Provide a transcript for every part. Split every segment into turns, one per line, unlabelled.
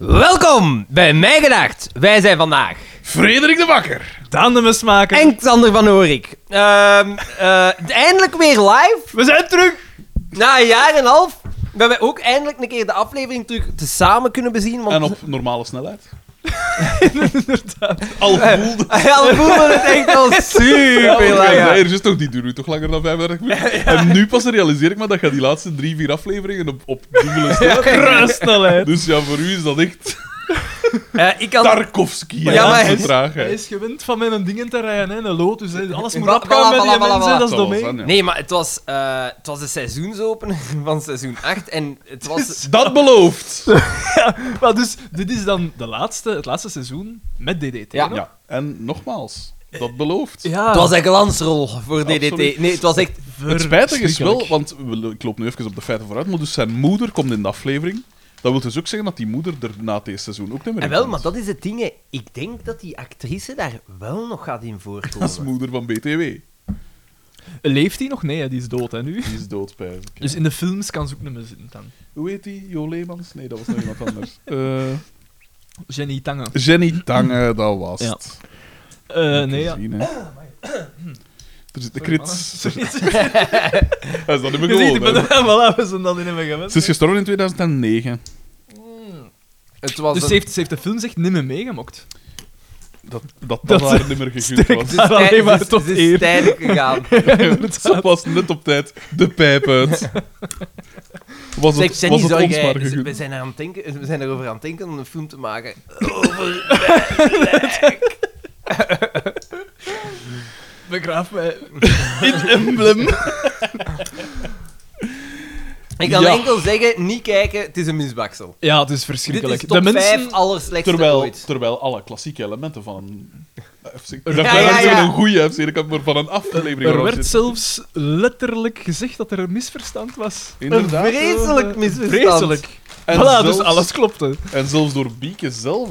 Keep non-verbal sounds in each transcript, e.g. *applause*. Welkom bij Mij Gedacht. Wij zijn vandaag
Frederik de Bakker.
Daan de mesmaker.
en Xander van Horik. Ehm, eh, eindelijk weer live.
We zijn terug.
Na een jaar en een half hebben wij ook eindelijk een keer de aflevering terug tezamen kunnen bezien. Want
En
*laughs*
op normale
*laughs*
snelheid. Inderdaad. Al
Eh,
voelde.
Al voelde het echt
*laughs*
al super lang.
Nee,
aan.
er is toch, die duurt toch langer dan 35
*laughs*
minuten. En nu pas realiseer ik me dat je die laatste drie, vier afleveringen op, op
*laughs*
dubbele snelheid
Rustelheid.
Dus ja, voor u is dat echt
Eh, ik had
Tarkovsky.
Ja,
Ja,
maar hij
maar
is-
Hij is gewend van met een dingen te rijden, hè, een lotus. Hè. Alles moet
Voilà,
opgaan met die
voilà, voilà,
mensen,
voilà.
dat is domee.
Nee, maar het was, eh, het was de seizoensopener *laughs* van seizoen 8 en het
*laughs*
was...
Dat belooft.
Maar dus, dit is dan de laatste, het laatste seizoen met DDT.
Ja.
nog?
Ja, en nogmaals, dat belooft.
ja.
Het was een glansrol voor DDT.
Absoluut.
Nee, het was echt...
Het spijtige is wel,
Verschrikkelijk.
want we- ik loop nu even op de feiten vooruit, maar dus zijn moeder komt in de aflevering. Dat wil dus ook zeggen dat die moeder er na deze seizoen ook niet
En
meer in
wel,
komt.
maar dat is het ding. hè. Ik denk dat die actrice daar wel nog gaat in
Dat is
voorkomen.
moeder van BTW.
Leeft hij nog? Nee, hè, die is dood hè, nu.
Die is dood, pijs *laughs* ik, ja.
Dus in de films kan ze ook niet meer zitten dan.
Hoe heet die? Jo Leemans? Nee, dat was nog iemand anders. Eh,
Jenny Tangen.
*laughs* Jenny Tange, dat was
Ja.
het.
Eh, nee, *laughs* ja.
Zien, hè. Er zit de krits. *laughs*
Sorry.
Hij is dat niet meer
Je ziet, ik
gewoon.
ben
hè.
*laughs* voilà, we zijn dan in hem gewend.
Ze is gestorven in 2009.
Het was
Dus
een-
ze heeft, ze heeft de films echt niet meer meegemokt.
Dat dat, dat
Dat-
haar niet meer gegund
Sterk.
was. *laughs*
het is
alleen
tij-
maar
het is-
tot
het is
hier. *laughs*
tijdelijk gegaan.
Ze was net op tijd de pijp
*laughs*
uit. Was
Zeg,
het,
Jenny,
was het
zou
ons
jij-
maar
dus we,
gegund.
zijn er aan het denken, we zijn erover aan het denken om een film te maken.
Begraaf mij *laughs* in emblem.
Ik kan
Ja.
enkel zeggen, niet kijken, het is een misbaksel.
Ja, het is
Dit
verschrikkelijk.
is top
de mensen...
5 allerslechtste
Terwijl,
ooit.
terwijl alle klassieke elementen van een... FC, ik
ja,
dacht dat mensen
ja.
een goede FC, ik had maar van een aflevering.
Er
erop
werd
zitten.
zelfs letterlijk gezegd dat er een misverstand was.
Inderdaad.
Een vreselijk
Eh,
misverstand.
Vreselijk.
En
voilà,
zelfs-
dus alles klopte.
En zelfs door Bieke zelf.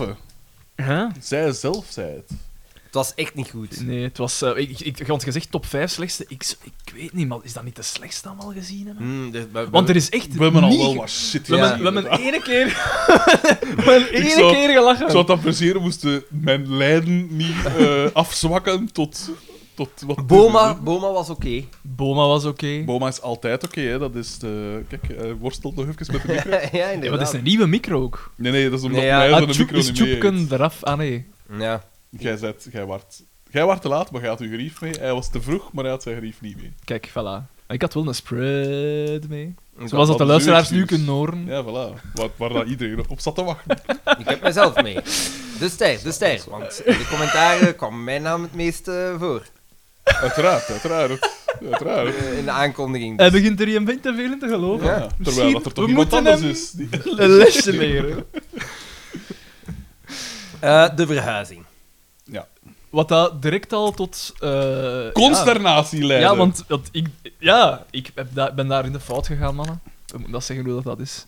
hè. Zij zelf zei het.
Het was echt niet goed.
Nee, het was... eh, ik, ik, ik had gezegd top 5 slechtste. Ik, z- ik weet niet, maar is dat niet de slechtste allemaal gezien hebben?
Mm, dus- we- we-
Want er is echt
We hebben al
niet-
wel
*laughs*
wat shit
We hebben,
Ja.
we hebben ene *laughs* keer... we hebben ene
zou-
keer
Ik
gelachen.
zou het appreciëren moesten mijn lijden niet eh, afzwakken tot, tot wat...
Boma, Boma was oké. *laughs*
Boma was oké.
Boma is altijd oké, hè. Dat is de... Kijk, eh, worstelt nog even met de
*laughs*
micro.
ja,
Ja, maar dat
inderdaad.
is een nieuwe micro ook.
Nee, nee, dat is omdat
Nee, ja.
mij
Ah,
van de
Tjoep-
micro
is
niet mee heeft.
Tjoepken eraf? Ah, nee.
Ja.
Jij zet, jij waart... Jij waart te laat, maar jij had uw grief mee. Hij was te vroeg, maar hij had zijn grief niet mee.
Kijk, voilà. Ik had wel een spread mee.
dat
Zoals dat de
is
luisteraars
uw
nu
excuus.
kunnen horen.
Ja, voilà. Waar, waar dat iedereen op zat te wachten.
Ik heb mezelf mee. De ster, de ster. Want in de commentaren kwam mijn naam het meest eh, voor.
Uiteraard, uiteraard. Uiteraard.
Eh, in de aankondiging.
Hij begint er een beetje te veel in te geloven.
Ja, terwijl
Misschien-
dat er toch
we
iemand
moeten
anders
hem
is. *laughs* die-
Een lesje leren.
Eh, de verhuizing.
Wat dat direct al tot... eh,
Consternatie
Ja,
leiden.
ja want want ik, ja, ik heb da- ben daar in de fout gegaan, mannen. We moeten dat zeggen hoe dat, dat is.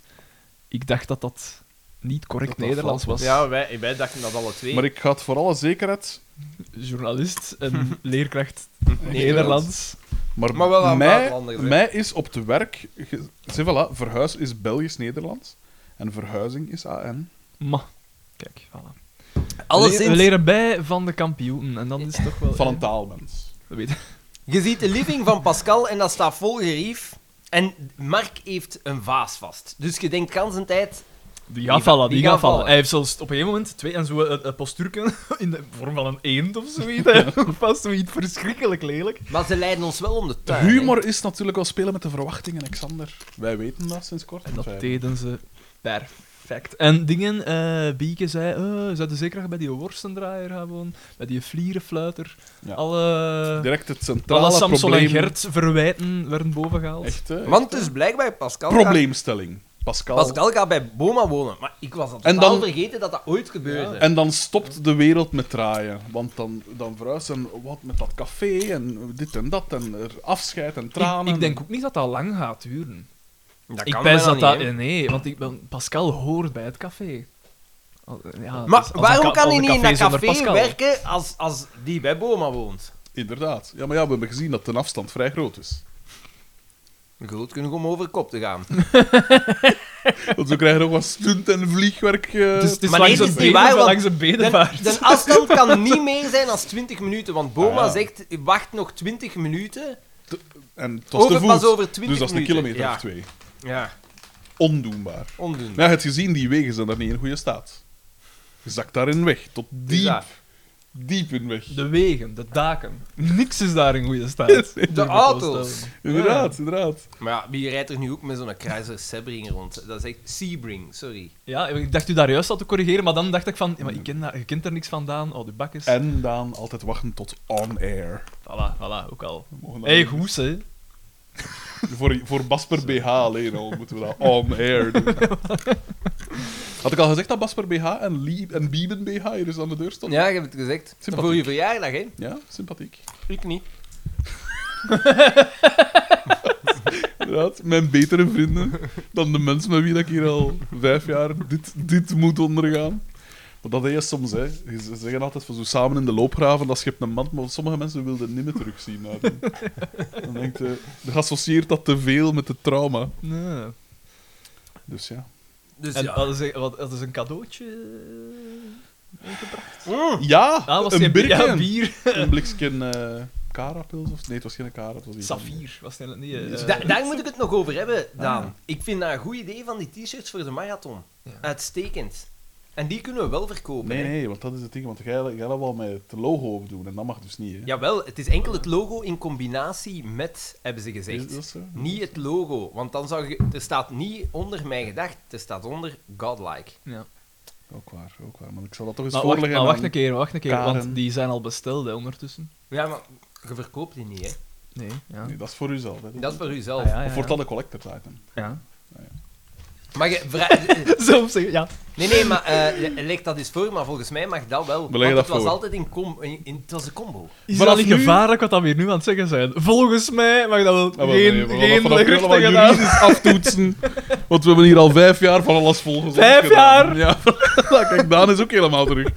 Ik dacht dat dat niet correct
Dat dat
Nederlands was.
Ja, wij, wij dachten dat alle twee.
Maar ik ga het voor alle zekerheid
Journalist *laughs* en leerkracht Nederlands.
Maar,
Maar wel aan
mij,
buitenlanders, hè.
mij is op het werk... ge- Zeg, voilà, verhuis is Belgisch-Nederlands. En verhuizing is AN.
Maar, kijk, voilà.
Alles
we, leren, we
in.
leren bij van de kampioenen. En dan is het toch wel...
Van
eh,
een taalmens.
we weten-
Je ziet de living van Pascal en dat staat vol gerief. En Mark heeft een vaas vast. Dus je denkt kans en tijd.
Die
gaat-
gaat vallen,
die
die
gaat
gaat vallen.
vallen.
Hij heeft zelfs op een gegeven moment twee en zo een, een postuurken *laughs* in de vorm van een eend of *laughs* zoiets. hè. Vast zoiets verschrikkelijk lelijk.
Maar ze leiden ons wel om de tuin. hè.
Humor is natuurlijk wel spelen met de verwachtingen, Alexander. Wij weten dat sinds kort.
En dat
Wij-
deden ze perfect. En dingen, eh Bieke zei, eh ze hadden zeker bij die worstendraaier gaan wonen, bij die vlierenfluiter.
Ja.
Alle,
Direct het centrale
alle Samson
probleem.
en Gert verwijten werden bovengehaald.
Echt, hè?
Want dus blijkbaar Pascal. Gaat,
Probleemstelling. Pascal.
Pascal gaat bij Boma wonen. Maar ik was al
En
totaal
dan-
vergeten dat dat ooit gebeurde.
En dan stopt de wereld met draaien. Want dan, dan verhuist en wat met dat café en dit en dat. En er afscheid en
Ik,
tranen.
ik denk ook niet dat dat lang gaat duren.
Dat
ik
kan
pijs
bijna
dat
niet,
dat...
hè.
eh, Nee, want ik ben, Pascal hoort bij het café. Al- Ja,
Maar
dus als
waarom
een ka-
kan
als
hij
een
niet in dat
zonder
café
Pascal?
werken als, als die bij Boma woont?
Inderdaad. Ja, maar ja, we hebben gezien dat de afstand vrij groot is.
Groot kunnen om over kop te gaan.
Want ze krijgen nog wat stunt en vliegwerk. eh,
Het is, het is
Maar nee,
langs,
dat
een
is niet waar,
beden,
want
langs een bedevaart.
*laughs*
De afstand kan niet meer zijn dan 20 minuten, want Boma
Ah, ja.
zegt, wacht nog 20 minuten.
en het was
Over,
te
pas
voet.
over 20
dus dat is een
minuten.
kilometer
ja.
of twee.
Ja,
Ondoenbaar.
ondoenbaar.
Maar ja, het gezien, die wegen zijn daar niet in goede staat. Je zakt daarin weg. Tot
Dus
diep,
ja.
diep in weg. *laughs*
De wegen, de daken. Niks is daar in goede staat.
De auto's.
Inderdaad, inderdaad.
Maar ja, wie rijdt er nu ook met zo'n Chrysler Sebring rond? Dat is echt Sebring, sorry.
Ja, ik dacht u daar juist al te corrigeren, maar dan dacht ik van, ja, maar ik ken daar, je kent er niks vandaan. Oh, de bakjes.
En dan altijd wachten tot on-air.
Voilà, voilà, ook al.
We mogen dat
hey,
niet
goed, hè.
Voor, voor Basper BH alleen al moeten we dat on-air doen. Had ik al gezegd dat Basper BH en, Lieb en Bieben BH hier dus aan de deur stonden?
Ja, ik heb het gezegd.
Sympathiek.
Voor je verjaardag, hè?
Ja, sympathiek.
Ik niet.
Inderdaad, mijn betere vrienden dan de mensen met wie dat ik hier al vijf jaar dit, dit moet ondergaan. Maar dat is soms, hè. Ze zeggen altijd van zo samen in de loopgraven, dat schept een man, maar sommige mensen wilden niet meer terugzien naar hem. Dan denkt je, je associeert dat te veel met het trauma.
Nee.
Dus ja.
Dus
En
ja.
dat is, wat, dat is een cadeautje.
Mm.
Ja,
Ah, was
een
geen bier.
birken.
Ja, bier.
*laughs* Een blikje eh karapils of... Nee, het was geen kara, het was iets anders.
Saffier, was het niet. eh,
Da- daar moet ik het nog over hebben,
Ah.
Daan. Ik vind dat een goed idee van die t-shirts voor de marathon. Uitstekend. En die kunnen we wel verkopen.
Nee,
hè.
nee, want dat is het ding. Want jij jij dat wel met het logo op doen en dat mag dus niet, hè.
Jawel, het is enkel het logo in combinatie met, hebben ze
Is
gezegd.
dat zo?
Niet het logo, want dan zou je... Er staat niet onder mijn gedacht, er staat onder godlike.
Ja.
Ook waar, ook waar. Maar ik zal dat toch eens
Maar wacht,
voorleggen
maar wacht
aan-
een keer, wacht een keer,
Karen.
want die zijn al besteld hè, ondertussen.
Ja, maar je verkoopt die niet, hè.
Nee, ja.
Nee, dat is voor uzelf, hè.
Dat is voor uzelf.
Ah, ja, ja,
Of wordt
ja.
dat een collector item?
Ja. *laughs*
Maar je... vra-
Zo op zich, ja.
Nee, nee, maar eh, je- leg dat eens voor, maar volgens mij mag dat wel.
We
want
leggen dat
het was
voor.
altijd in, com in, in- Het was een combo.
Is
Vanaf
dat niet
nu-
gevaarlijk wat dat we hier nu aan het zeggen zijn? Volgens mij mag dat wel
Ah, wel,
geen,
nee, we gaan
geen
dat vanaf nu
geruchten
allemaal
gedaan.
juridisch aftoetsen. Want we hebben hier al vijf jaar van alles volgens ons
Vijf
gedaan.
jaar?
Ja, *laughs* voilà, kijk, Daan is ook helemaal terug.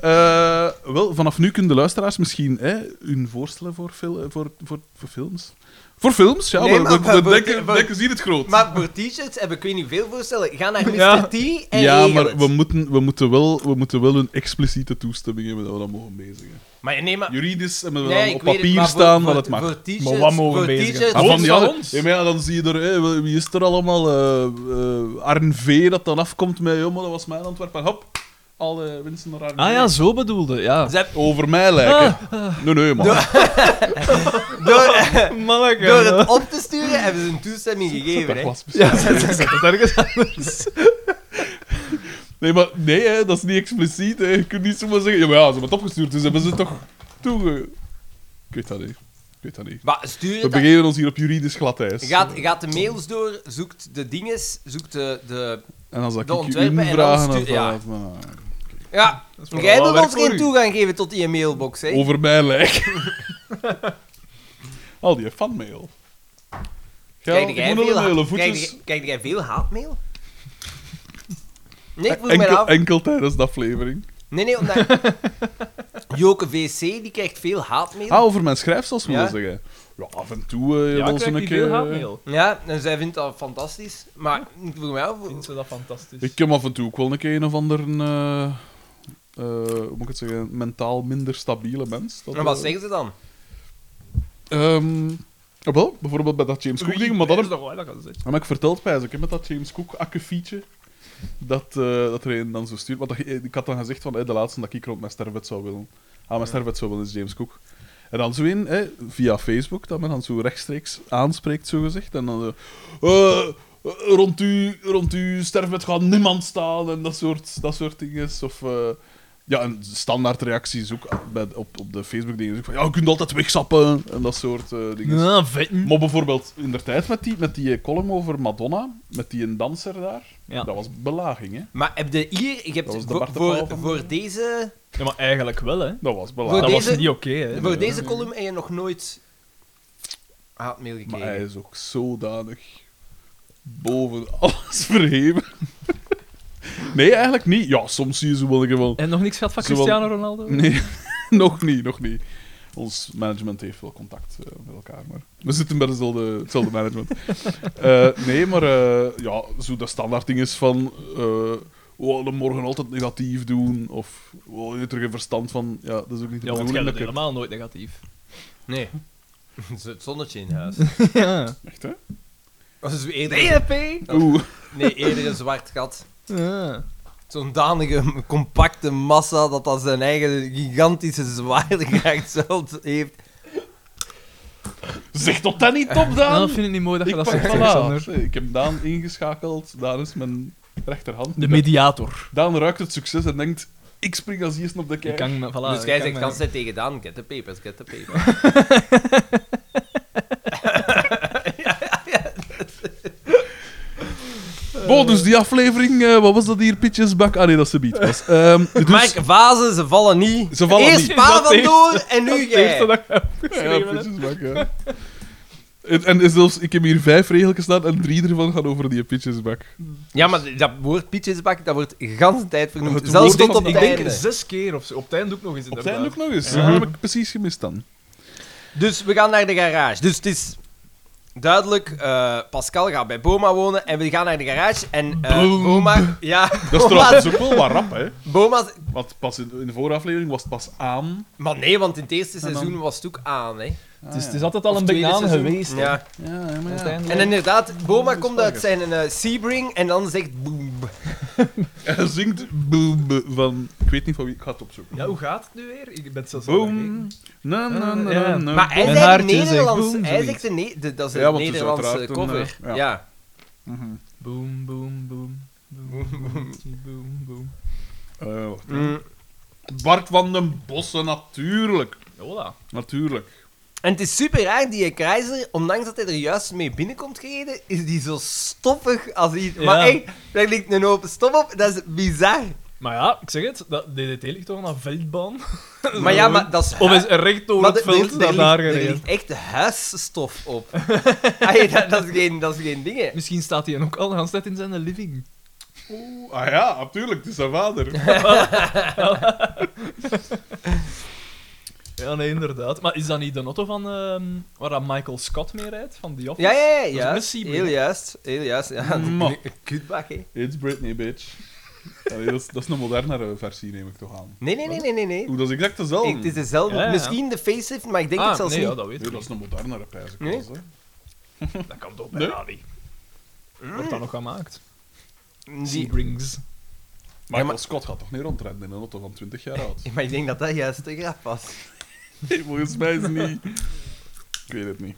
Eh, wel, vanaf nu kunnen de luisteraars misschien hè, hun voorstellen voor, fil- eh, voor, voor, voor films. Voor films, ja.
Nee,
maar
maar
we, we
voor-
denken,
voor-
denken ze hier het groot.
Maar voor t-shirts heb ik weet niet veel voorstellen. Ga naar Mr.
Ja.
T en
ja,
regel
maar
het.
we moeten, we, moeten wel, we moeten wel een expliciete toestemming hebben dat we dat mogen bezigen.
Maar nee, maar...
Juridisch hebben we
Nee,
dan
ik
op
weet het,
papier
maar voor-
staan
voor-
dat het mag.
Voor t-shirts...
Maar wat mogen we
voor
bezigen?
t-shirts-
Ah,
Ons
van die andere-
van ons.
Ja, maar ja, dan zie je er, hè, wie is er allemaal? eh eh, Arn V dat dan afkomt met, joh, maar dat was mijn Antwerp. En hop, alle winsten naar Arn
Ah
V.
ja, zo Ah, bedoelde, ja.
Ze hebben-
Over mij lijken. Nee, nee, man.
door, *laughs*
Manneke.
door het op te sturen hebben ze een toestemming gegeven,
dat
hè.
was
Ja, *laughs*
misschien-
zet zet het ergens anders.
Nee, maar nee, hè, dat is niet expliciet. Hè. Je kunt niet zomaar zeggen, ja, maar ja, ze hebben het opgestuurd, dus hebben ze het toch toege... Ik weet dat niet. Ik weet dat niet.
Maar stuur
We
het... aan-
begeven ons hier op juridisch glad ijs.
Gaat, gaat de mails door, zoekt de dinges, zoekt de... de...
en dan zal ik
de
je
ontwerpen en dan
vragen
stuur-
of
ja.
dat, maar-
Ja,
wel
jij
wel
wilt
werk
ons
voor
geen
u.
toegang geven tot die mailbox, hè.
Over mij lijken. Al die fanmail.
Kijk,
ik moet nog een hele voetjes...
Kijk, jij veel haatmail? Nee, ik vroeg mij
Enkel,
af.
enkel tijdens de aflevering.
Nee, nee, omdat... *laughs* Joke VC, die krijgt veel haatmail.
Ah, over mijn schrijfsels wil
Ja?
je zeggen. Ja, af en toe eh
Ja,
wel
ik
zo'n
krijg
keer...
niet veel
eh,
haatmail.
Ja, en zij vindt dat fantastisch. Maar ik vroeg mij af...
Vindt ze dat fantastisch?
eh, Ik heb af en toe ook wel een keer een of ander... eh, eh, hoe moet ik het zeggen? Mentaal minder stabiele mens. Dat,
En wat
eh,
zeggen ze dan?
ehm, ah, wel, bijvoorbeeld bij dat James Cook ding, maar dat heb,
toch wel dat gezegd.
heb ik verteld bij ze. Ik heb met dat James Cook akkefietje dat, eh, dat er een dan zo stuurt. Want dat- ik had dan gezegd van eh, de laatste dat ik rond mijn sterfbed zou willen. Aan mijn sterfbed zou willen is James Cook. En dan zo in, hè, via Facebook, dat men dan zo rechtstreeks aanspreekt, zogezegd. En dan eh, eh, rond, uw, rond uw sterfbed gaat niemand staan en dat soort, dat soort dingen. Of, eh, ja, en standaard reacties ook bij, op, op de Facebook dingen. Van, ja, je kunt altijd wegzappen en dat soort eh, dingen.
Ja, vetten.
Maar bijvoorbeeld in de tijd met die, met die eh, column over Madonna, met die een danser daar,
Ja.
dat was belaging, hè?
Maar heb je hier... Je hebt
Dat was de
voor,
Bart de Pauw
voor,
van-
voor deze,
Ja, maar eigenlijk wel, hè.
Dat was
Voor
Dat
belaging.
deze-
was niet oké, hè.
voor
ja,
deze
ja.
column heb je nog nooit haatmail
Maar
gekregen.
hij is ook zodanig boven *laughs* alles verheven. *laughs* nee, eigenlijk niet. Ja, soms zie je zo wel een keer wel.
En nog niks gehad van
Zowel- *laughs*
Cristiano Ronaldo?
Nee, nog niet, nog niet. Ons management heeft wel contact eh, met elkaar, maar we zitten bij dezelfde, hetzelfde
*laughs*
management. Eh, nee, maar eh, ja, zo dat standaard ding is van... eh oh, de morgen altijd negatief doen, of oh, je terug een verstand van... Ja, dat is ook niet de
Ja, want jij
bedoeling.
bent
dat ik-
helemaal nooit
*laughs*
negatief.
*laughs* Nee. Het is Het zonnetje in
*laughs*
huis.
ja.
Echt, hè?
Dat is eerder,
Nee, hè, P?
Oeh.
*laughs*
*laughs*
nee, eerder een zwart gat.
Ja.
Zo'n danige, compacte massa dat dat zijn eigen gigantische zwaartekracht *laughs* zelf heeft.
Zeg dat dan niet op,
Nou,
Daan!
dat vind ik niet mooi dat je
ik,
dat
pak
zegt,
voilà.
Alexander.
ik heb Daan ingeschakeld, Daan is mijn rechterhand.
De mediator.
Daan ruikt het succes en denkt, ik spring als eerste op de
Ik
kijk.
kan me, voilà,
dus
ik
jij
kan
zegt
me-
kan zij tegen Daan, get the papers, get the
*laughs*
papers.
Bon, dus die aflevering, eh, wat was dat hier? Pitches bak? Ah nee, dat ze beat was. *laughs* Ehm, dus-
Mike, vazen, ze vallen niet.
Ze vallen
Eerst
niet.
pa
Dat heeft-
vandoor en nu
Het eerste
jij.
dat ik heb
ja,
geschreven, hè.
pitches bak, ja. En, en zelfs, ik heb hier vijf regeltjes staan en drie ervan gaan over die pitches bak.
Ja, maar dat woord pietjesbak, dat wordt de hele tijd vernoemd.
Het
Zelfs
woord
tot
van-
op
Ik
het
denk
einde.
zes keer of zo. Op het einde ook nog eens.
Op het
inderdaad.
einde ook nog eens.
Ja.
Dat heb ik precies gemist dan.
Dus we gaan naar de garage. Dus het is duidelijk, eh, Pascal gaat bij Boma wonen en we gaan naar de garage. En eh,
Boom.
Boma... Ja, *laughs*
Dat *laughs*
Boma,
is trouwens ook wel wat rap, hè.
Boma...
Want pas in, in de vorige aflevering was het pas aan. Dus
Maar nee, want in het eerste
dan-
seizoen was het ook aan, hè.
Het is, het is altijd al
Of
een
tweede
banaan
seizoen.
geweest. hè.
Ja.
Ah, Ja, ja, maar ja.
En
Uiteindelijk.
inderdaad, Boma
dat is
komt uit
erg.
zijn eh, Sebring en dan zegt boem.
En hij zingt boom boom, van... Ik weet niet van wie, ik ga het opzoeken.
Ja, hoe gaat het nu weer? Ik ben het zelfs al
Boom. Na, na, na, na,
Ja.
na.
Maar hij
Mijn
zei
haartje zegt
Nederlands.
boem,
hij
zoiets.
zegt de ne- de- dat is een
Ja, want het is
Nederlandse
uiteraard een,
cover.
eh, ja.
ja.
Mhm.
Boom, boom, boom. Boom, boom, boom, boom.
Eh, wacht.
Mm.
Bart van den Bossen, natuurlijk.
Hola.
Natuurlijk.
En het is super raar, die Keizer, ondanks dat hij er juist mee binnenkomt gereden, is die zo stoffig als iets.
Ja.
Maar echt, daar ligt een open stof op, dat is bizar.
Maar ja, ik zeg het, dat DDT ligt toch aan een veldbaan?
Maar *laughs* ja, maar dat is...
Of is er recht door
maar
het
er- er-
veld
er,
naar
ligt-
daar
er
gereden?
ligt echt huisstof
*laughs*
op. Ai, dat, dat, is geen, dat is geen ding, hè.
Misschien staat hij ook al de hele tijd in zijn living.
Oeh, ah ja, natuurlijk, het is zijn vader.
Ja, nee, inderdaad. Maar is dat niet de auto van ehm, waar dat Michael Scott mee rijdt? Van The Office?
Ja, ja, ja,
is
juist.
missie,
Heel
bro.
juist, heel juist. Ja,
Ma.
een kutbak, hè.
It's Britney, bitch. Allee, dat, is, dat is een modernere versie, neem ik toch aan.
Nee, nee, nee, nee, nee, nee.
Oeh, dat is exact
Ik-
dezelfde.
het is dezelfde.
Ja, ja.
Misschien de facelift, maar ik denk
Ah,
het zelfs
nee,
niet.
Ja, dat weet
Nee,
ik
dat
niet.
is een modernere pijs. ik
Nee?
was, hè.
Dat kan toch
Nee?
bijna niet. Wordt dat nog gemaakt?
Die-
Seabrings.
Michael
maar-
Scott gaat toch niet rondrijden in een auto van 20 jaar
*laughs*
oud?
Maar ik denk dat dat juist de grap was.
Nee, volgens mij is het niet... Ik weet het niet.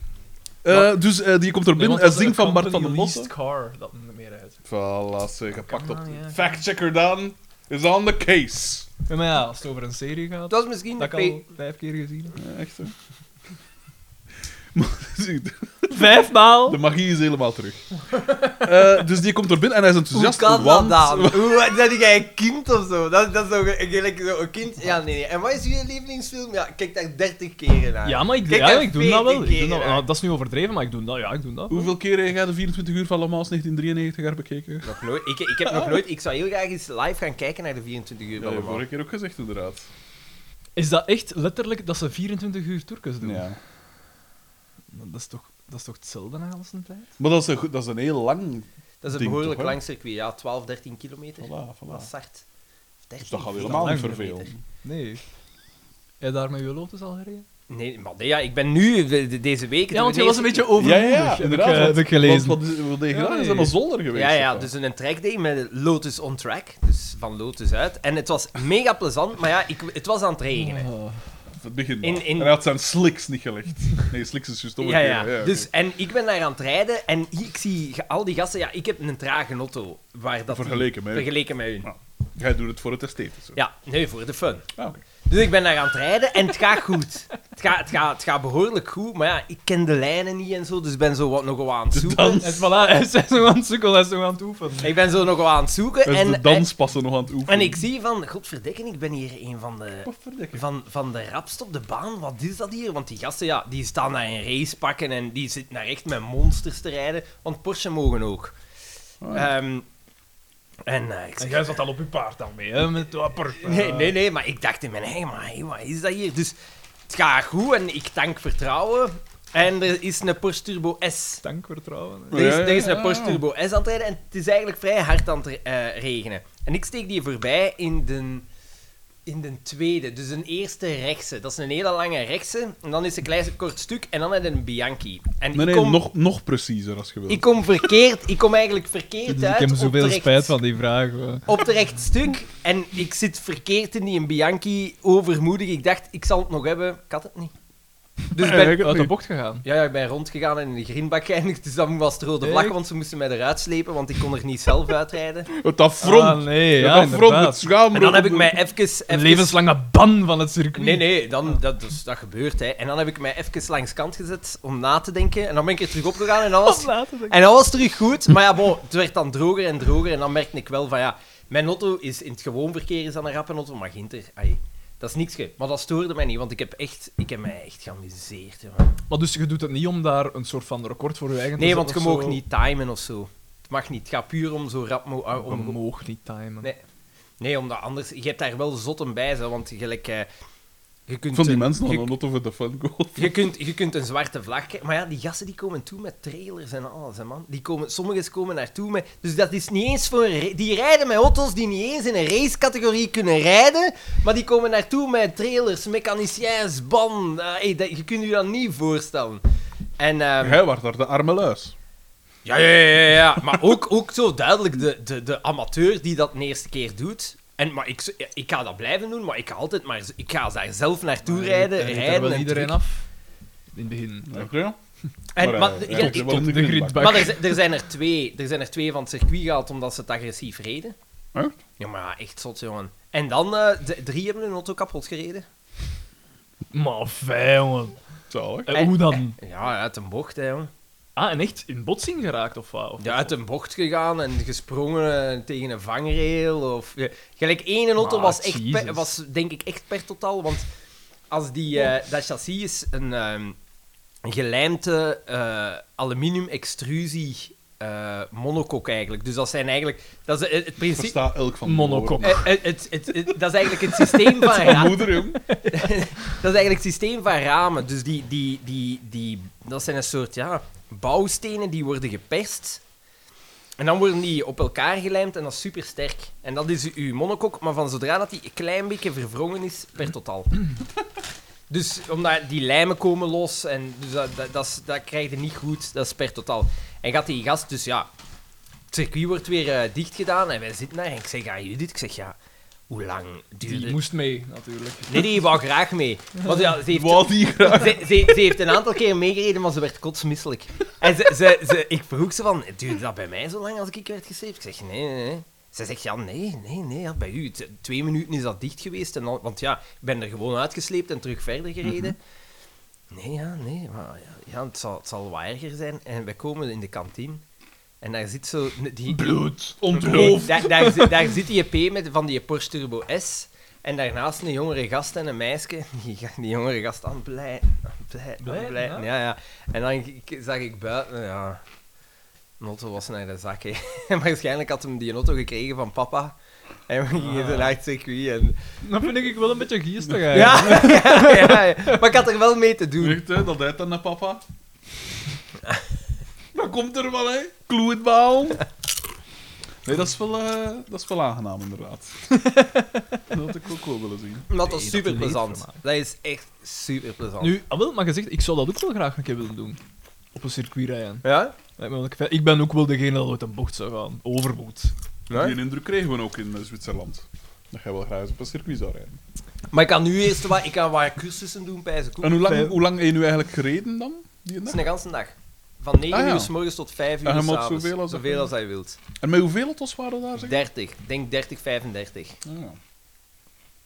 Eh, dus eh, die komt er binnen,
want
hij
dat is
zingt
een
van Bart van den
company
Bossen.
leased car dat meer rijdt.
Voilà, ze gepakt op.
Come on, ja,
Factchecker Daan is on the case.
Ja, maar ja, als het over een serie gaat,
Dat was misschien
dat
de
kan al
fa-
vijf keer gezien.
Ja, echt hè. *laughs* Maar, *laughs* dus zie, de-
*laughs* Vijfmaal!
Oh.
de magie is helemaal terug. *laughs* Eh, dus die komt er binnen en hij is
Hoe
enthousiast.
kan dat
want-
dan? Hoe, dat jij een kind of zo? Dat, dat is zo gelijk zo een kind. Ja, nee, nee. En wat is je lievelingsfilm? Ja, ik kijk daar 30 keren naar.
Ja, maar ik,
Kijk,
ja,
daar
ik doe dat wel.
14
Ik doe dat,
keer,
nou,
hè.
dat is nu overdreven, maar ik doe dat. Ja, ik doe dat.
Hoeveel keer heb jij de 24 uur van Le Mans 1993 jaar bekeken?
Nog nooit, ik, ik heb nog nooit. Ik zou heel graag eens live gaan kijken naar de 24 uur.
Dat heb
van
ik
allemaal.
vorige keer ook gezegd, inderdaad.
Is dat echt letterlijk dat ze 24 uur Turkes doen?
Ja.
Dat, is toch, dat is toch hetzelfde na als een tijd?
Maar dat is, een, goed- dat is een heel lang.
dat is
Ding
een behoorlijk
toch, hè?
lang circuit. Ja, 12, 13 kilometer.
Voilà, voilà.
Dat is hard. 13,
Dus dat gaat
14
helemaal niet
kilometer.
vervelen.
Nee. Heb je daar met je lotus al gereden?
Nee, maar nee, ja, ik ben nu de- de- deze week.
Ja, want je
de
was
eerste
een beetje
keer-
Ja,
overmoedig.
ja, ja,
heb ik,
inderdaad.
eh, heb ik gelezen.
Wat, wat, wat, deed je gedaan?
Ja,
Is
nee.
helemaal zolder geweest.
Ja, ja,
of wat?
dus een trackday met Lotus on Track. Dus van Lotus uit. En het was mega plezant, maar ja, ik, het was aan het regenen.
Ah.
Het begin.
in-
maar.
in-
En hij had zijn slicks niet gelegd. Nee, slicks is juist
Ja,
omgekeerd.
ja.
oké.
Dus, en ik ben daar aan het rijden en hier- ik zie ge- al die gasten... Ja, ik heb een trage auto. Waar dat
Vergeleken met u.
Vergeleken met hun.
Ja. Jij doet het voor het esthetische.
Ja, nee, voor de fun.
Ah, oké.
Dus ik ben daar aan het rijden en het gaat goed. Het gaat, het gaat, het gaat behoorlijk goed, maar ja, ik ken de lijnen niet en zo, dus ik ben zo wat, nog wel aan het
De
zoeken.
dans.
En voilà, hij is hij is nog aan het zoeken, hij is nog aan het oefenen.
Ik ben zo nog wel aan het zoeken
Hij is
en,
Dus de danspassen nog aan het oefenen.
en ik zie van... Godverdikke, ik ben hier een van de... Van, van de rapst op de baan, wat is dat hier? Want die gasten, ja, die staan daar in race pakken en die zitten daar echt met monsters te rijden. Want Porsche mogen ook.
Oh, ja.
Ehm, en eh, ik
En
zeg,
jij zat al op je paard dan mee, hè? Met Eh. wapper.
nee, nee, nee, maar ik dacht in mijn eigen, maar hey, wat is dat hier? Dus Het gaat goed en ik tank vertrouwen. En er is een Porsche Turbo S.
Dank voor het trouwen.
Er is,
Ja, ja,
er is
ja,
een Porsche
ja.
Turbo S aan het rijden en het is eigenlijk vrij hard aan het eh, regenen. En ik steek die voorbij in de, in de tweede, dus een eerste rechtse. Dat is een hele lange rechtse. En dan is een klein kort stuk en dan heb je een Bianchi. En
Nee,
ik
nee,
kom,
nog, nog preciezer als je wilt.
ik kom verkeerd, ik kom eigenlijk verkeerd
dus ik
uit.
heb
op
zoveel
de rechts-
spijt van die vraag. hoor.
op het rechtstuk en ik zit verkeerd in die Bianchi, overmoedig. Ik dacht, ik zal het nog hebben. Ik had het niet. Dus ik ben,
Eigenlijk
Uit de
niet.
bocht gegaan.
ja, ja, ik ben rondgegaan en in de greenbak geëindigd. Dus dan was het rode vlag,
Echt?
want ze moesten mij eruit slepen, want ik kon er niet zelf uitrijden.
Het affront.
Ah, nee,
het
ja,
affront,
inderdaad.
het schaamrood.
En dan heb ik mij even...
Een
even-
levenslange ban van het circuit.
Nee, nee, dan, dat, dus, dat gebeurt. Hè. En dan heb ik mij even langs kant gezet om na te denken. En dan ben ik er terug opgegaan en dan was,
Oh,
en dat was terug goed. Maar ja, bon, het werd dan droger en droger. En dan merkte ik wel van ja, mijn auto is in het gewoon verkeer is dan een rappe auto, maar ginter, ai, dat is niks. ge. Maar dat stoorde mij niet, want ik heb, echt, ik heb mij echt geamuseerd. jongen.
Maar dus je doet het niet om daar een soort van record voor je eigen te
Nee, want
zetten
je
of
mag
dus zo?
niet timen of zo. Het mag niet. Het gaat puur om zo rap mo- ah,
Je
om,
mag niet timen.
Nee. Nee, omdat anders... Je hebt daar wel zotten bij, zo, want gelijk... eh, je kunt
Van die
een-
mensen hadden
je,
een auto voor de fun
*laughs*
goal.
je, kunt, je kunt een zwarte vlag krijgen. Maar ja, die gasten die komen toe met trailers en alles, hè, man. Die komen, sommigen komen naartoe met... Dus dat is niet eens voor... een ra- Die rijden met auto's die niet eens in een racecategorie kunnen rijden. Maar die komen naartoe met trailers, mechaniciens, ban. eh, hey, dat, je kunt je dat niet voorstellen. En... ehm,
Hij was daar de arme luis.
ja, ja, ja, ja, ja. Maar ook, ook zo duidelijk de, de, de amateur die dat de eerste keer doet. En, maar ik, z- ik ga dat blijven doen, maar ik ga altijd maar... z- Ik ga daar zelf naartoe
Maar je-
rijden,
je reed daar
rijden
wel
en
iedereen
terug.
af. eh, In het begin.
Ja. Ja.
En, maar
hij-
ja,
hij
ik-
komt wel in
de
grindbak.
grindbak.
maar er, zi- er, zijn er, twee, er zijn er twee van het circuit gehaald omdat ze het agressief reden.
Echt?
Ja, maar ja, echt zot, jongen. En dan, eh, de- drie hebben hun auto kapot gereden.
Maar fijn, jongen.
Zalig.
En-
En Eh,
Eh,
hoe dan?
Ja, uit een bocht, hè, jongen.
Ah, en echt in botsing geraakt of wat? Of-
Ja, uit een bocht gegaan en gesprongen eh, tegen een vangrail. Of, ja. Gelijk één auto
Ah,
was, echt
Jesus.
per- was denk ik echt per totaal. Want als die, eh, dat chassis is een ehm, een gelijmde eh, aluminium extrusie eh monocoque eigenlijk. Dus dat zijn eigenlijk... Dat is eh, het
Ik
principe...
versta elk van die
Monocom.
woorden.
eh, eh, het, het, het- dat is eigenlijk het systeem van...
Mijn
ra-
moeder, jong.
*laughs* dat is eigenlijk het systeem van ramen. Dus die, die, die, die, dat zijn een soort ja, bouwstenen die worden geperst. En dan worden die op elkaar gelijmd en dat is super sterk. En dat is uw monokok, maar van zodra dat die een klein beetje verwrongen is, per totaal. Dus omdat die lijmen komen los en dus dat, dat, dat, is- dat krijg je niet goed, dat is per totaal. En gaat die gast, dus ja, het circuit wordt weer eh, dicht gedaan en wij zitten daar. En ik zeg aan Judith, ik zeg ja, hoe lang duurde
Die moest mee, natuurlijk.
Nee, die wou graag mee. Want ja, ze heeft,
Wou die graag.
*laughs* ze, ze, ze heeft een aantal keer meegereden, maar ze werd kotsmisselijk. En ze, ze, ze, ik vroeg ze van, duurde dat bij mij zo lang als ik werd gesleept? Ik zeg, nee, nee, nee. Ze zegt, ja, nee, nee, nee, ja, bij u. T- Twee minuten is dat dicht geweest. En dan, want ja, ik ben er gewoon uitgesleept en terug verder gereden. Nee, ja, nee, maar ja, ja, het, zal, het zal wat erger zijn. En wij komen in de kantine. En daar zit zo... Die,
Bloed. Ontloof.
daar, daar, zit- daar zit die EP met, van die Porsche Turbo S. En daarnaast een jongere gast en een meisje. *laughs* Die, ga- die jongere gast aan het blij, aan het blij, aan het
Blijten,
blij.
ja.
Ja, ja. En dan k- zag ik buiten, ja. Notto was naar de zak, hè. *laughs* Waarschijnlijk had hem die auto gekregen van papa. En we gingen zo naar het circuit. En...
Dat vind ik wel een beetje geestig, eigenlijk.
*laughs* Ja, ja, ja, ja. maar ik had er wel mee te doen.
Echt, hè, dat deed dan naar papa. Dat komt er wel, hè. Kloetbaal. Nee, dat is wel, eh, dat is wel aangenaam, inderdaad.
*laughs*
dat had ik ook wel willen zien.
Maar dat is
Nee, dat
super plezant.
leedvermaak.
Dat is echt super plezant.
Nu, ah, wel, maar gezegd, ik zou dat ook wel graag een keer willen doen. Op een circuit rijden.
Ja?
Lijkt me wel fijn. Ik ben ook wel degene dat uit een bocht zou gaan. Overboet.
ja?
Die indruk kregen we ook in eh, Zwitserland. Dat jij wel graag eens op een circuit zou rijden.
Maar ik kan nu eerst wat, ik kan wat cursussen doen bij ze.
En hoe lang, hoe lang heb je nu eigenlijk gereden dan? Die
Het
dag?
is een ganse dag. Van 9
Ah, ja.
uur s morgens tot 5 uur
En je
s
mag
avonds.
zoveel als dat wil.
hij wilt.
En met hoeveel auto's waren daar? Zeg?
30, denk 30, 35.
Ah, ja.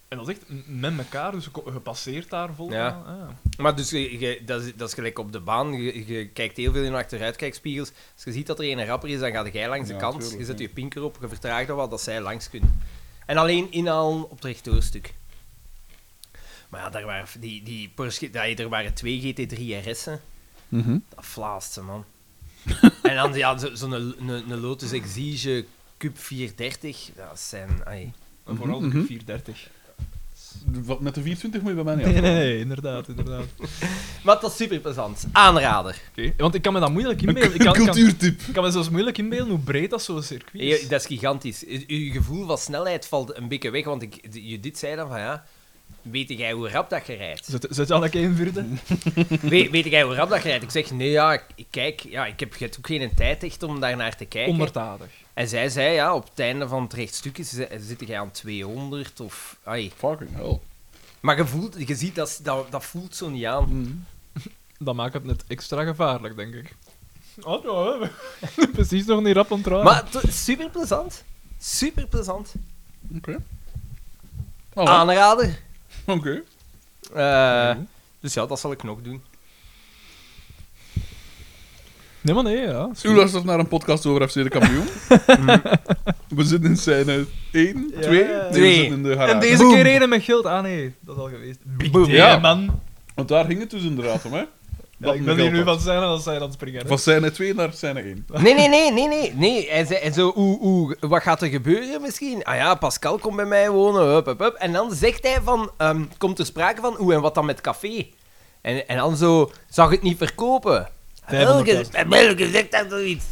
En dat is echt m- met elkaar, dus je ko- je passeert daar vol.
Ja.
aan, ah.
Maar dus, je, je- dat, is, dat is gelijk op de baan. Je, je kijkt heel veel in de achteruitkijkspiegels. Als je ziet dat er een rapper is, dan ga jij langs de
Ja,
kant.
tuurlijk,
je zet
ja.
je pinker op, je vertraagt dat wat, dat zij langs kunnen. En alleen inhalen op het rechtdoorstuk. Maar ja, daar waren, die, die Porsche, daar, er waren twee GT3 RS'en. Dat vlaast ze, man. *laughs* en dan ja, zo- zo'n een Lotus Exige Cup 430. Dat zijn... ai.
En vooral de
Mhm.
430.
Met de 24 moet je bij mij niet
Nee, nee,
afvallen.
nee, inderdaad, inderdaad. Oké,
Maar dat is super plezant. Aanrader.
want ik kan me dat moeilijk inbeelden. *laughs* Ik
Een
kan, ik kan,
cultuurtip.
ik kan me zelfs moeilijk inbeelden hoe breed dat zo'n circuit
Je-
is.
dat is gigantisch. U- Uw gevoel van snelheid valt een beetje weg, want ik, je dit zei dan van ja. Weet jij hoe rap dat je rijdt?
Zet, zet al een één vierde.
Weet, weet jij hoe rap dat je rijdt? Ik zeg nee, ja, ik, ik kijk, ja, ik heb je hebt ook geen tijd echt om daar naar te kijken.
Ondertadig.
En zij zei ja, op het einde van het rechtstukje ze- zit jij aan 200 of. Ai.
Fucking hell.
Maar je, voelt, je ziet dat, is- dat, dat voelt zo niet aan.
Mhm. Dat maakt het net extra gevaarlijk, denk ik. Oh, nou, hè. precies nog niet rap ontrouwen.
Maar super plezant. Super plezant.
Oké.
Ah,
Voilà.
Aanrader.
Oké.
Eh, Dus ja, dat zal ik nog doen.
Nee, maar nee, ja. is
U
goed.
luistert naar een podcast over FC de
*laughs*
kampioen. we zitten in scène 1,
Ja.
2.
Twee.
we zitten in de garage.
En deze
Boom.
keer reden met geld. Ah nee, dat is al geweest. Big
Boom.
day,
Ja.
man.
Want daar ging het dus inderdaad om, hè?
Ja,
Dat
ik ben
geld
hier nu
had.
van zijn en als zij dan springen.
Van scène 2 naar scène 1.
Nee, nee, nee, nee, nee. nee. Hij zei en zo, oeh, oeh, wat gaat er gebeuren misschien? Ah ja, Pascal komt bij mij wonen, hup, hup, hup. En dan zegt hij van, ehm, komt er sprake van, oeh, en wat dan met café? En, en dan zo, zag het niet verkopen.
Tijd om
Welke,
elkaar
welke zegt dat zoiets?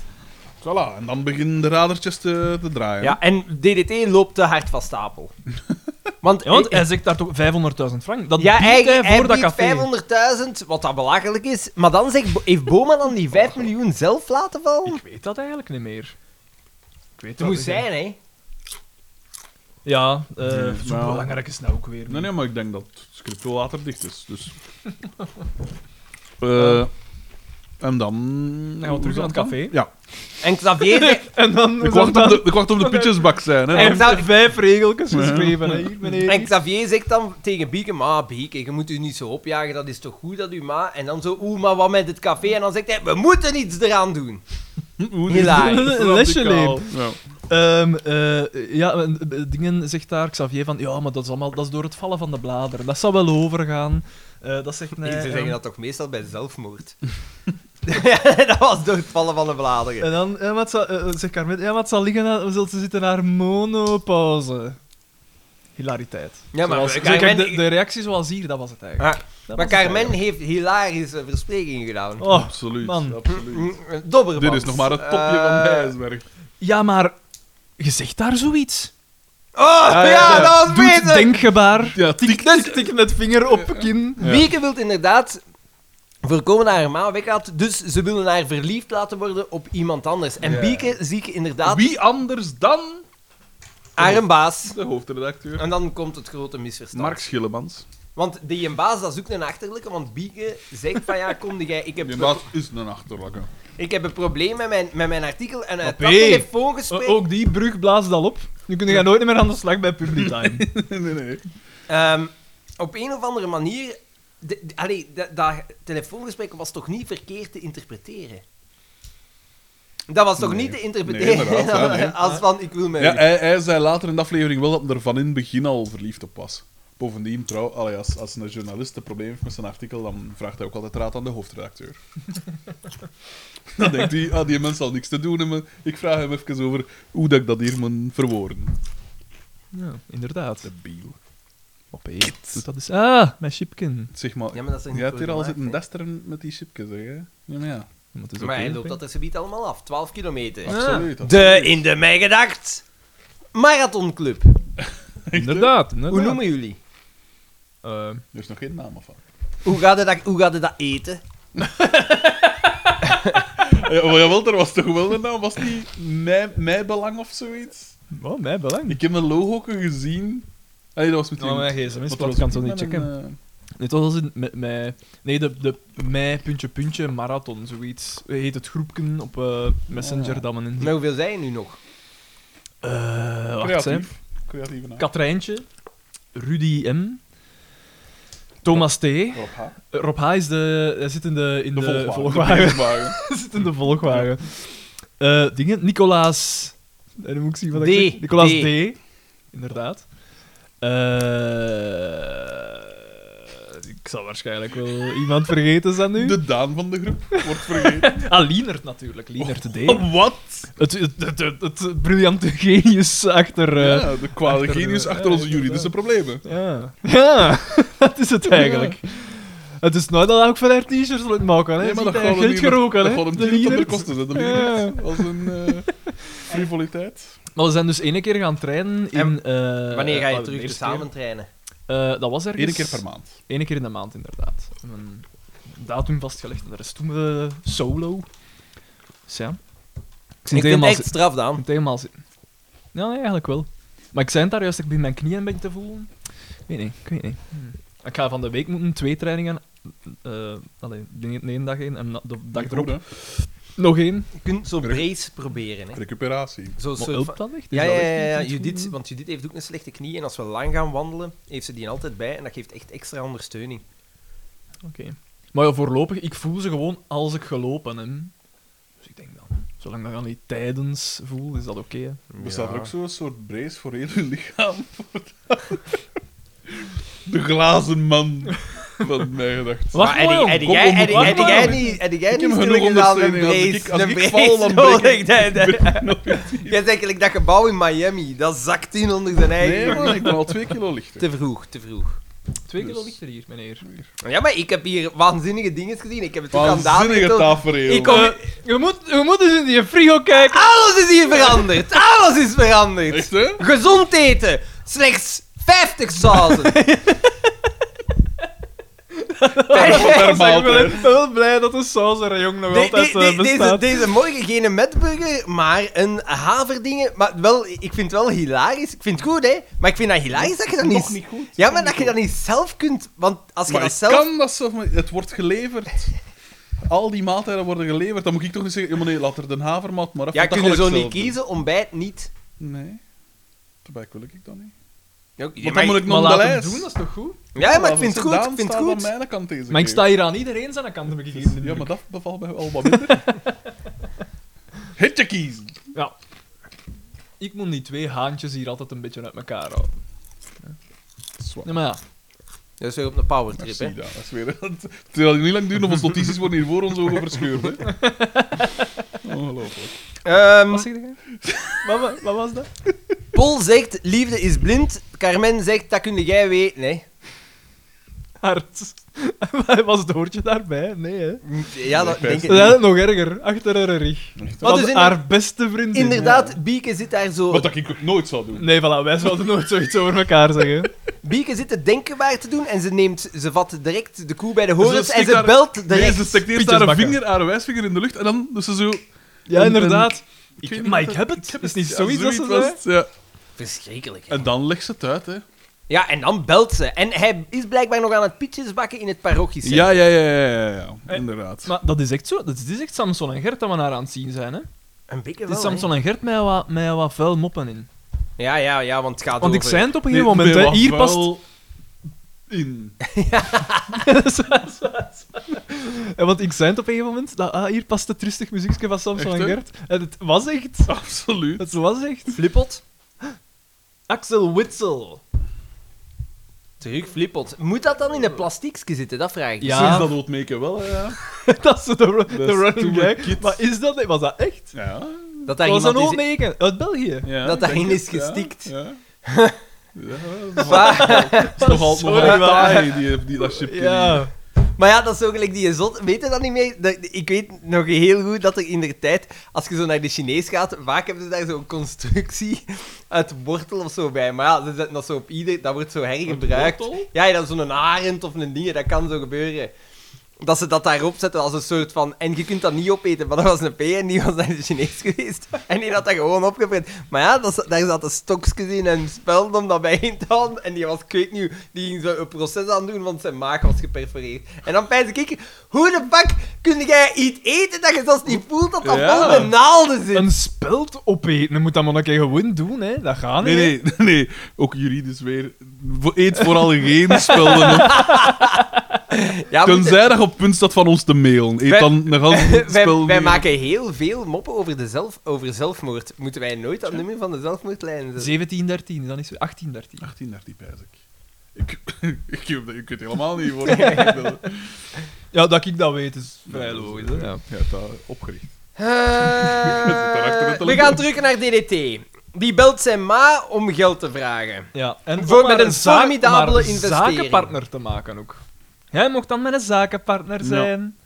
Voilà, en dan beginnen de radertjes te, te draaien.
Ja, en DDT loopt te hard van stapel. Want,
Ja, want
eh,
hij zegt daar toch 500.000 frank. Dat
ja,
biedt
eigenlijk
hij voor dat
biedt
café.
500.000, wat dat belachelijk is. Maar dan zegt, Bo- heeft Boma dan die 5 miljoen zelf laten vallen?
Ik weet dat eigenlijk niet meer. Ik weet
Het moest
niet.
zijn, hè.
Ja, eh
Nee,
zo
maar-
belangrijk is het nou ook weer.
Nee,
niet.
nee, maar ik denk dat het script wel later dicht is.
*laughs*
Dus. Eh, en dan.
we terug
hoe
naar het
zat
café. *laughs*
Ja.
En Xavier zei-
En dan...
Ik wacht, op de, ik wacht op de pitjesbak zijn. Hè.
Hij heeft
Dan-
daar vijf regeltjes
Ja.
geschreven, hè, hier, meneer.
En Xavier zegt dan tegen Bieke, maar Bieke, je moet u niet zo opjagen, dat is toch goed dat u ma... En dan zo, oeh, maar wat met het café? En dan zegt hij, we moeten iets eraan doen.
Hoe
Hilarisch.
Een lesje
Radicaal. Ja.
Ehm, eh, ja, en, eh, dingen zegt daar Xavier van, ja, maar dat is, allemaal, dat is door het vallen van de bladeren. Dat zal wel overgaan. Eh, dat
*laughs*
zegt nee.
Ze
ehm,
zeggen dat toch meestal bij zelfmoord. *laughs* Ja, dat was door het vallen van de bladeren.
En dan ja, maar het zal, eh, eh, zegt Carmen, ja, maar het zal liggen aan, we zullen te zitten naar monopauze. Hilariteit.
Ja, maar
zoals,
we-
Kijk,
Carmen-
de, de reactie zoals hier, dat was het eigenlijk.
Ah,
Dat
maar
was het
Carmen heeft hilarische versprekingen gedaan.
eigenlijk. Oh,
absoluut.
man.
absoluut.
Dobbermans.
Dit is nog maar het topje van de
Eh,
ijsberg.
ja, maar je zegt daar zoiets.
Oh, ja,
ja.
dat was
Doet
beter!
denkgebaar.
Ja,
Tik, tik, tik met vinger op kin.
Ja.
Bieke wil inderdaad voorkomen dat haar ma weggaat, dus ze willen haar verliefd laten worden op iemand anders. En
Ja.
Bieke zie ik inderdaad
Wie anders dan
haar baas.
de hoofdredacteur?
En dan komt het grote misverstand.
Mark Schillemans.
Want die een baas, dat is ook een achterlijke, want Bieke zegt van ja, kom jij, ik heb,
Die baas is een achterlakker.
ik heb een probleem met mijn, met mijn artikel en uit
Maar
dat
P.
telefoongesprek...
O-
Oh,
Ook die brug blaast al op. Nu kun je nooit meer aan de slag bij
*laughs*
Public Time.
nee, nee, nee.
Ehm, op een of andere manier... de- de- allee, da- dat telefoongesprek was toch niet verkeerd te interpreteren? Dat was toch
Nee.
niet te
Nee,
interpreteren
inderdaad, ja, nee.
*laughs* als van ik wil mij...
Ja, eh, hij, hij zei later in de aflevering wel dat hij er van in het begin al verliefd op was. Bovendien, trouw, allee, als, als een journalist een probleem heeft met zijn artikel, dan vraagt hij ook altijd raad aan de
*laughs*
hoofdredacteur. dan denkt hij, ah, die mens zal niks te doen hebben. Ik vraag hem even over hoe dat ik dat hier moet verwoorden.
Ja, inderdaad.
De biel.
Opeens. Doet dat is. Ah, mijn chipkin.
Zeg maar,
Ja, maar dat is er niet
jij hebt
voor
hier al
gemaakt,
zitten
hè.
desteren met die chipjes, zeg hè? Ja, maar ja.
Maar, het is
maar
oké.
hij loopt dat er gebied allemaal af, 12 kilometer.
Ja.
Absoluut.
De in de mij gedacht marathonclub.
Inderdaad,
Hoe
inderdaad.
noemen jullie?
Eh,
Er is nog geen naam van.
Hoe gaat je dat, hoe gaat je dat eten?
Ah, Ja, maar jawel, er was toch wel een naam? Was die mij, mij belang of zoiets?
oh, mij belang.
Ik heb een logo gezien. Allee, dat was meteen...
Oh, mijn gsm
Want
is plat,
er
kan
was
toch niet
met een,
checken? Dit was in met mij. Nee, de, de mij puntje puntje marathon, zoiets. Heet het groepken op eh, Messenger dat men in.
Maar hoeveel zijn er nu nog?
Eh,
eh,
wacht, hè.
creatief. Creatieve naam.
Katrijntje, Rudy M, Thomas T.
Rob H.
Rob H. Is de, hij zit in de, in
De Volkswagen.
Volkswagen.
De Volkswagen.
Hij zit in de Volkswagen. Eh, dingen, Nicolaas. En dan moet ik zien wat
D.
ik zeg. Nicolaas D.
D.
Inderdaad. Eh, ik zal waarschijnlijk wel iemand vergeten zijn *laughs* nu.
De Daan van de groep wordt vergeten.
Ah, Lienert natuurlijk. Lienert de D.
*laughs* Wat?
Oh, Het, het, het, het, het briljante *laughs* genius achter... eh,
Ja, de kwade
achter de-
genius
ja,
achter onze
inderdaad.
juridische problemen.
Ja. Ja, *laughs* dat is het eigenlijk. Het is nooit dat ik van haar t-shirts laat maken, hè.
Nee, maar dat
Ziet hij,
gaat
geld geroken, hè.
Dat gaat hem
de
niet op de
leaders.
kosten zetten.
Ja.
Lienert. Als een eh, *laughs* frivoliteit.
Maar we zijn dus één keer gaan trainen in... eh,
Wanneer ga
eh,
je
de
terug dus
eerste
samen
keer.
trainen?
Eh, dat was ergens...
Eén keer per maand.
Eén keer in de maand, inderdaad. Een datum vastgelegd en de rest doen we solo. Dus ja. Ik
Ik
zit
vind het
helemaal
echt
zitten.
straf
Ik
dan.
zit helemaal zitten. Ja, nee, eigenlijk wel. Maar ik zei het daar juist, ik begin mijn knieën een beetje te voelen. Ik weet niet, ik weet niet. Hm. Ik ga van de week moeten twee trainingen... eh allee, de ene dag één en de dag
Goed,
erop
hè?
nog één.
Je kunt zo
Terug.
breed proberen. Hè.
Recuperatie.
Zo'n
Maar
soort van...
helpt dat echt? Is
Ja,
Dus dat
ja,
echt
ja,
iets
ja,
iets
Judith,
goed?
want Judith heeft ook een slechte knie. En als we lang gaan wandelen, heeft ze die altijd bij. En dat geeft echt extra ondersteuning.
Oké. Maar ja, voorlopig, ik voel ze gewoon als ik gelopen heb. Dus ik denk dan, zolang dat ik dat niet tijdens voel, is dat oké. hè.
Bestaat er ook zo'n soort brace voor heel uw lichaam? *laughs* de glazen man van mijn gedacht.
Wacht
Maar
maar,
heb
jong,
jij- heb
kom,
jij-
we
heb
moeten
jij- heb jij
wachten, hè.
niet heb jij
Ik heb
niet
genoeg
stilgestaan een
ondersteuning. Als ik-
brace-
als
een
ik
brace
val, dan
nodig?
breek *laughs*
Dat- dat-
Nog
*laughs* Jij zegt eigenlijk dat gebouw in Miami. Dat zakt in onder zijn eigen...
Nee, man, ik ben al twee kilo
*laughs*
lichter.
Te vroeg, te vroeg.
Twee
Dus-
kilo lichter hier, meneer.
Ja, maar ik heb hier waanzinnige dingen gezien. Ik heb het ook aan Daan
Waanzinnige
getoond.
tafereel.
Ik kom-
Eh,
je, moet, je moet eens in die frigo *laughs* kijken.
Alles is hier veranderd. Alles is veranderd.
Echt, hè?
Gezond eten. Slechts 50 sauzen.
Per
Ik ben wel-
maaltijd.
ik ben wel blij dat de saus er jong nog
De- de-
altijd eh,
de- deze,
bestaat.
deze morgen geen metburger, maar een haverdingen. Maar wel, ik vind het wel hilarisch. Ik vind het goed, hè? Maar ik vind dat hilarisch dat je dat
Nog
niet...
niet goed.
Ja, maar dat je dat niet zelf kunt. Want als je
Maar
dat
ik
zelf...
kan dat zelf, maar het wordt geleverd. Al die maaltijden worden geleverd. Dan moet ik toch niet zeggen, ja, maar nee, laat er de havermout maar af.
Ja,
want dat
kun je
ga
zo
ik
niet
zelf doen.
kiezen, ontbijt niet.
Nee. Daarbij wil ik dat niet.
Ja,
Want
maar
dan moet
ik-
ik
Maar
nog de
laat hem
lijst.
doen, dat is toch
ja,
goed?
maar ik
Laat
vind het
ze
goed.
Daan
Ik vind het
staan
goed.
aan mijn kant deze
Maar ik
keer.
sta hier aan iedereen zijn kant, heb ik hier de
Ja, maar
indruk.
dat bevalt mij wel wat minder. *laughs* Hitje kiezen!
Ja. Ik moet die twee haantjes hier altijd een beetje uit elkaar houden.
Zwaar.
Nee, maar ja.
Dat is weer op een powertrip,
Merci,
hè.
Daan. Dat is weer... Het zal niet lang duren of onze notities worden hier voor ons ogen verscheurd. Hè. *laughs* Ongelooflijk.
Ehm,
Wat zeg jij? wat, wa- wat was dat?
Paul zegt, liefde is blind. Carmen zegt, dat kun jij weten, hè.
Hart. *laughs* was Doortje daarbij? Nee, hè?
Ja, dat denk ik
Dat is
niet.
eigenlijk nog erger, achter haar rug.
Echt, hè.
Wat
Wat
dus
is
in-
haar beste vriendin.
Inderdaad, Bieke zit daar zo...
Wat dat ik ook nooit zou doen.
Nee, voilà, wij zouden nooit zoiets over elkaar zeggen.
Bieke zit het denken waar te doen en ze neemt... Ze vat direct de koe bij de horens
Ze
en
steekt
ze
haar-
belt
Nee,
direct.
ze steekt eerst
Pietjes
haar
bakken.
vinger, haar wijsvinger in de lucht en dan dus ze zo...
*laughs* Ja,
Een-
inderdaad.
Ik
Ik,
weet niet
maar
wat
ik
dat-
heb het.
ik heb
is
het.
niet
Ja,
zoiets als ze
was
zei?
het, ja.
Verschrikkelijk, hè.
En dan legt ze het uit, hè.
Ja, en dan belt ze. En hij is blijkbaar nog aan het pietjes bakken in het parochiecentra.
Ja, ja, ja, ja, ja, ja, ja. Inderdaad.
Eh, Maar dat is echt zo. Dat is echt Samson en Gert dat we naar aan het zien zijn. Hè?
Een beetje
Het is
wel, hè.
Samson en Gert met wat, met wat vuil moppen in.
Ja, ja, ja, want het gaat
Want ik
over...
zei het op een
Nee,
gegeven moment.
bij
Hè,
wat
hier past *laughs*
vuil In. *laughs*
Ja, want ik zei het op een gegeven moment. Dat, ah, hier past het rustig muziekje van Samson
Echt,
en
hè?
Gert. En het was echt.
Absoluut.
Het was echt.
Flippot.
Axel Witsel.
Terug flippot. Moet dat dan in een plastiekje zitten? Dat vraag ik.
Ja.
Sinds dat ootmeken wel, hè, ja.
*laughs* dat is de, de
is toen
running
we
gag.
kids-
Maar is dat... Was dat echt?
Ja.
Dat daar
Dat was een
iemand is...
ootneken. Uit België.
ja
Dat
ik
daarin
denk
is
het, ja.
gestikt.
Ja. Ja,
Waar?
dat is nogal,
Sorry,
nogal
maar-
taai, die, die, dat chipje.
*laughs* Ja.
Maar ja, dat is zo gelijk die zot. Weet je dat niet meer? Dat- ik weet nog heel goed dat er in de tijd, als je zo naar de Chinees gaat, vaak hebben ze daar zo'n constructie *laughs* uit wortel of zo bij. Maar ja, ze zetten dat zo op ieder, dat wordt zo hergebruikt.
Wortel?
Ja, ja, dat is zo'n arend of een ding, dat kan zo gebeuren. Dat ze dat daarop zetten als een soort van. En je kunt dat niet opeten, maar dat was een P en die was naar de Chinees geweest. *laughs* En die had dat gewoon opgeprint. Maar ja, dat, daar zaten stokjes in en spelden om dat bijeen te houden. En die was, ik weet niet, hoe, die ging zo een proces aan doen, want zijn maag was geperforeerd. En dan pijs ik, hoe de fuck kun jij iets eten dat je zelfs niet voelt dat dat
Ja.
vol met naalden zit?
Een speld opeten. Je moet dat maar een keer gewoon doen, hè. Dat gaat
Nee,
niet.
nee, nee, *laughs* nee. Ook juridisch weer. Vo- Eet vooral geen spelden op.
Ja, we moeten-
Tenzij dat je op het punt staat van ons te mailen. Eet
Wij-
dan een ganse
*laughs* wij,
spel
wij
mee.
maken heel veel moppen over, de zelf, over zelfmoord. Moeten wij nooit dat nummer van de zelfmoordlijn zetten?
1713, dan is het 1813.
18, 13, pijs ik. Ik, *laughs* ik, je kunt het helemaal niet worden. ja,
Ja, dat ik dat weet is
Ja,
vrij
dat is-
logisch. hè.
je hebt dat opgericht.
*laughs*
Eh, we gaan terug naar DDT. Die belt zijn ma om geld te vragen.
Ja, en
Voor
om
met
maar
een
zaak-
formidabele
maar een
investering.
zakenpartner te maken ook. Jij mocht dan met een zakenpartner
Ja.
zijn.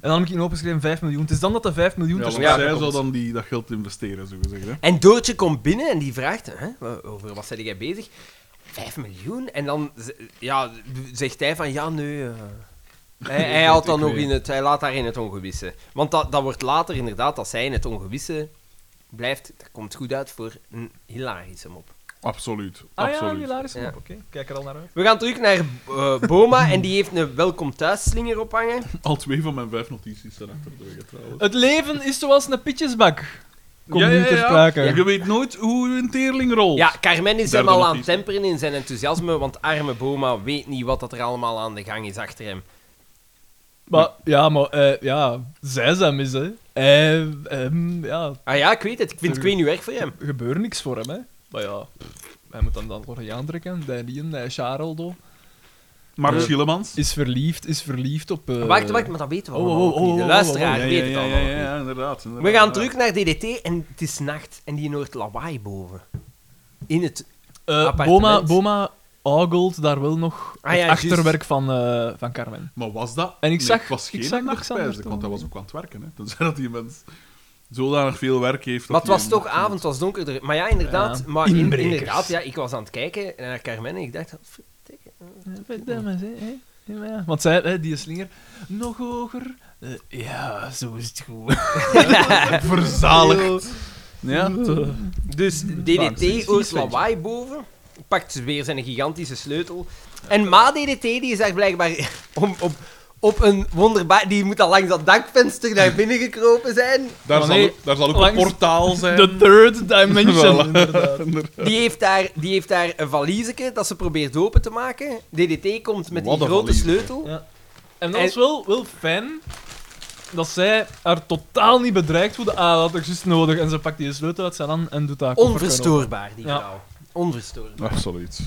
En dan heb ik in opgeschreven 5 miljoen. Het is dan dat de 5 miljoen
Ja, want
tussen
ja,
zij
komt.
zou dan die, dat geld investeren, zo gezegd. Hè?
En Doortje komt binnen en die vraagt: hè, wa- Over wat ben jij bezig? Vijf miljoen? En dan z- ja, zegt hij van: Ja, nee.
*laughs*
eh." Hij, hij, haalt dan
Ik
nog
weet
in het, hij laat haar in het ongewisse. Want dat, dat wordt later inderdaad, als zij in het ongewisse blijft, dat komt goed uit voor een hilarische mop.
Absoluut.
Ah ja,
absoluut.
hilarisch.
Ja.
Oké, kijk er al naar uit.
We gaan terug naar eh,
*laughs*
Boma en die heeft een welkom thuis slinger ophangen.
Al twee van mijn vijf notities zijn achter de weg, trouwens.
Het leven is zoals een pitjesbak. Komt
Ja,
nu
ja,
ter
ja.
sprake.
Je weet nooit hoe een teerling rolt.
Ja, Carmen is
Derde
helemaal aan het
notitie.
temperen in zijn enthousiasme, want arme Boma weet niet wat dat er allemaal aan de gang is achter hem.
Maar, ja, maar eh, ja, zij zijn mis, hè. Eh, ehm, ja,
Ah ja, ik weet het. Ik vind het
Terug.
weet niet werk voor hem.
er gebeurt niks voor hem, hè. Maar ja, pff, hij moet dan dan worden aantrekken. Daniën, eh, Charaldo.
Mark
Eh,
Schillemans.
Is verliefd, is verliefd op... eh,
Wacht, wacht, maar dat weten we
oh, oh,
allemaal
oh,
ook niet.
oh,
De
oh,
luisteraar
ja,
weet
ja,
het
ja,
allemaal
ja,
ook niet.
ja, inderdaad, inderdaad.
We gaan
inderdaad.
terug naar DDT en het is nacht en die hoort lawaai boven. In het...
Eh,
Appartement.
Boma, Boma ogelt daar wel nog
Ah,
het
ja,
achterwerk van, eh, van Carmen.
Maar was dat?
En ik
nee,
zag-
het was
ik
geen
zag nog
nachtpijs,
Xander
want hij
toen.
was ook aan het werken. Hè. Tenzij dat die mens zodanig veel werk heeft.
Maar
dat
het was
hij
toch
een-
avond, het was donkerder. Maar ja, inderdaad.
Ja,
maar in-
inbrekers.
inderdaad, ja, ik was aan het kijken naar Carmen en ik dacht... "Verdikke,
Want zij, hè, die slinger, nog hoger. Eh, ja, zo is het goed.
*laughs* Verzaligd. Ja.
Dus DDT
Waanzinnig.
hoort lawaai boven, pakt weer zijn gigantische sleutel. En Ma DDT die is daar blijkbaar *laughs* om, op, op een wonderbaar... Die moet al langs dat dakvenster naar binnen gekropen zijn.
Daar,
Maar
zal
nee,
ook, daar zal ook
langs-
een portaal zijn.
The third dimension,
Voilà.
inderdaad.
Die heeft daar, die heeft daar een valiezeke dat ze probeert open te maken. DDT komt met
Wat
die
een
grote
valiezeke.
sleutel.
Ja. En dat
En-
is wel, wel fijn dat zij haar totaal niet bedreigd voelde. Ah, dat had ik juist nodig. En ze pakt die sleutel uit zijn hand en doet daar
Onverstoorbaar, die
Ja.
vrouw. Onverstoorbaar.
*laughs* Absoluut.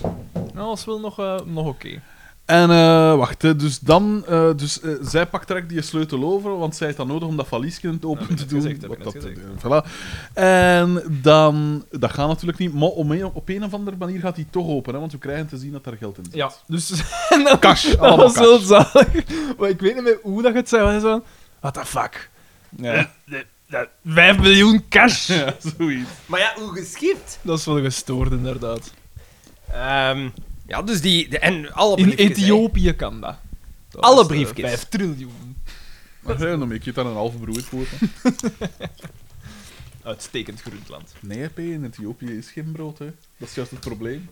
Nou, dat is wel nog, eh, nog oké.
En eh, wacht, hè, dus dan... eh, dus, eh, zij pakt direct die sleutel over, want zij heeft dat nodig om dat valiesje open
heb ik
te
net
doen.
gezegd, heb
Wat
ik net
dat, eh, voilà. En dan... Dat gaat natuurlijk niet, maar om een- op een of andere manier gaat die toch open, hè, want we krijgen te zien dat daar geld in zit.
Ja, dus... *laughs* en dan-
Cash,
*laughs* Dat
allemaal
was
cash.
wel zalig. Maar ik weet niet meer hoe dat je het zei. maar Zo, what the fuck?
Ja,
5 miljoen
*laughs*
cash!
ja, zoiets.
Maar ja, hoe geschikt.
Dat is wel gestoord, inderdaad.
Ehm, ja, dus die... de- en alle
In
briefjes, hè.
Ethiopië kan dat. Dat
Alle
was, eh,
briefjes.
5 triljoen.
Maar ja, dan maak je daar een halve broer voor. hè.
Uitstekend Groenland.
Nee, P, in Ethiopië is geen brood, hè. Dat is juist het probleem.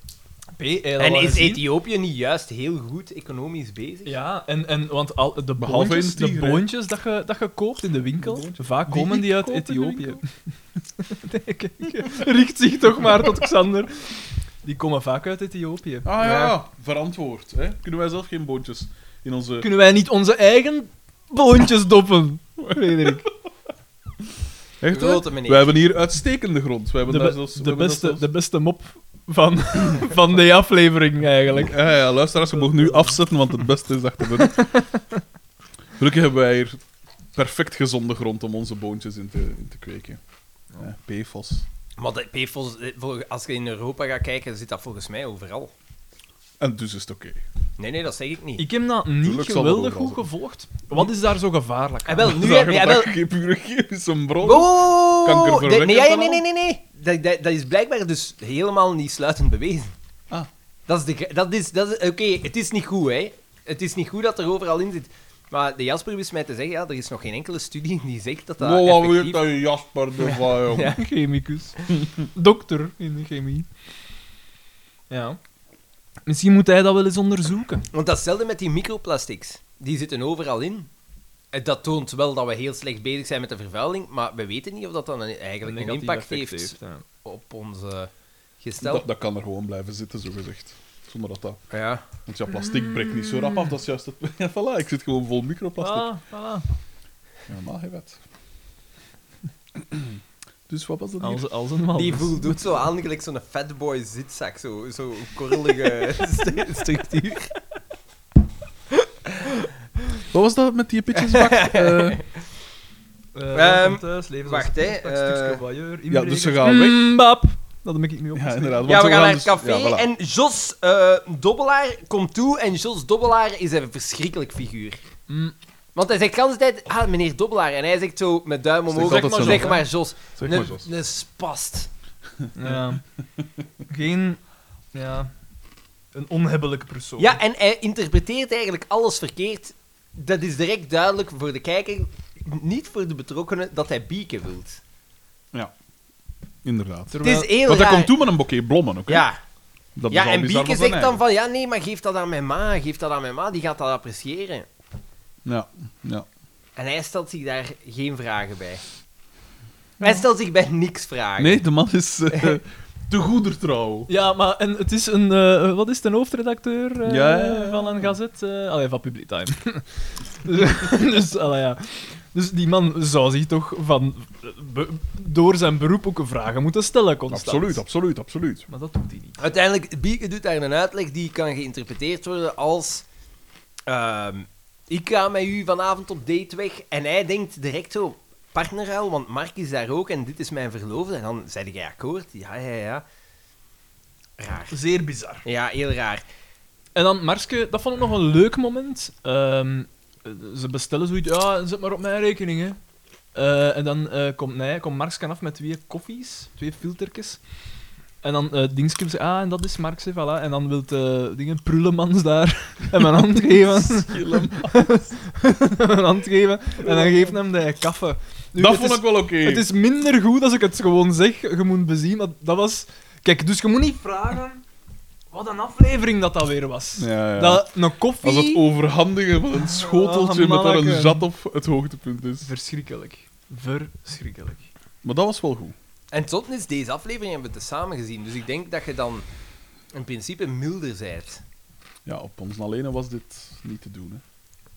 P, eh, dat
En
wel
is
gezien.
Ethiopië niet juist heel goed economisch bezig?
Ja, en, en want al, de
Behalve
boontjes,
in Tigre.
de boontjes dat, je, dat je koopt in de winkel,
De boontjes.
vaak komen die,
ik
uit
koop in de
Ethiopië.
winkel?
*laughs* Nee, kijk, Richt zich toch maar tot Xander. Die komen vaak uit Ethiopië.
Ah ja,
Ja.
verantwoord. Hè? Kunnen wij zelf geen boontjes in onze...
Kunnen wij niet onze eigen boontjes doppen, Frederik?
Echt, hè?
Grote meneer.
Wij hebben hier uitstekende grond. Wij
De,
hebben
be-
daar zelfs, we
de,
hebben daar
beste, de
zelfs-
beste mop van, *laughs* van de aflevering, eigenlijk.
Ja, eh, ja, luisteraars, je mogen nu afzetten, want het beste is achter de *laughs* rug. Gelukkig hebben wij hier perfect gezonde grond om onze boontjes in te, in te kweken. Eh, E Ja, PFOS.
Maar de PFOS, eh, vol- als je in Europa gaat kijken, zit dat volgens mij overal.
En dus is het oké.
Nee, nee, dat zeg ik niet.
Ik heb dat niet
Tuurlijk zal dat
geweldig
overal
goed gevolgd. Wat is daar zo gevaarlijk
En
aan?
wel, nu...
Zagen
nee,
dat
en
dat
wel...
geen pure chemische bron is?
Oh, nee,
Kankerverwekkend
nee, nee,
allemaal?
nee, nee, nee. Dat, dat, dat is blijkbaar dus helemaal niet sluitend bewezen.
Ah.
Dat is de... gr- Dat is... Dat is Oké, het is niet goed, hè. Het is niet goed dat er overal in zit. Maar de Jasper wist mij te zeggen, ja, er is nog geen enkele studie die zegt dat dat
Wow, wat
effectief-
weet dat Jasper
*laughs*
ervan, jong?
Ja, chemicus. Dokter in de chemie. Ja. Misschien moet hij dat wel eens onderzoeken.
Want dat is hetzelfde met die microplastics. Die zitten overal in. En Dat toont wel dat we heel slecht bezig zijn met de vervuiling, maar we weten niet of dat dan een- eigenlijk een, impact heeft, op onze gestel.
Dat, dat kan er gewoon blijven zitten, zo gezegd. Zonder dat dat.
Ja.
Want ja, plastic breekt niet zo rap af, dat is juist het. *laughs* Ja, voilà, ik zit gewoon vol
Oh.
microplastic.
Ah, voilà.
Ja, maar je weet. *clears throat* Dus wat was dat hier?
Als, als een man.
Die voelt ook zo aan, gelijk zo'n fatboy zitzak, zo, zo *laughs* korrelige st- structuur.
Wat was dat met
*laughs*
die pitjesbak? Eh,
Ehm,
Eh, thuis, leven
wacht, hè, eh,
ja, dus ze gaan weg.
Mbap. Dat heb ik nu op.
Ja, inderdaad. want
Mm. Ja,
ze
we gaan naar
dus-
het café
ja, voilà.
en Jos eh, Dobbelaar komt toe en Jos Dobbelaar is een verschrikkelijk figuur.
Mm.
Want hij zegt de hele tijd, ah, meneer Dobbelaar. En hij zegt zo met duim
Zeg
omhoog,
altijd
zeg maar,
zo
zeg
nog,
maar Jos.
Zeg maar, Jos.
Een spast.
Ja. Geen... Ja... Een onhebbelijke persoon.
Ja, en hij interpreteert eigenlijk alles verkeerd. Dat is direct duidelijk voor de kijker, niet voor de betrokkenen, dat hij bieken wilt.
Inderdaad.
Het is heel
Want hij
raar.
komt toe met een bouquet blommen ook. hè?
Ja,
Dat is
ja
al
en
bizar
Bieke
wat hij
zegt dan van, ja, nee, maar geef dat aan mijn ma, geef dat aan mijn ma, die gaat dat appreciëren.
Ja,
Ah,
ja.
En hij stelt zich daar geen vragen bij. Hij stelt zich bij niks vragen.
Nee, de man
*laughs*
is eh, te goedertrouw.
Ja, maar en het is een... eh, wat is het, een hoofdredacteur eh,
Ja, ja, ja.
van een gazet? eh allee, van Public Time. *laughs* dus, allee, ja. dus die man zou zich toch van, be- door zijn beroep ook vragen moeten stellen, constant.
Absoluut, absoluut, absoluut.
Maar dat doet hij niet.
Uiteindelijk, Bieke doet daar een uitleg die kan geïnterpreteerd worden als... ehm, ik ga met u vanavond op date weg. En hij denkt direct zo, partnerruil, want Mark is daar ook en dit is mijn verloofde. En dan zei jij akkoord? Ja, ja, ja. Raar.
Zeer bizar.
Ja, heel raar.
En dan Marske, dat vond ik nog een leuk moment. Ehm, ze bestellen zoiets, ja, zet maar op mijn rekening, hè. Eh, en dan eh, komt, nee, komt Marske af met twee koffies, twee filtertjes. En dan eh Dingske zegt, ah, en dat is Markse, voilà. En dan wil eh dingen, Prullemans daar *laughs* hem een hand geven. *laughs*
*laughs*
een hand geven. En dan geeft hem de kaffe. Nu,
dat
het
vond
is-
ik wel oké.
het is minder goed als ik het gewoon zeg. Je moet bezien. Dat, dat was. Kijk, dus je moet niet vragen. Wat een aflevering dat dat weer was.
Ja, ja.
Dat een koffie.
Als het overhandigen van een schoteltje
Ah,
met daar een
manneke.
zat op het hoogtepunt is.
Verschrikkelijk. Verschrikkelijk.
Maar dat was wel goed.
En tot is deze aflevering hebben we het samen gezien. Dus ik denk dat je dan in principe milder bent.
Ja, op ons alleen was dit niet te doen. Hè.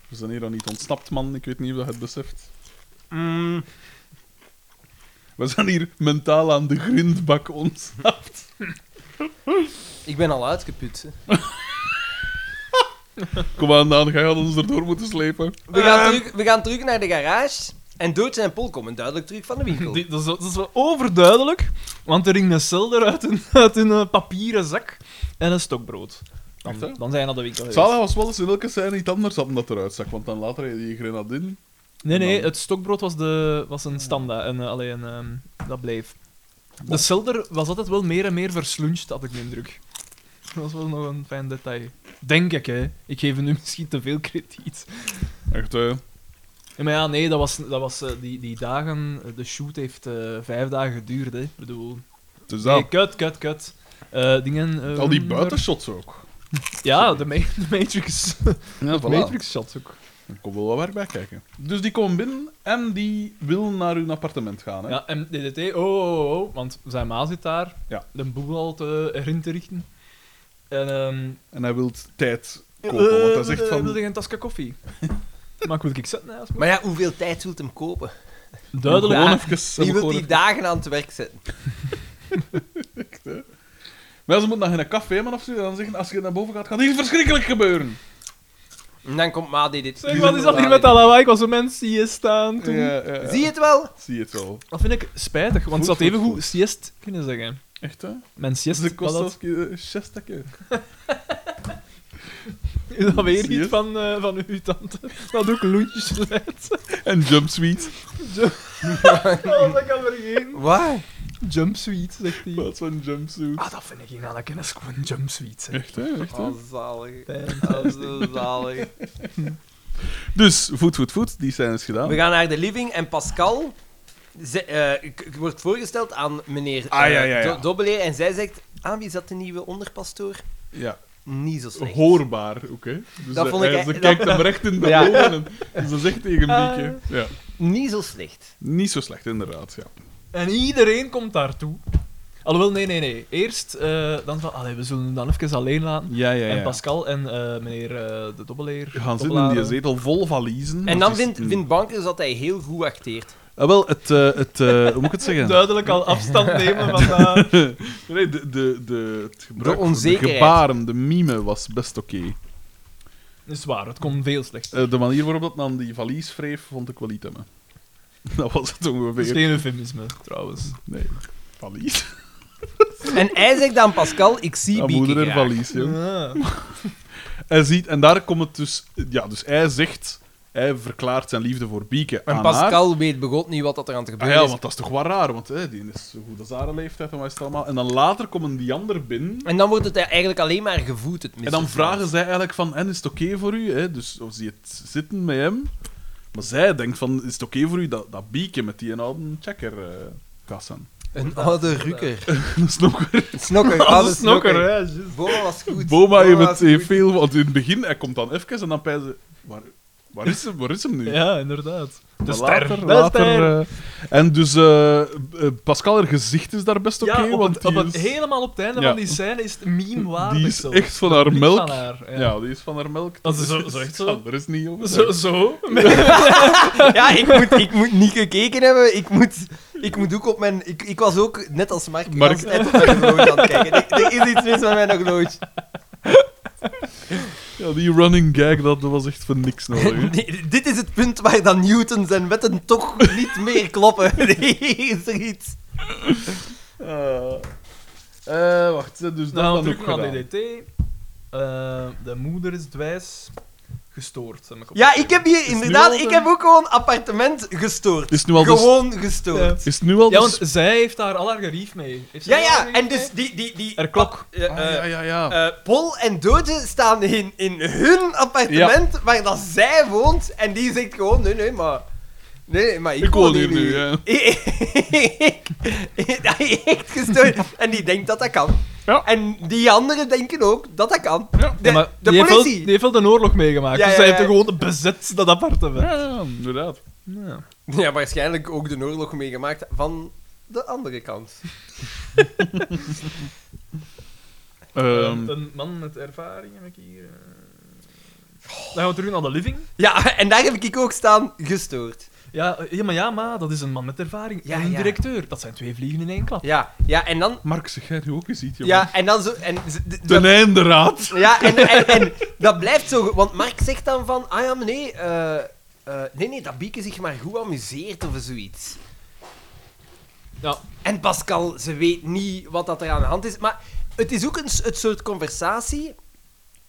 We zijn hier dan niet ontsnapt, man. Ik weet niet of dat je het beseft. We zijn hier mentaal aan de grindbak ontsnapt.
Ik ben al uitgeput. hè.
Kom aan, Daan. Jij had ons erdoor moeten slepen.
We gaan,
Ehm.
terug, we gaan terug naar de garage. En Dood en Pol komen duidelijk terug van de winkel.
*laughs* Die- dat, is, dat is wel overduidelijk, want er ging een selder uit een, *laughs* uit een eh, papieren zak en een stokbrood. Dan,
Echt, hè?
dan zijn we naar de winkel geweest.
Zalig was wel eens in elke scène iets anders dan dat eruit zag. Want dan later had je die grenadin.
Nee, nee,
Dan-
het stokbrood was, de, was een standaard. En, alleen, dat bleef. De selder was altijd wel meer en meer versluncht, had ik de indruk. Dat was wel nog een fijn detail. Denk ik, hè. Ik geef hem nu *laughs* misschien te veel krediet.
Echt, eh, hè.
Ja, maar ja, nee, dat was, dat was eh, die, die dagen... eh, De shoot heeft eh, vijf dagen geduurd, hè. Ik bedoel...
Dus dat.
Nee, kut, kut, kut. Eh, dingen... eh,
Al die
onder-
buitenshots ook.
Ja, de, ma- *laughs* de Matrix.
Ja,
Matrix shots ook.
Er komt wel wat werk bij kijken. Dus die komen binnen en die wil naar hun appartement gaan. Hè?
Ja, en DDT, oh, oh, oh, want zijn ma zit daar.
Ja.
De boel al te, erin te richten. En, ehm
En hij wil tijd kopen, want hij zegt
Ik wilde
van...
geen tasje
*laughs*
koffie. maar ik wil ik zetten, hè, als het
Maar ja, hoeveel tijd wilt hem kopen?
moet. Duidelijk.
Gewoon
Ja,
even...
Die
hem
wilt
gewoon
die
even-
dagen aan het werk zetten.
Maar ja, ze moet naar een café, man, of zo. En dan zeggen, als je naar boven gaat, gaat iets verschrikkelijk gebeuren.
En dan komt Ma die dit.
Ah, Zeg, wat is dat hier met dat lawaai? Ik was zo mensen hier staan toen.
Ja, ja, ja.
Zie je het wel?
Zie je het wel.
Dat vind ik spijtig, want ze
Goed,
had even
goed,
goed
goed.
siest kunnen zeggen.
Echt, hè?
Mijn siest
Ze kost
was dat,
als je zestakje.
*laughs* is dat weer
Siest?
iets van, eh, van uw tante. Dat ook loentjes
*laughs*
leidt.
En jumpsuite.
Oh, dat kan vergeten.
Waar?
Jumpsuite, zegt hij.
Wat zo'n jumpsuit.
Ah, dat vind ik geen aan kennis, gewoon jumpsuite. zeg.
Echt, hè? Echt, hè?
Oh, zalig.
Fijn.
Oh, zo zalig.
Dus, voet, voet, voet. Die zijn eens gedaan.
We gaan naar de living en Pascal ze- eh, k- k- wordt voorgesteld aan meneer
Ah,
eh,
ja, ja, ja.
Do- Dobbeleer en zij zegt, ah, wie is dat de nieuwe onderpastoor?
Ja.
Niet zo slecht.
Hoorbaar, oké. Dus
Dat
eh,
vond ik
hij-
e-
ze
dat-
kijkt hem recht in de
Ja. Ah.
ogen en dus ze zegt tegen Mieke. Ja.
Niet zo slecht.
Niet zo slecht, inderdaad. Ja.
En iedereen komt daartoe. Alhoewel, nee, nee, nee. Eerst eh, dan van, allee, we zullen hem dan even alleen laten.
Ja, ja,
En Pascal en eh, meneer eh, de dobbeleer.
gaan zitten in
dobbelaren.
die zetel vol valiezen.
En
Dat
dan
is
vindt,
een-
vindt Bankers dat hij heel goed acteert.
Ah, wel, het, eh, het, eh, hoe moet ik het zeggen? *laughs*
Duidelijk al afstand nemen van... eh,
Nee, de, de, de, het gebruik,
De onzekerheid.
gebaren, de mime was best oké.
is waar, het kon veel slechter.
Eh, de manier waarop dat aan die valies wreef, vond ik wel niet hebben. *laughs* Dat was het
Het is
ongeveer.
geen eufemisme, trouwens.
Nee,
*laughs*
valies.
En hij zegt dan Pascal, ik zie
Ah,
Bieke
moeder en
graag.
valies, jong.
Ah.
En, ziet, en daar komt het dus... Ja, dus hij zegt... Hij verklaart zijn liefde voor Bieke
En
aan haar.
Pascal weet begot niet wat dat er aan te
Ah
gebeuren
ja,
is.
want dat is toch wel raar, want hè, die is zo goed als haar leeftijd en wat is het allemaal. En dan later komen die anderen binnen.
En dan wordt het eigenlijk alleen maar gevoed, het mis.
En dan vragen zij eigenlijk van, en is het oké voor u? Hè? Dus of ze het zitten met hem. Maar zij denkt van, is het oké voor u dat, dat bieke met die een oude checker eh kassen?
Een oude rukker.
*laughs* dat is nog weer-
*laughs* Een snokker,
Als
oude
een snokker,
snokker.
hè. juist.
Boma was goed.
Boma heeft het
was
heeft
goed.
veel, want in het begin, hij komt dan even en dan pijzen, waar, waar, is, hem, waar is hem nu?
Ja, inderdaad. De
Maar
ster.
later-
de
later,
ster.
eh, en dus eh, eh, Pascal, haar gezicht is daar best oké,
ja, op
want
het, op
die
het,
is-
helemaal op het einde
Ja.
van die scène is het meme dus- waardig.
Die is
zelfs.
echt van
De
haar
blik
melk.
van haar, ja.
Ja, die is van haar melk.
Dat is zo- zo echt zo.
Er is niet over.
Zo, zo.
*laughs* Ja, ik moet, ik moet niet gekeken hebben. Ik moet, ik moet ook op mijn... Ik, ik was ook, net als Mark, ik
Mark.
was net op mijn
*laughs*
horloge aan het kijken. Er, er is iets mis met mijn horloge.
Ja, die running gag, dat was echt voor
*laughs*
niks nodig. hè.
Nee, dit is het punt waar dan Newton zijn wetten toch niet meer kloppen. *laughs* Nee, is er iets.
Eh, eh, wacht, hè, dus dat
Nou,
dan
terug
ook
naar
gedaan.
DDT. Eh, de moeder is dwijs. Gestoord. heb ik
Ja, ik heb hier
nu
inderdaad...
al de-
Ik heb ook gewoon appartement gestoord.
Is het dus- nu al de-
Gewoon gestoord.
Is het nu al
Ja,
de
want zij heeft daar al haar gerief mee. Heeft
Ja,
zij al haar
ja,
gerief
en dus
mee?
die... die, die
Er klok.
eh,
Ah,
eh,
ja, ja, ja.
eh, Paul en Doodje staan in, in hun appartement waar dat zij woont. En die zegt gewoon, nee, nee, maar... Nee, nee, maar ik,
Ik woon hier nu, ja.
*laughs* Ik- *laughs* Dat is echt gestoord. En die denkt dat dat kan.
Ja.
En die anderen denken ook dat dat kan. De,
Ja, maar
de
die heeft wel-
politie.
die heeft wel een oorlog meegemaakt.
Ja,
dus
ja,
zij
ja.
heeft er gewoon bezet dat appartement.
ja, ja, inderdaad.
Ja.
Ja, waarschijnlijk ook de oorlog meegemaakt van de andere kant.
Ehm,
Een- een man met ervaring heb ik hier. eh. Dan gaan we terug naar de living.
Ja, *laughs* en daar heb ik ook staan gestoord.
Ja, eh, ja, maar ja, maar dat is een man met ervaring.
Ja,
en een
ja.
directeur. Dat zijn twee vliegen in één klap.
Ja, ja en dan...
Mark, zeg jij nu ook eens iets, jongen?
Ja, en dan zo... En, z- d-
Ten
dat-
einde raad.
ja, en, en, en dat blijft zo... ge- Want Mark zegt dan van... Ah ja, maar nee... eh, eh, nee, nee, dat Bieke zich maar goed amuseert of zoiets.
Ja.
En Pascal, ze weet niet wat dat er aan de hand is. Maar het is ook een, s- het soort conversatie...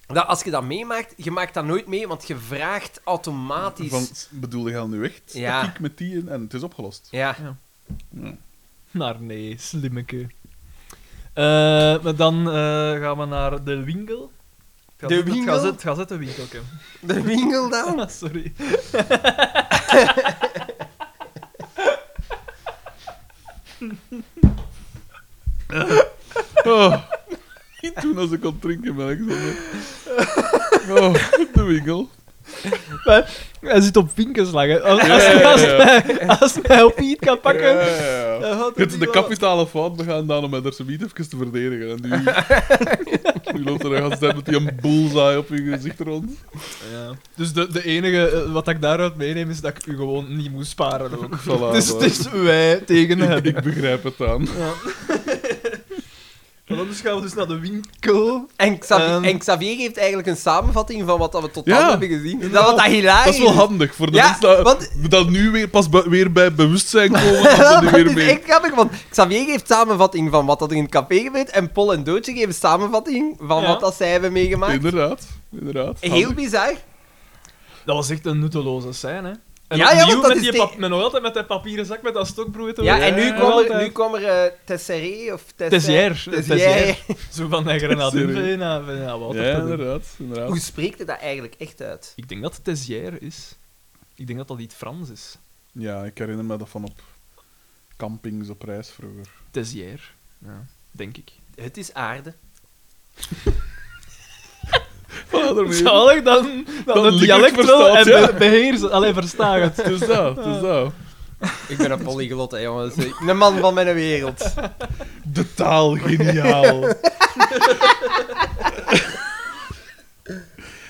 Dat als je dat meemaakt, je maakt dat nooit mee, want je vraagt automatisch...
Van, bedoel je al nu echt?
Ja.
Dat ik met die in en het is opgelost.
Ja.
Maar nee, slimmeke. Eh, maar dan eh, gaan we naar de winkel. Het
De
gazet-
winkel?
Het, gazet, het gazettenwinkelke.
De winkel
Oh.
dan?
*laughs* Ah, sorry.
Oh. Niet doen als *laughs* ik kon drinken, ben ik zo. *laughs* Oh, *laughs* de winkel.
Hij zit op vinkenslag. hè. Als,
Ja,
als,
ja, ja.
als hij, als hij op iets kan pakken...
Ja, ja, ja.
dan gaat hij
Het is de
die wel-
kapitale fout begaan dan om met haar subiet even te verdedigen.
*laughs*
En *laughs* nu, nu loopt er een gast met die een bullseye op je gezicht rond.
Ja. Dus de, de enige eh, wat ik daaruit meeneem is dat ik u gewoon niet moet sparen ook.
Voilà,
dus het
voilà.
is wij tegen
*laughs*
hem.
Ik begrijp het aan.
Maar dan dus gaan we dus naar de winkel.
En Xavier,
Ehm.
en Xavier geeft eigenlijk een samenvatting van wat dat we tot
Ja,
dan hebben gezien. Dat
inderdaad.
wat dat hilarisch
Dat is wel handig voor de
Ja,
mensen dat,
want-
dat nu weer pas bu- weer bij
*laughs*
bewustzijn komen. Dat ze nu
*laughs* dat
weer
is
mee.
echt grappig, want Xavier geeft samenvatting van wat dat er in het café gebeurt en Paul en Doodje geven samenvatting van
Ja.
wat dat zij hebben meegemaakt.
Inderdaad, inderdaad.
Heel
Handig.
bizar.
Dat was echt een nutteloze scène. hè. En
Ja, ja,
opnieuw
want dat
met
is
die
de-
pap- met nog altijd met dat papieren zak met dat stokbrood.
Ja, en nu kwam er,
komen
nu kwam er eh, Tesseré of Tesser...
Tessier.
Tessier.
Zo van dat
Sorry.
grenadine naar ja, wat
Ja, inderdaad.
*laughs* Hoe
inderdaad.
spreekt het dat eigenlijk echt uit?
Ik denk dat het Tessier is. Ik denk dat dat iets Frans is.
Ja, ik herinner me dat van op campings op reis vroeger.
*laughs*
Tessier. Ja. Denk ik.
Het is aarde.
*laughs*
Voilà, daarmee.
Zalig dan, dan,
Dan
het
Limburg
dialect wel en
verstaat, ja.
be- beheersen. Allee, verstaan het.
Het is dat, het is dat.
Ik ben een polyglot, hè, jongens. Ik ben Een man van mijn wereld.
De taal,
*laughs*
geniaal.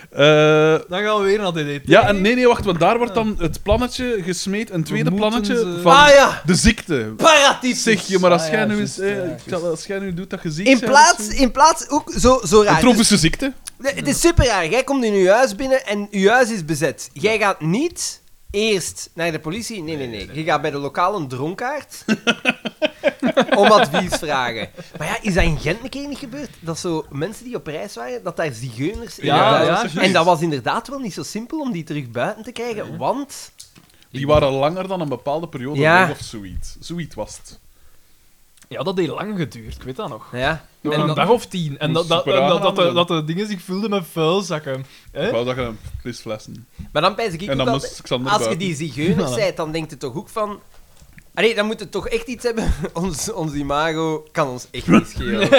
Eh,
Dan gaan we weer naar DDT.
ja, en nee, nee, wacht, want daar wordt dan het plannetje gesmeed, een tweede
moeten
plannetje
ze-
van
Ah ja,
de ziekte.
paratitis.
Zeg je, maar als
Ah,
jij
ja,
nu eens,
juist,
eh,
ja,
ik
juist.
zal- als jij nu doet dat gezicht.
In plaats, in plaats ook zo, zo
Een
raar. Dus-
tropische ziekte.
Nee, het is super raar. Jij komt in uw huis binnen en uw huis is bezet. Jij gaat niet eerst naar de politie. Nee, nee, nee. Je gaat bij de lokale dronkaard *laughs* om advies vragen. Maar ja, is dat in Gent een keer niet gebeurd? Dat zo mensen die op reis waren, dat daar zigeuners in
Ja,
hun huis-
ja,
En
juist.
dat was inderdaad wel niet zo simpel om die terug buiten te krijgen, want...
Die waren langer dan een bepaalde periode
Ja.
weg of zoiets. Zoiets was het.
Ja, dat deed lang geduurd, ik weet dat nog.
Ja.
En
En
een
dat-
dag of tien. En dat,
Moest
dat,
super
dat, dat, de,
aangedaan
dat de dingen zich vulden met vuilzakken.
Ik
Hè?
wou dat je een fles flessen.
Maar dan pijs ik ook
En dan
altijd-
moest Xander
Als je
buiten.
die zigeuner
Voilà.
zijt, dan denkt het toch ook van... Allee, dan moet het toch echt iets hebben. *laughs* Ons, ons imago kan ons echt niet
*laughs*
schelen.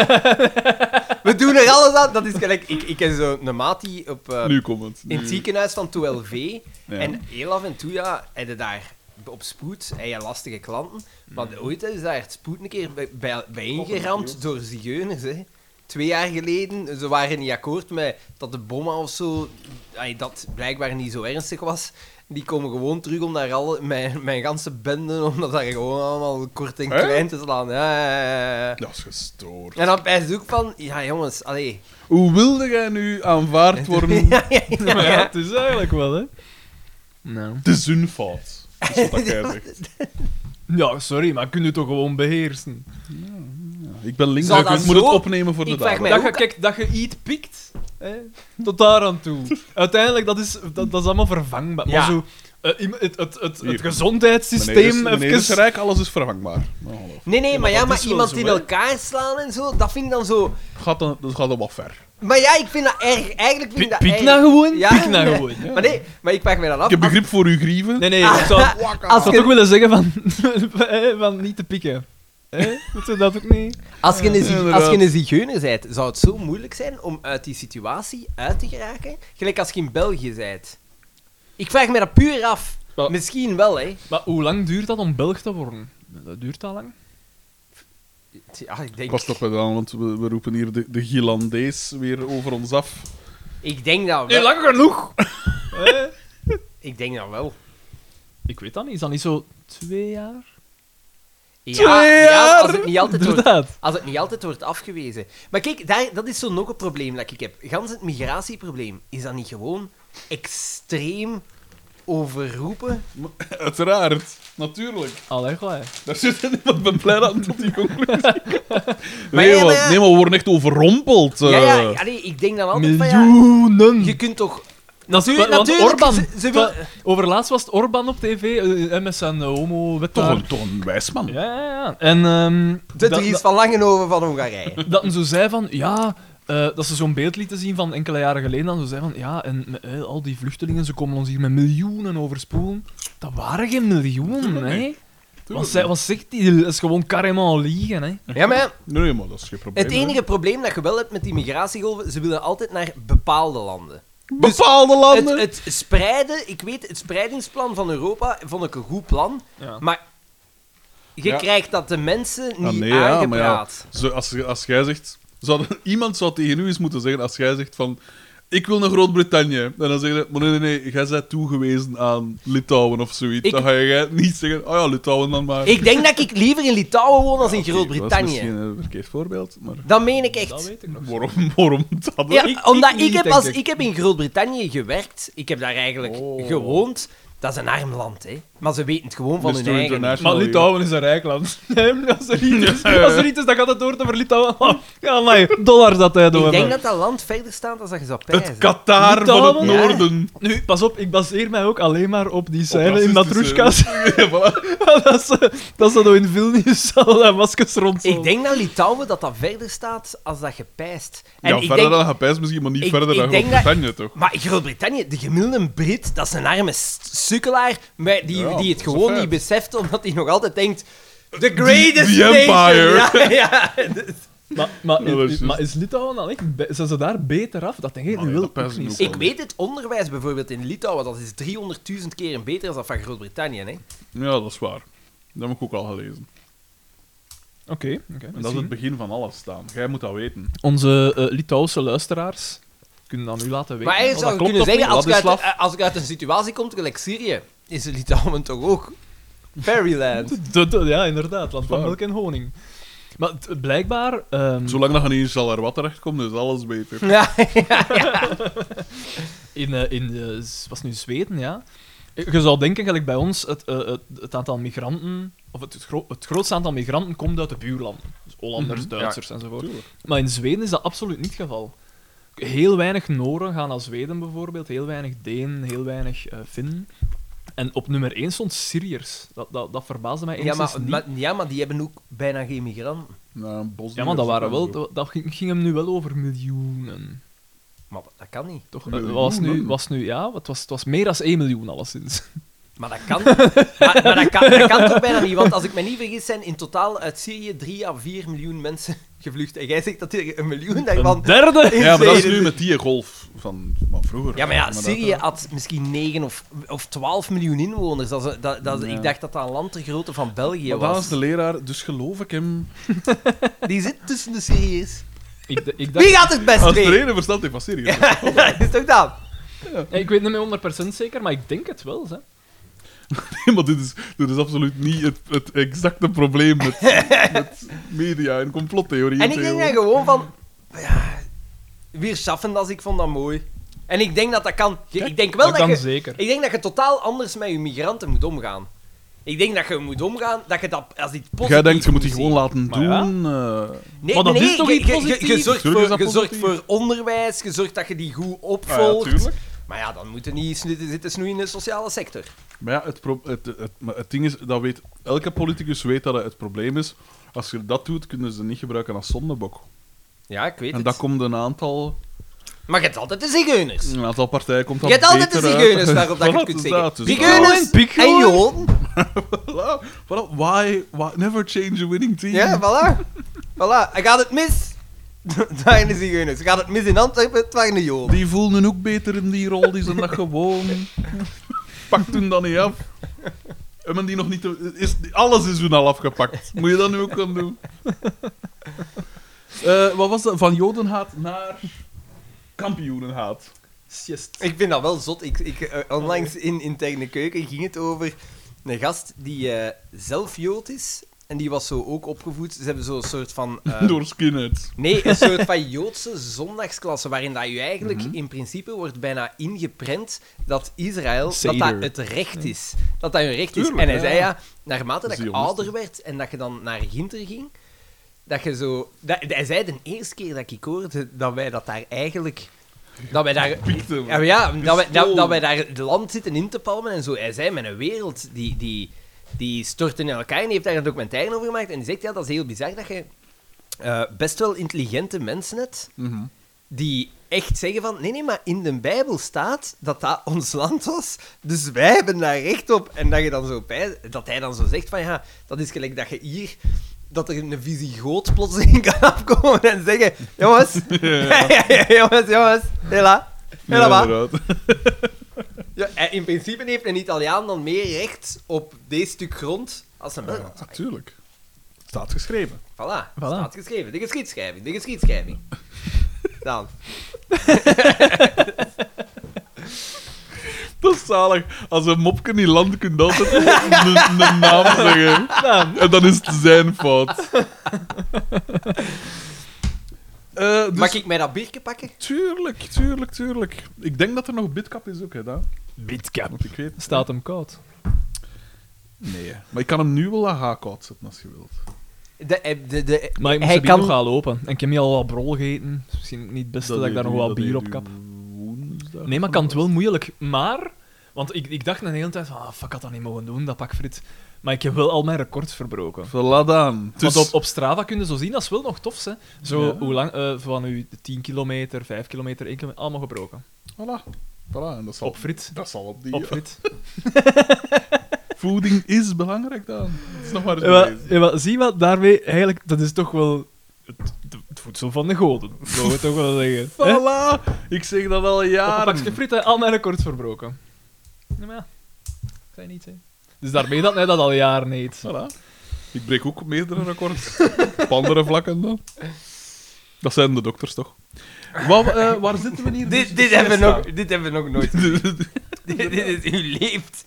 We doen er alles aan. Dat is gelijk... Ik, ik ken zo'n maat die op, eh,
Nu komt het.
in het
Nu.
ziekenhuis van 12V...
Ja.
En heel af en toe, ja, heb je daar op spoed heb je lastige klanten. Maar ooit is daar het spoed een keer bij, bij, ingeramd door zigeuners, hè. Twee jaar geleden, ze waren niet akkoord met dat de bomma of zo, ay, dat blijkbaar niet zo ernstig was. Die komen gewoon terug om daar alle, mijn, mijn ganse benden, om dat daar gewoon allemaal kort en
Hè?
klein te slaan. Ja, ja, ja, ja.
Dat is gestoord.
En dan bij zoek van, ja jongens, allee.
Hoe wilde jij
*laughs*
nu aanvaard
Mm.
worden?
Ja, ja, ja,
Maar
ja.
ja, het is eigenlijk wel, hè. Nou.
De zunfout. Dat is
*laughs*
wat jij zegt.
Ja, sorry, maar kun je toch gewoon beheersen?
Ja, Ik ben links,
Zal
ik
dat
moet
zo-
het opnemen voor de
Ik vraag
dader.
mij-
Dat je,
hoe
kijk, dat je iets pikt, hè, tot daar aan toe.
*laughs*
Uiteindelijk, dat is, dat, dat is allemaal vervangbaar.
Ja.
Maar zo, eh, iemand- het, het, het, het
Hier.
gezondheidssysteem...
Meneer is- meneer is
even-
rijk, alles is vervangbaar. Nou, hallo.
Nee, nee,
maar
maar ja,
dat
maar
is wel
iemand
zo,
in
hè.
elkaar slaan en zo, dat vind ik dan zo...
Gaat dan- Dat gaat dan wat ver.
Maar ja, ik vind dat erg. Eigenlijk vind ik
Pik,
dat
pik
erg.
nou gewoon?
Ja.
Pik nou gewoon.
Maar nee, maar ik vraag mij dan af.
Ik heb
als-
begrip voor uw grieven.
Nee, nee, ik zou,
*laughs*
ik
Als
zou
je,
toch willen zeggen van, *laughs* eh, van niet te pikken. Hè? Moeten we dat ook niet?
als, je een, zie-
inderdaad.
als je een zigeuner bent, zou het zo moeilijk zijn om uit die situatie uit te geraken? Gelijk als je in België bent. Ik vraag me dat puur af.
Wel-
Misschien wel, hè.
Maar hoe lang duurt dat om Belg te worden? Dat duurt al lang.
Ja, ik denk,
Pas toch wel aan, want we, we roepen hier de, de Gilandees weer over ons af. *laughs*
ik denk dat
Nee,
wel.
lang genoeg! Hè?
Ik denk dat wel.
ik weet dat niet, is dat niet zo twee jaar?
Ja,
Twee
ja
jaar?
als, het niet altijd wordt,
Inderdaad.
als het niet altijd wordt afgewezen. Maar kijk, daar, dat is zo nog een probleem dat ik heb. Gans het migratieprobleem. Is dat niet gewoon extreem overroepen?
Uiteraard, natuurlijk.
Allee, goh, hè.
Daar zit er niemand, ik ben blij dat hij tot die
*laughs*
conclusie komt.
Maar
Nee,
ja, maar
maar,
ja.
nee, maar we worden echt overrompeld. eh.
Ja, ja, allee, ik denk dan altijd Oh, van ja,
Miljoenen!
je kunt toch...
Natuurlijk,
natuurlijk,
Orban.
ze- ze wil-
Wa- Overlaatst was het Orban op tv, eh, eh, met zijn homo-wet
Toch,
daar.
een, toch een wijs man.
Ja, ja, ja. En ehm
De
dat-
Dries van Langenhoven van
*laughs*
Hongarije.
dat men zo zei van, ja, eh, dat ze zo'n beeld lieten zien van enkele jaren geleden, dan zo zei van, ja, en eh, al die vluchtelingen, ze komen ons hier met miljoenen overspoelen. Dat waren geen miljoenen, hè. Want zij, wat zegt die? Dat is gewoon carrément liegen, hè.
Ja, maar ja,
Nee, maar dat is geen probleem.
het
hè.
enige probleem dat je wel hebt met die migratiegolven, ze willen altijd naar bepaalde landen.
Bepaalde
Het,
landen.
het spreiden, ik weet, het spreidingsplan van Europa vond ik een goed plan,
Ja.
maar je
Ja.
krijgt dat de mensen
Ah,
niet
nee, ja, maar ja,
aangepraat.
zo, als, als jij zegt... Zou, *laughs* iemand zou tegen u eens moeten zeggen als jij zegt van... Ik wil naar Groot-Brittannië. En dan zeggen ze... Maar nee, nee, nee. Jij bent toegewezen aan Litouwen of zoiets.
Ik-
Dan ga jij niet zeggen... Oh ja, Litouwen dan maar.
Ik denk dat ik liever in Litouwen woon dan in
Oké, Dat is
Groot-Brittannië.
misschien een verkeerd voorbeeld, maar...
Dat meen ik echt.
Dat weet ik nog.
Waarom, *laughs* waarom dat?
Ja,
Ik- ik
omdat ik,
niet,
heb
denk
als,
ik.
ik heb in Groot-Brittannië gewerkt. Ik heb daar eigenlijk
Oh.
gewoond. Dat is een arm land, hè. Maar ze weten het gewoon van
Mr.
hun eigen.
Dus International.
Maar Litouwen is een rijk land. *laughs* Nee, als, er niet is, als er niet is, dan gaat het door over Litouwen. *laughs* Ja, nee, dollars dat eh, hij door
Ik denk dat dat land verder staat dan dat je zou pijzen.
Het Qatar van het
*laughs*
Litouwen?
noorden.
Nu, pas op, ik baseer mij ook alleen maar op die scène in
racistische-
Matrushka's. *laughs*
Ja, voilà.
dat ze, dat ze nou in Vilnius *laughs* al dat maskers rond
Ik denk dat Litouwen dat dat verder staat als dat je pijst. En
Ja,
ik
verder
denk,
dan Gapijs misschien, maar niet
ik-
verder
ik
dan
denk dat-
Groot-Brittannië, toch?
Maar in Groot-Brittannië, de gemiddelde Brit, dat is een arme s- sukkelaar maar die, die
Ja, dat
het
is
gewoon
een feit.
niet beseft, omdat hij nog altijd denkt... The greatest
the empire.
nation. *laughs* Ja, ja.
*laughs*
Maar, maar,
Ja, dat is
maar
juist.
is Litouwen dan echt... be- Zijn ze daar beter af? Dat denk ik
Maar
nu
ja,
wel
dat pijs
ook
ik
niet.
ook wel.
Ik weet het onderwijs bijvoorbeeld in Litouwen, dat is 300.000 keren beter dan dat van Groot-Brittannië. Hè?
Ja, dat is waar. Dat heb ik ook al gelezen.
Oké, oké,
En dat is
misschien. Mm.
het begin van alles staan. Jij moet dat weten.
Onze eh, Litouwse luisteraars kunnen aan u laten weten.
Maar eigenlijk
dat
zou je
klopt
kunnen
of
zeggen,
niet.
als ik,
Ladislav, *laughs*
uit, als ik uit een situatie kom, gelijk Syrië, is Litouwen toch ook
*laughs*
Fairyland?
Dat- dat- ja, inderdaad. Land van
Waar.
melk en honing. Maar het- blijkbaar... ehm,
Zolang dat je niet in Charleroi terechtkomt, is alles beter.
ja,
in, eh, in eh, Z- was het nu Zweden, ja. Eh, Je zou denken, gelijk bij ons, het, eh, het, het aantal migranten... Of het, het, gro- het grootste aantal migranten komt uit de buurlanden. Dus Hollanders,
Mhm, ja.
Duitsers enzovoort.
Tuurlijk.
Maar in Zweden is dat absoluut niet het geval. Heel weinig Noren gaan naar Zweden bijvoorbeeld, heel weinig Denen, heel weinig eh Finnen. En op nummer 1 stond Syriërs. Dat, dat, dat verbaasde mij
ja,
enigszins
maar,
niet.
maar- ja, maar die hebben ook bijna geen migranten.
Nou, Bosnië
ja, maar dat,
is ook
waren
wel
wel,
zo.
dat, dat ging, ging hem nu wel over miljoenen.
Maar dat kan niet.
Toch?
Eh, Miljoenen?
Het was nu, was nu, ja, het was, het was meer dan 1 miljoen alleszins.
Maar dat
*laughs*
kan, maar, maar dat kan, dat kan toch bijna niet? Want als ik me niet vergis, zijn in totaal uit Syrië 3 à 4 miljoen mensen gevlucht. En jij zegt dat er een miljoen daarvan...
Een derde?
in *laughs*
Ja, maar dat is
Zweden
nu met die golf van van vroeger.
Ja, maar ja,
dat- eh,
Syrië had misschien 9 of, of 12 miljoen inwoners. Dat is, eh, dat, dat, is-
Ja.
Ik dacht dat dat een land de grootte van België
Maar dat
was.
is de leraar, dus geloof ik hem.
Die zit tussen de Syriërs.
Ik, d- ik,
Wie
dacht,
gaat het best
Als de
*laughs* mee?
ene verstand heeft van Syrië.
Dat is toch dat?
Ja, ik weet niet meer 100% zeker, maar ik denk het wel. Hè.
*laughs* Nee, maar dit is, dit is absoluut niet het, het exacte
*laughs*
probleem met, met media en complottheorieën.
En ik denk dan gewoon
tegenwoordig.
van... Ja, weer schaffen dat ik vond dat mooi. En ik denk dat dat kan. Je- Ik denk wel
Dat
dat,
kan
je...
zeker.
Ik denk dat je totaal anders met je migranten moet omgaan. Ik denk dat je moet omgaan dat je dat als iets positiefs
Jij denkt, je moet die
zien.
gewoon laten
Maar
doen.
ja.
eh.
Nee,
Maar dat
nee,
is toch
je-
iets
je- je- Je,
positiefs?
zorgt,
Tuurlijk is
voor,
dat
je zorgt
positief.
voor onderwijs, je zorgt dat je die goed
Ah ja,
opvolgt.
tuurlijk.
maar ja, dan moeten niet snu- zitten snoeien in de sociale sector.
Maar ja, het, pro- het, het, maar het ding is, dat weet, elke politicus weet dat het het probleem is. Als je dat doet, kunnen ze niet gebruiken als zondebok.
Ja, ik weet
En
het.
dat komt een aantal,
Maar je hebt altijd de zigeuners.
een aantal partijen komt
Je
dat
hebt altijd de
beter uit.
zigeuners waarop
*laughs*
dat je
Voilà,
het kunt zeggen.
inderdaad, dus
Zigeuners
Pikhoorn.
en joden.
*laughs* Voilà, voilà. Why, why, never change a winning team.
Ja, voilà. voilà. En gaat het mis? *laughs* Het waren de zigeuners. Gaat het mis in Antwerpen? Het waren de joden.
Die voelen hun ook beter in die rol, die zijn dat gewoon. Pak toen dan niet af. Hebben die nog niet... te- Is, alles is hun al afgepakt. Moet je dat nu ook gaan doen? Eh, wat was dat? Van jodenhaat naar kampioenenhaat.
Ik vind dat wel zot. Ik, ik, eh, onlangs in Interne Keuken ging het over een gast die eh, zelf jood is. En die was zo ook opgevoed. Ze hebben zo'n soort van... eh,
*laughs* Door skinheads.
Nee, een soort van Joodse zondagsklasse, waarin dat je eigenlijk
Mhm.
in principe wordt bijna ingeprent dat Israël dat dat
Seder.
het recht is. Dat dat hun recht is.
Tuurlijk,
en hij
ja.
zei ja, naarmate dat je
Zionistisch.
ouder werd en dat je dan naar Ginter ging, dat je zo... Dat, hij zei de eerste keer dat ik hoorde dat wij dat daar eigenlijk... Dat wij daar...
Piekten.
Ja, maar ja dat, wij, dat,
Pistool.
dat wij daar het land zitten in te palmen en zo. Hij zei, met een wereld die, die, die stort in elkaar en die heeft daar een documentaire over gemaakt. En die zegt, ja, dat is heel bizar dat je eh, best wel intelligente mensen hebt
Mhm.
die echt zeggen van, nee, nee, maar in de Bijbel staat dat dat ons land was, dus wij hebben daar recht op. En dat, je dan zo bij, dat hij dan zo zegt van, ja, dat is gelijk dat je hier... Dat er een visigoot plotseling *laughs* kan afkomen en zeggen... Jongens, *laughs* jongens, jongens, hela, helemaal.
inderdaad.
Ja, en in principe heeft een Italiaan dan meer recht op deze stuk grond als een Belg.
Ja, tuurlijk. Staat geschreven.
Voilà,
Voilà.
staat geschreven. De geschiedschrijving, de
*laughs*
geschiedschrijving. Dan.
Dat is zalig. Als een mopje niet landt, kun je altijd een een naam zeggen. En dan is het zijn fout. Eh, dus-
Mag ik mij dat biertje pakken?
Tuurlijk, tuurlijk, tuurlijk. Ik denk dat er nog Bitcap is ook, hè, daar.
Bitcap.
Want ik weet...
Staat hem koud.
Nee. Maar ik kan hem nu wel aan haakhout zetten, als je wilt.
De, eh, de, de,
Maar ik moest
hij
de bier nog
kan...
gaan lopen. En ik heb hier al wat brol gegeten. Dus Misschien niet het beste dat, ik daar nog wat bier op kap.
Woensdag.
Nee, maar ik kan het wel moeilijk. Maar, want ik, ik dacht een hele tijd van, ah, fuck, had dat niet mogen doen, dat pakfrit. Maar ik heb wel al mijn records verbroken.
Voilà dan. Dus...
Want op, op Strava kun je zo zien, dat is wel nog tof, hè. Zo,
Ja.
hoe lang, eh, van u 10 kilometer, 5 kilometer, 1 kilometer, allemaal gebroken.
Voilà. Voilà, en dat zal...
Op frit.
Dat zal op die...
Op frit.
Voeding is belangrijk dan. Dat is nog maar eens
Ja, maar-
bewezen.
ja, maar zie wat, daarmee, eigenlijk, dat is toch wel het, het voedsel van de goden. Mogen we toch wel zeggen.
*laughs*
Hè? Op
Voilà! Ik zeg dat al
een
jaren.
pakje friet, hè, al mijn records verbroken. Ja, maar ja. Zijn niet, hè. Dus daarmee dat hij dat al jaren
*laughs*
eet.
Voilà. Ik breek ook meerdere records. Op andere vlakken dan. Dat zijn de dokters toch? Wat, eh, waar zitten we hier?
Dit, dit,
Dus-
hebben we
Siesta.
nog, dit hebben we nog nooit. dit, dit is u leeft.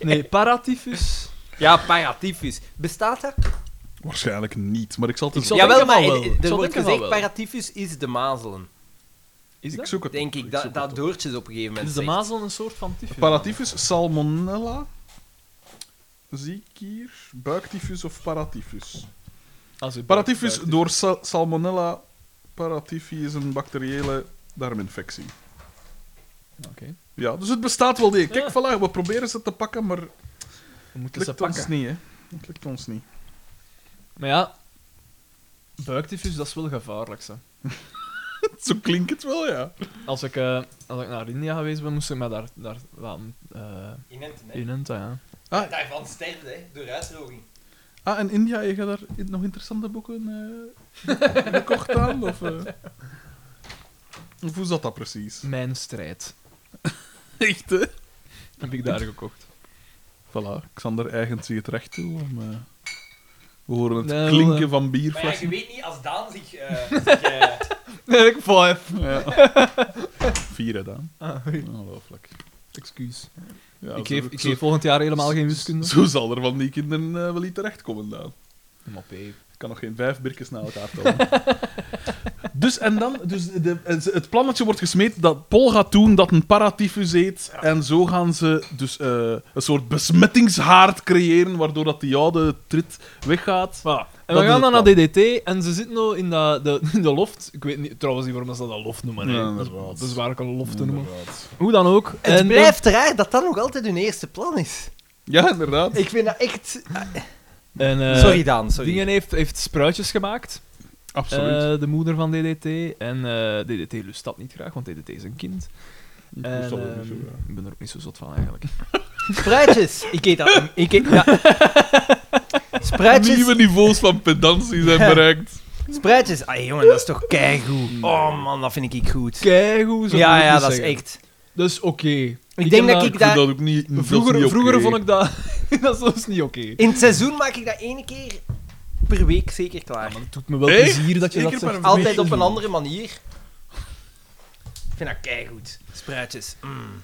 Nee, paratyfus.
Ja, paratyfus. Bestaat dat?
Waarschijnlijk niet, maar ik zal het
Ik
eens-
zal-
Jawel,
denken
maar
van
eh,
wel. Ik
er
zal
wordt
denken van
gezegd,
wel.
paratyfus is de mazelen.
Is
ik
dat?
zoek het
Denk
op,
ik, dat,
zoek
dat
het op.
Doortjes op een gegeven moment
Is de
zegt.
mazel een soort van tyfus?
Paratyfus, salmonella. Zie ik hier. Buiktyfus of paratyfus?
Als u-
Paratyfus
Paratyfus.
door sa- salmonella paratyfi is een bacteriële darminfectie.
Oké.
Ja, dus het bestaat wel degelijk. Kijk,
Ja.
voilà, we proberen ze te pakken, maar het
We moeten ze
lukt ons
pakken.
niet, hè. Het lukt ons niet. *laughs*
Maar ja, buiktyfus, dat is wel gevaarlijk, hè.
Zo klinkt het wel, ja.
Als ik, eh, als ik naar India geweest ben, moest ik me daar, daar wat eh
Inenten, hè.
inenten, ja.
Daarvan sterft, hè. Door uitdroging.
Ah, en India, heb je daar in- nog interessante boeken eh, *laughs* gekocht aan? Of, eh? Of hoe zat dat precies?
Mijn strijd.
*laughs* Echt, hè?
Heb ik daar *laughs* gekocht.
Voilà, Xander eigent zich het recht toe om... eh, we horen het
Nee,
klinken
wel, eh.
van bierflessen.
weet niet, als Daan zich... *laughs* eh,
ik vijf.
Ja. Vieren dan.
Ah, oei.
Ongelooflijk.
Excuus.
Ja,
ik
zo-
geef, ik
zo-
geef volgend jaar helemaal geen wiskunde.
Zo zal er van die kinderen eh, wel niet terechtkomen dan. Ik kan nog geen vijf birkjes na elkaar tellen.
*laughs*
dus en dan, dus de, het plannetje wordt gesmeed dat Paul gaat doen dat een paratyfus eet. En zo gaan ze dus eh, een soort besmettingshaard creëren, waardoor dat die oude trit weggaat.
En
Dat
we
is
gaan
het
dan naar DDT en ze zit nou in, dat, de, *laughs* in de loft. Ik weet niet, trouwens niet waarom ze dat loft noemen. hè.
Ja,
dat, is,
inderdaad.
dat is waar ik een loft te noemen.
Inderdaad.
Hoe dan ook.
Het
en- eh,
blijft raar dat dat nog altijd hun eerste plan is.
Ja, inderdaad.
Ik vind dat echt...
En, eh,
sorry, Daan, sorry.
Dingen heeft, heeft spruitjes gemaakt.
Absoluut.
Eh, de moeder van DDT. En eh, DDT lust dat niet graag, want DDT is een kind.
Ik
En,
wist dat ook
ehm,
niet zo, ja.
ik ben er ook niet zo zot van eigenlijk.
Spruitjes. *laughs* Ik eet dat. Ik eet, ja.
Nieuwe
*laughs* Spruitjes.
niveaus van pedantie
*laughs*
zijn bereikt.
Spruitjes. Ah, jongen, dat is toch keigoed. Oh, man, dat vind ik goed.
Kijk hoe ze
Ja, ja, dat is echt...
Dat is Dus oké. Ik,
denk
heb
dat
Ik
ik-
vind
Daar-
dat ook niet. dat is
Vroeger,
niet oké.
vroeger vond ik dat... *laughs* dat is zelfs niet oké.
In het seizoen maak ik dat één keer per week zeker
Ja,
klaar.
maar het doet me wel
Echt?
plezier dat je
Eén
dat
keer per
zegt.
Altijd op een andere manier. Ik vind dat keigoed. Spruitjes. Mm.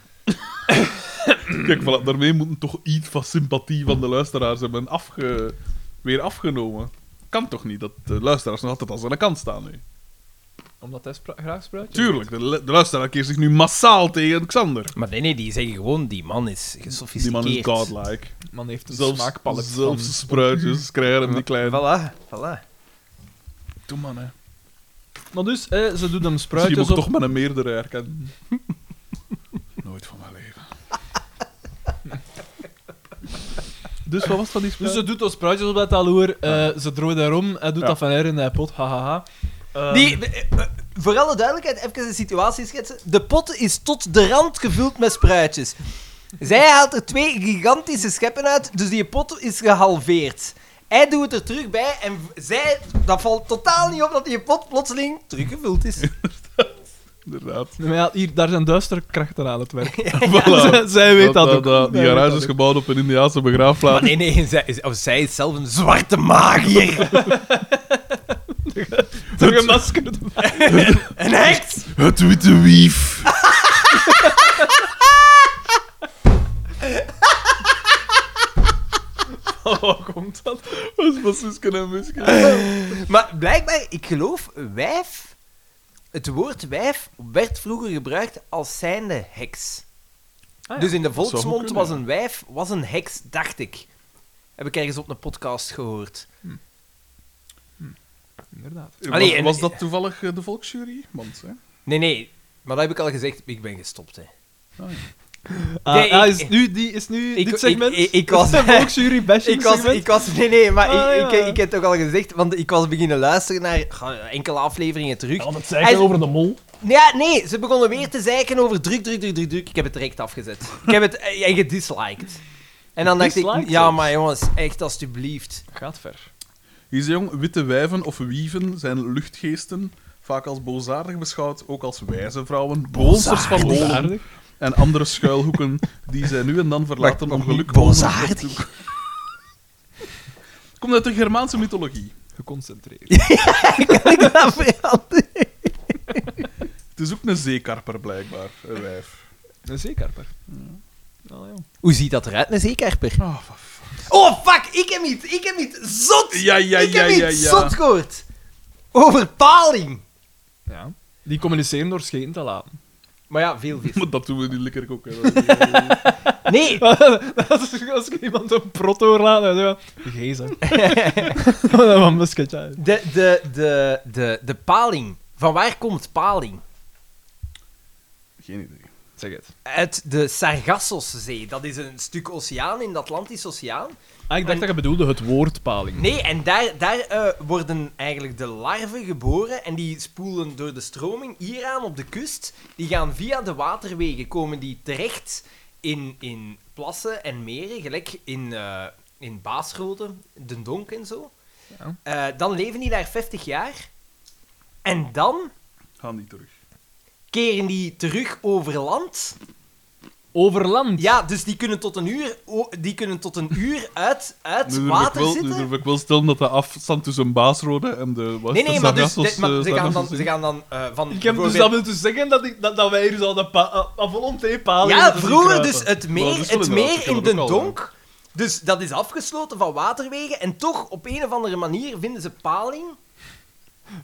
Kijk, voilà, daarmee moet toch iets van sympathie van de luisteraars hebben afge... weer afgenomen. Kan toch niet dat de luisteraars nog altijd aan zijn kant staan nu?
Omdat hij spra- graag spruitjes
Tuurlijk, de, lu- de luisteraar keert zich nu massaal tegen Xander.
Maar nee, nee, die zeggen gewoon, die man is
Die
gesofisticeerd.
man is godlike.
eet. Man heeft een
Zelfs,
smaakpalet
zelfs de
van...
spruitjes krijgen hem die kleine.
Voilà, voilà.
Doe man, hè.
Maar dus, eh, ze doet hem
Dus je
spruitjes
moet
op.
toch met een meerdere herkennen. *laughs* Nooit van mijn
*laughs*
leven. dus wat was dat die
Dus
spruit?
ze doet haar spruitjes op dat taloer. eh, ze drooit daarom. Hij doet
Ja.
dat van haar in de pot. Hahaha. Eh,
Die, eh, eh, voor alle duidelijkheid, even de situatie schetsen. De pot is tot de rand gevuld met spruitjes. Zij haalt er twee gigantische scheppen uit, dus die pot is gehalveerd. Hij doet het er terug bij en v- zij, dat valt totaal niet op dat die pot plotseling teruggevuld is.
Inderdaad. *laughs*
Maar ja, hier, daar zijn duistere krachten aan het werk.
Voilà.
*laughs* Zij- Zij weet dat,
Dat- dat-
ook.
dat- die
Zij weet
garage
dat
is
ook.
gebouwd op een Indiaanse begraafplaats.
Maar nee, nee, zij is, of zij is zelf een zwarte magier.
*laughs* Terug een masker.
*laughs*
*laughs*
Een heks!
Het witte wief.
Waar komt dat?
Oh, Dat is van Suske en Muske.
Maar blijkbaar, ik geloof, wijf... Het woord wijf werd vroeger gebruikt als zijnde heks.
ja.
Dus in de
Ah zou goed
volksmond
kunnen,
was
ja.
een wijf, was een heks, dacht ik. Heb ik ergens op een podcast gehoord.
*laughs* Inderdaad.
*laughs* Allee,
was,
en-
was dat toevallig eh, de volksjury? Want, hè?
Nee, nee, maar dat heb ik al gezegd. Ik ben gestopt, hè.
Ah,
Nee,
ah,
ik-
is nu, die, is nu
ik-
dit segment?
ik- ik- ik
Dat is
was-
de *laughs* volksjury bashing
Ik was,
segment?
ik was... Nee, nee, maar
Ah,
ik, ik,
ja.
ik heb het ook al gezegd, want ik was beginnen luisteren naar ga, enkele afleveringen terug.
want het
Hij is-
over de mol.
Ja, nee, ze begonnen weer te zeiken over druk, druk, druk, druk, druk. Ik heb het direct afgezet. Ik heb het eh, en gedisliked. En dan dacht ik,
Gedisliked
ja,
zelfs?
maar jongens, echt *laughs* alstublieft.
Gaat ver.
Hier is jong, witte wijven of wieven zijn luchtgeesten, vaak als boosaardig beschouwd, ook als wijze vrouwen, bolsters van holen en andere schuilhoeken die zij nu en dan verlaten om geluk
boosaardig?
Komt uit de Germaanse mythologie.
geconcentreerd.
ik dat veranderen?
Het is ook een zeekarper, blijkbaar, een wijf.
Een zeekarper. Allee, joh.
Hoe ziet dat eruit, een zeekerper?
Ah, wat fuck.
Oh, fuck! Ik heb niet, ik heb niet zot!
Ja, ja,
ik
ja,
heb niet
ja, ja.
zot gehoord! Over paling!
Ja. Die communiceren door scheten te laten.
Maar ja, veel vis.
*laughs* Maar dat doen we in
*laughs*
Likkerk ook. Hè. Dat is-
Nee!
*laughs* dat is als ik iemand een prot laat, dan zeg ik, de *laughs* geezer. dat was een sketch
De, de, de, de, de paling. Van waar komt paling?
Geen idee.
Zeg het.
Uit de Sargassozee. Dat is een stuk oceaan in de Atlantische Oceaan.
Ah, ik dacht dat je bedoelde het woord paling.
Nee, en daar, daar eh, worden eigenlijk de larven geboren en die spoelen door de stroming hier aan op de kust. Die gaan via de waterwegen, komen die terecht in, in plassen en meren, gelijk in, eh in Baasrode, Den Donk en zo.
Ja.
Eh, dan leven die daar 50 jaar en dan
Gaan niet terug.
keren die terug over land.
Over land.
Ja, dus die kunnen tot een uur, o- die kunnen tot een uur uit, uit
Nu durf, ik
water
wel, nu
zitten.
durf ik wel stellen dat de afstand tussen Baasrode en de... Wat,
Nee, nee, maar, dus,
Sargassos,
de- maar
eh,
ze, gaan dan,
Sargassos-
ze gaan dan eh, van...
Ik heb dus dat
bijvoorbeeld-
wil dus zeggen dat, ik, dat, dat wij hier zouden pa- eh, eh, volonté paling
Ja,
moeten zien
vroeger
kruipen.
dus het
Maar
meer,
dat is wel
het
inderdaad,
meer
ik heb
in
dat
de
ook al, hè.
donk. Dus dat is afgesloten van waterwegen. En toch, op een of andere manier, vinden ze paling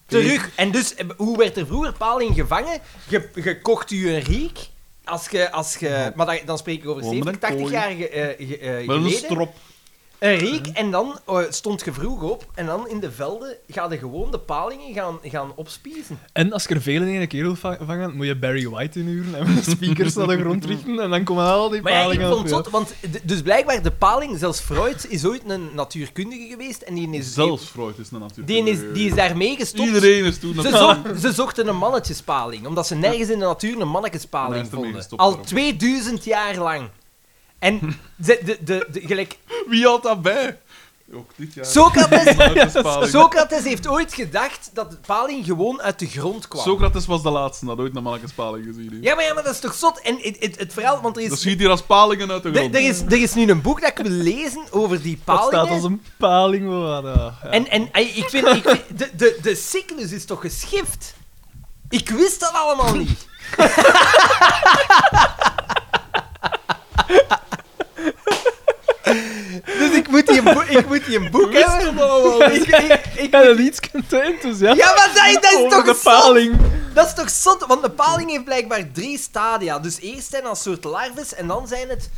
terug. En dus, eh, hoe werd er vroeger paling gevangen? Je, je kocht u een riek. Als je, als je, maar dan, dan spreek ik over
Gewoon met
70,
een
80
kooi.
jaar ge- eh, ge- eh,
Met een
geleden.
strop.
Een reek en dan eh, stond je vroeg op en dan in de velden ga je gewoon de palingen gaan, gaan opspiezen.
En als je er veel in één keer wil va- vangen, moet je Barry White inhuren en met speakers naar de grond richten en dan komen *laughs* al die
Maar ja, ik
palingen
vond
op,
het
ja.
zot, want d- dus blijkbaar de paling, zelfs Freud is ooit een natuurkundige geweest en die is,
Zelfs Freud is een
die
natuurlijk. eh,
is, die is daarmee gestopt.
Iedereen is toen...
Ze, zocht- ze zochten een mannetjespaling, omdat ze nergens in de natuur een
En hij
mannetjespaling
is ermee
vonden.
gestopt
Al
daarom.
2000 jaar lang.
*laughs*
En ze, de, de, de, gelijk,
*laughs* Wie had dat bij? Ook dit *laughs* jaar.
Socrates, *laughs*
Socrates,
Socrates heeft ooit gedacht dat de paling gewoon uit de grond kwam.
Socrates was de laatste dat ooit naar mannekenspaling gezien heeft.
Ja maar, ja, maar dat is toch zot? En het, het, het verhaal, want er
Dat
is,
schiet hier als palingen uit de
er,
grond.
er is, er is nu een boek dat ik wil lezen over die
Dat
palingen.
staat als een paling. Ah, Wat,
En, en ey, ik vind, ik vind- de, de, de cyclus is toch geschift? Ik wist dat allemaal niet. *laughs* dus ik moet die een, boek- ik moet die een boek hebben. Oh,
*laughs*
Ik, ik-
ik ben er iets te enthousiast
ja, maar dat, dat is
over
toch
de
zot?
paling.
Dat is toch zot? Want de paling heeft blijkbaar drie stadia. Dus eerst zijn dat een soort larves en dan zijn het...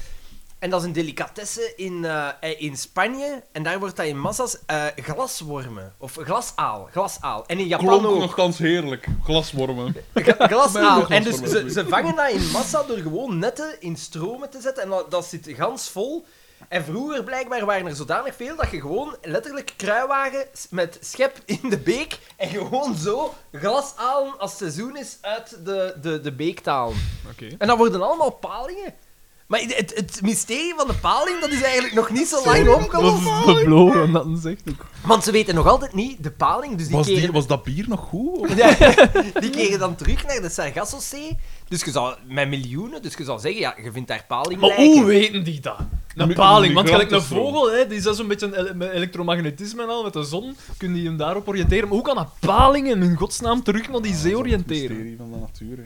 En dat is een delicatesse in, eh, eh, in Spanje. En daar wordt dat in massa's eh, glaswormen. Of glasaal. Glasaal. En in Japan
Klonk
ook.
nog kans heerlijk. Glaswormen.
Gla- glasaal.
Mijn
En dus
glaswormen.
ze, ze vangen dat in massa door gewoon netten in stromen te zetten. En dat, dat zit gans vol. En vroeger blijkbaar waren er zodanig veel dat je gewoon letterlijk kruiwagen s- met schep in de beek en gewoon zo glasalen als het seizoen is uit de, de, de beek te halen.
Oké.
En dat worden allemaal palingen. Maar het, het, het mysterie van de paling, dat is eigenlijk nog niet zo lang opgelost.
Dat is bevlogen, dat een zegt.
Want ze weten nog altijd niet, de paling, dus die
Was, die,
keren...
was dat bier nog goed? of-
Ja, *laughs* die keren dan terug naar de Sargassozee. Dus je zou, met miljoenen, dus je zou zeggen, ja, je vindt daar paling
Maar hoe weten die dat? Een
Mi-
paling, want gelijk een
migrantenstroom.
vogel, hè, die is zo'n beetje ele- met elektromagnetisme en al, met de zon, kun je hem daarop oriënteren. Maar hoe kan een paling in hun godsnaam terug naar die zee
Het
oriënteren?
mysterie van de natuur. hè.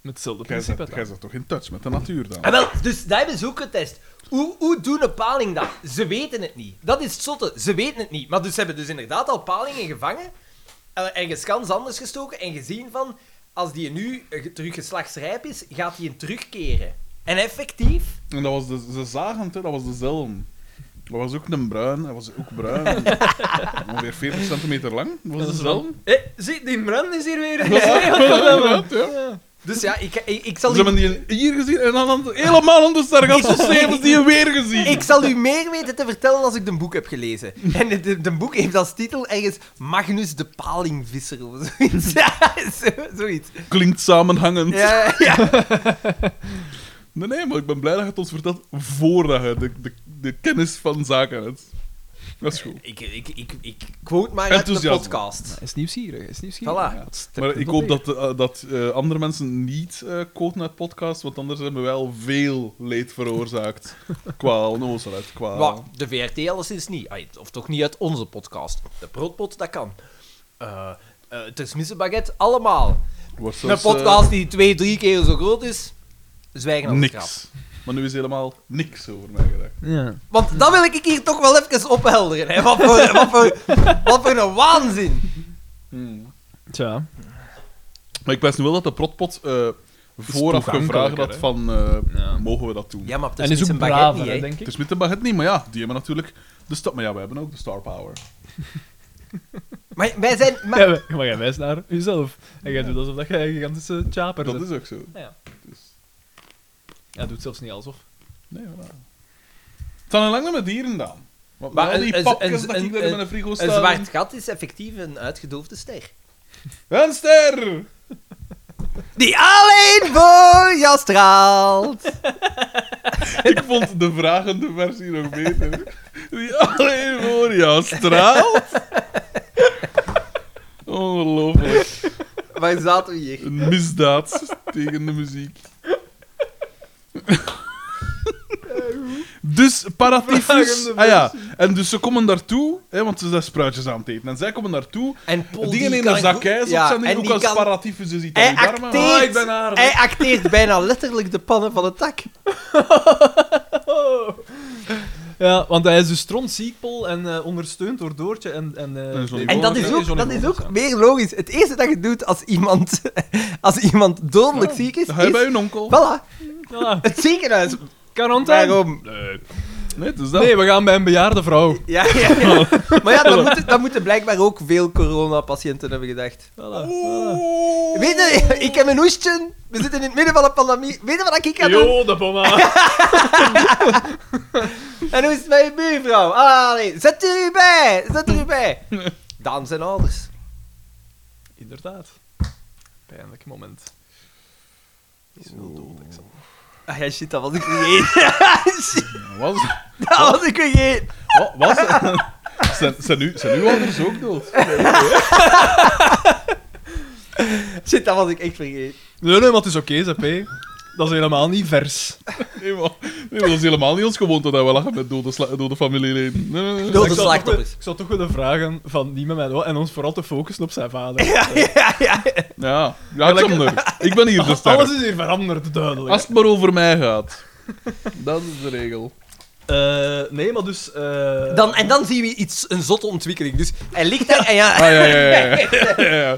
Met hetzelfde
Jij
principe.
zat-
dan.
Jij zat toch in touch met de natuur dan?
En wel, dus dat hebben ze ook getest. Hoe, hoe doen een paling dat? Ze weten het niet. Dat is het zotte, ze weten het niet. Maar dus ze hebben dus inderdaad al palingen gevangen, eh, ergens gans anders gestoken en gezien van, als die nu eh, terug geslachtsrijp is, gaat die een terugkeren. En effectief...
En dat was de, ze zagen het, hè, dat was dezelfde. Dat was ook een bruin, dat was ook bruin.
*laughs*
Ongeveer 40 centimeter lang. Dat was
Dat is
dezelfde.
Eh, zie, die brand is hier weer. *laughs*
Dus ja, ik, ik, ik
Ze
zal... u-
hebben die hier gezien en dan aan- helemaal onder Sargasso Zee hebben ze die weer gezien.
Ik zal u meer weten te vertellen als ik de boek heb gelezen. En het- de, de boek heeft als titel ergens Magnus de Palingvisser of
*laughs*
zoiets. Ja, zo- zoiets.
Klinkt samenhangend.
Ja, ja.
Nee, nee, maar ik ben blij dat je het ons vertelt voordat je de, de, de kennis van zaken hebt. Dat is goed.
Ik, ik, ik, ik quote maar uit de
Enthousiasme.
podcast.
Hij is nieuwsgierig, hij is nieuwsgierig.
Voilà.
Dat steekt
Maar
hem
ik
tot
hoop
mee.
dat, eh, dat eh, andere mensen niet eh quoten uit podcasts, want anders hebben we wel veel
*laughs*
leed veroorzaakt. qua onnozelheid, qua...
Maar de VRT alleszins niet. Ai, Of toch niet uit onze podcast. De broodpot, dat kan. Eh eh Tersmisse baguette, allemaal.
Wordt
Een
zelfs, eh,
podcast die twee, drie keer zo groot is, zwijgen als grap.
niks. Maar nu is helemaal niks over mij gedacht.
Ja.
Want dat wil ik hier toch wel even ophelderen. Hè. Wat, voor, wat, voor, wat voor een waanzin.
Tja.
Maar ik wens nu wel dat de protpot eh, vooraf gevraagd
toegankelijker,
had
hè?
van... eh,
Ja.
Mogen we dat doen?
Ja, maar
En is
Tersmisse
ook
baguette
braver,
niet,
hè,
hè.
denk
Het
ik.
is met de baguette niet, maar ja, die hebben natuurlijk de stap. Maar ja, we hebben ook de star power.
Maar wij zijn... Maar,
*laughs* Ja, maar maar jij wijst naar jezelf. En jij doet alsof dat jij een gigantische chaper
Dat
bent.
is ook zo.
Ja.
Dus-
Hij doet zelfs niet alsof.
Nee, voilà. Het zijn een lange met dieren dan. Want
Maar
maar al
een-
die
een-
papjes
een-
dat ik daar
een-
in mijn frigo
een
sta.
zwart gat is effectief een uitgedoofde ster.
Een ster!
Die alleen voor jou straalt.
Ik vond de vragende versie nog beter. Die alleen voor jou
*laughs*
straalt. Ongelooflijk.
Waar zaten we hier?
Een misdaad *laughs* tegen de muziek. Dus paratiefjes.
Vragende
Ah ja, en dus ze komen daartoe, hè, want ze zijn spruitjes aan het eten. En zij komen daartoe.
En Paul
Dingen
die
in
kan
de zakijs,
goed-
ja, zijn die
en
ook
die
als
kan-
paratiefjes, dus iets aan
Hij
die darmen.
acteert,
Ah, ik ben aardig.
hij acteert bijna letterlijk de pannen van het dak.
Oh. Ja, want hij is dus strontziek, Paul, en eh, ondersteund door Doortje en... En, eh,
En Johnny
David-
En dat is
Johnny
ook,
Johnny
dat is
Bonus,
ook
ja.
meer logisch. Het eerste dat je doet als iemand, *laughs* als iemand dodelijk ziek is,
Ga je bij
is...
hun onkel?
Voilà,
Ja,
het ziekenhuis.
quarantaine.
Waarom?
Nee, het is dat.
Nee, we gaan bij een bejaarde vrouw.
Ja, ja,
*laughs*
ja. Maar ja, dan moeten, dan moeten blijkbaar ook veel coronapatiënten hebben gedacht.
Voilà.
Oeh.
Weet je, *laughs* ik heb een hoestje, we zitten in het midden van een pandemie. Weet je wat ik ga doen?
Yo, de bomma.
En hoe is het met je buurvrouw? Ah, nee. Zet er u bij, zet er u
*laughs*
bij. Daan zijn ouders.
Inderdaad. Pijnlijk moment. Is wel dodelijk, zo.
Ah ja, shit, dat was ik *laughs* vergeten.
Was,
Dat was ik vergeten.
wa- was, zijn, zijn, nu, zijn uw ouders ook dood?
Shit, dat was ik echt vergeten.
Nee, nee, maar het is oké, ZP. Dat is helemaal niet vers.
Nee, maar, nee, maar dat is helemaal niet ons gewoonte dat we lachen met dode, sla- dode familieleden. Nee, nee,
Dode
nee.
Ik zou toch
slachtoffers.
wel- Ik zou toch willen vragen van die met mij wel, en ons vooral te focussen op zijn
*laughs*
vader.
Ja, ja.
Ja, ja Xander, ik ben hier de
Alles
ster.
is hier veranderd, duidelijk.
Als het maar over mij gaat. Dat is de regel.
Eh, nee, maar dus... eh,
Dan, en dan zien we iets, een zotte ontwikkeling. Dus hij ligt daar en ja,
Ah, ja, ja, ja. ja. ja, ja.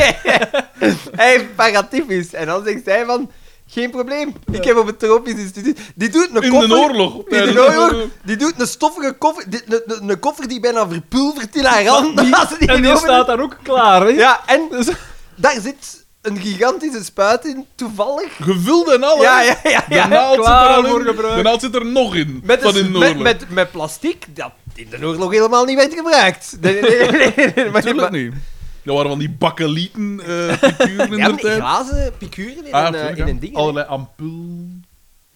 *laughs* hij heeft paratiefjes. En dan zegt hij van, geen probleem, ik heb op het tropisch instituut... Die doet een
In
koffer...
de oorlog.
Die,
tijdens
doet een oorlog, die doet een stoffige koffer... die- een- een- een koffer die bijna verpulvert in haar hand. als ze die
*laughs* En die
erover-
staat daar ook klaar, hè?
Ja,
*laughs*
en
Dus-
daar zit een gigantische spuit in, toevallig.
Gevuld en alles.
Ja, ja, ja.
De
ja.
naald zit er
klaar
al in.
voor gebruik.
De naald zit er nog in.
Met, een-
van in de
met,
oorlog.
met, met plastic, dat in de oorlog helemaal niet werd gebruikt. *laughs* Nee, nee, nee, nee, nee, nee, maar-
Tuurlijk niet. Dat waren van die bakkelieten eh figuren in
Ja,
de
maar die
tijd. Ah,
glazen picuren in, een, eh,
tuurlijk,
in
ja.
een ding. hè.
Allerlei ampul.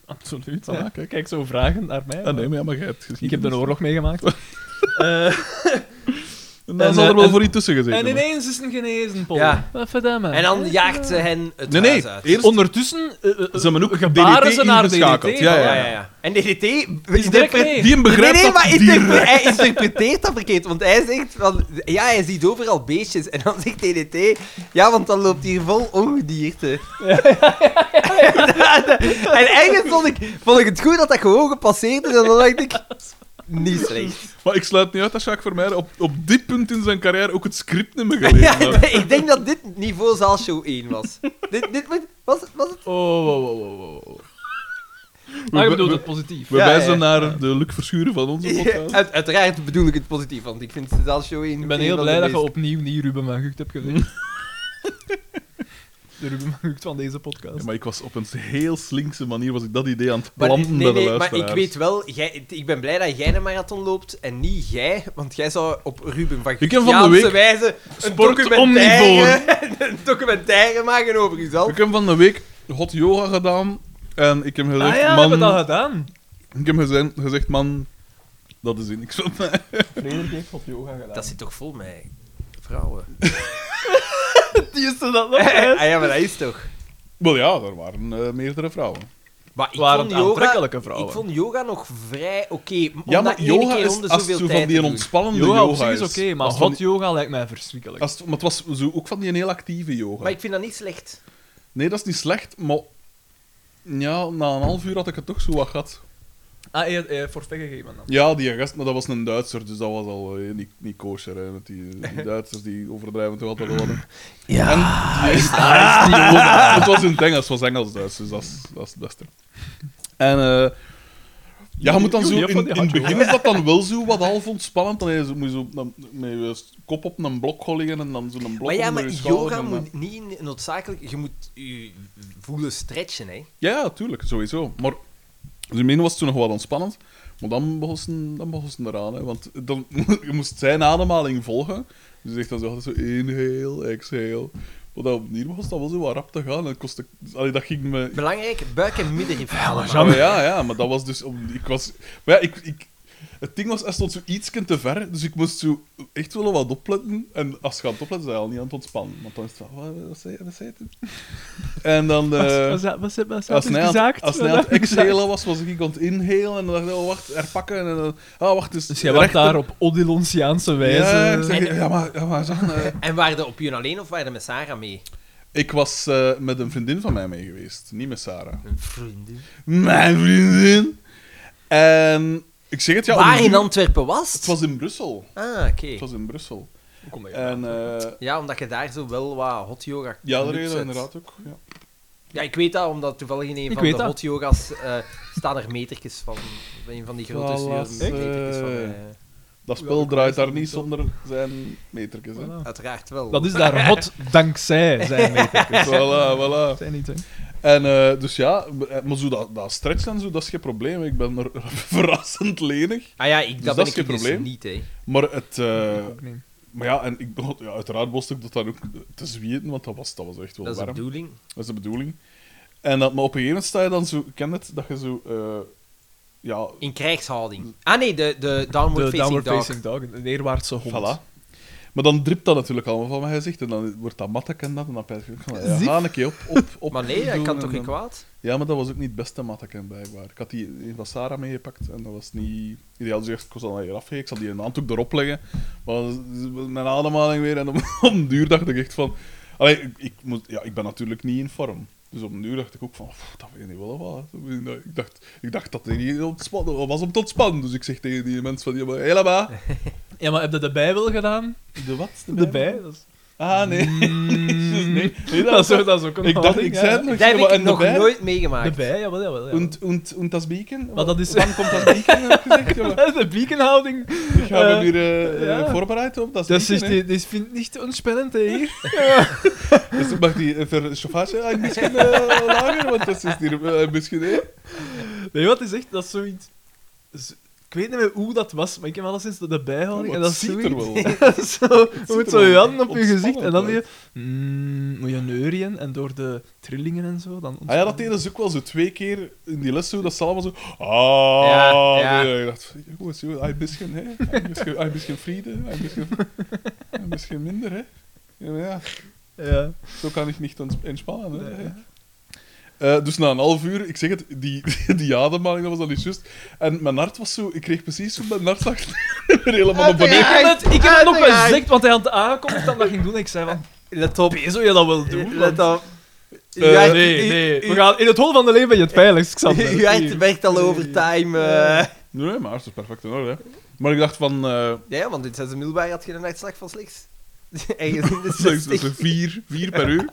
Absoluut.
Voilà,
hè.
kijk.
Kijk zo vragen naar mij.
Ah, nee, maar ja, maar jij hebt gezien.
Ik heb de oorlog meegemaakt. Eh,
En dan
En,
zal er
eh,
Nou, wel
en-
voor iets tussen gezeten
en
worden.
ineens is het een genezen, Paul.
Ja.
Wat verdamme.
En dan jaagt ze hen het
Nee,
huis
nee,
uit.
eerst-
Ondertussen eh, eh, eh,
Ze hebben ook
gebaren
DDT
ze naar
ingeschakeld.
DDT.
Ja,
Ja, ja, ja. En DDT...
Is direct mee.
Die
Nee,
hem begrijpt
nee, maar
dat
interpre-
direct.
hij interpreteert dat verkeerd. Want hij zegt van... Ja, hij ziet overal beestjes. En dan zegt DDT... Ja, want dan loopt hier vol
*laughs*
ongedierte. en eigenlijk vond ik, vond ik het goed dat dat gewoon gepasseerd is. En dan dacht ik... Niet slecht.
*laughs* Maar ik sluit niet uit dat Jacques Vermeijden op, op dit punt in zijn carrière ook het script niet meer
Ja,
gelezen heeft.
*laughs* ik denk dat dit niveau zaalshow 1 was. Dit, dit moet- was, het- was het...
Oh, wow, wow, wow, wow, wow.
We,
Maar ik bedoel
we-
het positief.
we
Ja,
wijzen
ja.
naar de Luc Verschuren van onze
Ja,
podcast.
uit- uiteraard bedoel ik het positief, want ik vind het al show in.
Ik ben heel blij dat je opnieuw niet Ruben van Gucht hebt gezien. *laughs* de Ruben van Gucht van deze podcast.
Ja, maar ik was op een heel slinkse manier was ik dat idee aan het
Maar,
planten
nee,
bij de
nee, maar ik
luisteraars.
weet wel, jij, ik ben blij dat jij een marathon loopt en niet jij, want jij zou op Ruben van
Ik heb van de
Guchtiaanse
week
wijze een
sport
documentaire, *laughs* een documentaire maken over jezelf.
Ik heb van de week hot yoga gedaan en ik heb
ah
gezegd,
ja, we hebben
man,
dat gedaan.
ik heb gezegd, gezegd, man, Dat is niks van mij.
Frederik heeft wat yoga gedaan.
Dat zit toch vol met vrouwen?
die is er dat *laughs*
ah ja, maar dat is toch.
*laughs* Wel ja, er waren eh, meerdere vrouwen.
Maar ik
Waren
vond,
het
yoga,
aantrekkelijke vrouwen?
ik vond yoga nog vrij oké. om dat
ja, maar
één
yoga
keer
is
om de
als het
zoveel
zo
tijd
van die
te doen.
ontspannende
yoga,
yoga,
op zich is
is.
oké, maar
als van
hot
die-
yoga lijkt mij verschrikkelijk.
als het- maar het was zo ook van die een heel actieve yoga.
Maar ik vind dat niet slecht.
Nee, dat is niet slecht, maar... Ja, na een half uur had ik het toch zo wat gehad.
Ah, hij heeft forfait gegeven dan.
Ja, die gast, maar dat was een Duitser, dus dat was al eh, niet, niet kosher. Hè, met die,
*laughs*
die Duitsers die overdrijven toch altijd wel. hè.
Ja.
En die is, ah, die wonen- het was in het Engels, het was Engels-Duits, dus dat is, dat is het beste. En eh, ja, je moet dan
Jullie
zo, in,
hebben
in
van die
het
hardcore.
begin is dat dan wel zo wat half ontspannend. Dan is- moet je zo dan, met je kop op een blok gaan liggen en dan zo'n blok
Maar ja,
onder
maar
je schouder
yoga
en dan-
moet niet noodzakelijk... Je moet je voelen stretchen, hè.
Ja, ja, tuurlijk, sowieso. Maar dus min was het toen nog wel ontspannend. Maar dan begon ze, dan begon ze eraan, hè. want dan, *laughs* je moest zijn ademhaling volgen. Dus je zegt dan zo altijd zo inhale, exhale. Maar dan op die manier begon dat wel zo wat rap te gaan. En dat, kostte, allee, dat ging me...
Belangrijk, buik- en middenrif.
Ah,
Ja, maar
Ja, maar ja, ja, maar dat was dus... om- ik was, maar ja, ik, ik, het ding was, hij stond zo ietsken te ver, dus ik moest zo echt wel wat opletten. En als je aan het opletten, zijn al niet aan het ontspannen. Want dan is het van, wat, wat zei wat zei het? En dan... eh,
Wat zit dat?
als
Als
hij aan het- als
*laughs*
hij aan het
exhalen.
exhalen was, was ik aan het inhalen en dan dacht ik, oh wacht, herpakken en dan, oh wacht, dus...
Dus jij wacht daar op Odilonsiaanse wijze.
Ja, ik zeg, ja maar, ja, maar Jean, eh,
En waren er op je alleen of waren er met Sarah mee?
ik was eh, met een vriendin van mij mee geweest, niet met Sarah.
Een vriendin.
Mijn vriendin! En ik zeg het, ja... om
Waar
de-
in Antwerpen was
Het was in Brussel.
Ah, oké.
Het was in Brussel.
Hoe komt dat?
En eh,
Ja, omdat je daar zo wel wat hot yoga
ja, dat
clubs
reden
hebt.
inderdaad ook. Ja.
Ja, ik weet dat, omdat toevallig in een
Ik
van
weet
de
dat.
hot yoga's eh, staan er metertjes van. Bij een van die grote
Voilà,
studios.
zeg.
metertjes van, eh,
Dat
Ja,
spel
dat
draait
is
daar
niet
niet
zo.
zonder zijn metertjes. Hè.
uiteraard wel.
Dat is daar hot *laughs* dankzij zijn *laughs* metertjes.
Voilà, voilà.
Zijn niet, hè.
En eh, dus ja, maar zo dat, dat stretchen en zo, dat is geen probleem. Ik ben er *laughs* verrassend lenig.
Ah ja, ik,
Dus
dat,
dat
ben
is
ik
geen
dus
probleem.
niet, hè.
Maar het... eh,
Ook niet.
maar ja, en ik begon, ja, uiteraard was ik dat dan ook te zwieten, want dat was, dat was echt wel
Dat is de
warm.
bedoeling.
Dat is de bedoeling. En dat, maar op een gegeven moment sta je dan zo... Ik ken het, dat je zo... eh, ja,
In krijgshouding. Ah nee, de, de downward,
De
facing,
downward
dog.
facing dog, een neerwaartse hond.
voilà. Maar dan dript dat natuurlijk allemaal van mijn gezicht. En dan wordt dat matte en dat. En dan pijs ik ook van, ja,
Zief.
ga een keer op, op, op.
Maar nee, dat
doen
kan
en
toch geen
dan-
kwaad?
Ja, maar dat was ook niet het beste matteken blijkbaar. Ik had die een van Sarah meegepakt en dat was niet ideaal. Dus ik dacht, ik was al hier afgegaan, ik zal die een handdoek erop leggen. Maar mijn ademhaling weer en *laughs* om, om duur dacht ik echt van... Allee, ik, ik, moet, ja, ik ben natuurlijk niet in vorm. Dus op een duur dacht ik ook van, "Pff, dat weet ik niet wel of wat. Ik dacht, ik dacht dat hij niet ontspannen was om te ontspannen. Dus ik zeg tegen die mensen van, ja, maar helemaal.
Ja, maar heb je de bijbel gedaan?
*laughs* De wat?
De bij? Dat is,
Ah, nee. Dus
Mm,
nee, nee,
dat,
was-
is, dat is ook een
*laughs* Ik dacht,
houding,
ik
ja.
zei het nog.
Dat heb
maar
ik
en de
nog
bij?
nooit
De
meegemaakt.
bij, jawel, jawel. jawel.
Und, und, und das Beacon?
Maar dat is-
Wann kommt das Beacon? Heb ik gezegd, jongen?
*laughs* de beaconhouding.
Ik ga me
Eh,
hier eh,
ja.
eh, voorbereiden op dat.
Dat is,
niet, hè.
die, die vindt niet ontspannend, hè, hier.
Dus ik mag die eh, ver chauffage een beetje eh, lager, want dat is hier eh, een beetje. eh.
*laughs* Nee, wat is echt, dat is zoiets... z- Ik weet niet meer hoe dat was, maar ik heb alleszins de- de bijhouding.
Oh,
en
wat
dat is
ziet er
*laughs* zoiets-
wel.
dat is zo, je
ziet
moet
er
zo
wel
je handen op je
ontspannend
gezicht en dan
uit.
je... Mm, moet je neurien en door de trillingen en zo dan
Ah ja, dat
ontspannen.
deden ze ook wel zo twee keer in die les, zo, dat ze allemaal zo. Ah,
Ja, ja.
nee, nee, ik dacht, jongens, joh, een beetje, hè? Een beetje- Een beetje vrede, een beetje, een beetje minder, hè? Ja, maar ja,
Ja.
zo kan ik niet onts- ontspannen, hè?
Nee.
Eh, dus na een half uur, ik zeg het, die, *laughs* die ademhaling, dat was dan niet juist. En mijn hart was zo, ik kreeg precies zo, mijn hart zag *laughs* weer helemaal naar beneden.
Ik heb het, ik heb het nog
Uiteraard.
gezegd, want hij had aangekondigd dat dat ging doen. Ik zei van,
Let op.
zo je dat wel doen.
Let op.
Eh,
U hart-
nee,
u-
nee. We
u-
gaan in het hol van de leven ben je het
*laughs*
veiligst, Xander.
Uw hart werkt al overtime. eh.
Nee, nee, maar het is perfect in orde. Hè. Maar ik dacht van, eh
Ja, want in 6 Milbaar had je een uitslag van slechts. *laughs* Ergens in de
dat is
60.
dat is vier, vier per uur.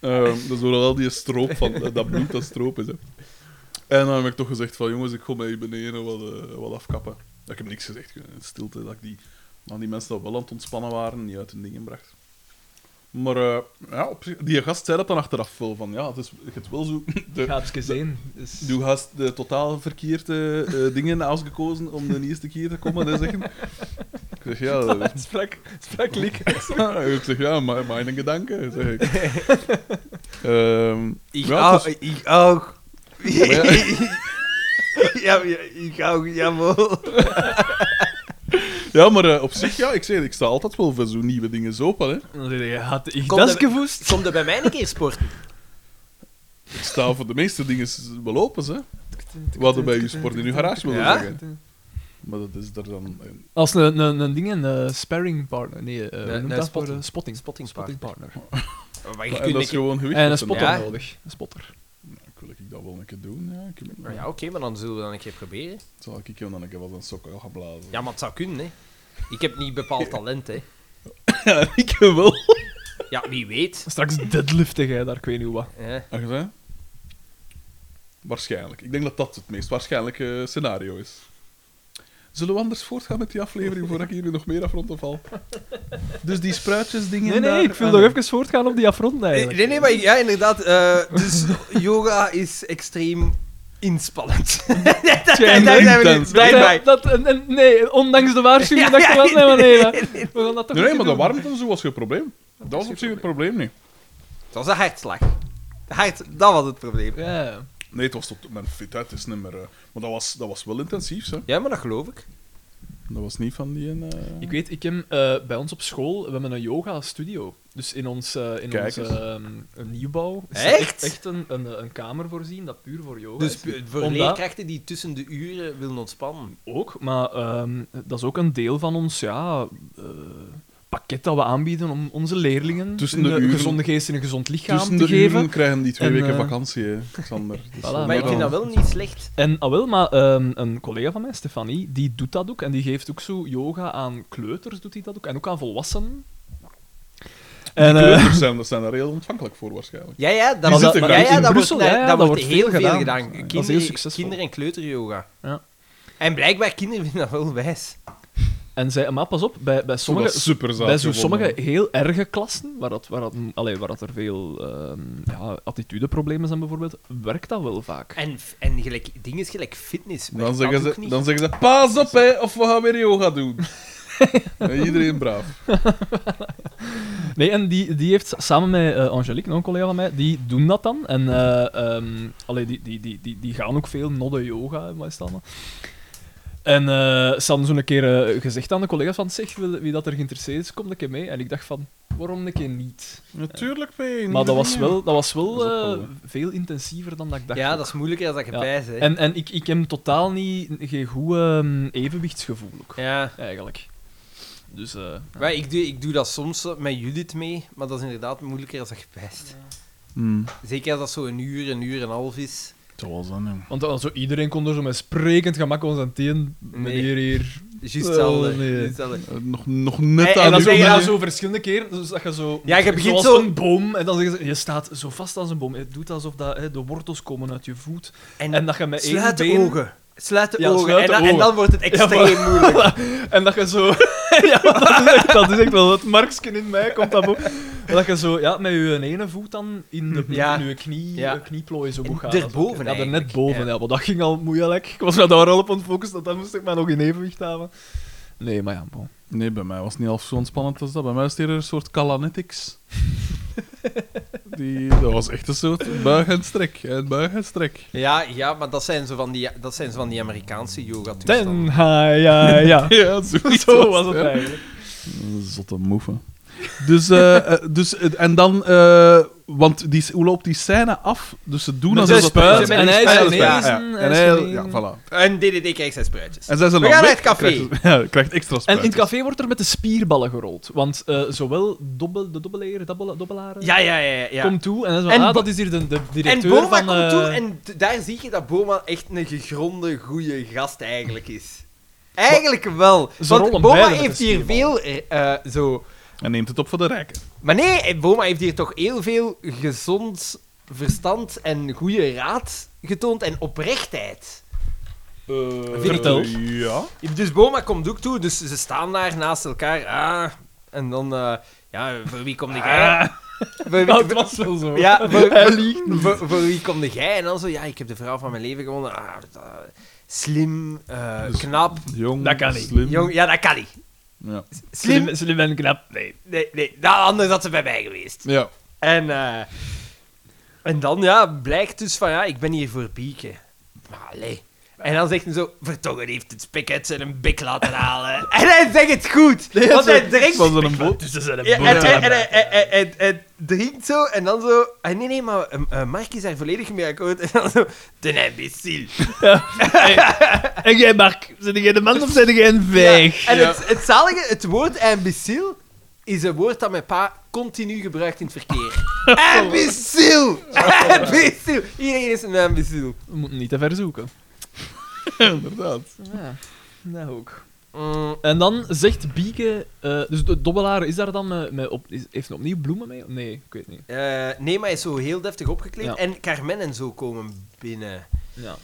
Ehm, dat is door al die stroop van eh, dat bloed dat stroop is. Hè. En dan heb ik toch gezegd van, jongens, ik ga mij hier beneden wat, eh, wat afkappen. Ik heb niks gezegd, in stilte, dat ik die, aan die mensen dat wel aan het ontspannen waren, niet uit hun dingen bracht. Maar eh, ja, op zich- die gast zei dat dan achteraf wel, van ja, het is het wel zo... *laughs* de-
Gaat gezien. Dus...
Du hast de totaal verkeerde eh, dingen uitgekozen om de eerste keer te komen en zeggen. Ik zeg ja, dat-
*laughs* Sprak, sprak Liek.
*laughs* ik zeg ja, maar mijn gedanken. Zeg
*laughs*
ik. Ehm,
Ik
ja, het
ook.
was-
Ik ook.
ja.
*laughs* Ja, ja, ik hou, jawel.
Ja, maar eh, op zich, ja, ik zeg het, ik sta altijd wel voor zo'n nieuwe dingen zo open, hè.
Dan zeg je, had ik
Kom,
dat
dat-
gevoest?
Kom er bij mij een keer sporten.
Ik sta voor de meeste dingen s- wel open, hè. We hadden bij je sport in uw garage willen
Ja?
zeggen. Maar dat is er dan... een-
*laughs* Als een, een, een ding, een eh, sparring partner. Nee, eh hoe
Nee,
noemt
nee,
dat
spotting.
voor, eh, spotting.
Spotting
Spotting partner.
Maar je
En
kunt
dat is
een
gewoon gewicht.
En een
met z'n
spotter
Ja.
nodig. Een spotter.
allen. Ik wil ik dat wel een keer doen, ja. Ik,
keer- Ja, oké, maar dan zullen we dat een keer proberen.
Zal ik hem dan een keer wat een sokken gaan blazen?
Ja, maar het zou kunnen, hè. Ik heb niet bepaald talent, hè.
Ja, *laughs* ik wel.
Ja, wie weet.
Straks deadliften jij daar, ik weet niet hoe wat.
Eh,
Heb je gezien? Waarschijnlijk. Ik denk dat dat het meest waarschijnlijke eh, scenario is. Zullen we anders voortgaan met die aflevering voordat ik jullie nog meer afrond of val? Dus die spruitjesdingen.
Nee, nee,
daar-
eh, ik wil
Ah,
nog
nee.
even voortgaan op die afrond eigenlijk.
Nee, nee, maar ik- ja, inderdaad. eh, dus yoga is extreem inspannend.
Tja,
Daar
en-
zijn we
intens.
niet blij bij.
Dat, en- en- nee, ondanks de waarschuwing
Ja,
dat ik er
ja,
was, nee, maar nee. dat- We gaan dat toch
Nee, nee,
een
maar
keer
de
doen.
warmte en zo was geen probleem. Dat was op zich het probleem niet.
Het was een hartslag. Hart, dat was het probleem.
Ja.
Nee, het was tot mijn fitheid is niet meer. eh, maar dat was, dat was wel intensief, hè?
Ja, maar dat geloof ik.
Dat was niet van die. eh,
Ik weet, ik heb eh, bij ons op school, we hebben een yoga studio. Dus in ons, eh, in
Kijk
ons
eens.
eh, een nieuwbouw is
Echt?
er echt een, een, een kamer voorzien dat puur voor yoga
Dus
is.
pu- voor
Omdat-
leerkrachten die tussen de uren willen ontspannen.
Ook, maar ehm, dat is ook een deel van ons ja, eh, pakket dat we aanbieden om onze leerlingen
Tussen
een
de uren-
gezonde geest en een gezond lichaam
Tussen
te
de
geven.
uren krijgen die twee
En,
weken
eh,
vakantie, hè,
*laughs*
Xander. Dus
Maar ik
Maar ik
dan-
vind dat wel niet slecht.
En ah, wel, maar ehm, een collega van mij, Stefanie, die doet dat ook. En die geeft ook zo yoga aan kleuters, doet hij dat ook. En ook aan volwassenen. En,
Die
eh,
kleuters zijn, dat zijn daar heel ontvankelijk voor waarschijnlijk.
Ja, ja, dat,
Maar
wordt-
dat-
ja,
maar
ja,
in
dat
Brussel,
wordt,
hè,
dat,
dat
wordt
wordt
heel
veel
veel
gedaan.
gedaan.
Dat is heel
Kinderen,
succesvol.
kinder- en kleuteryoga.
Ja.
En blijkbaar kinderen vinden dat wel wijs.
en zij, maar pas op, bij, bij sommige,
dat super zaad
bij zo
gevonden.
sommige heel erge klassen, waar, dat, waar, dat, allee, waar dat er veel ehm, ja, attitudeproblemen zijn bijvoorbeeld, werkt dat wel vaak.
En, f- en gelijk, ding is gelijk fitness. werkt
Dan
dat
zeggen,
ook
ze,
niet.
dan zeggen ze: Pas op, hè, of we gaan weer yoga *laughs* doen. en iedereen braaf.
Nee, en die, die heeft samen met eh, Angelique, nog een collega van mij, die doen dat dan. En eh, ehm, allee, die, die, die, die, die gaan ook veel nodden yoga, en wat is dat allemaal. En eh ze hadden zo'n keer eh, gezegd aan de collega's van, zeg, wil- wie dat er geïnteresseerd is, kom een keer mee. En ik dacht van, waarom een keer niet?
Natuurlijk, ben
Maar dat was wel, dat was
Dat
wel
is ook wel,
eh, veel intensiever dan dat ik dacht.
ja, dat is moeilijker dan dat je
Ja.
bij bent.
En, en ik, ik heb totaal niet, geen goed ehm, evenwichtsgevoel, ook,
Ja.
eigenlijk. Dus, eh, ja.
Maar ik, doe, ik doe dat soms eh, met Judith mee, maar dat is inderdaad moeilijker als dat je bijst.
Hmm.
Zeker als dat zo een uur, een uur en een half is.
Dat was dan, ja.
Want dan, zo, iedereen kon er zo met sprekend gemak ons aan teen, meneer hier.
Juist
Wel,
hetzelfde,
nee.
juist hetzelfde.
Eh, Nog, nog net
Hey,
aan
En dan
uw-
zeg je
dat
dat
je-
zo verschillende keren, dus dat je zo...
Ja, je begint
zoals
zo-
een boom, en dan zeggen ze, je staat zo vast als een boom. Het doet alsof dat, hè, de wortels komen uit je voet. En dat je met één
sluit de
been... *laughs*
ogen. Sluit de
Ja,
ogen.
sluit
en,
de
dan- en
ogen.
dan wordt het extreem
maar-
moeilijk.
En dat je zo... *laughs* ja, dat is, echt, dat is echt wel het marksken in mij, komt dat boven. En dat je zo, ja, met je ene voet dan in, de,
Ja.
in je knie,
Ja.
je knieplooien zo
En
goed gaan.
daarboven
Ja, er net
eigenlijk,
boven,
ja.
ja. maar dat ging al moeilijk. Ik was me daar al op ontfocust, dat dan moest ik maar nog in evenwicht houden. Nee, maar ja, bon.
Nee, bij mij was het niet half zo ontspannend als dat. Bij mij was het eerder een soort *laughs* calanetics. die, dat was echt een soort buig en strek. En buig en strek.
Ja, ja, maar dat zijn zo van die, dat zijn zo van die Amerikaanse yoga
Ten, ha, ja, ja.
*laughs* Ja, zoiets
*laughs* Zo was het
ja.
eigenlijk.
Zotte moeven. Dus, eh, eh, dus eh, en dan, eh, want die, hoe loopt die scène af? Dus ze doen
Met
alsof dat-
zijn spuit
Ja,
en
met
hij
die
is
spuit,
genezen,
ja, ja.
hij
En
is
hij,
genezen.
ja, voilà.
En DDD krijgt zijn spruitjes.
En zij zijn
We
dan
gaan
weg,
naar het café.
Krijgt, *laughs* ja, krijgt extra
En in
spuitjes.
het café wordt er met de spierballen gerold. Want eh, zowel dobbel, de dobbeleren, dobbel, dobbelaren
Ja, ja, ja. ja.
komt toe. En, dan zo,
En
ah,
Bo-
dat is hier de, de
en
directeur
Boma
van...
komt toe
eh, *laughs*
en d- daar zie je dat Boma echt een gegronde, goede gast eigenlijk is. Eigenlijk wel.
Ze
Want
rollen
Boma
beide met
heeft
de
hier
spierbal.
veel eh, eh, zo...
En neemt het op voor de rijken.
Maar nee, eh, Boma heeft hier toch heel veel gezond verstand en goede raad getoond en oprechtheid. Eh,
Vertel.
Ja.
Dus Boma komt ook toe, dus ze staan daar naast elkaar. Ah, en dan, eh, ja, voor wie komt jij? Voor
Ah, *laughs* dat
wie,
was wel zo. *laughs*
ja, voor,
Hij liegt
voor, voor wie komt jij? En dan zo, ja, ik heb de vrouw van mijn leven gewonnen. Ah, dat, eh, slim, eh,
Dus-
knap,
Jong,
Dat kan niet.
slim.
jong. Ja, dat kan niet.
Ja.
Slim,
slim en knap. Nee.
nee, nee, dat, anders had ze bij mij geweest.
ja.
En, eh, en dan ja, blijkt dus van ja, ik ben hier voor pieken. Maar allee. En dan zegt hij zo, Vertongen heeft het spik uit zijn bik laten halen. En hij zegt het goed,
Ja,
want
zo-
hij drinkt...
Van zo'n boot.
Dus ze zijn een
Ja, en,
boot.
en, en, hij- hij- hij- hij- hij drinkt zo, en dan zo... Ah, nee, nee, maar eh, eh, Mark is daar volledig mee akkoord. *laughs* En dan zo, de imbecile.
En jij, Mark, zijn jij de man of zijn jij een
Ja, En
Ja.
het, het zalige, het woord imbecile is een woord dat mijn pa continu gebruikt in het verkeer. imbecile! imbecile! Iedereen is een imbecile.
We moeten niet te ver zoeken.
*laughs* Inderdaad.
Ja, dat Nou, ook.
Mm,
En dan zegt Bieke... eh, dus de dobbelaar is daar dan eh, met... met op, is, heeft hij opnieuw bloemen mee? Nee, ik weet niet.
eh, nee, maar hij is zo heel deftig opgekleed.
Ja.
En Carmen en zo komen binnen.
Ja.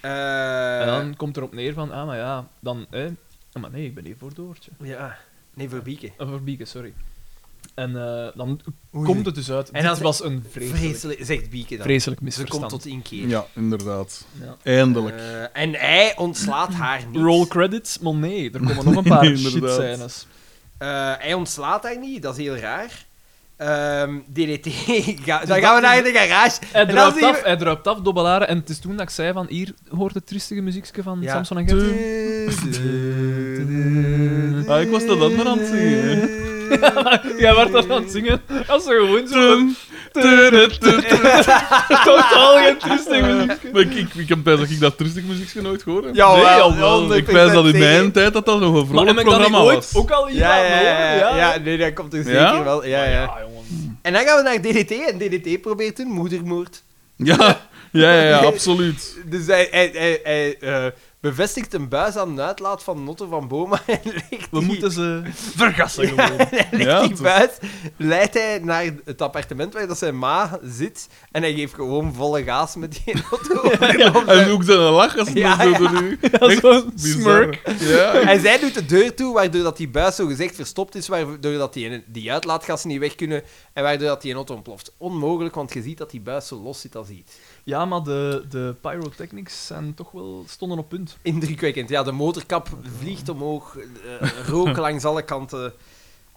Eh,
En dan komt erop neer van... Ah, maar ja, dan... Eh, ah, maar nee, ik ben hier voor Doortje.
Ja, nee, voor Bieke.
Eh, voor Bieke, sorry. En eh, dan
Oei.
komt het dus uit.
En
Dit
als-
was een vreselijk,
Vreselijk, zegt Bieke dan.
vreselijk
Ze komt
misverstand.
tot inkeer.
Ja, inderdaad.
Ja.
Eindelijk.
Eh, en hij ontslaat haar niet.
Roll credits? Maar nee, er komen nog een paar
Nee,
shit
inderdaad.
scènes.
Eh, hij ontslaat haar niet, dat is heel raar. Ehm, DDT, *laughs* ga- dan gaan we naar de garage.
Hij
En dan
druipt
zien
af,
we...
hij druipt af, dobbelaren. En het is toen dat ik zei van, hier hoort het triestige muziekje van
Ja.
Samson en Gert.
*laughs*
Ah, ik was dat andere aan het zingen.
*laughs*
Jij werd dat aan het zingen. Als ze
*laughs*
gewoon zo...
Dun, dun, dun, *laughs* dun.
Totaal geen triestig muziek.
Maar ik, ik, ik heb thuis dat ik dat rustig muziekje nooit gehoord heb.
Jawel,
jawel. Ik
100%
wijs dat in
zeker.
mijn tijd dat dat nog een
Maar
vrolijk
heb ik dat niet
programma
ooit
was.
ook al hier
Ja,
aan
ja, ja,
horen?
ja,
Ja.
ja, nee, dat komt er zeker
Ja?
wel. Ja, ja.
Ah, jongens.
En dan gaan we naar DDT en DDT probeert een moedermoord.
Ja, ja, ja, ja, absoluut.
Dus hij, hij, hij, hij, eh, bevestigt een buis aan de uitlaat van Notte van Boma *laughs* en legt
We
die,
moeten ze vergassen
*laughs*
gewoon.
en legt
Ja,
die
het was-
buis, leidt hij naar het appartement waar dat zijn ma zit en hij geeft gewoon volle gaas met die *laughs* auto.
*laughs* En ook zijn lach als het
Ja,
dan zo
*laughs*
door u.
Als
bizar.
zo'n smirk.
Ja,
En zij doet de deur toe, waardoor dat die buis zo gezegd verstopt is, waardoor dat die, die uitlaatgassen niet weg kunnen en waardoor dat die een auto ontploft. Onmogelijk, want je ziet dat die buis zo los zit als iets.
Ja, maar de, de pyrotechnics zijn toch wel, stonden op punt.
Indrukwekkend. Ja, de motorkap vliegt omhoog, eh, rook langs alle kanten,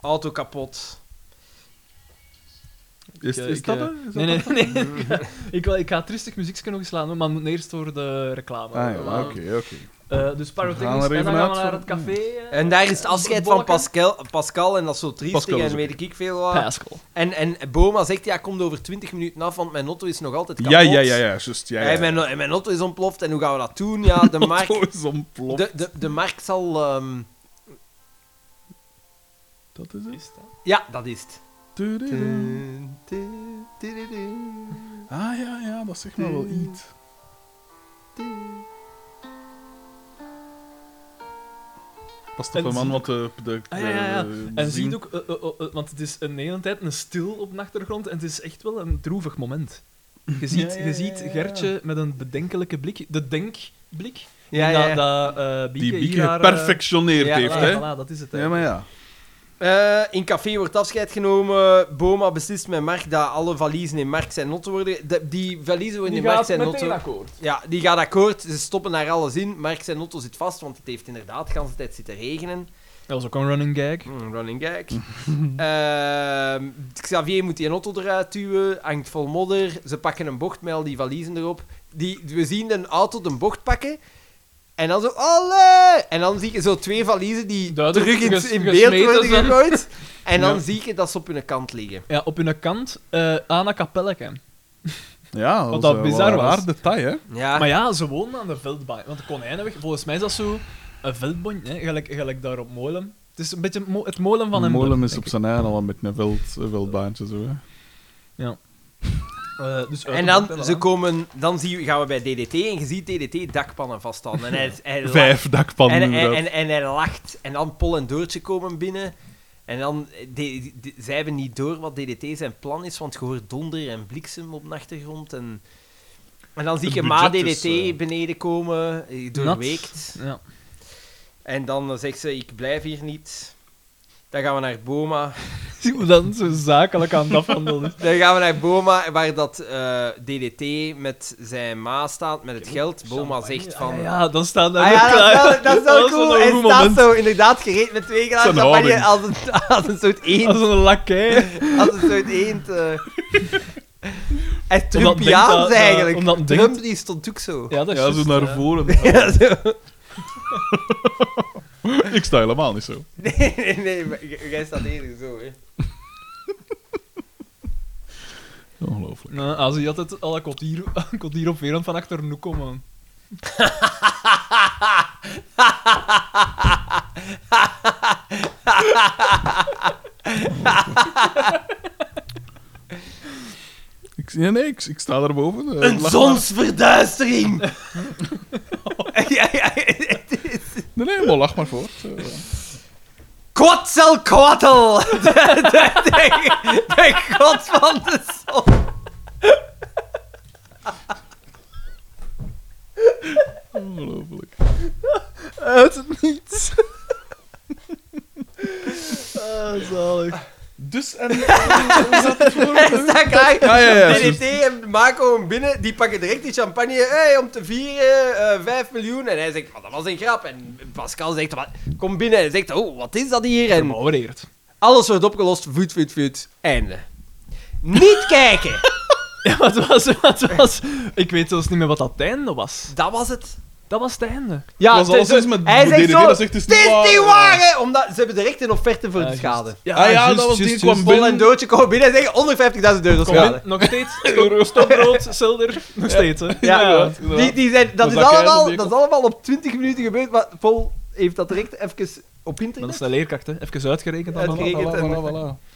auto kapot.
Is,
Ik,
is
ik,
dat
eh,
het? Is dat
Nee, nee,
het?
nee. *laughs* ik, ga- ik, wil- ik ga het tristig muziekje nog eens slaan, hoor, maar we moeten eerst door de reclame.
Ah ja,
Maar-
oké, oké.
Eh, dus
We gaan
pyrotechnics,
er
en
even
dan gaan
uit
we naar
voor-
het café. eh,
En daar is het afscheid van
Bolleke.
Pascal, Pascal en dat is zo triestig
Pascal is
en
ook-
weet ik veel wat.
Pascal.
En, en Boma zegt, ja, kom over 20 minuten af, want mijn auto is nog altijd kapot.
Ja, ja, ja, ja, juist. Ja,
En
ja.
mijn, en mijn auto is ontploft en hoe gaan we dat doen?
*laughs*
Ja, de markt...
Otto is ontploft.
De, de, de markt zal... ehm,
Dat is het.
Ja, dat is het.
Tududu. Ah ja, ja, dat zegt maar wel iets. Past op
En
een man
zie
wat de, de,
Ah, ja, ja, ja.
de- de
En zie
zin-
je ook, eh, eh, eh, eh, want het is een hele tijd een stil op de achtergrond en het is echt wel een droevig moment. Je ziet,
*laughs* ja,
je
ja,
ziet
ja, ja.
Gertje met een bedenkelijke blik, de denkblik,
Ja, ja, ja.
dat eh
die
Bieke
Bieke
hier haar, eh,
geperfectioneerd
ja,
heeft,
voilà,
hè?
voilà, dat is het.
Ja, maar ja.
Eh, in café wordt afscheid genomen. Boma beslist met Mark dat alle valiezen in Mark zijn notte worden. De- die valiezen worden in Mark zijn notte.
akkoord.
Ja, die gaat akkoord. Ze stoppen daar alles in. Mark zijn notto zit vast, want het heeft inderdaad de hele tijd zitten regenen.
Dat was ook een running gag.
Hmm, running gag. *laughs* Ehm, Xavier moet die auto eruit duwen, hangt vol modder. Ze pakken een bocht met al die valiezen erop. Die, we zien een auto de bocht pakken. En dan zo, alle! En dan zie je zo twee valiezen die
Duidelijk
terug in,
ges-
in beeld
gesmeten
worden
zijn. *laughs*
gegooid. En dan
Ja.
zie je dat ze op hun kant liggen.
Ja, op hun kant, eh Anna Kapelleke.
Ja,
Wat
was,
dat
eh,
bizar
wel een
was. Ah.
raar detail, hè?
Ja,
Maar ja, ze wonen aan de veldbaan. Want de konijnenweg, volgens mij is dat zo een veldbond, hè? Gelijk, gelijk daar op Molen. Het is een beetje het mo- het molen van een.
Molen is op zijn eigen al met een wild, een wildbaantje, zo, hè?
dus uit
en
de
dan,
Montella.
ze komen, dan zie je, gaan we bij DDT en je ziet DDT dakpannen vasthouden. En hij,
*laughs*
hij lacht.
Vijf dakpannen,
En, en,
inderdaad.
en, en hij lacht. En dan Pol en Doortje komen binnen. En dan, eh, de- de- zij hebben niet door wat DDT zijn plan is, want je hoort donder en bliksem op de achtergrond. En, en dan zie
Het
je ma DDT
budget is, eh,
beneden komen, eh, doorweekt.
Ja. *laughs*
En dan eh, zegt ze, ik blijf hier niet. Dan gaan we naar Boma.
Zie hoe dat zo zakelijk aan het afhandelen is.
Dan gaan we naar Boma, waar dat eh, DDT met zijn ma staat, met het geld. *laughs* Boma zegt van...
Ah, ja, dan staan daar
Ah
ook
ja, dat is wel-
klaar.
dat
*laughs*
is wel
was
cool.
een
Hij
goed
staat
moment.
zo inderdaad gereed met twee glazen
Zijn
champagne
houding.
als een, *laughs* als een soort eend.
Als een lakij.
Als een soort eend. eh. En
Omdat denkt dat,
Trumpiaans
eh,
eigenlijk.
omdat denkt-
Trump die stond ook zo.
Ja, dat is
Ja, zo
juist,
naar
eh.
voren.
*laughs*
*laughs*
Ja, zo.
Ik sta helemaal niet zo.
Nee, nee, nee, maar j- jij staat eerder zo, hè.
Ongelooflijk.
Nou, als hij altijd al een kwartier, een kwartier op weer van achter nu komen.
Ik, nee, nee, ik, ik sta daarboven. eh,
Een
lach maar.
zonsverduistering! *laughs* ja, ja, het is...
Nee, nee, maar lach maar voort. eh.
Kwatselkwattel! *laughs* De, de, de, de god van de zon.
Ongelooflijk.
Uit niets. ah, zalig.
Dus, en... hoe zat het voor?
Hij *laughs* staat graag.
Ja, ja, ja,
DDT en Marco hem binnen, die pakken direct die champagne hey, om te vieren, eh 5 miljoen. En hij zegt, "Maar dat was een grap. En Pascal zegt, "Wat- kom binnen. En hij zegt, oh, wat is dat hier? En
Gemoureerd.
alles wordt opgelost, voet, voet, voet. Einde. Niet *laughs* kijken!
*laughs* Ja, maar het was, het was... Ik weet zelfs niet meer wat dat het einde was.
Dat was het.
Dat was het einde.
Ja,
Was
het is
alles
zo-
met
hij
DDT,
zegt zo,
dat zegt, "Het is niet waar."
hè, Omdat ze hebben direct een offerte voor
Ah,
de
juist.
schade.
Ah ja, dat was die kwam
juist.
Bol en Doodje komen binnen en zeggen 150.000 euro
Kom
schade.
in, nog steeds. Stokbrood, zilder, nog steeds, hè.
Ja,
inderdaad, inderdaad.
Die, die zijn, dat,
Was
is
dat keihard
allemaal,
op die
dat is allemaal op 20 minuten gebeurd, maar Paul heeft dat direct even op
Dat
internet.
is een leerkracht, hè. Even uitgerekend. allemaal.
Uitgerekend.
Voilà, voilà, voilà.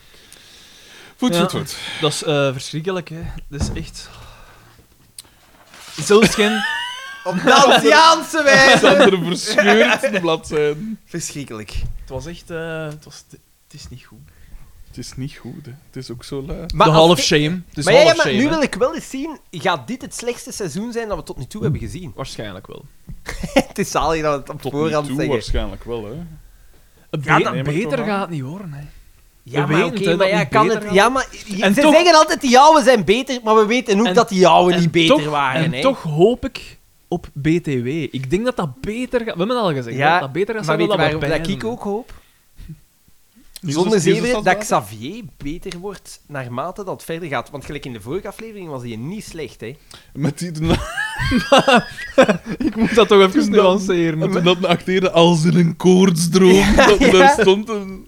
Voet,
Ja.
voet, voet.
Dat is eh, verschrikkelijk, hè. Dat is echt... Zelfs geen...
Op
*laughs*
Dansiaanse wijze.
Sander verscheurt de bladzijden.
Verschrikkelijk.
Het was echt... eh, het, was, het is niet goed.
Het is niet goed, hè. Het is ook zo eh, lui.
De
als
Hall of
ik-
Shame. Het is
maar ja,
Hall
ja,
of
maar
Shame,
nu
hè.
wil ik wel eens zien, gaat dit het slechtste seizoen zijn dat we tot nu toe hebben gezien?
Waarschijnlijk wel.
*laughs* het is zalig dat we het op
Tot nu
voorhand
toe
zeggen.
waarschijnlijk wel, hè.
Ja,
Be-
dat
neem ik
beter
toch aan.
gaat het niet worden, hè.
Ja,
We
maar
weten
oké,
het,
maar
dat
ja,
niet
kan
beter
het...
gaan.
Ja, maar je-
En
ze
toch-
zeggen altijd, die jouwen zijn beter, maar we weten ook
En-
dat die jouwen niet
En
beter
toch-
waren,
En
hè.
toch hoop ik op BTW. Ik denk dat dat beter gaat... We hebben het al gezegd,
Ja,
dat dat beter
maar
gaat zijn
weet
dan
je
dat
waarom
we
dat ik
peilen.
ook hoop?
Is
Zonder
dat- is
zeven dat
standaard?
Xavier beter wordt naarmate dat verder gaat. Want gelijk in de vorige aflevering was hij niet slecht, hè.
Met die... Toen
Ik moet dat toch even
*laughs*
Toen dan-
nuanceren.
toen dat me acteerde als in een koortsdroom. dat
ja.
me daar stond en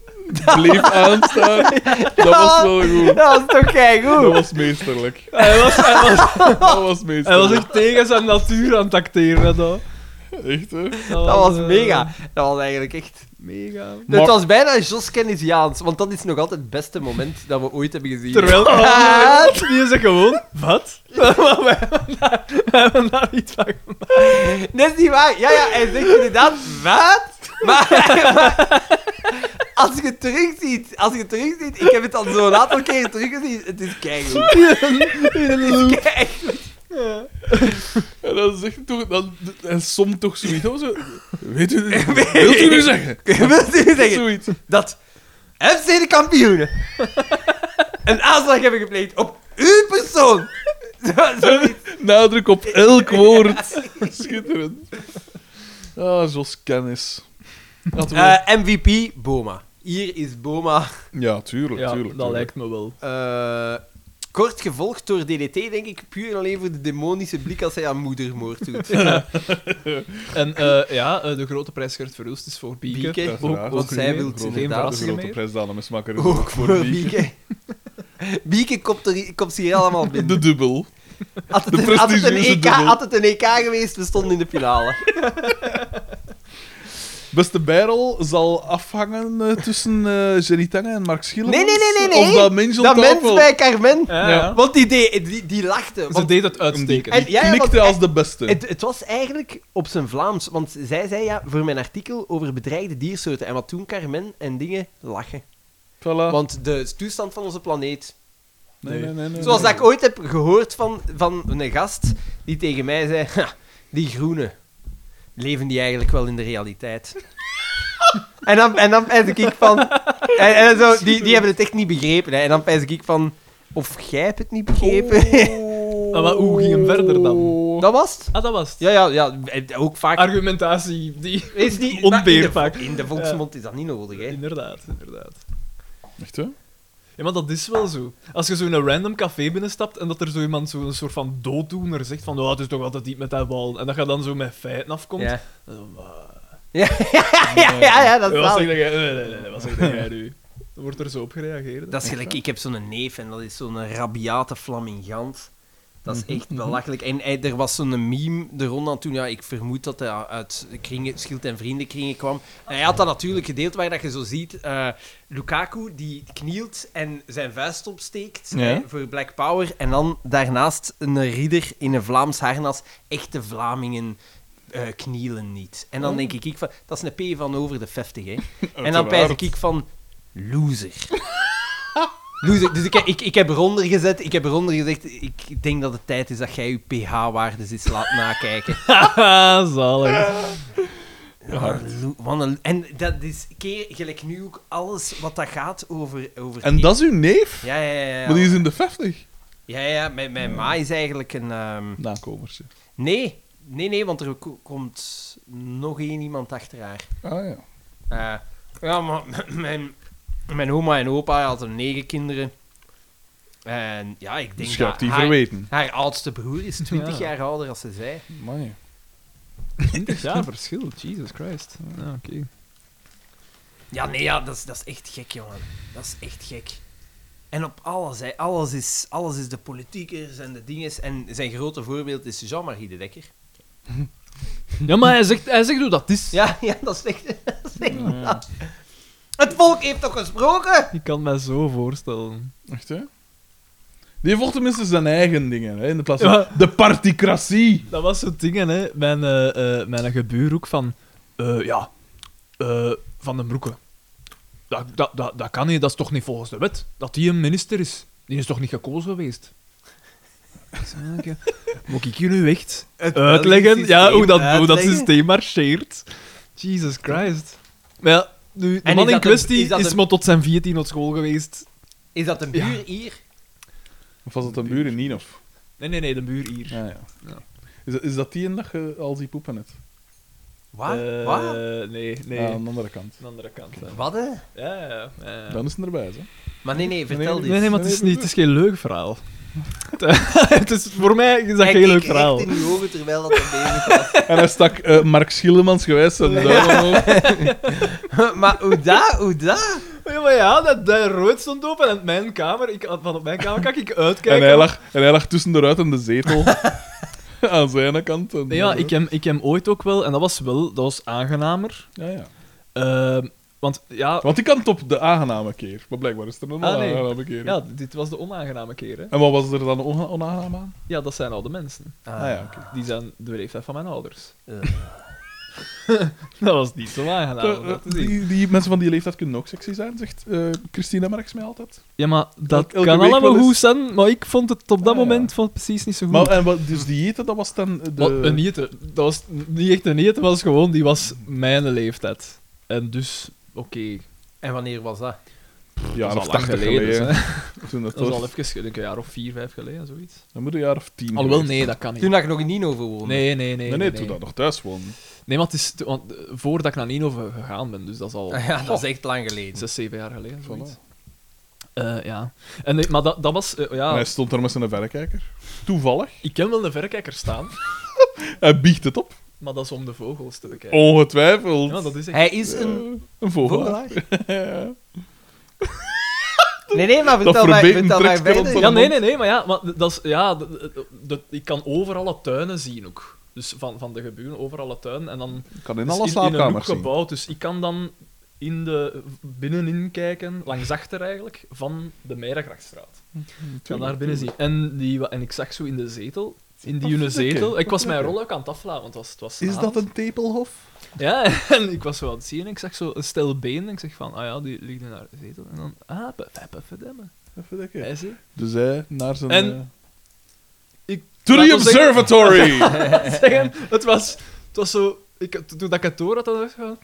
bleef aanstaan. Dat was wel goed.
Dat was toch
Dat
keigoed.
was meesterlijk.
Hij was, hij, was,
Dat was
hij was
meesterlijk.
echt tegen zijn natuur aan het acteren. hè, Dat,
Echt, hè.
*laughs* Dat was
eh,
mega. Dat was eigenlijk echt...
Mega.
Maar-
Het was bijna Jos Kennisiaans, want dat is nog altijd het beste moment dat we ooit hebben gezien. *laughs*
Terwijl Oh,
Ah.
die is er gewoon.
*laughs*
Wat? *laughs* Maar wij hebben daar- wij hebben daar iets van gemaakt.
Dat is niet waar. Ja, ja, hij zegt inderdaad, wat? Maar, *laughs* maar als je het terugziet, als je het terugziet, ik heb het al zo'n aantal keren teruggezien, het is keigoed. *laughs* Keigoed.
En dan zegt hij toch... Dan, en somt toch zoiets. Dat was zo...
*laughs*
Weet u... Wilt u nu zeggen?
Wilt u zeggen
Zoiets.
dat FC de kampioenen *laughs* een aanslag hebben gepleegd op uw persoon? *laughs* Zo- zoiets.
Nadruk op elk woord. *laughs* Schitterend. Ah, zoals kennis. Laten we-
Eh, MVP, Boma. Hier is Boma.
ja, tuurlijk,
Ja,
tuurlijk.
dat
tuurlijk.
lijkt me wel.
Eh, kort gevolgd door DDT, denk ik, puur en alleen voor de demonische blik als hij aan moedermoord *laughs* doet.
*laughs*
En eh, ja, eh, de grote prijs Gert Verhulst is voor Bieke.
Bieke.
Uiteraard.
Ook- ook
Want zij
geen-
wil
geen
inderdaad.
De
verrassingen
grote
meer.
prijs dan is makker
Ook voor
Bieke.
Bieke. Bieke komt, er, komt ze hier allemaal binnen.
De dubbel.
Had het,
de
een, had, het een
prestigieuze
EK,
dubbel.
had het een EK geweest, we stonden in de finale.
Beste bijrol zal afhangen eh, tussen eh Jenny Tange en Mark Schiller.
Nee, nee, nee, nee, nee.
Of dat mensje
Dat mens bij Carmen.
Ja,
Ja.
Want die, deed- die, die lachte.
Ze
want
deed het uitstekend.
En- ja, ja,
knikte
want-
als de beste.
het, het was eigenlijk op zijn Vlaams. Want zij zei ja, voor mijn artikel over bedreigde diersoorten. En wat doen Carmen en dingen? Lachen.
Voilà.
Oh.
Want de toestand van onze planeet
nee, nee, nee, nee,
Zoals
nee.
dat ik ooit heb gehoord van, van een gast die tegen mij zei: "Ha, die groenen, leven die eigenlijk wel in de realiteit?
*laughs*
en dan, en dan pijs ik van. En, en zo, die, die hebben het echt niet begrepen. Hè. En dan pijs ik van: of jij hebt het niet begrepen?
Ah, maar hoe ging hem verder dan?
dat was het.
Ah, dat was het.
Ja, ja, ja. en Ook vaak.
Argumentatie, die...
Is die, maar in de-
Ontbeerlijk.
In de volksmond is dat niet nodig, hè?
Inderdaad, inderdaad.
Echt, hè?
Ja, maar dat is wel zo. Als je zo in een random café binnenstapt en dat er zo iemand zo'n soort van dooddoener zegt van oh, het is toch altijd niet met dat bal. En dat je dan zo met feiten afkomt.
Ja. *laughs*
dan zo, "Ah."
Ja, ja, ja, ja, dat is
Ja, Wat
wel.
zeg jij? Nee, nee, nee, nee, wat zeg jij nu? Dan wordt er zo op gereageerd.
Dat is gelijk, ik heb zo'n neef en dat is zo'n rabiate flamingant. Dat is echt belachelijk. En hij- er was zo'n meme er rond aan toen, ja, ik vermoed dat hij uit kringen, schild- en vriendenkringen kwam. En hij had dat natuurlijk gedeeld waar dat je zo ziet, eh, Lukaku die knielt en zijn vuist opsteekt
Ja.
hè, voor Black Power. En dan daarnaast een ridder in een Vlaams harnas, echte Vlamingen. eh, knielen niet. En dan denk ik van, dat is een P van over de 50, hè.
Eh,
En dan pijs ik van loser. *laughs* loser. Dus ik, ik, ik heb eronder gezet. Ik heb eronder gezegd. Ik denk dat het tijd is dat jij je pH-waardes eens laat
*laughs*
nakijken.
Haha, *laughs*
*laughs*
zalig.
Ja, lo- wat een- en dat is keer gelijk nu ook alles wat dat gaat over. over
En dat is uw neef?
Ja, ja, ja. ja.
Maar die is in de 50.
Ja, ja. Mijn, mijn ma is eigenlijk een. ehm,
Nakomertje.
Nee, nee, nee, want er ko- komt nog één iemand achter haar.
Ah ja.
Eh, ja, maar *clears throat* mijn, mijn oma en opa hadden negen kinderen. En ja, ik denk
Dus je
dat
hebt die
haar,
verweten.
haar oudste broer is 20
Ja.
jaar ouder als ze zij.
Amai.
20 jaar verschil, Jesus Christ. Ja, oké.
Ja, nee, ja, dat, is, dat is echt gek, jongen. Dat is echt gek. En op alles, hè. Alles is, alles is de politiekers en de dinges. En zijn grote voorbeeld is Jean-Marie de Dekker.
Ja, maar hij zegt, hij zegt hoe dat is.
Ja, *laughs* ja, dat is echt... Dat is echt Het volk heeft toch gesproken?
Ik kan me zo voorstellen.
Echt hè? Die vocht tenminste zijn eigen dingen, hè, in de plaats van
Ja.
de particratie.
Dat was zo'n ding, hè. Mijn, eh, eh, mijn gebuur ook van... eh, ja, eh, Van den Broeke. Dat, dat, dat, dat kan niet, dat is toch niet volgens de wet. Dat die een minister is. Die is toch niet gekozen geweest? Ik zei, ja, *laughs* oké. Moet ik je nu echt uitleggen ja, hoe, dat, hoe dat systeem marcheert? Jesus Christ. Maar ja, nu,
is
de man in
dat een-
kwestie
is
is,
dat een-
maar tot zijn 14 op school geweest.
Is dat een buur hier?
Of was dat een buur in Ninov?
Nee, nee, nee, de buur hier.
Ah, ja.
Ja.
Is, dat- is dat die een dag je al die poepen hebt?
Wat?
Eh,
Wat?
Nee, nee.
Ah, aan de andere kant.
Aan de andere kant. hè.
Wat, hè?
Ja, ja, ja, ja.
Dan is het erbij, hè?
Maar nee, nee, vertel
nee,
dit.
Nee, nee, maar het is, niet, het is geen leuk
*laughs*
verhaal. het is, voor mij is dat
Hij
geen
keek
leuk
recht
verhaal.
in uw ogen terwijl dat er bezig was.
En hij stak eh, Mark Schillemans gewijs zijn duim
*laughs*
omhoog.
*laughs* maar hoe dat, hoe dat?
Ja, maar ja, dat, dat rood stond open en op mijn kamer, ik, van op mijn kamer kan ik
En
uitkijken.
hij lag, en hij lag tussen de ruit en de
*laughs*
zetel. aan zijn kant. En
Nee, ja, ik heb, ik heb ooit ook wel, en dat was wel, dat was aangenamer.
Ja, ja.
Ehm, want ja,
Want die kant op de aangename keer. Maar blijkbaar is er een
Ah, nee.
onaangename keer.
ja, dit was de onaangename keer. Hè.
En wat was er dan ona- onaangenaam aan?
Ja, dat zijn oude mensen.
Ah, ja, oké.
Die zijn de leeftijd van mijn ouders.
Eh.
dat was niet zo aangenaam. om
Eh, eh,
dat te zien.
die, die mensen van die leeftijd kunnen ook sexy zijn, zegt eh, Christina Marks mij altijd.
Ja, maar dat
Elke- elke
kan
week
allemaal
wel eens-
goed zijn, maar ik vond het op dat
Ah, ja.
moment vond het precies niet zo goed.
Maar, en wat, dus die eten, dat was dan eh, de...
Wat, een eten. Dat was niet echt een eten, was gewoon, die was mijn leeftijd. En dus, oké.
En wanneer was dat?
ja,
dat
of
is al lang
80 geleden.
geleden,
*laughs*
dus,
toen dat,
Dat was
was.
al even, ik denk een jaar of vier, vijf geleden, zoiets.
Dan moet een jaar of tien
Alhoewel,
geweest
nee,
zijn.
dat kan niet.
Toen dat ik nog in Nino woonde.
Nee, nee, nee. Oh.
Nee, nee, toen dat nog thuis woonde.
Nee, maar het is to- want, eh, voordat ik naar Nino ge- gegaan ben, dus dat is al
Ah, Ja, dat is echt lang geleden.
zes, zeven jaar geleden, zoiets.
Voilà.
Eh, ja. En, nee, maar dat, dat was... eh,
En
ja,
hij stond daar met zijn verrekijker. Toevallig.
ik ken wel een verrekijker staan,
Hij biegt het op.
maar dat is om de vogels te bekijken.
Ongetwijfeld. Eh,
Ja, dat is echt...
Hij is een...
Een
Oh.
*laughs* vogel.
Vogelaar? Nee, nee, maar vertel mij,
verbeet een
vertel mij
trekspel op
verder.
zo'n
Ja, nee, nee, nee, maar ja, maar d- dat is, ja d- d- d- ik kan overal alle tuinen zien ook. Dus van, van de geburen, overal alle tuinen. En dan
Kan in
dus
alle
een hoek
slaapkamers zien.
gebouwd, dus ik kan dan in de, binnenin kijken, langs achter eigenlijk, van de Meijergrachtstraat. Kan daar binnen zien. En, die, wa- en ik zag zo in de zetel, in die ene
verdikken.
zetel, ik was mijn rol ook aan het aflaan, want het was, het was
Is
avond.
dat een tepelhof?
Ja, *laughs* en ik was zo aan het zien en ik zag zo een stel been en ik zeg van, ah ja, die ligt in haar zetel. En dan, ah, verdamme,
Even
hij
denken.
is hier.
Dus hij naar zijn...
En-
eh,
Ik
To
laat
the
ons zeggen-
*laughs*
observatory!
*laughs* zeggen, het was, het was zo... Ik, toen dat ik het door had, dan dacht ik van...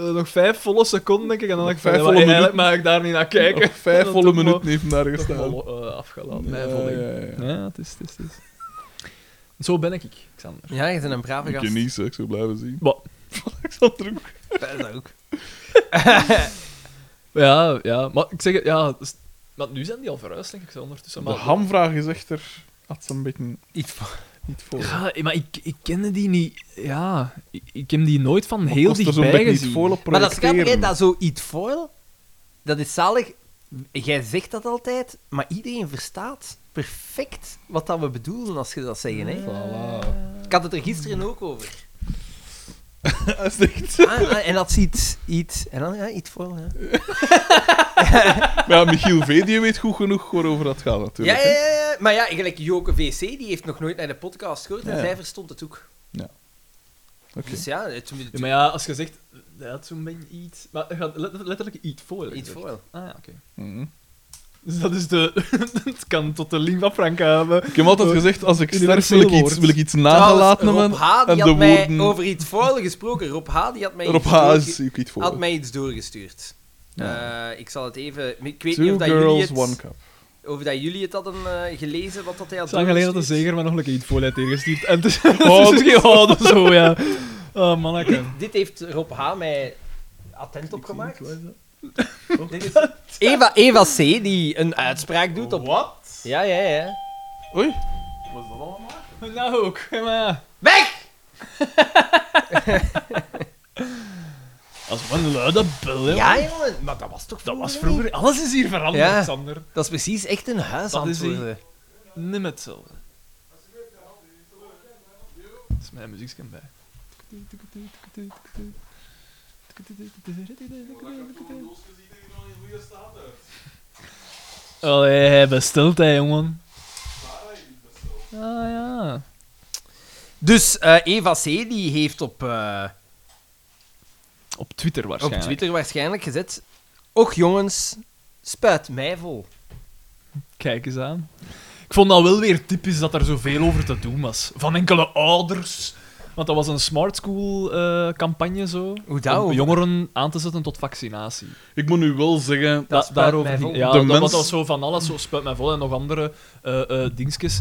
eh, nog vijf volle seconden, denk ik. En dan dacht ik van,
Vijf
ja, maar
volle
eigenlijk mag ik daar niet naar kijken.
Nog Vijf
*laughs* Dat
volle
toch
minuten
wel-
heeft hem daar
toch
gestaan.
wel, eh, afgelaten.
Ja,
Mijn volle.
ja, ja.
Ja, het is, het is, het is. Zo ben ik, Xander.
Ja, je bent een brave
Ik
gast.
ken niets, hè. ik zou blijven zien.
Maar,
Ik zal terug.
Dat is ook.
maar Ja, ja. Maar ik zeg het, ja... s- Maar nu zijn die al verhuisd, denk ik, zo ondertussen.
De
Maar
hamvraag is echter... Had ze een beetje
Iets van...
niet voor.
Ja, maar ik, ik kende die niet... Ja, ik, ik heb die nooit van heel
Kost er zo'n beetje
dichtbij
niet
gezien.
voor op
Maar dat is grappig, hè,
projecteren.
dat zo iets foil, dat is zalig. Jij zegt dat altijd, maar iedereen verstaat perfect wat dat we bedoelen als je dat zeggen. Hè?
Voilà.
Ik had het er gisteren ook over.
Dat *laughs* is echt...
Ah, ah, en dat is iets, iets, en dan ja, iets foil. Ja.
Ja, Michiel V. die weet goed genoeg waarover dat gaat,
Ja,
natuurlijk.
ja,
hè.
ja, ja. maar ja, gelijk Joke VC, die heeft nog nooit naar de podcast gehoord en
Ja.
zij verstond het ook.
Oké.
Dus ja, het moet
Ja, maar ja, als je zegt... Dat is zo'n beetje iets... Maar je gaat let- letterlijk iets voor.
iets foil.
Ah, ja, oké.
Mhm.
Dus dat is de... *laughs* het kan tot de lingua franca hebben.
Ik heb altijd gezegd, als ik sterf
Universeel
wil ik iets,
woord.
wil ik iets
Trouwens,
nagelaten
Rob
hebben.
H. die
en
had
de
mij
woorden-
over iets foil gesproken. Rob H. die had mij
Rob
iets
H.
doorge-
is ik niet voor.
had mij iets doorgestuurd.
Ja.
Eh, ik zal het even... Ik weet niet
Two
of dat jullie
girls,
het...
one cup.
Of dat jullie het hadden eh, gelezen, wat dat hij had
Het is lang geleden dat de
doorgestuurd.
zeker maar nog een keer iets voorleid ingestuurd. En *laughs* het is, oh, het is geen houden zo, ja. Oh, manneke.
Dit heeft Rob H. mij attent op gemaakt.
Oh.
Dit is- Eva, Eva C. die een uitspraak doet op...
Wat?
Ja, ja, ja.
Oei.
Was dat allemaal? Nou ook, ja, maar ja. *laughs*
Weg!
Dat is wel een luide bel, hè.
Ja,
man.
jongen. Maar dat was toch
Dat was vroeger... Alles is hier veranderd,
Ja.
Sander.
Dat is precies echt een huis
Dat
aan
is
het worden.
Niet met hetzelfde. Dat is mijn muziekje bij. Allee, Oh, hij bestelt hij, jongen. Ah ja.
Dus eh, Eva C. die heeft op, eh,
Op Twitter
op
waarschijnlijk.
Twitter waarschijnlijk gezet... Och jongens, spuit mij vol.
Kijk eens aan. Ik vond dat wel weer typisch dat er zoveel over te doen was. Van enkele ouders. Want dat was een smart school eh, campagne zo.
Hoe dat
Om
ook?
jongeren aan te zetten tot vaccinatie.
Ik moet nu wel zeggen...
Da-
spuit mij
daarover
vol.
ging, ja,
De
dat
mens-
was al zo van alles, zo spuit mij vol en nog andere eh eh dingetjes.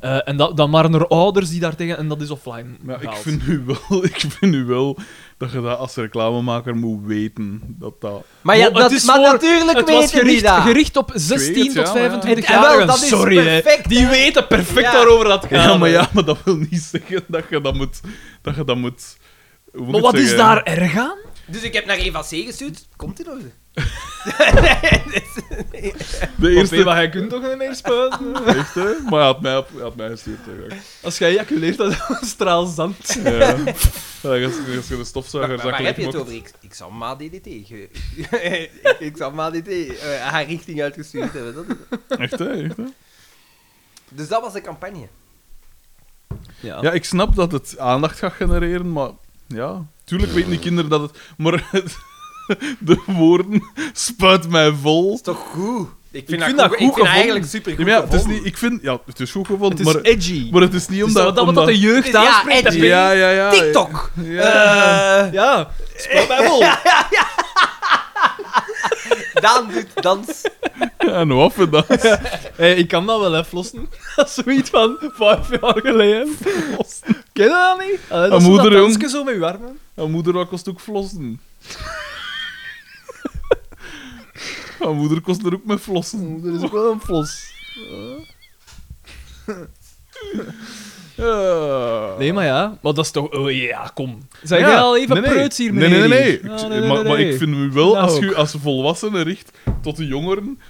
Eh, en dat, dan waren er ouders die daar tegen en dat is offline.
Maar ik
gehaald.
vind, nu wel, *laughs* ik vind nu wel dat je dat als reclamemaker moet weten. Dat dat...
Maar, ja,
Maar het
dat,
is
maar
voor-
natuurlijk
het was
weten die
gericht,
dat.
gericht op
weet
16
het,
tot
ja, maar ja.
25
En- en wel,
jaar.
dat is
Sorry, hè.
perfect,
die
hè.
weten perfect
Ja.
waarover dat
Ja,
gaat.
maar
hè.
ja, maar dat wil niet zeggen dat je dat moet... Dat je dat moet hoe moet
Maar
ik
wat is
zeggen?
daar erg aan?
Dus ik heb naar Eva C. gestuurd. Komt in orde.
De eerste...
maar jij kunt toch niet meer
*laughs*
spuiten?
de eerste, maar hij had mij, op- hij had mij gestuurd. hè,
*laughs*
ja.
Als jij ejaculeert,
*laughs*
dan is een straal zand.
Ja. Ja, als, je- als je de stofzuiger
Maar waar
zakelijk
heb je het
mokt.
over? Ik, ik zal Ma DDT. ge- ik, *laughs* ik zal Ma DDT eh, haar richting uitgestuurd hebben. Dat is het.
Echt, hè? Echt, hè?
dus dat was de campagne.
Ja, ik snap dat het aandacht gaat genereren, maar ja, tuurlijk weten die kinderen dat het. Maar *laughs* het- de woorden spuit mij vol.
Is toch goed? Ik vind,
vind
dat,
dat
goed,
goed
ik vind dat
gevonden.
eigenlijk super
Ja,
goed.
maar ja, het is niet, ik vind, ja, het is goed
Het
gevonden,
is
maar,
edgy.
maar het is niet
Het is
omdat.
Dus dat, dat
omdat
wat de jeugd
Het is- ja,
aanspreekt. dat
edgy.
ben-
ja, ja, ja.
TikTok!
Ja.
Eh,
Ja, spuit mij
*laughs*
vol.
Daan Eh, doet dans.
Oh, En hoe af en dan.
*laughs* Hey, ik kan dat wel aflossen. *laughs* Dat is zoiets van vijf jaar geleden. Ken je dat niet? Allee,
Een
dat is zo
moeder,
dat
jong.
dansje zo met je armen.
Mijn moeder dat kost ook
*laughs*
flossen. Mijn moeder kost er ook met flossen.
moeder is ook wel een flos.
Ja.
Nee, maar ja. Maar dat is toch... Oh ja, kom. Zijn
Ja.
jij al even
Nee, nee.
preuts hier,
nee, nee,
meneer?
nee, nee.
hier?
Ik-
Ah, nee, nee,
maar, maar
nee.
ik vind nu wel,
Nou
als je
ook.
als volwassenen richt tot de jongeren...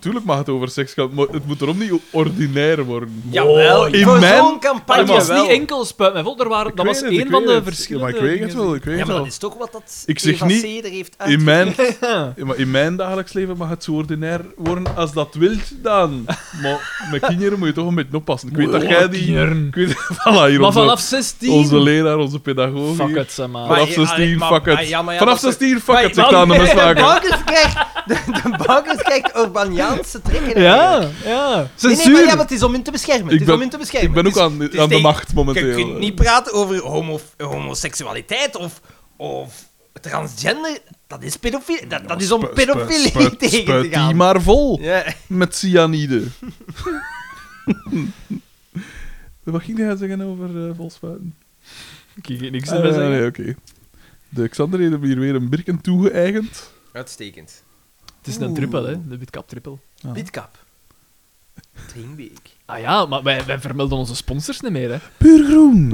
Tuurlijk mag het over seks gaan, maar het moet erom niet ordinair worden.
Jawel,
in
voor
mijn-
zo'n
Maar
campagne
het was
wel.
niet enkel spuit mij vol. Er waren,
Ik
dat
weet
was
het, ik
één van
weet
de
het.
verschillende...
Ja, maar ik weet het wel, ik weet
Ja,
het
maar
wel.
dat is toch wat dat
Ik zeg
Eva
niet-
C. er heeft
In mijn,
Ja.
ja, maar in mijn dagelijks leven mag het zo ordinair worden als dat wilt dan. Maar met kinderen moet je toch een beetje oppassen. Ik weet dat jij die... Ik weet, *laughs* voilà, hier
*laughs* Oh, Maar
onze,
vanaf 16...
onze leraar, onze pedagoog
Fuck
hier.
it, zeg maar.
Maar- ja,
Vanaf 16,
maar-
fuck
maar-
it.
ja, maar ja,
Vanaf
dat is-
16, fuck it, zegt
maar-
aan de
*laughs* De
mesmaker.
Bakkers krijgt, de, de Bakkers krijgt Orbaniaanse trekken. eigenlijk.
Ja, ja.
Nee,
Censuur.
nee, maar ja, maar het is om hun te beschermen.
Ik
het is
ben-
om hun te beschermen. Dus
Ik ben
Het
ook
is-
aan,
het is
aan de
tegen-
macht momenteel.
Je kunt niet praten over homo, homoseksualiteit of, of transgender. Dat is pedofilie. Dat, dat is om
Spu- spu-
pedofilie *laughs*
spu-
tegen
spuit
te gaan.
die maar vol
Ja.
met cyanide. *laughs* Wat ging jij zeggen over eh volspuiten?
Ik ging niks
Ah,
erbij
nee,
zeggen.
oké. De Xander heeft hem hier weer een birken toegeëigend.
Uitstekend.
Het is een
Oeh.
trippel, hè? De witkap trippel.
Ja.
Witkap. Drinkbeek.
Ah ja, maar wij, wij vermelden onze sponsors niet meer, hè?
Puur groen.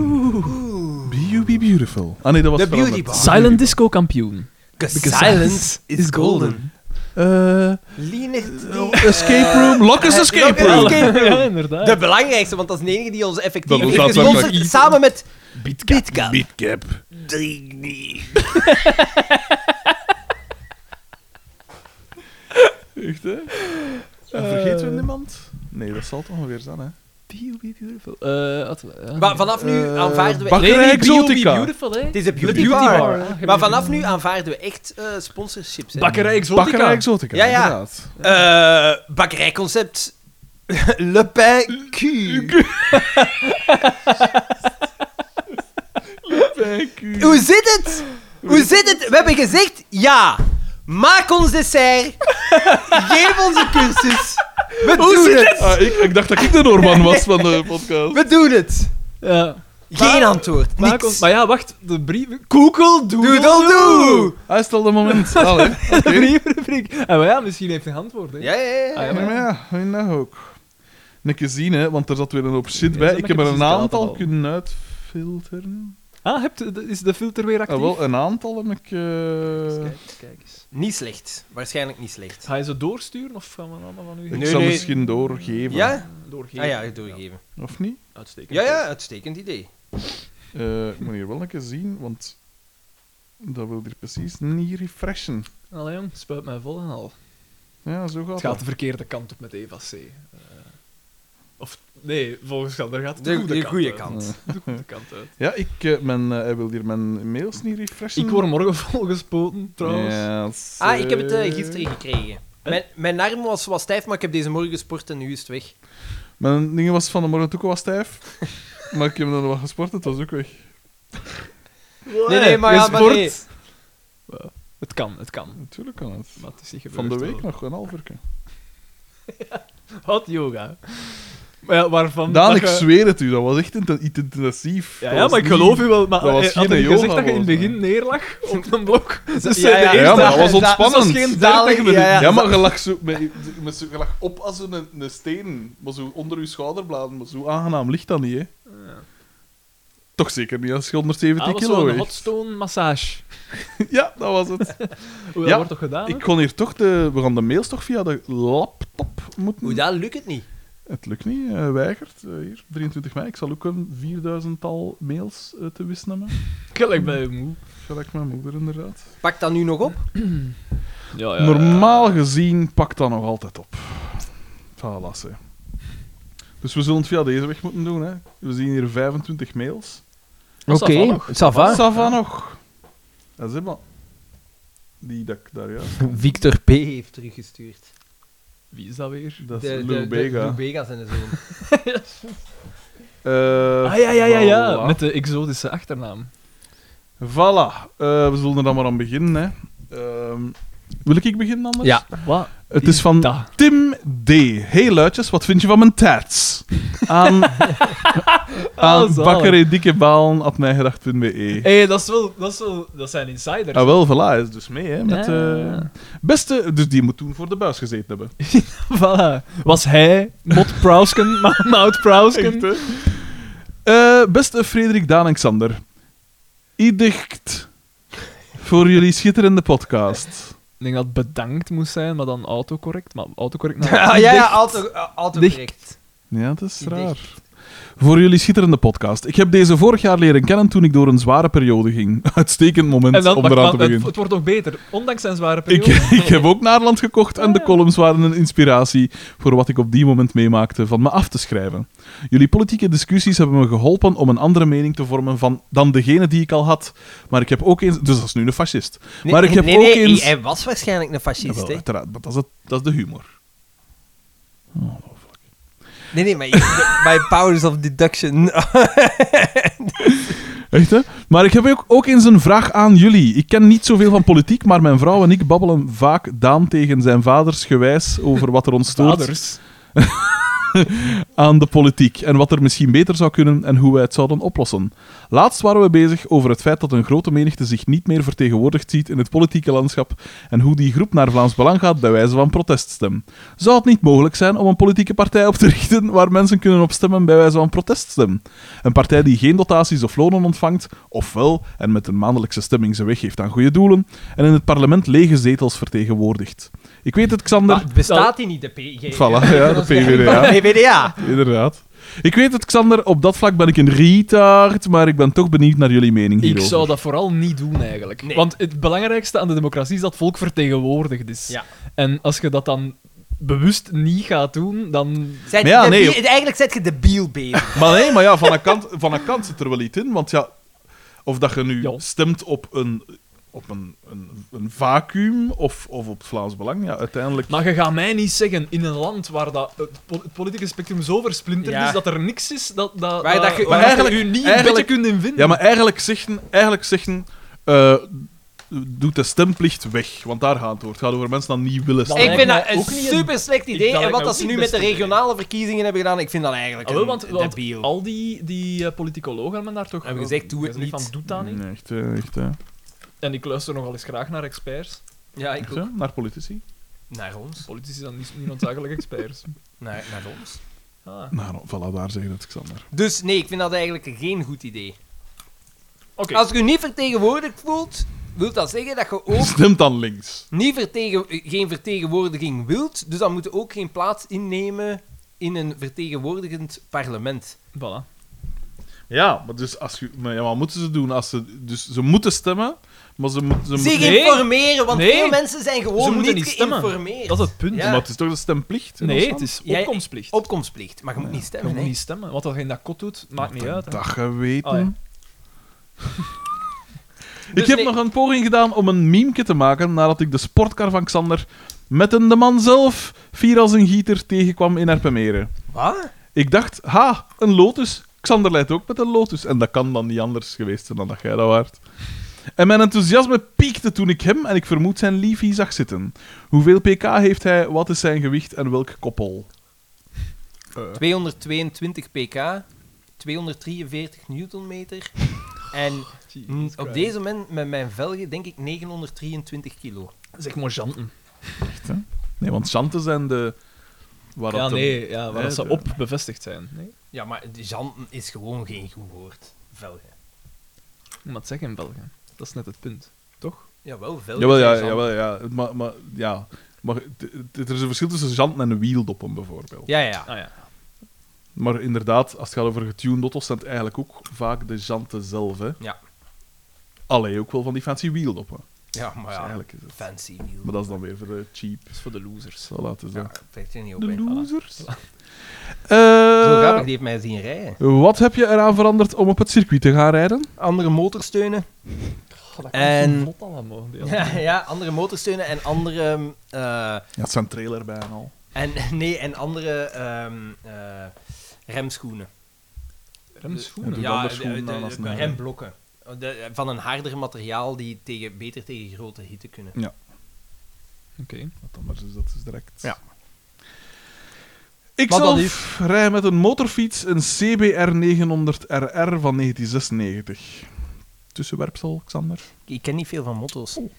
Be, be beautiful. Ah nee, dat was
The
veranderd.
beauty bar.
Silent Disco kampioen.
Because
Because
silence is golden.
Eh,
Lienert die...
eh, escape room. Lock us Eh, escape
Lock
room.
us- Escape room.
*laughs* Ja, inderdaad.
De belangrijkste, want dat is de enige die ons effectief
Dat
heeft
is daadwerkelijk
gesponsord,
iets.
samen met Bitcap.
Bitcap.
Drinkbeek.
Echt, hè? Eh, En vergeten we niemand? Nee, dat zal het ongeveer zijn, hè?
Be- be beautiful. Eh, wat- ja.
Maar vanaf nu
Eh,
aanvaarden we...
bak-
Nee,
Bakkerij
nee, Be- Be
Exotica.
Beautiful, hè?
Het is een beauty,
Beauty
bar.
bar. Ah, je
Maar
hebt-
vanaf nu aanvaarden we echt eh, sponsorships. hè.
Bakkerij Exotica.
Bakkerij Exotica,
Ja, ja.
inderdaad.
Eh, bakkerijconcept. *laughs* Le Pain Q. Hoe zit het? Hoe zit het? We hebben gezegd ja. Maak ons dessert. Geef ons een cursus. We doen het.
Ah, ik, ik dacht dat ik de Norman was van de podcast.
We doen het.
Ja.
Geen
Maar-
antwoord.
Maar,
Niks.
maar ja, wacht. De brieven... Google
Doe
Doodle *laughs*
doe.
Hij is het al de moment. Allee, oké.
De brievenrubriek. Ah, maar ja, misschien heeft hij een antwoord, hè?
Ja, ja, ja.
Ah,
Ja,
ja.
maar ja, hoe nou ook. Een keer zien, hè, want er zat weer een hoop shit
Ja,
bij.
dat
Ik
heb
heb er
ik
een
precies
aantal
gehad al.
kunnen uitfilteren.
Ah, hebt, is de filter weer actief?
Ah, wel, een aantal heb ik... eh,
Kijk, kijk eens.
Niet slecht. Waarschijnlijk niet slecht.
Ga je ze doorsturen of gaan we allemaal van u
Ik
Nee,
zal
nee.
misschien doorgeven.
Ja?
doorgeven?
Ah ja, doorgeven.
Of niet?
Uitstekend.
Ja, ja, uitstekend idee.
Eh, ik moet hier wel een keer zien, want dat wil hier precies niet refreshen.
Allee jong, spuit mij vol en al.
Ja, zo gaat
Het
het.
gaat de verkeerde kant op met Eva C. Eh, of nee, volgens Sander gaat het de,
De-
goede
de
kant
goede
uit.
kant.
De goede kant uit.
Ja, ik, eh, mijn, eh, hij wil hier mijn mails niet refreshen.
Ik word morgen *laughs* volgespoten, trouwens.
Yes,
Ah, ik heb het
eh,
eh, gisteren gekregen. Mijn, mijn arm was wat stijf, maar ik heb deze morgen gesport en nu is het weg.
Mijn ding was van de morgen ook wel stijf. *laughs* maar ik heb dan wat gesport, het was ook weg.
Nee, nee, maar
Je
ja, maar
sport.
nee.
Wel, Het kan, het kan.
Natuurlijk kan het.
Maar het is niet
Van
gebeurd.
de week
wel.
nog een halverke.
Wat yoga. Maar ja, waarvan...
Daan,
dat
ik
je-
zweer het u, dat was echt inten- iets intensief.
Ja,
Dat
ja,
was
maar ik
niet-
geloof u wel. Maar
dat was
eh, had
geen
je
yoga
gezegd dat je in het
volgens
begin neerlag
*laughs*
op een blok? Dus
ja,
eh,
ja.
de
Ja,
eerste-
maar dat was
dat
ontspannend.
geen
Dadelijk-
30 minuten.
ja, ja.
Ja,
*laughs*
maar je lag, zo, met, met zo, je lag op als een, een steen, maar zo onder je schouderbladen. Maar zo aangenaam ligt dat niet, hè? Toch zeker niet als je 170
Ah, was
kilo
zo'n
weegt.
hotstone massage.
*laughs* Ja, dat was het.
Hoe dat
Ja,
wordt toch gedaan? hè?
Ik kon hier toch de, we gaan de mails toch via de laptop moeten.
Hoe dat lukt het niet?
Het lukt niet, eh, weigert. Eh, hier, 23 mei. Ik zal ook een 4000-tal mails eh, te wissen hebben.
Gelijk bij je moe.
Gelijk mijn moeder, inderdaad.
Pak dat nu nog op.
Ja,
Normaal gezien pakt dat nog altijd op. Voilà, hè. Dus we zullen het via deze weg moeten doen. Hè. We zien hier 25 mails.
Sava.
Sava nog. Dat is helemaal... Die dat ik daar juist...
Victor P. heeft teruggestuurd.
Wie is dat weer?
Dat is Lou Bega.
Bega zijn zoon.
*laughs*
*laughs*
Eh,
Ah ja, ja, ja, ja.
voilà.
Met de exotische achternaam.
Voilà. Eh, we zullen er dan maar aan beginnen. Hè. Ehm, wil ik beginnen anders?
Ja.
Wat?
Het is van
Dat.
Tim D. Hey luidjes, wat vind je van mijn tats?
*laughs*
Aan, *laughs* aan
Oh, zalig.
bakkerij dikke balen at mijgedacht.be.
Hé, dat is wel... Dat, is wel, dat zijn insiders.
E.
Oh.
Ah wel, voilà, hij is dus mee, hè. Met,
Ja.
eh, beste, dus die moet toen voor de buis gezeten
*laughs*
hebben.
*laughs* voilà. Was hij Mot
*laughs*
Prousken, Ma- Mout Prousken?
Eh, beste Frederik, Daan en Xander. Idicht voor jullie schitterende podcast.
Ik denk dat het bedankt moest zijn, maar dan autocorrect. Maar
*laughs*
autocorrect nou. naar...
ja, ja, ja, auto, eh, autocorrect.
Ja, dat is
Idicht.
raar. Voor jullie schitterende podcast. Ik heb deze vorig jaar leren kennen toen ik door een zware periode ging. *laughs* Uitstekend moment
En dan,
om
maar-
eraan
maar
te
het,
beginnen.
het wordt nog beter, ondanks zijn zware
Ik,
periode.
*laughs*
ik heb ook Naarland gekocht en de columns waren een inspiratie voor wat ik op die moment meemaakte van me af te schrijven. Jullie politieke discussies hebben me geholpen om een andere mening te vormen van, dan degene die ik al had. Maar ik heb ook eens... Dus dat is nu een fascist. maar ik heb
nee,
ook
nee,
eens...
Hij was waarschijnlijk een fascist,
Jawel,
hè?
uiteraard, maar dat is, het, dat is de humor.
Nee, nee, maar
*laughs*
my powers of deduction. *laughs* ah,
Echt, hè? Maar ik heb ook, ook eens een vraag aan jullie. Ik ken niet zoveel van politiek, maar mijn vrouw en ik babbelen vaak Daan tegen zijn vaders gewijs over wat er ons stoort.
Vaders.
aan de politiek en wat er misschien beter zou kunnen en hoe wij het zouden oplossen. Laatst waren we bezig over het feit dat een grote menigte zich niet meer vertegenwoordigd ziet in het politieke landschap en hoe die groep naar Vlaams Belang gaat bij wijze van proteststem. Zou het niet mogelijk zijn om een politieke partij op te richten waar mensen kunnen op stemmen bij wijze van proteststem? Een partij die geen dotaties of lonen ontvangt, ofwel en met een maandelijkse stemming zijn weggeeft aan goede doelen en in het parlement lege zetels vertegenwoordigt. Ik weet het, Xander.
Maar bestaat die niet, de PG?
Voilà, ja, de
*laughs*
PvdA.
PvdA.
Inderdaad. Ik weet het, Xander, op dat vlak ben ik een retard, maar ik ben toch benieuwd naar jullie mening
Ik
hierover.
zou dat vooral niet doen, eigenlijk.
Nee.
Want het belangrijkste aan de democratie is dat het volk vertegenwoordigd is.
Ja.
En als je dat dan bewust niet gaat doen, dan...
Zijt
Maar ja,
je
nee,
debiel- Eigenlijk zet je debiel bezig.
Maar nee, maar ja, van een, kant, van een kant zit er wel iets in, want ja, of dat je nu
Ja.
stemt op een, op een, een, een vacuüm of, of op het Vlaams Belang, ja, uiteindelijk...
Maar je gaat mij niet zeggen, in een land waar dat, het, po- het politieke spectrum zo versplinterd
Ja.
is, dat er niks is dat, dat,
Waar dat je-
waar
maar
je
eigenlijk-
u niet een beetje
eigenlijk-
kunt in vinden.
Ja, maar eigenlijk zeggen, eigenlijk zeggen eh, doet de stemplicht weg, want daar gaat het over. Het gaat over mensen die niet willen
Dat
stemmen.
ik vind
lijkt mij
dat een
ook niet een-
super slecht idee.
dat
En
lijkt
wat
mij
dat
ook
ze
niet
nu met de
best idee.
regionale verkiezingen hebben gedaan, ik vind dat eigenlijk
Ah, wel,
een
want, want
debiel.
al die, die eh, politicologen hebben daar toch...
Hebben gezegd, doe het
gezegd
niet.
Van, doet dat niet.
Nee, echt, eh, echt, hè.
En ik luister nogal eens graag naar experts.
Ja, ik
Echt,
ook.
hè, naar politici.
Naar ons.
Politici zijn niet, niet noodzakelijk experts.
Naar, naar ons.
Ah.
Nou, voilà, daar zeg je het, Xander.
Dus nee, ik vind dat eigenlijk geen goed idee.
Oké.
Als je je niet vertegenwoordigd voelt, wil dat zeggen dat je ook
Stemt dan links.
niet vertegen, geen vertegenwoordiging wilt. Dus dan moet je ook geen plaats innemen in een vertegenwoordigend parlement.
Voilà.
Ja, maar, dus als je, maar ja, wat moeten ze doen? Als ze, dus ze moeten stemmen, maar ze, moeten- ze
Zich
moeten...
Nee.
informeren, want
Nee.
veel mensen zijn
Ze
gewoon
moeten
niet
niet stemmen.
geïnformeerd.
Dat is het punt.
Ja.
Maar het is toch de stemplicht? in ons
Nee, het
land?
is
Jij-
opkomstplicht.
Opkomstplicht, maar je moet niet
Je
stemmen.
moet
Hè.
niet stemmen. Wat dat je in dat kot doet, maakt niet uit. hè.
Dat je weten. *laughs*
Oh, ja.
ik
Dus
heb
nee-
nog een poging gedaan om een meme te maken nadat ik de sportcar van Xander met een de man zelf fier als een gieter tegenkwam in Erpenmeren.
Wat?
Ik dacht, ha, een lotus. Xander leidt ook met een lotus. En dat kan dan niet anders geweest zijn dan dat jij dat waard. En mijn enthousiasme piekte toen ik hem en ik vermoed zijn liefie zag zitten. Hoeveel pk heeft hij, wat is zijn gewicht en welk koppel?
222 pk, 243
*laughs*
newtonmeter. En mm,
Christ.
op deze moment met mijn velgen denk ik 923 kilo.
Zeg maar janten.
Nee, want chanten zijn de... Waar
Ja,
dat de-
nee, ja, waar
Nee,
dat ze
de-
op bevestigd zijn. Nee?
Ja, maar de janten is gewoon geen goed woord. Velgen.
Maar het zeggen in België. Dat is net het punt. Toch?
Jawel, velgen.
Jawel, ja,
zijn janten.
jawel, ja. Maar, maar, ja. maar het- het- er is een verschil tussen janten en wieldoppen, bijvoorbeeld.
Ja, ja, ja.
Ah ja.
Maar inderdaad, als het gaat over getuned auto's, zijn het eigenlijk ook vaak de janten zelf. Hè.
Ja.
Allee, ook wel van die fancy wieldoppen.
Ja, maar
Dus
ja.
eigenlijk is het...
Fancy nieuw.
Maar dat is dan weer voor de cheap.
Dat is voor de losers.
Zo laten ze.
Ja, trekt er niet op.
de
hè.
losers.
Zo
*laughs* Eh,
grappig, die heeft mij zien rijden.
wat heb je eraan veranderd om op het circuit te gaan rijden?
Andere motorsteunen.
dat
kan En- zo
vlot allemaal.
*laughs* Ja, ja andere motorsteunen en andere... ehm, eh,
Ja, het zijn trailer bij en al.
en, *laughs* nee, en andere ehm, eh, remschoenen.
Doe
Remschoenen.
Ja. anders schoenen
de-
aan
de-
als
de
een-
remblokken. De- van een harder materiaal die tegen, beter tegen grote hitte kunnen.
Oké.
Want anders is dat dus direct.
Ja.
Ik
Maar dat
zelf rij met een motorfiets een CBR 900 RR van 1996. Tussenwerpsel, Xander.
Ik ken niet veel van motto's.
Oh.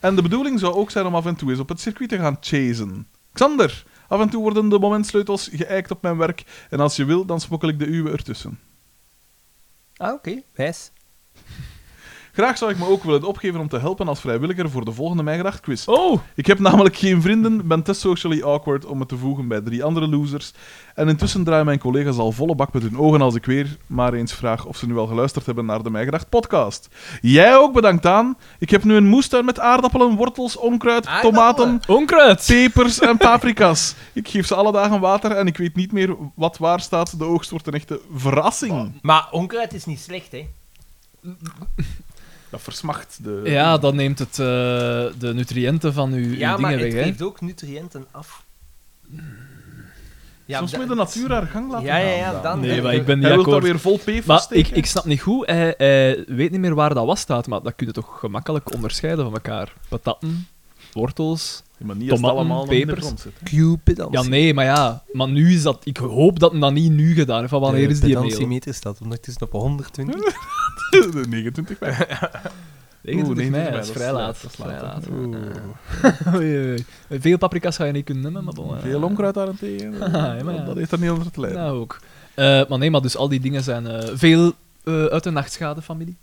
En de bedoeling zou ook zijn om af en toe eens op het circuit te gaan chasen. Xander, af en toe worden de momentsleutels geëikt op mijn werk. En als je wil, dan smokkel ik de uwe ertussen.
Ah, oké. Wijs.
Graag zou ik me ook willen opgeven om te helpen als vrijwilliger voor de volgende Mijn Gedacht quiz.
Oh!
Ik heb namelijk geen vrienden, ben te socially awkward om me te voegen bij drie andere losers. En intussen draaien mijn collega's al volle bak met hun ogen als ik weer maar eens vraag of ze nu al geluisterd hebben naar de Mijn Gedacht podcast. Jij ook bedankt aan. Ik heb nu een moestuin met aardappelen, wortels, onkruid,
Aardappelen?
tomaten,
Onkruid!
pepers en paprika's. Ik geef ze alle dagen water en ik weet niet meer wat waar staat. De oogst wordt een echte verrassing.
Maar onkruid is niet slecht, hè?
Dat versmacht de...
Ja, dan neemt het eh, de nutriënten van uw, uw
ja, maar
dingen
het
weg, hè?
geeft ook nutriënten af. Ja,
Soms
da-
moet je de natuur haar gang laten
Ja, ja,
gaan,
ja,
Daan.
dan-
Nee, maar ik ben niet
Hij wil daar
akkoord.
weer vol P
Maar ik,
steken.
ik snap niet goed, hij, hij weet niet meer waar dat was staat, maar dat kun je toch gemakkelijk onderscheiden van elkaar. Patatten, wortels,
maar niet als het
Tomaten,
allemaal nog in de
pepers.
*laughs*
grond zit. hè.
Ja, nee, maar ja. Maar nu is dat... Ik hoop dat men dat niet nu gedaan heeft. Van wanneer is die mail?
Eh, meter staat ondertussen op *laughs* 120.
De 29 bij.
29 mei,
Oeh,
dat is vrij laat. Dat is
laat,
vrij
hè.
laat. Oei, oei, oei. Veel paprika's ga je niet kunnen nemen, maar bon. eh.
Veel onkruid *laughs* daarentegen.
Haha, ja, maar ja.
Dat heeft er niet onder te lijden.
Nou, ook. Eh, maar nee, maar dus al die dingen zijn eh, veel eh, uit de nachtschadefamilie,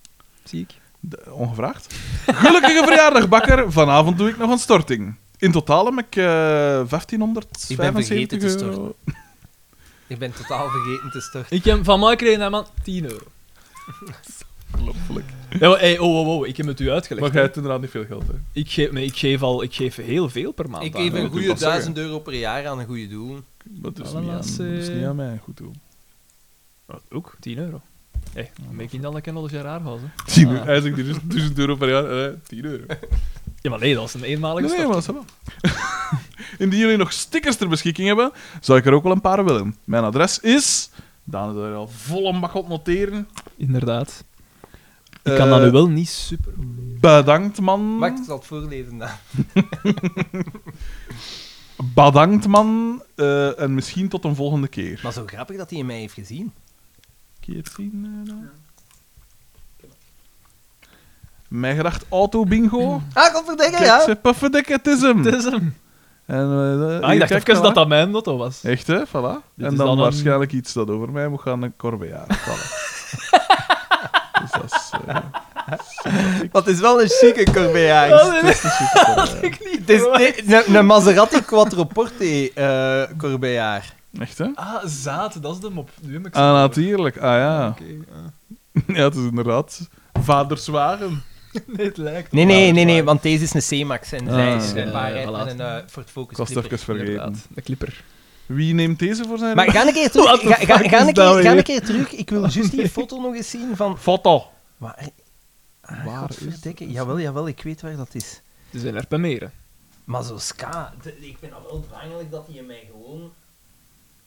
zie ik.
De- ongevraagd. Gelukkige verjaardag, bakker. Vanavond doe ik nog een storting. In totaal heb ik eh 1575
Ik ben vergeten te storten.
euro.
Ik ben totaal vergeten te storten.
Ik heb van mij gekregen, hè, man, 10 euro.
Ongelooflijk.
Ja, maar, hey, oh, oh, oh, ik heb het u uitgelegd.
Maar jij hebt inderdaad niet veel geld, hè?
Ik, geef, nee, ik, geef al, ik geef heel veel per maand.
Ik
aan,
geef
hè.
een
dat moet
goede
ik pas
1000 euro per jaar aan een goede doel.
Dat is,
Voilà,
niet aan, dat is
eh.
niet aan mij goed doel.
Ook 10 euro. Hé, hey, dan ben ik niet dat ik een alles jaar raar was. hè. Ah.
10 euro. Hij zegt, dit is 1000 euro per jaar. Eh, 10 euro.
Ja, maar nee, dat is een eenmalige
Nee,
stort.
maar ça va. *laughs* Indien jullie nog stickers ter beschikking hebben, zou ik er ook wel een paar willen. Mijn adres is... Daan is er al volle mag op noteren.
Inderdaad. Ik kan dat
Eh,
nu wel niet super.
Bedankt, man.
Max zal het voorlezen dan.
Bedankt, man. Eh, en misschien tot een volgende keer.
Maar zo grappig dat hij in mij heeft gezien.
Kun je het zien? eh, dan? Mijn gedacht auto bingo.
Ah, kom verdenken,
Kijk,
ja.
ze pufferdikke, het is hem.
Het is hem.
En, eh,
Ah,
hier,
ik dacht
kijk,
even
voilà.
dat dat mijn motto was.
Echt, hè? Voilà.
Dit
en dan,
is dan een-
waarschijnlijk iets dat over mij moet gaan, een Corbea.
*laughs*
Voilà. dus dat is... eh,
Want het is wel een chique
*laughs*
Corvée.
Oh, nee,
het is een super Corbea.
ik niet.
Het is een- een Maserati Quattroporte eh Corbeillard.
Echt, hè?
Ah, zaad, dat is de mop. Nu heb ik
Ah, natuurlijk. Ah, ja.
Oké, ah.
Ja, het is inderdaad vaderswagen.
Nee, het lijkt
Nee,
wel.
nee, nee, nee, want deze is een C-Max en
Ah,
zij is
ja,
een waarheid
voilà.
en een eh, Ford
Ik
Focus.
was het
Clipper.
even vergeten.
Inderdaad, de clipper.
Wie neemt deze voor zijn
Maar ga een keer
*laughs*
terug.
What the
Ga, ga,
fuck
ga
is
een,
dat
keer, ga
weer?
een keer terug. Ik wil juist die foto nog eens zien van...
foto?
Maar, ah,
Waar
godverdikke. Jawel, jawel, ik weet waar dat is.
Ze zijn er per meer.
Maar zo ska, de- ik ben al wel bangelijk dat hij in mij gewoon...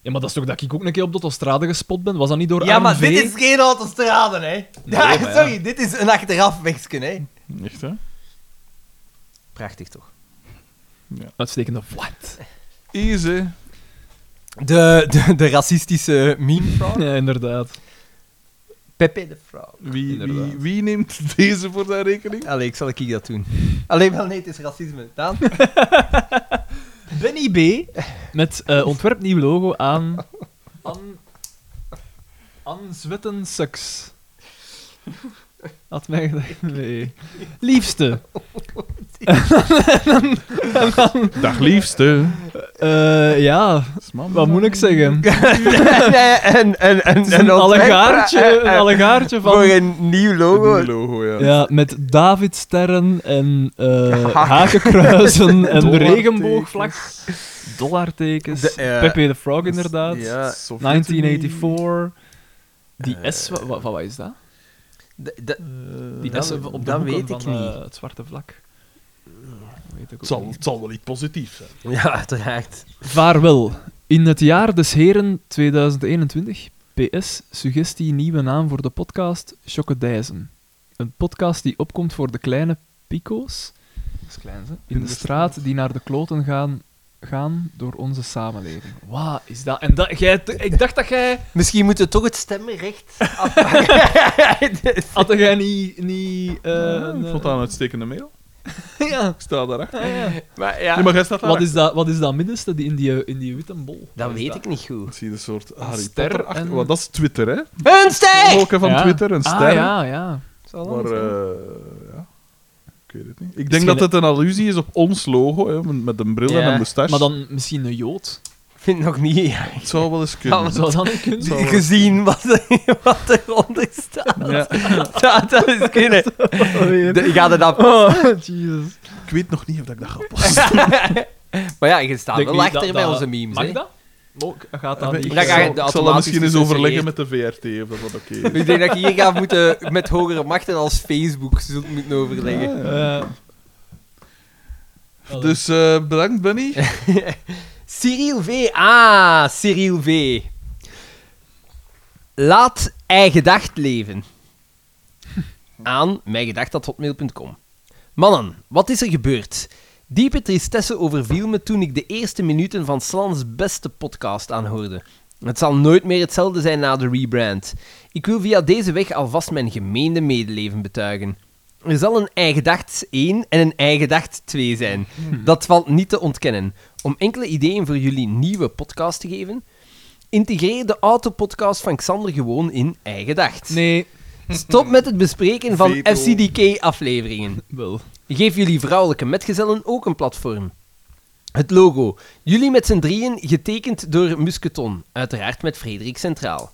Ja, maar dat is toch dat ik ook een keer op de autostrade gespot ben? Was dat niet door
Ja, maar
AMV?
dit is geen autostrade, hè. Ja,
maar ja.
sorry, dit is een achterafwegsken, hè.
Echt, hè?
Prachtig, toch?
Uitstekende flat. *laughs*
Easy.
De, de, de racistische meme fraud.
Ja, inderdaad.
Pepe de fraud.
Wie, wie,
Inderdaad.
wie neemt deze voor zijn rekening?
Allee, ik zal ik dat doen. Allee, wel nee, het is racisme. *laughs* Daan?
Benny B. Met eh, ontwerp nieuw logo aan... An... An Zwetten Sucks. Had mij gedacht... *laughs* Nee. Liefste.
Dag liefste.
Eh, ja, wat moet ik *laughs* zeggen?
nee, en, en, en,
Het is
*laughs*
een allegaartje, een
van...
allegaartje van...
Voor een nieuw logo.
Een logo, ja.
Ja, met Davidsterren en
*laughs*
eh
Haken.
hakenkruisen en de
Dollartekens.
regenboogvlag. Dollartekens.
De, eh,
Pepe the Frog, inderdaad.
Ja.
Sovjet-Unie.
1984. Die
Eh,
S, wa- wa- wat is dat?
De- de-
Eh,
Die
dat-
S op de
dat
hoeken
weet ik
van, eh,
niet. Eh,
het zwarte vlak. Dat Weet ik ook
het, zal,
niet.
het zal wel iets positiefs zijn.
Ja, uiteraard.
Vaarwel. In het jaar des heren 2021. PS, suggestie nieuwe naam voor de podcast Chocodijzen. Een podcast die opkomt voor de kleine pico's. Dat is klein, hè? In de straat die naar de kloten gaan, gaan door onze samenleving. Wat is dat? En dat, jij, ik dacht dat jij...
Misschien moeten we toch het stemrecht afpakken. Dus-
Had jij niet... niet eh,
Ja,
een-
ik vond dat een uitstekende mail.
*laughs* ja.
Ik sta daarachter.
Ah, ja.
maar ja,
Nee, maar jij staat
Wat,
daarachter.
is dat, wat is dat middenste die in die, eh, in die witte bol?
dat
Wat is
weet ik niet goed.
Ik zie een soort Harry
ster
Potter achter.
en-
Want Dat is Twitter, hè?
Een steeg!
Volken van
Ja.
Twitter, een ster.
Ah, ja, ja.
Maar, eh, ja. Ik weet het niet. Ik denk
Misschien-
dat het een allusie is op ons logo, hè, met- met een bril en
Ja.
een moustache.
Maar dan misschien een jood.
Ik vind het nog niet ja.
Het zou
*laughs*
wel eens kunnen.
Zou dat niet kunnen?
zou wel-
gezien wat, er- wat eronder staat.
*laughs* Ja.
Dat, dat is kunnen. *laughs* Oh,
*laughs*
De- Ga er dan...
Oh, Jesus.
Ik weet nog niet of dat ik dat
*laughs*
ga posten.
Maar ja, je staat wel achter bij onze memes.
Mag
hè.
dat? Ook, gaat dat
Ik
niet?
ga je
zal-
de
ik zal dat
automatische
misschien eens
tussen
overleggen
eerst.
met de VRT of dat dat oké is.
Ik denk dat je hier gaat moeten met hogere machten als Facebook zult moeten overleggen.
Eh, allee.
Dus eh, bedankt, Benny.
Cyril V. Ah, Cyril V. Laat ei gedacht leven. Aan mijngedacht.hotmail.com Mannen, wat is er gebeurd? Diepe tristesse overviel me toen ik de eerste minuten van Slans beste podcast aanhoorde. Het zal nooit meer hetzelfde zijn na de rebrand. Ik wil via deze weg alvast mijn gemeende medeleven betuigen. Er zal een eigedacht 1 en een eigedacht 2 zijn. Dat valt niet te ontkennen. Om enkele ideeën voor jullie nieuwe podcast te geven, integreer de autopodcast van Xander gewoon in Eigendacht.
Nee, Ah,
Stop met het bespreken van
Veto.
FCDK-afleveringen.
wel.
Geef jullie vrouwelijke metgezellen ook een platform. Het logo. Jullie met z'n drieën, getekend door Musketon. Uiteraard met Frederik Centraal.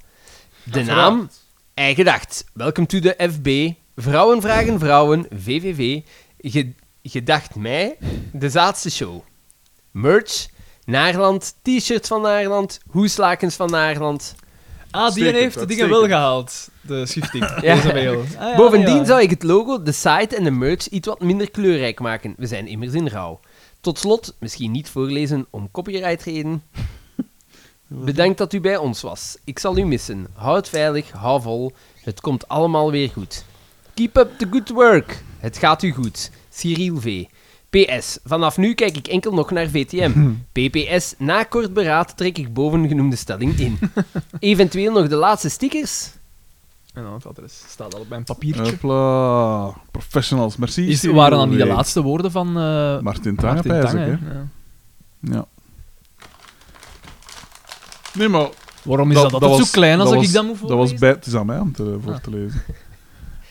De naam? Eigendacht. Welcome to de FB. Vrouwen vragen vrouwen. VVV. Ge- Gedacht mij. De zaadste show. Merch. Naarland. T-shirts van Naarland. Hoeslakens van Naarland.
Ah, die
Uitstekend,
heeft de dingen wel
uitstekend.
gehaald. De schifting.
*laughs* Ja.
Deze mail. Ah, ja,
Bovendien
ja.
zou ik het logo, de site en de merch iets wat minder kleurrijk maken. We zijn immers in rouw. Tot slot, misschien niet voorlezen om copyright reden. Bedankt dat u bij ons was. Ik zal u missen. Houd het veilig, hou vol. Het komt allemaal weer goed. Keep up the good work. Het gaat u goed. Cyril V. PS. Vanaf nu kijk ik enkel nog naar VTM. PPS. Na kort beraad trek ik bovengenoemde stelling in. Eventueel nog de laatste stickers.
En dan het adres staat al op mijn papiertje.
Hopla. Professionals, merci.
Is,
Cyril
waren dan niet de
V.
laatste woorden van eh
Martin Tange,
Martin
pijs ik, hè.
Tang, hè? Ja.
Ja. Nee, maar...
Waarom is dat, altijd
was-
zo klein als
dat
ik
was-
dat moet voorlezen?
Dat was bij... Het is aan mij om te, voor
Ah.
te lezen. *laughs*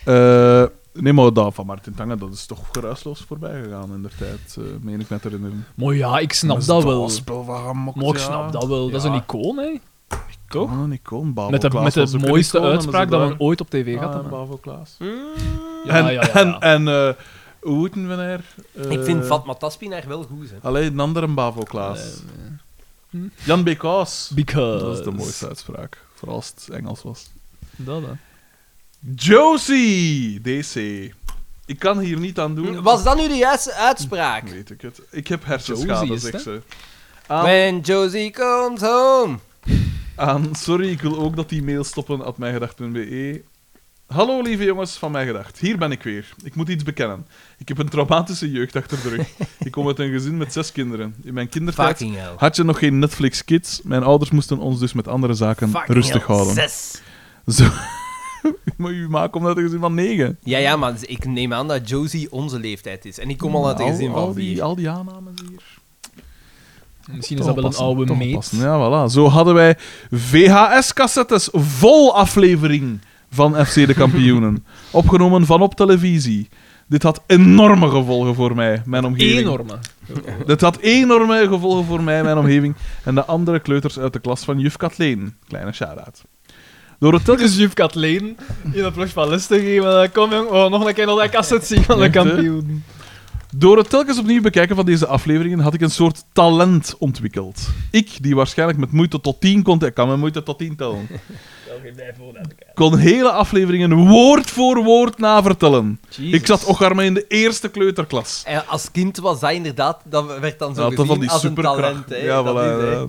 Eh, nee, maar dat van Martin Tange, dat is toch geruisloos voorbij gegaan in de tijd, eh, meen ik net te herinneren.
Maar ja, ik snap dat wel.
spel van gemokt,
Maar ik
ja.
snap dat wel. Dat is
Ja.
een icoon, hè. Toch?
Ah, een icoon, Babel
Met de,
Klaas
met
was
de
ook een
mooiste
icoon, en
uitspraak
ze
dat E
daar-
men ooit op tv
Ah,
gaat hebben.
Bavo Klaas.
Ja, ja, ja, ja.
En, en eh, hoe heette we haar? Eh,
Ik vind Fatma Taspinaar wel goed, hè.
Alleen een andere Bavo Klaas.
Eh,
Jan Bekaas.
Because...
Dat was de mooiste uitspraak. Vooral als het Engels was.
Dat, hè.
Josie! DC. Ik kan hier niet aan doen.
Hm, Was dat nu de juiste uitspraak?
Weet ik het. Ik heb hersenschade,
Josie is
zegt
het,
ze. Aan,
When Josie comes home.
aan, sorry, ik wil ook dat die mail stoppen at mijngedacht.be. E. Hallo lieve jongens van Mijn Gedacht. Hier ben ik weer. Ik moet iets bekennen. Ik heb een traumatische jeugd achter de
*laughs*
rug. Ik kom uit een gezin met zes kinderen. In mijn kindertijd
Fucking hell.
had je nog geen Netflix Kids. Mijn ouders moesten ons dus met andere zaken
Fucking
rustig
hell.
houden.
Zes.
Zo. *laughs* maar u maakt omdat een gezin van negen.
Ja, ja, maar ik neem aan dat Josie onze leeftijd is. En ik kom al uit een gezin
al,
van
die,
vier.
al die aannames hier.
Misschien is dat wel een oude meet.
Ja, voilà. Zo hadden wij VHS-cassettes vol aflevering van FC De
*laughs*
Kampioenen. opgenomen van op televisie. Dit had enorme gevolgen voor mij, mijn omgeving.
Enorme.
Dit had enorme gevolgen voor mij, mijn omgeving. En de andere kleuters uit de klas van juf Katleen. Kleine shout-out. Door het telkens
Dus *laughs* juf Kathleen in de ploeg van les te geven. eh, Kom jong, oh, nog een keer naar dat cassette zien van de
Echt, hè?
kampioen.
Door het telkens opnieuw bekijken van deze afleveringen had ik een soort talent ontwikkeld. Ik, die waarschijnlijk met moeite tot 10 kon tellen, ik kan met moeite tot 10 tellen, kon hele afleveringen woord voor woord navertellen. Ik zat ook maar in de eerste kleuterklas.
En als kind was dat inderdaad, dat werd dan zo
Ja,
gezien
dat van die
als een
superkracht.
talent. Hè.
Ja,
Dat
voilà,
is, hè. *laughs*
ja.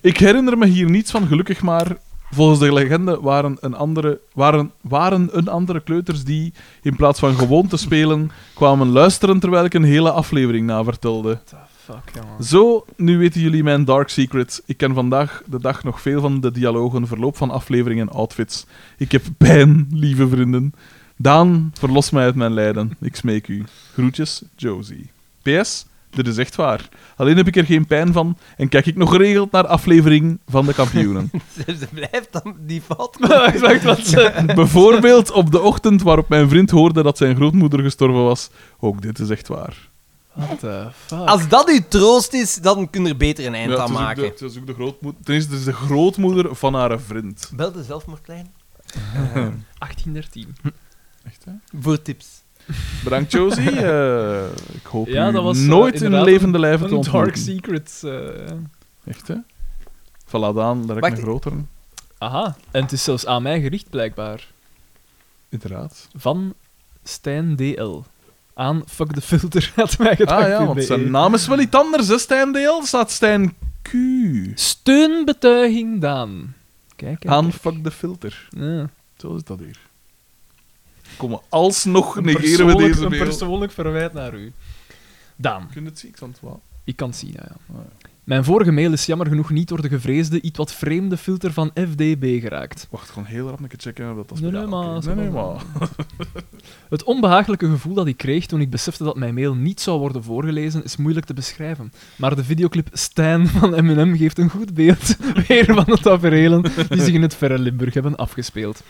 Ik herinner me hier niets van, gelukkig maar. Volgens de legende waren, een andere, waren, waren een andere kleuters die, in plaats van gewoon te spelen, kwamen luisteren terwijl ik een hele aflevering navertelde.
Fuck, jongen. *laughs*
Zo, nu weten jullie mijn dark secret. Ik ken vandaag de dag nog veel van de dialogen, verloop van afleveringen en outfits. Ik heb pijn, lieve vrienden. Daan, verlos mij uit mijn lijden. Ik smeek u. Groetjes, Josie. PS, dit is echt waar. Alleen heb ik er geen pijn van en kijk ik nog geregeld naar aflevering van de kampioenen.
Ze- Ze Dus blijft dan die fout.
ik dacht wat ze...
Bijvoorbeeld op de ochtend waarop mijn vriend hoorde dat zijn grootmoeder gestorven was. Ook dit is echt waar.
What the fuck?
Als dat uw troost is, dan kun je er beter een eind
Ja, het
aan
is ook de-
maken.
het is ook de grootmoeder. Ten eerste, het is de grootmoeder van haar vriend.
Bel de zelfmoordlijn
1813.
Echt, hè?
voor tips.
*laughs* Bedankt, Josie. Eh, ik hoop
Ja,
u
dat was, eh,
nooit in
inderdaad
levende lijven te
Een
ontmoeten.
dark secret. eh.
Echt, hè? Voilà, Daan, daar heb ik
Wacht.
een grotere.
Aha, en het is zelfs aan mij gericht blijkbaar.
Inderdaad.
Van Stijn DL. Aan fuck the filter *laughs* had mij gedacht.
Ah ja, want
E.
zijn naam is wel iets anders, hè, Stijn Deel. Staat Stijn Q.
Steunbetuiging Daan. Kijk, kijk,
Aan
kijk.
fuck de filter.
Ja.
Zo is dat hier. Kom, alsnog
Een
negeren we
persoonlijk-
deze
Een
mail.
persoonlijk verwijt naar u. Daan.
Kun je het zien? Ik zal het wel.
Ik kan het zien, ja, ja.
Ah, ja.
Mijn vorige mail is jammer genoeg niet door de gevreesde, iets wat vreemde filter van FDB geraakt.
Wacht, gewoon heel rap een keer checken of dat dat
Nee,
ja,
nee,
oké.
maar-
Nee, nee, maar.
Het onbehagelijke gevoel dat ik kreeg toen ik besefte dat mijn mail niet zou worden voorgelezen, is moeilijk te beschrijven. Maar de videoclip Stijn van M&M geeft een goed beeld *laughs* weer van de taferelen die zich in het verre Limburg hebben afgespeeld.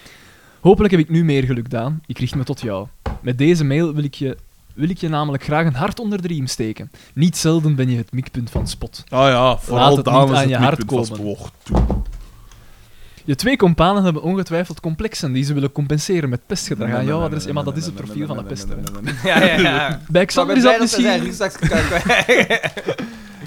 Hopelijk heb ik nu meer geluk, Daan. Ik richt me tot jou. Met deze mail wil ik je, wil ik je namelijk graag een hart onder de riem steken. Niet zelden ben je het mikpunt van spot.
Ah ja,
Laat
vooral
het
Daan
niet
is
aan
het
je hart
mikpunt van
komen.
Spoor. Toe.
Je twee kompanen hebben ongetwijfeld complexen die ze willen compenseren met pestgedrag
Nee,
aan
nee,
jouw
nee,
adres. Ja,
nee,
maar
nee,
dat is het
nee,
profiel
nee,
van de
nee, nee,
pester.
nee,
hè.
nee, nee, nee.
Ja, ja, ja.
Bij
Ik zal
Xander is dat
zijn
misschien...
rugzakje kan kwijt.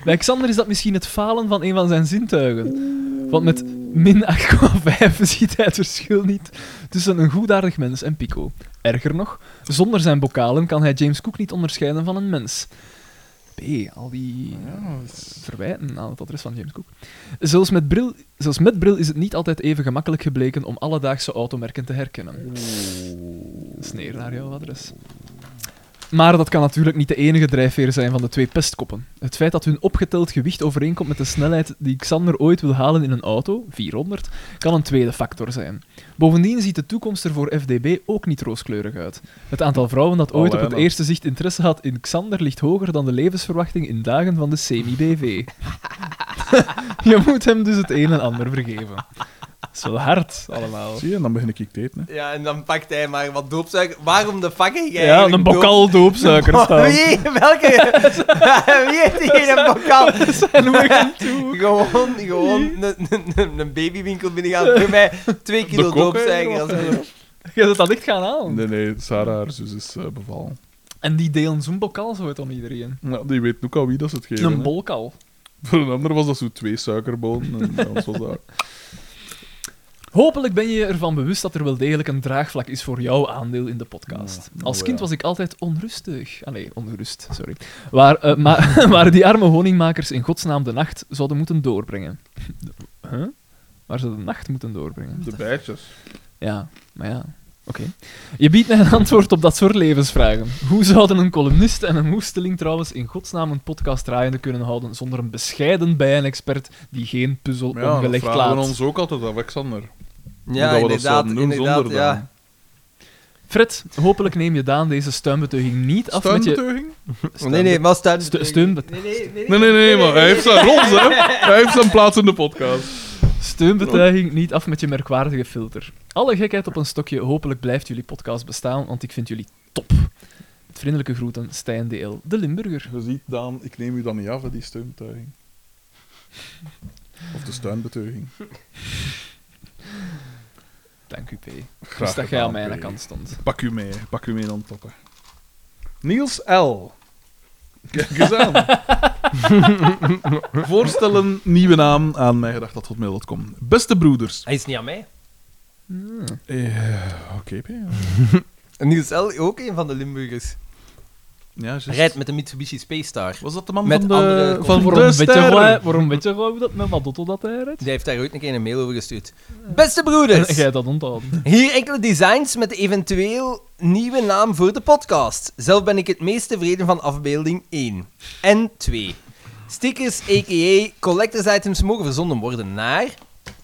Bij Xander is dat misschien het falen van een van zijn zintuigen. Want met min 8,5 ziet hij het verschil niet tussen een goedaardig mens en Pico. Erger nog, zonder zijn bokalen kan hij James Cook niet onderscheiden van een mens. B, al die
Ja, dat is-
verwijten aan het adres van James Cook. Zelfs met, bril, zelfs met bril is het niet altijd even gemakkelijk gebleken om alledaagse automerken te herkennen. Sneer naar jouw adres. Maar dat kan natuurlijk niet de enige drijfveer zijn van de twee pestkoppen. Het feit dat hun opgeteld gewicht overeenkomt met de snelheid die Xander ooit wil halen in een auto, 400, kan een tweede factor zijn. Bovendien ziet de toekomst er voor FDB ook niet rooskleurig uit. Het aantal vrouwen dat ooit op het
Allee,
eerste zicht interesse had in Xander ligt hoger dan de levensverwachting in dagen van de semi-BV. Je moet hem dus het een en ander vergeven. Dat is wel hard, allemaal.
Zie je, en dan begin ik ik te eten. Hè.
Ja, en dan pakt hij maar wat doopzuiker. Waarom de fuck heb jij
Ja,
eigenlijk
een
doop-
bokal
*laughs*
doopsuiker staan.
Wie? Welke? *laughs* Wie heeft hier een bokal?
En *laughs* we gaan toe.
Gewoon, gewoon een, een- een- een babywinkel binnengaan. Doe mij twee kilo
kok, hè,
doopzuiger. Als een-
Je zult dat echt gaan halen.
Nee, nee, Sarah, haar zus, is eh, bevallen.
En die delen zo'n bokal zo uit aan iedereen.
Nou, die weet ook al wie dat ze het geven.
Een
hè.
bolkal.
Voor een ander was dat zo twee suikerbonen en bij ons was dat...
*laughs* Hopelijk ben je je ervan bewust dat er wel degelijk een draagvlak is voor jouw aandeel in de podcast.
Ja, nou
Als
ja.
kind was ik altijd onrustig. Ah nee, ongerust, sorry. Waar, eh,
*laughs*
maar, waar die arme honingmakers in godsnaam de nacht zouden moeten doorbrengen. *laughs* Huh? Waar ze de nacht moeten doorbrengen.
De bijtjes.
Ja, maar ja. Oké. Je biedt mij een antwoord op dat soort levensvragen. Hoe zouden een columnist en een hoesteling trouwens in godsnaam een podcast draaiende kunnen houden zonder een bescheiden bij een expert die geen puzzel
Maar ja, dat
ongelegd
vragen
laat?
we ons ook altijd af, Alexander.
Ja,
dat we dat
inderdaad.
zouden doen
inderdaad
zonder
ja.
dan.
Fred, hopelijk neem je Daan deze stuimbetuiging niet af met je...
Steunbetuiging?
Nee, nee, maar staan.
Stu- steunbet-
Nee, nee, nee.
Nee, nee, nee, maar hij heeft
*laughs*
zijn rol, hè. Hij heeft zijn plaats in de podcast.
Steunbetuiging niet af met je merkwaardige filter. Alle gekheid op een stokje, hopelijk blijft jullie podcast bestaan, want ik vind jullie top. Met vriendelijke groeten, Stijn DL, de Limburger.
Je ziet, Daan, ik neem u dan niet af, hè, die steunbetuiging. Of de steunbetuiging.
Dank u, P.
Graag
Dus dat jij
gedaan,
aan mijn
P.
kant stond.
Pak u mee, pak u mee dan toppen. Niels L. Kijk eens aan. *laughs* Voorstellen nieuwe naam aan mijgedacht.hotmail.com. Beste broeders.
Hij is niet aan mij.
Eh, Oké, P.
En Niels L. ook een van de Limburgers.
Ja, juist.
Rijdt met de Mitsubishi Space Star.
Was dat de man
Met
van de,
Eh,
andere
van
waarom,
de
weet je,
sterren?
gewoon- waarom weet je gewoon hoe dat met Madotto dat hij rijdt?
Die heeft daar ooit een keer een mail over gestuurd. Beste
En *laughs*
broeders,
jij dat onthouden.
hier enkele designs met eventueel nieuwe naam voor de podcast. Zelf ben ik het meest tevreden van afbeelding 1 en 2. Stickers, a.k.a. collectors items, mogen verzonden worden naar...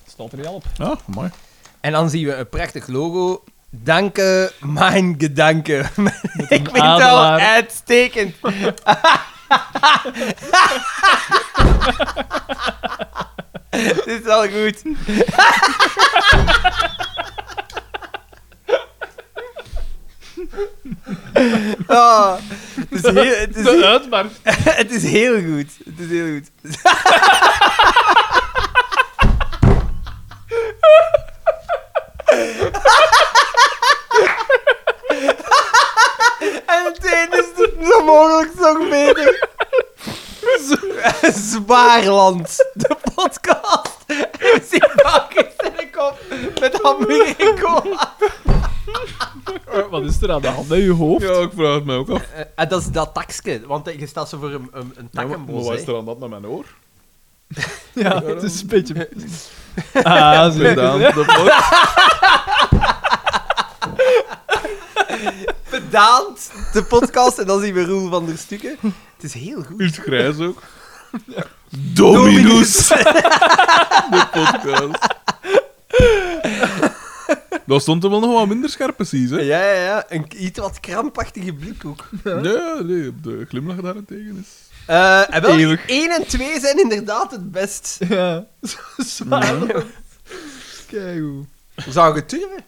Staat er niet al op.
Ja, mooi.
En dan zien we een prachtig logo. Danke, mijn gedanken. *laughs* Ik vind het wel
adelaar.
uitstekend. *laughs* Dit is wel goed. Ah, het, is heel, het, is
De uitmarkt.
*laughs* het is heel goed. Het is heel goed. *laughs* en het tweede is het zo mogelijk zo beter. *laughs* Z- Zwaarland, de podcast. *laughs* Zie bakjes en een kop met hamburger en cola.
Wat is er aan de hand in je hoofd?
Ja, ik vraag het mij ook af.
Eh, eh, dat is dat takske, want eh, je staat zo voor een, een, een
Ja, maar maar
takkenbos.
wat
hè.
is er aan dat naar mijn oor?
Ja, het is een beetje... *laughs* Ah, zie je.
Gedaan, de box.
bedaald de podcast en dan zien we Roel van der Stukken. Het is heel goed.
Uurt grijs
*laughs*
ook. Dominus! *laughs* De podcast. Daar stond er wel nog wat minder scherp, precies. Hè?
Ja, ja, ja. Een iets wat krampachtige blik ook.
Nee, nee, op de glimlach daarentegen is.
Eh, en wel,
Eeuwig.
1 en 2 zijn inderdaad het best.
Ja, zwaar. Keigoed.
Zou je turven?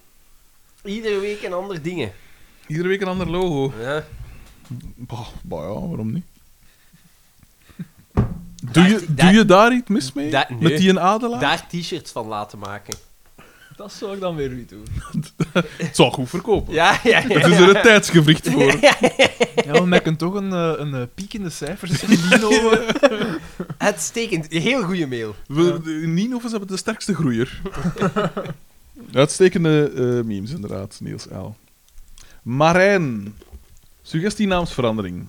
Iedere week een ander dingen.
Iedere week een ander logo.
Ja.
Bah, bah ja, waarom niet? Doe je,
dat-
doe je daar iets mis mee?
dat- nee.
Met die een adelaar?
Daar t-shirts van laten maken.
Dat zou ik dan weer niet doen.
Het zal goed verkopen.
Ja, ja, ja.
Het is er een
*laughs*
tijdsgevricht voor.
Ja, maar men kan toch een, eh, een eh, piek in de cijfers *laughs* in Lino. eh.
Uitstekend. Heel goede mail.
We, de- Nino's hebben de sterkste groeier. *laughs* Uitstekende eh, memes, inderdaad, Niels L. Marijn. Suggestie naamsverandering.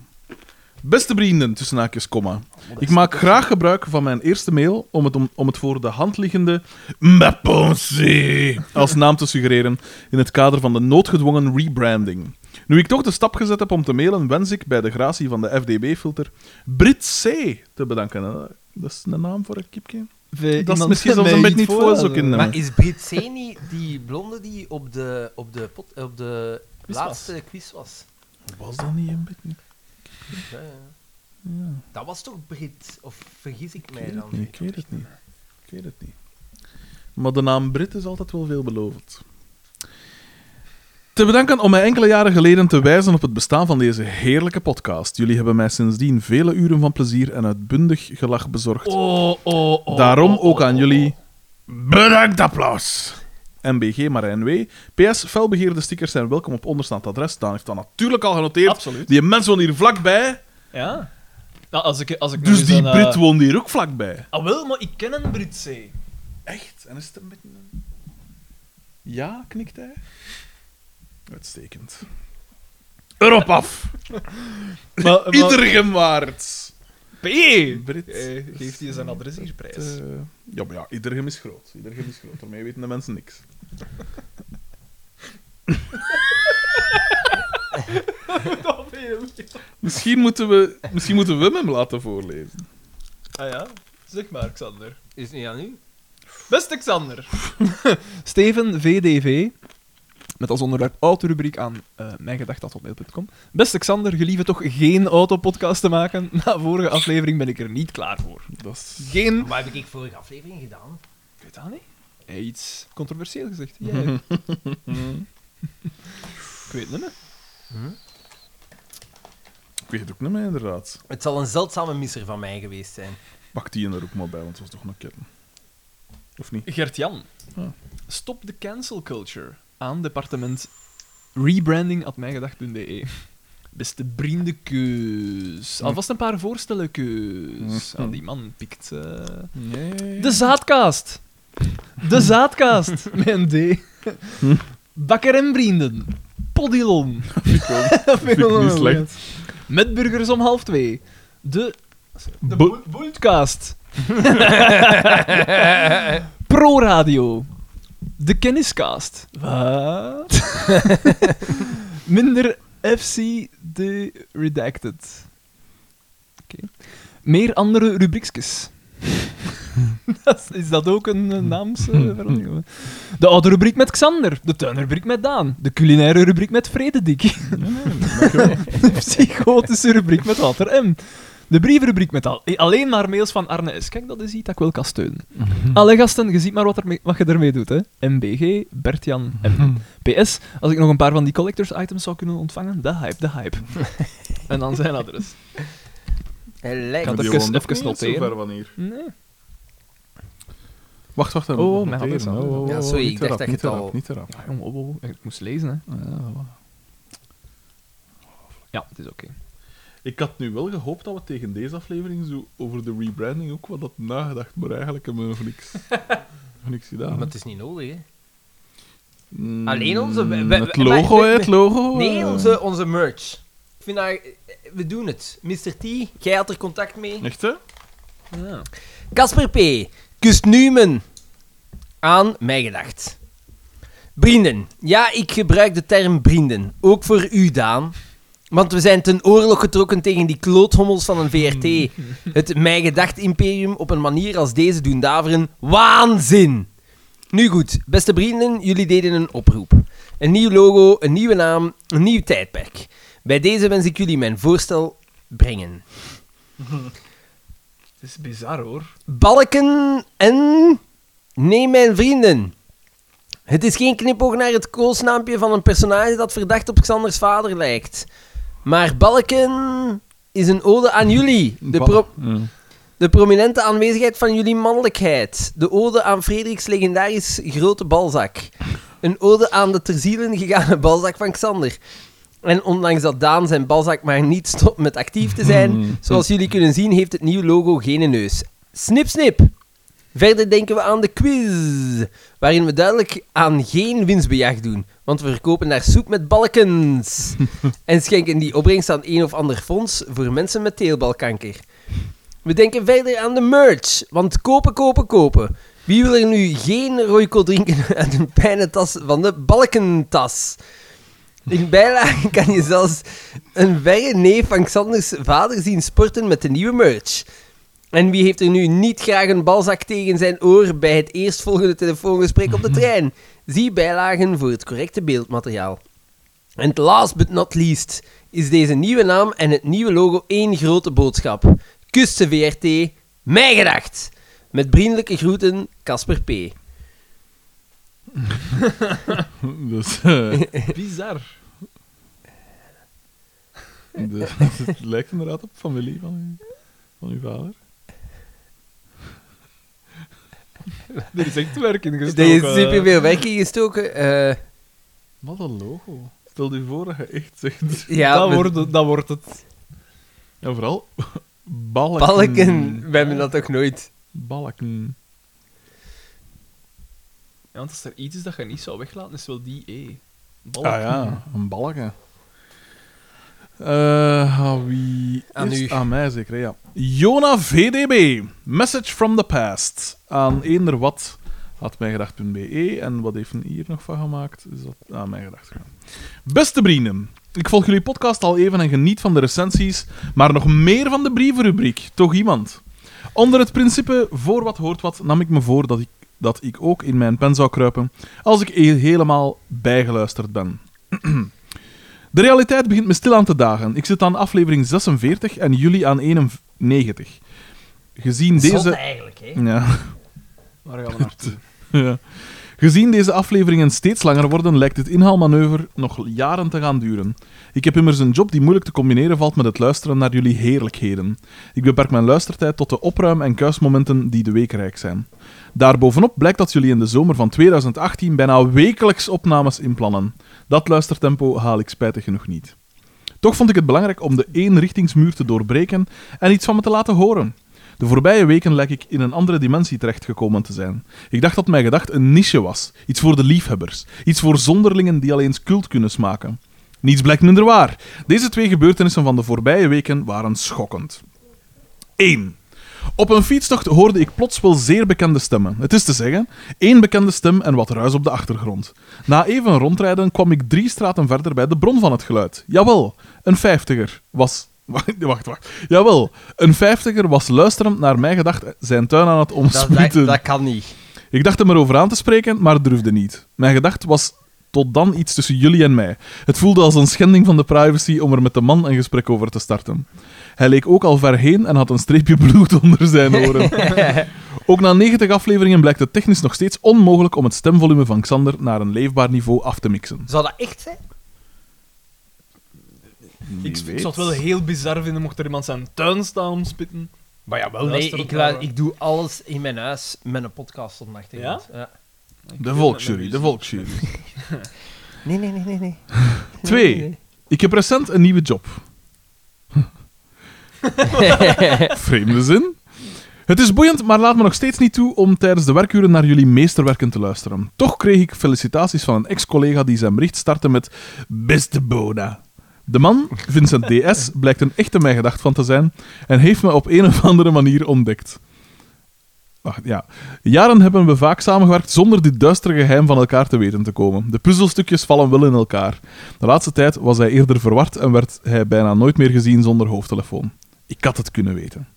Beste vrienden, tussen haakjes, komma. Ik maak graag gebruik van mijn eerste mail om het, om, om het voor de hand liggende Maponsé als naam te suggereren in het kader van de noodgedwongen rebranding. Nu ik toch de stap gezet heb om te mailen, wens ik bij de gratie van de FDB-filter Brit C te bedanken. Eh, Dat is een naam voor een kipje. Dat is
Iemand
misschien zelfs
mij
een beetje
iets
niet voor
voorlaten.
ook in de
Maar is Brit Seni die blonde die op de, op de, pot, op de
Quiz was.
laatste quiz was?
Was dat niet een beetje?
Ja, ja. Dat was toch Brit? Of vergis ik mij
Ik weet
dan?
het niet. Ik weet het niet. Ik weet het niet. Maar de naam Brit is altijd wel veelbelovend. Te bedanken om mij enkele jaren geleden te wijzen op het bestaan van deze heerlijke podcast. Jullie hebben mij sindsdien vele uren van plezier en uitbundig gelach bezorgd.
Oh, oh, oh.
Daarom
oh, oh,
ook aan
oh,
jullie bedankt applaus. MBG Marijn W. PS, felbegeerde stickers zijn welkom op onderstaand adres. Daan heeft dat natuurlijk al genoteerd.
Absoluut.
Die mens woont hier vlakbij,
oh. Ja. Nou, als ik, als ik nog
dus
eens
die
een,
Brit
eh,
woont hier ook vlakbij.
Ah, wel, maar ik ken een Britse.
Echt? En is het een beetje een... Ja, knikt hij. Uitstekend. Erop *laughs* af.
Maar, maar-
Ieder gemaard.
P.
Brit.
Eh, geeft hij zijn adres hier prijs?
Eh, ja, maar ja, Iedergem is groot. Iedergem is groot. Daarmee weten de mensen niks.
Dat weet ik.
Misschien moeten we, misschien moeten we hem laten voorlezen.
Ah ja, zeg maar, Xander.
Is het niet aan u?
Beste Xander. *laughs* Steven VDV. Met als onderwerp autorubriek aan eh mijngedacht.mail.com. Beste Xander, gelieve toch geen autopodcast te maken? *laughs* Na vorige aflevering ben ik er niet klaar voor.
Dat is...
Geen...
Wat heb ik vorige aflevering gedaan?
Ah, Ik weet dat niet. Hij heeft iets controversieel gezegd. Jij. *laughs* ik weet het niet.
Ik weet het ook niet meer, inderdaad.
Het zal een zeldzame misser van mij geweest zijn.
Pak die er ook maar bij, want het was toch een ketten. Of niet?
Gert-Jan.
Ah.
Stop de cancel culture aan departement rebranding.mijgedacht.be. E. Beste vriendenkeus. Alvast een paar voorstellen, keus. Ah, die man pikt... eh.
Nee.
De zaadkaast. De zaadkaast. *laughs* Met een D. Bakker en vrienden. Podilon. *laughs* Dat
vind ik
wel
niet
een
slecht.
goeie. Met burgers om half twee. De... De
Bo-
Bultcast. Pro Radio. De Kenniscast. Wat? *laughs* Minder FC de Redacted. Oké. Meer andere rubriekjes. *laughs* Dat is- is dat ook een eh, naamsverandering? de oude rubriek met Xander. De tuinrubriek met Daan. De culinaire rubriek met Frederik. De psychotische rubriek met Walter M. De brievenrubriek met al alleen maar mails van Arne S. Kijk, dat is iets dat ik wel kan steunen.
Mm. *laughs*
Alle gasten, je ziet maar wat, er mee- wat je ermee doet, hè. MBG, Bertjan M. PS, als ik nog een paar van die collectors items zou kunnen ontvangen, de hype, de hype. en dan zijn adres.
Lijkt.
Kan
Maar die
even-
woont ook
even
niet zo
noteren.
ver van hier.
Nee.
Wacht, wacht.
Oh, mijn hand is aan.
Ja, sorry, ik dacht dat je het al-
Niet erop.
Ja, jong, oh, oh, oh, ik moest lezen, hè. Ja, het is oké.
Ik had nu wel gehoopt dat we tegen deze aflevering zo over de rebranding ook wat had nagedacht, maar eigenlijk hebben we nog niks,
*laughs*
nog niks gedaan.
Maar
hè.
het is niet nodig, hè.
Mm,
alleen onze- we- we-
het
we-
logo,
maar-
hè, het logo.
Nee,
eh.
onze, onze merch. Ik vind dat... We doen het. Mr. T, jij had er contact mee.
Echt, hè? *laughs*
*laughs* Ja.
Casper P. Kust Numen. Aan mij gedacht. Vrienden. Ja, ik gebruik de term vrienden. Ook voor u, Daan. Want we zijn ten oorlog getrokken tegen die kloothommels van een VRT. Het Mij Gedacht Imperium op een manier als deze doen daveren. Waanzin! Nu goed, beste vrienden, jullie deden een oproep. Een nieuw logo, een nieuwe naam, een nieuw tijdperk. Bij deze wens ik jullie mijn voorstel brengen.
Het is bizar hoor.
Balken en... Nee, mijn vrienden. Het is geen knipoog naar het koosnaampje van een personage dat verdacht op Xanders vader lijkt. Maar Balken is een ode aan jullie. De,
Ba-
pro- de prominente aanwezigheid van jullie mannelijkheid. De ode aan Frederiks legendarisch grote balzak. Een ode aan de ter zielen gegane balzak van Xander. En ondanks dat Daan zijn balzak maar niet stopt met actief te zijn, zoals jullie kunnen zien, heeft het nieuwe logo geen neus. Snip, snip! Verder denken we aan de quiz, waarin we duidelijk aan geen winstbejag doen, want we verkopen daar soep met balkens en schenken die opbrengst aan een of ander fonds voor mensen met teelbalkanker. We denken verder aan de merch, want kopen, kopen, kopen. Wie wil er nu geen Royco drinken *laughs* uit een pijnentas van de balkentas? In bijlage kan je zelfs een verre neef van Xanders vader zien sporten met de nieuwe merch. En wie heeft er nu niet graag een balzak tegen zijn oor bij het eerstvolgende telefoongesprek op de trein? Zie bijlagen voor het correcte beeldmateriaal. En last but not least is deze nieuwe naam en het nieuwe logo één grote boodschap. Kus de VRT, mij gedacht. Met vriendelijke groeten, Casper P.
Dus,
*laughs*
eh,
Bizar.
de- dus, het lijkt inderdaad op familie van, uw- van uw vader.
Er is echt werk in
Er
gestoken.
is superveel werk ingestoken. eh
Wat een logo. Stel je voor dat je echt zegt.
ja,
dat,
met
wordt, het- dat wordt het.
En vooral *laughs* balken.
balken. We hebben dat ook nooit.
Balken.
Ja, want als er iets is dat je niet zou weglaten, is wel die E. Balk.
Ah ja, een balken. Eh, aan wie
Aan
is-
u.
Aan mij zeker, ja. Jona VDB. Message from the past. Aan eender wat. Had mijgedacht.be. E En wat heeft een hier nog van gemaakt? Is dat aan mijn gedacht gegaan. Beste vrienden, ik volg jullie podcast al even en geniet van de recensies, maar nog meer van de brievenrubriek. Toch iemand? Onder het principe voor wat hoort wat nam ik me voor dat ik, dat ik ook in mijn pen zou kruipen als ik he- helemaal bijgeluisterd ben. *clears throat* De realiteit begint me stilaan te dagen. Ik zit aan aflevering 46 en jullie aan 91. Gezien
Zot
deze...
eigenlijk,
*laughs*
hè?
Ja.
Waar gaan we naartoe?
*laughs* Ja. Gezien deze afleveringen steeds langer worden, lijkt dit inhaalmanoeuvre nog jaren te gaan duren. Ik heb immers een job die moeilijk te combineren valt met het luisteren naar jullie heerlijkheden. Ik beperk mijn luistertijd tot de opruim- en kuismomenten die de week rijk zijn. Daarbovenop blijkt dat jullie in de zomer van 2018 bijna wekelijks opnames inplannen. Dat luistertempo haal ik spijtig genoeg niet. Toch vond ik het belangrijk om de eenrichtingsmuur te doorbreken en iets van me te laten horen. De voorbije weken lijk ik in een andere dimensie terechtgekomen te zijn. Ik dacht dat mijn gedacht een niche was. Iets voor de liefhebbers. Iets voor zonderlingen die alleen cult kunnen smaken. Niets blijkt minder waar. Deze twee gebeurtenissen van de voorbije weken waren schokkend. 1. Op een fietstocht hoorde ik plots wel zeer bekende stemmen. Het is te zeggen, één bekende stem en wat ruis op de achtergrond. Na even rondrijden kwam ik drie straten verder bij de bron van het geluid. Jawel, een vijftiger was... *laughs* Wacht, wacht, wacht. Jawel, een vijftiger was luisterend naar mijn gedacht zijn tuin aan het
Dat, dat,
omsmieten.
dat kan niet.
Ik dacht hem erover aan te spreken, maar durfde niet. Mijn gedacht was tot dan iets tussen jullie en mij. Het voelde als een schending van de privacy om er met de man een gesprek over te starten. Hij leek ook al ver heen en had een streepje bloed *laughs* onder zijn
*laughs*
oren. ook na 90 afleveringen blijkt het technisch nog steeds onmogelijk om het stemvolume van Xander naar een leefbaar niveau af te mixen.
Zou dat echt zijn?
Ik, ik zou het wel heel bizar vinden mocht er iemand zijn tuin staan omspitten. Maar ja, wel
Nee,
luister
ik,
op
lu-
naar-
ik doe alles in mijn huis met een podcast op de achtergrond. eh, Ja?
De volksjury, de
*laughs*
volksjury.
Nee, nee, nee, nee. nee.
Twee. Ik heb recent een nieuwe job. *laughs* Vreemde zin. Het is boeiend, maar laat me nog steeds niet toe om tijdens de werkuren naar jullie meesterwerken te luisteren. Toch kreeg ik felicitaties van een ex-collega die zijn bericht startte met Beste Bona. De man, Vincent DS, blijkt een echte mijgedacht van te zijn en heeft me op een of andere manier ontdekt. Wacht, ja. Jaren hebben we vaak samengewerkt zonder dit duistere geheim van elkaar te weten te komen. De puzzelstukjes vallen wel in elkaar. De laatste tijd was hij eerder verward en werd hij bijna nooit meer gezien zonder hoofdtelefoon. Ik had het kunnen weten.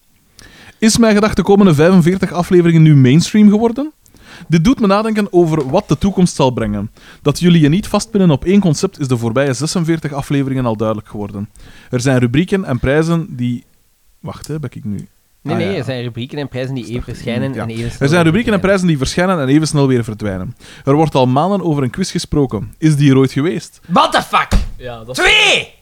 Is mijn gedachte de komende 45 afleveringen nu mainstream geworden? Dit doet me nadenken over wat de toekomst zal brengen. Dat jullie je niet vastpinnen op één concept is de voorbije 46 afleveringen al duidelijk geworden. Er zijn rubrieken en prijzen die. Wacht, hè, ben ik nu.
Nee,
Ah,
nee,
ja.
er zijn rubrieken en prijzen die even verschijnen
Ja.
en even
Er
snel
zijn rubrieken
verdwijnen.
en prijzen die verschijnen en even snel weer verdwijnen. Er wordt al maanden over een quiz gesproken. Is die er ooit geweest?
What the fuck?
Ja, dat is...
Twee!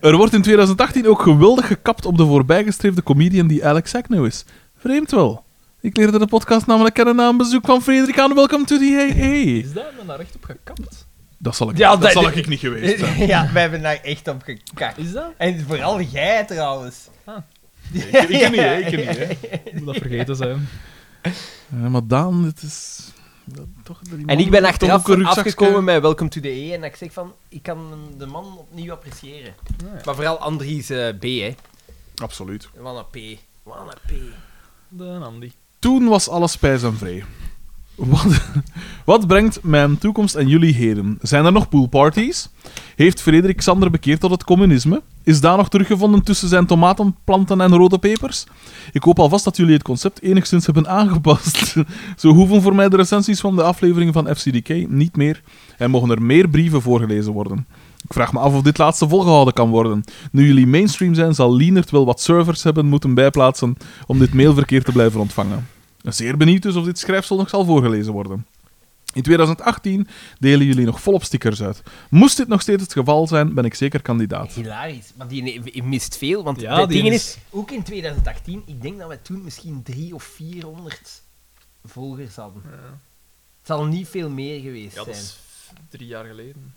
Er wordt in 2018 ook geweldig gekapt op de voorbijgestreefde comedian die Alex Agnew is. Vreemd wel. Ik leerde de podcast namelijk kennen na een bezoek van Frederik aan Welcome to the AA.
Is daar dan daar echt op gekapt?
Dat zal ik,
Ja,
dat
dat-
zal ik niet geweest
*laughs*
zijn.
ja, we hebben daar echt op gekakt.
Is dat?
En vooral jij trouwens.
Ah.
Ik ken niet, hè. Ik ken niet, hè.
Moet dat vergeten zijn.
Ja, Eh, maar Daan, dit is... dat- Toch, die man
En ik ben
heeft toch
achteraf
ook een rugzakje.
afgekomen met Welcome to the E en dat ik zeg van, ik kan de man opnieuw appreciëren.
ja.
Maar vooral Andries eh, B, hè.
Absoluut.
Wat een P. Wat een P.
*laughs* De Andy.
Toen was alles spijs en vrij. Wat, wat brengt mijn toekomst en jullie heden? Zijn er nog poolparties? Heeft Frederik Sander bekeerd tot het communisme? Is daar nog teruggevonden tussen zijn tomatenplanten en rode pepers? Ik hoop alvast dat jullie het concept enigszins hebben aangepast. *laughs* Zo hoeven voor mij de recensies van de afleveringen van FCDK niet meer en mogen er meer brieven voorgelezen worden. Ik vraag me af of dit laatste volgehouden kan worden. Nu jullie mainstream zijn, zal Lienert wel wat servers hebben moeten bijplaatsen om dit mailverkeer te blijven ontvangen. Zeer benieuwd dus of dit schrijfsel nog zal voorgelezen worden. In 2018 delen jullie nog volop stickers uit. Moest dit nog steeds het geval zijn, ben ik zeker kandidaat.
Hilarisch. Maar die mist veel, want
Ja,
het
die
ding
is-
is... Ook in 2018, ik denk dat we toen misschien 300 of 400 volgers hadden. Het zal niet veel meer geweest
Ja, dat
zijn.
is drie jaar geleden.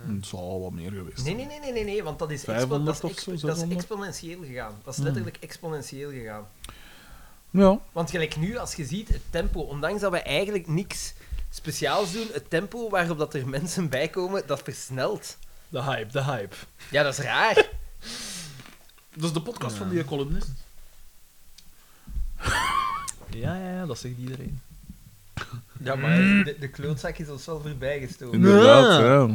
Het zal al wat meer
Nee,
geweest zijn.
nee, nee, nee, nee, nee, want dat is, expo-
500
dat, is
of
exp-
zo,
dat is
600.
exponentieel gegaan. Dat is letterlijk exponentieel gegaan.
Ja,
Want gelijk nu, als je ziet, het tempo, ondanks dat we eigenlijk niks speciaals doen, het tempo waarop dat er mensen bij komen, dat versnelt.
De hype, de hype.
Ja, dat is raar.
dat is de podcast van die columnist.
*laughs* Ja, ja, ja, dat zegt iedereen.
Ja, maar de, de klootzak is ons wel voorbijgestoken.
Inderdaad, ja.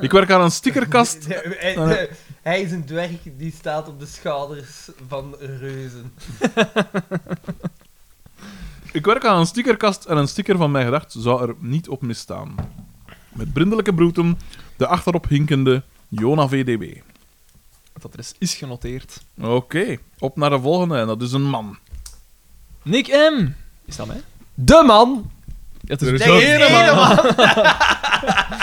Ik werk aan een stickerkast.
*laughs* Hij, hij- hij is een dwerg die staat op de schouders van reuzen.
Ik werk aan een stickerkast en een sticker van mijn gedacht zou er niet op misstaan. Met brindelijke broeten, de achterop hinkende Jona VDB.
Dat adres is genoteerd.
Oké, op naar de volgende en dat is een man.
Nick M! Is dat mij?
De man!
Ja, het
Er is
de
wel-
ene
Ene man! *laughs*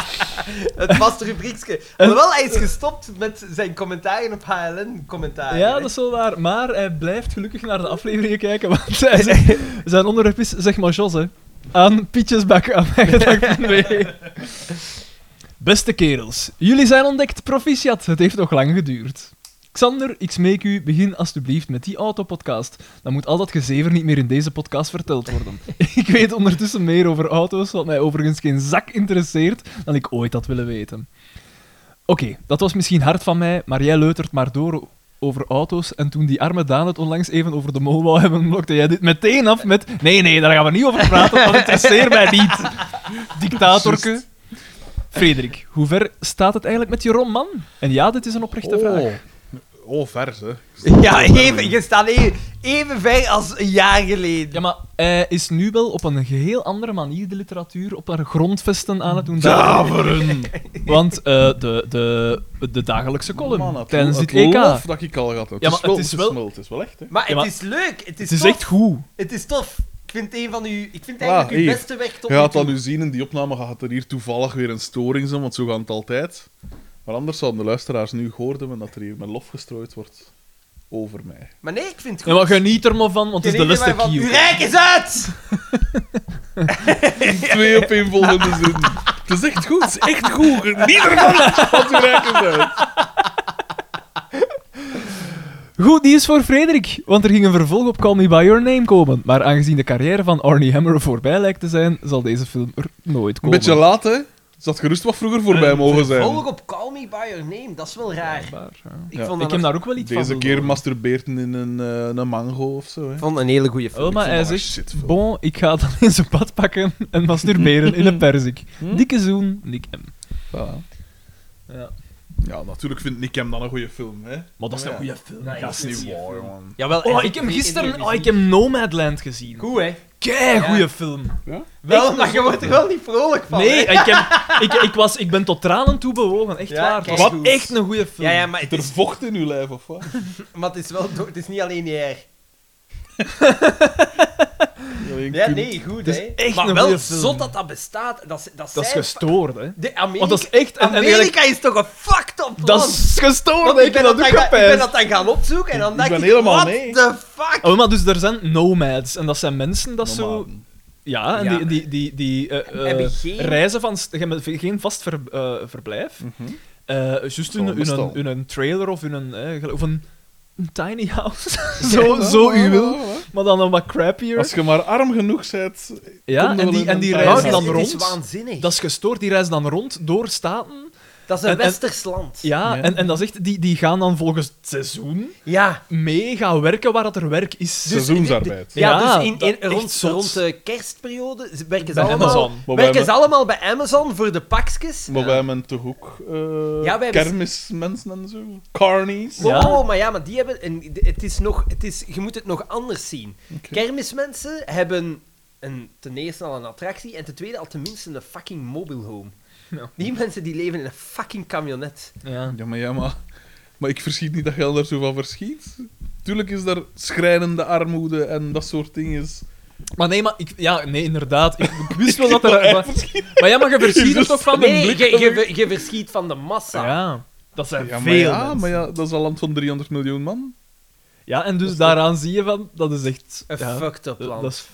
Het vaste rubriekske. Hoewel, hij is gestopt met zijn commentaren op HLN-commentaar.
Ja, dat is wel waar. Maar hij blijft gelukkig naar de afleveringen kijken, want hij zegt- zijn onderwerp is, zeg maar Jos, hè. Aan Pietjesbak, aan mijn gedachten mee. Beste kerels, jullie zijn ontdekt. Proficiat, het heeft nog lang geduurd. Xander, ik smeek u, begin alstublieft met die autopodcast. Dan moet al dat gezever niet meer in deze podcast verteld worden. *laughs* ik weet ondertussen meer over auto's, wat mij overigens geen zak interesseert, dan ik ooit had willen weten. Oké, dat was misschien hard van mij, maar jij leutert maar door over auto's. En toen die arme Daan het onlangs even over de mol wou hebben, blokte jij dit meteen af met... Nee, nee, daar gaan we niet over praten, want het interesseert mij niet. Dictatorke.
Juist.
Frederik, hoe ver staat het eigenlijk met je rom, man? En ja, dit is een oprechte vraag.
oh, vers hè.
Ja, even, je staat even, even ver als een jaar geleden.
Ja, maar hij is nu wel op een geheel andere manier de literatuur op haar grondvesten aan het doen. duiken. Want eh, de, de, de dagelijkse column
Man, het
tijdens
het
dit EK.
lof dat ik al gehad heb.
Ja,
het,
maar
is wel,
het is wel-
wel- het is wel echt, hè.
maar
ja, maar-
het is leuk, het is,
Het is
tof.
echt goed.
Het is tof. Ik vind het een van uw... Ik vind
Ah,
eigenlijk uw
hier.
beste werk tot
Je
nu
gaat dat
toe.
nu zien, in die opname gaat er hier toevallig weer een storing zijn, want zo gaan het altijd. Maar anders zouden de luisteraars nu gehoord hebben dat er hier met lof gestrooid wordt over mij.
Maar nee, ik vind het
Ja,
goed.
maar geniet er maar van, want het is de
Geniet
liste
er maar van.
key.
Uw rijk is uit!
Twee op één volgende zin. Het is echt goed, het is echt goed. Geniet ervan, want we rijken uit.
Goed, die is voor Frederik, want er ging een vervolg op Call Me By Your Name komen. Maar aangezien de carrière van Arnie Hammer voorbij lijkt te zijn, zal deze film er nooit
Een
komen.
beetje laat, hè. Ze had gerust wat vroeger voorbij
Een
mogen zijn.
Volg op Call Me By Your Name, dat is wel raar.
Blijkbaar.
Ik
Ja.
vond dat
eh, Ik heb
nog-
daar ook wel iets
Deze
van
keer
verloren.
masturbeert in een, eh, een mango of zo. Hè.
Ik vond het een hele goede film.
Oh, maar
vond
hij
dat
zegt,
een shitfilm.
bon, ik ga dan eens een pad pakken en masturberen
*laughs*
in een perzik.
Hm?
Dikke zoen, Nick M.
Voilà.
Ja.
Ja, natuurlijk vindt Nick hem dan een goede film. Hè.
Maar dat is
Ja.
Oh
een goede film.
Nee,
gast.
dat
Dat is niet waar, man.
Jawel,
Oh,
echt,
ik heb
die
gisteren
interview
oh, ik heb Nomadland gezien.
Goed, hè?
Kei goede
Ja.
film.
Ja?
Wel, maar je wordt er wel niet vrolijk van.
Nee,
hè?
ik, heb, ik, ik, was, ik ben tot tranen toe bewogen, echt
Ja,
waar. Het
kijk
was
goed.
echt een goede film.
Ja, ja, maar het
Zit er
is,
vocht in uw lijf of wat?
maar het is wel... do- Het is niet alleen die R.
Alleen
Ja,
kun-
nee, goed,
Het is
hè?
echt
maar
een
wel
goeie film.
zot dat dat bestaat. Dat, dat,
Dat is
zijn-
gestoord, hè.
De Amerika,
Want dat is echt... En, en eigenlijk,
Amerika is toch een fucked up land?
dat is gestoord,
Want
ik,
ik ben
dat
dan
ook
gaan- ik ben
gepijst.
dat dan gaan opzoeken en dan
Ik
dacht
ben
ik,
helemaal
what
mee.
the fuck?
Oh, maar dus er zijn nomads. En dat zijn mensen dat zo...
Nomaden.
Ja, en
Ja.
die, die, die, die eh, eh,
Hebben geen-
reizen van... st- ge- met geen vast ver- eh, verblijf.
Mhm.
Eh, Juist in,
Gewoon
in, een,
bestel.
in een trailer of in een, eh, gel- of een, een tiny
*laughs*
house.
Ja,
zo,
wel,
Oh, zo u
wel,
wil.
wel, wel.
Maar dan een wat crappier.
Als je maar arm genoeg bent.
ja,
komt er wel
en die,
een
en die
tiny house.
reizen dan
Het is
rond.
waanzinnig.
Dat is gestoord, die reizen dan rond door staten.
Dat is een
En- en-
westers land.
Ja,
Ja.
En, en dat is echt, die, die gaan dan volgens het seizoen
Ja.
mee gaan werken waar dat er werk
Dus
is.
Seizoensarbeid.
Ja,
Ja,
dus in, in,
dat- echt
rond,
zot.
rond de kerstperiode ze- werken ze,
Bij
allemaal,
Amazon.
Maar wij
werken ze
hebben-
allemaal bij Amazon voor de pakjes.
Maar wij hebben toch ook eh,
Ja, wij hebben-
kermismensen en zo? Carnies?
Wow,
Ja.
Oh, maar ja, maar die hebben... Een, het is nog, het is, je moet het nog anders zien.
Oké.
Kermismensen hebben een, ten eerste al een attractie en ten tweede al tenminste een fucking mobile home.
Ja.
Die mensen die leven in een fucking camionet.
Ja.
Ja, maar ja, maar... Maar ik verschiet niet dat je daar zo van verschiet. Tuurlijk is daar schrijnende armoede en dat soort dingen.
Maar nee, maar ik, ja, nee, inderdaad. Ik,
*laughs*
ik wist wel dat er.
echt
Maar, *laughs* maar ja, maar je verschiet er toch van de
Nee,
blik.
je, je, ver- je verschiet van de massa.
Ja, dat zijn
Ja, maar
veel.
ja,
mensen.
maar ja, dat is een land van 300 miljoen man.
Ja, en dus daaraan zie je van, dat is echt.
Een
ja,
fucked up
dat
land.
dat is fuck.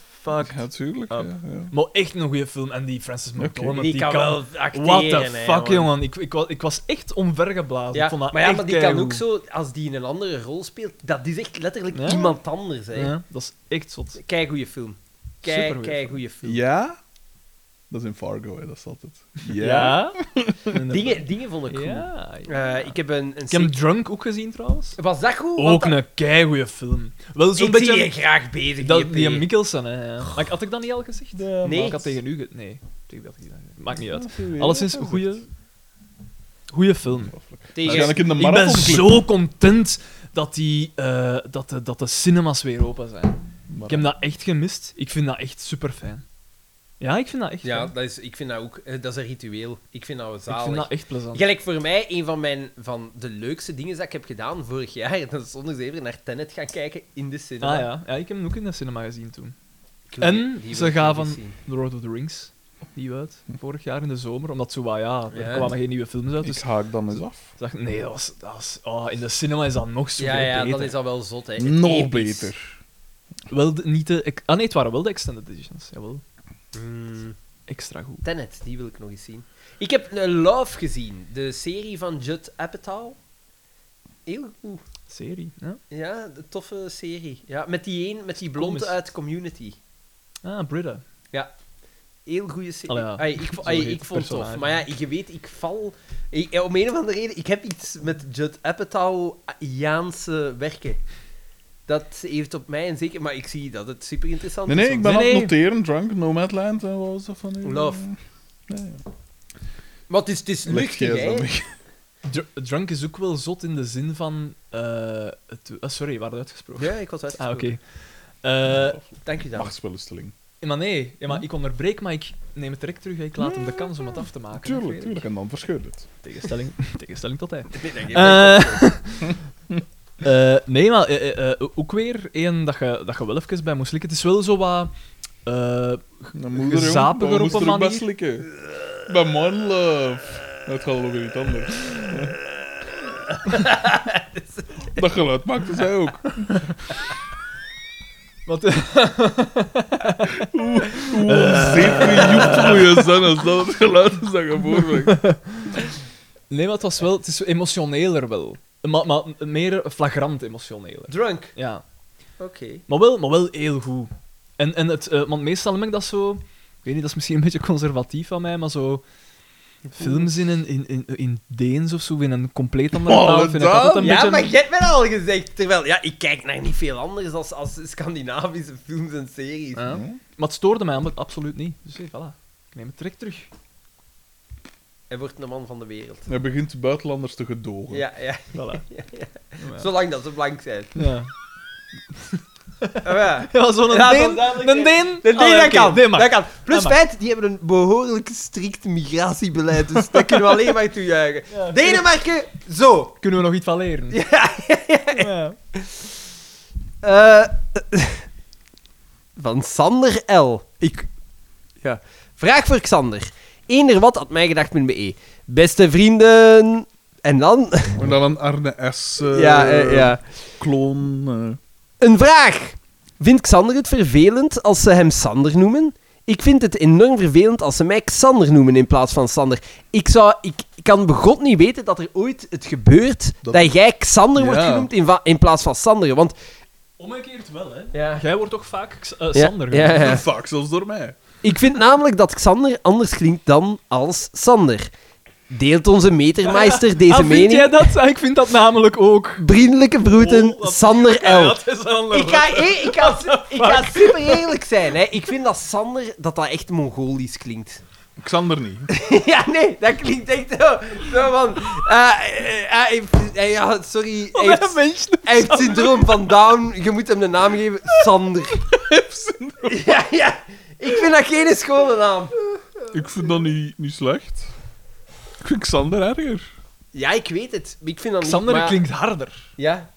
Ja, tuurlijk.
Up.
Ja, ja.
Maar echt een goede film. En die Francis McDormand,
die,
die,
kan wel acteren.
What the
hè,
fuck, jongen. Ik, ik, was, ik was echt omvergeblazen.
Ja,
ik vond dat
maar ja,
echt
maar die kan
keigoed.
ook zo, als die in een andere rol speelt, dat is echt letterlijk
Ja.
iemand anders. Hè.
Ja, dat is echt zot.
Kei goede film. Kei,
Supergoeie
kei goede film.
Ja? Dat is in Fargo, hè, dat is altijd.
*laughs*
Ja?
Inderdaad.
Dingen, dingen vond ik goed.
Ja, ja.
Eh, ik heb een, een
Ik heb hem
sequ-
Drunk ook gezien trouwens.
Was dat goed? Want
Ook
dat-
een keigoede film. Wel zo'n
Ik zie je
beetje.
graag bezig.
Dat, die
JP.
Mikkelsen, hè. ja. Maar ik- had ik dat niet al gezegd?
Nee.
Maar Ik had tegen u ge- Nee, tegen dat gezegd. Maakt niet uit.
Ja,
Alleszins,
dat is
goede. Goede film.
tegen...
Waarschijnlijk in de
Ik ben
marathon.
zo content dat, die, eh, dat, de, dat de cinemas weer open zijn. Ik heb dat echt gemist. Ik vind dat echt super fijn. Ja, ik vind dat echt.
Ja,
fijn.
dat is, ik vind dat ook... eh, dat is een ritueel. Ik vind dat
ik
zalig.
vind dat echt plezant.
Gelijk voor mij, een van, mijn, van de leukste dingen dat ik heb gedaan vorig jaar, *laughs* dat is zonder zeven naar Tenet gaan kijken in de cinema.
Ah ja. ja, ik heb hem ook in de cinema gezien toen.
Ik wil
En
die- die
ze
wil ik
gaven-
nog eens zien.
The Lord of the Rings opnieuw uit. Vorig jaar in de zomer. Omdat zo, wat, ja, er
Ja.
kwamen geen nieuwe films uit.
Ik
Dus
haak dan eens af.
ik dacht, nee, dat was, dat was, oh, in de cinema is dat nog zo
Ja, ja,
beter.
dat is al wel zot, hè.
Eh,
Het
Nog
episch.
beter.
Wel de, niet de, ex- ah nee, het waren wel de extended editions. Jawel,
Mm,
extra goed.
Tenet, die wil ik nog eens zien. Ik heb eh, Love gezien, de serie van Judd Apatow. Heel goed.
Serie, ja.
Ja, de toffe serie. Ja, met die een, met die blonde
Komisch.
uit Community.
Ah, Britta.
Heel goede serie.
Allee, ja.
Ai, ik, vo-
Zo
ai,
heet
ik
het
vond het tof.
personage.
Maar ja, je weet, ik val... ik- eh, om een of andere reden, ik heb iets met Judd Apatow-Jaanse werken. Dat heeft op mij een zeker... Maar ik zie dat het super interessant
Nee,
is.
nee, ik
om-
ben
Nee,
aan het
nee.
noteren. Drunk, Nomadland, en wat was dat van u?
Love.
Nee, ja.
Maar het is, het is
Leg jij
luchtig,
eens
hè.
dan weg.
Dr- Drunk is ook wel zot in de zin van. eh, het, ah, sorry, we waren uitgesproken.
Ja, ik was uit.
Ah, oké. Eh,
Dank je dan.
Machtsbelusteling.
maar nee, ja, maar ik onderbreek, maar ik neem het direct terug. hè. Ik laat hem de kans om het af te maken.
Tuurlijk,
Frederik.
tuurlijk. En dan verscheurt het.
Tegenstelling, *laughs* tegenstelling tot hij.
Nee, dank je.
*laughs* Eh, eh, nee, maar eh, eh, eh, ook weer één dat je, dat je wel even bij moest likken. Het is wel zo wat. eh,
Mijn moeder, jongen,
Gezapiger
we
op
moesten
een
er ook bij
manier.
slikken. Bij Man Love. Het gaat over iets
*laughs*
anders. Dat geluid maakte zij ook.
wat,
Zeker joep goede zin als dat het geluid is dat je
Eh,
voorbrengt.
*laughs* nee, maar het was wel. Het is emotioneler wel. Maar, maar meer flagrant emotioneler.
Drunk.
Ja.
Oké.
Maar wel, maar wel heel goed. En, en het, eh, want meestal heb ik dat zo... Ik weet niet, dat is misschien een beetje conservatief van mij, maar zo... films in, een- in, in, in Deens of zo, in een compleet andere
Oh,
taal, vind ik
dat?
altijd een
ja,
beetje...
maar je hebt mij dat al gezegd. Terwijl, ja, ik kijk naar niet veel anders als, als Scandinavische films en series.
Ja. Maar het stoorde mij namelijk absoluut niet. Dus hey, voilà. Ik neem het direct terug.
Hij wordt een man van de wereld.
Hij begint buitenlanders te gedogen.
Ja, ja,
Voilà.
ja, Oh, ja.
Ja.
*laughs* Zolang dat ze blank zijn.
Ja.
*laughs* Ah, ja.
*laughs* Ja, zo'n
Ja, dat is
Deen.
duidelijk,
Een Deen.
Nee,
Allee,
dat,
oké,
kan,
Deen mag.
dat kan. Plus
Dat mag.
feit, die hebben een behoorlijk strikt migratiebeleid, dus daar kunnen we alleen maar toejuichen.
Ja.
Denemarken, zo.
Kunnen we nog iets van leren?
Ja,
Ja.
Eh, van Sander L. Ik... Ja. Vraag voor Xander. Eender wat at mijgedacht.be. E. Beste vrienden... En dan...
En dan een Arne S. eh,
ja, eh, ja.
Kloon. eh.
Een vraag. Vindt Xander het vervelend als ze hem Sander noemen? Ik vind het enorm vervelend als ze mij Xander noemen in plaats van Sander. Ik, zou, ik, ik kan begot niet weten dat er ooit het gebeurt dat,
Dat-
jij Xander wordt
Ja.
genoemd in, va- in plaats van Sander. Want...
Omgekeerd wel, hè.
Ja.
Jij wordt toch vaak X- eh,
Ja,
Sander
ja,
genoemd.
ja.
Vaak zelfs door mij.
Ik vind namelijk dat Xander anders klinkt dan als Sander. Deelt onze metermeister deze
Ah, vind
mening?
jij dat? Ah, ik vind dat namelijk ook.
Vriendelijke groeten,
Oh, wat-
Sander
Ja,
L.
dat is een
Ik ga, eh, ik, ga, ik ga super eerlijk zijn. Hè. Ik vind dat Sander dat dat echt Mongolisch klinkt. *laughs*
Xander niet.
ja, nee, dat klinkt echt zo. zo van, eh, eh, hij heeft- eh, ja, sorry, hij heeft, hij heeft syndroom van Down. Je moet hem de naam geven, Sander. ja, ja. Ik vind dat geen schone naam.
Ik vind dat niet, niet slecht. Ik vind Xander erger.
Ja, ik weet het. Ik vind dat niet,
Sander
maar-
klinkt Ah, harder.
Ja.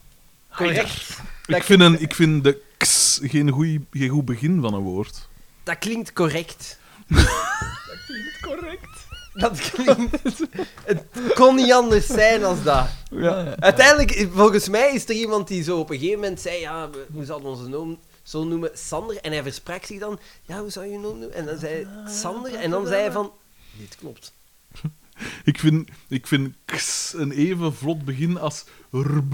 Correct. Dat
Ik vind, een, ik vind de X geen, goeie, geen goed begin van een woord.
Dat klinkt correct.
Correct.
Dat klinkt... Het kon niet anders zijn als dat.
Ja.
Uiteindelijk, volgens mij is er iemand die zo op een gegeven moment zei... Ja, we, we zouden onze noom zo noemen Sander. En hij versprak zich dan... Ja, hoe zou je je noem noemen? En dan zei hij Sander. En dan zei hij van... Dit klopt.
Ik vind, ik vind X een even vlot begin als RB.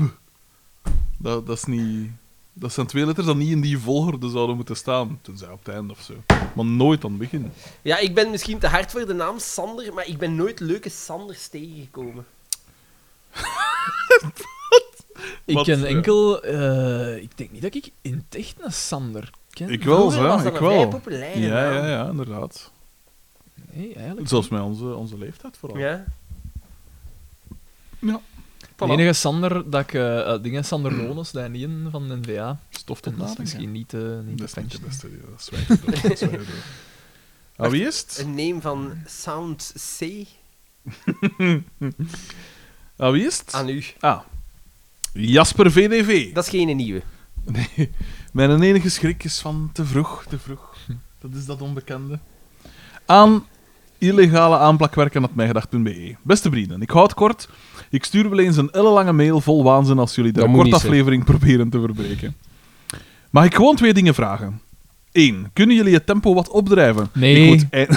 Dat, dat is niet... Dat zijn twee letters die niet in die volgorde zouden moeten staan. Tenzij op het einde of zo. Maar nooit aan het begin.
Ja, ik ben misschien te hard voor de naam Sander, maar ik ben nooit leuke Sanders tegengekomen.
Ik
Wat,
ken
ja.
enkel... eh, ik denk niet dat ik in het echt een Sander ken.
Ik wel,
Vroeger was
ja,
dat
ik
een vrij
wel.
populaire
Ja,
naam.
ja, ja, inderdaad.
Nee, eigenlijk.
Zelfs met onze, onze leeftijd vooral.
Ja.
Ja.
De enige Sander dat ik... eh, eh, dingen Sander Lones, de Nien van de NVA.
Stof tot
Dat is
nadenken.
misschien niet... eh niet
Dat is niet de
perfect.
beste. ja, Dat zwijg ik door, dat zwijg ik door. Ah, wie is het?
Een neem van Sound C
Ah, wie is het?
aan u.
Ah. Jasper VDV.
Dat is geen nieuwe.
Nee, mijn enige schrik is van te vroeg, te vroeg.
Hm.
Dat is dat onbekende. Aan illegale aanplakwerken at mijgedacht.be. E. Beste vrienden, ik houd kort. Ik stuur wel eens een ellenlange mail vol waanzin als jullie de
Dat moet niet
kortaflevering proberen te verbreken. Mag ik gewoon twee dingen vragen? Eén, kunnen jullie het tempo wat opdrijven?
Nee.
Ik moet eind-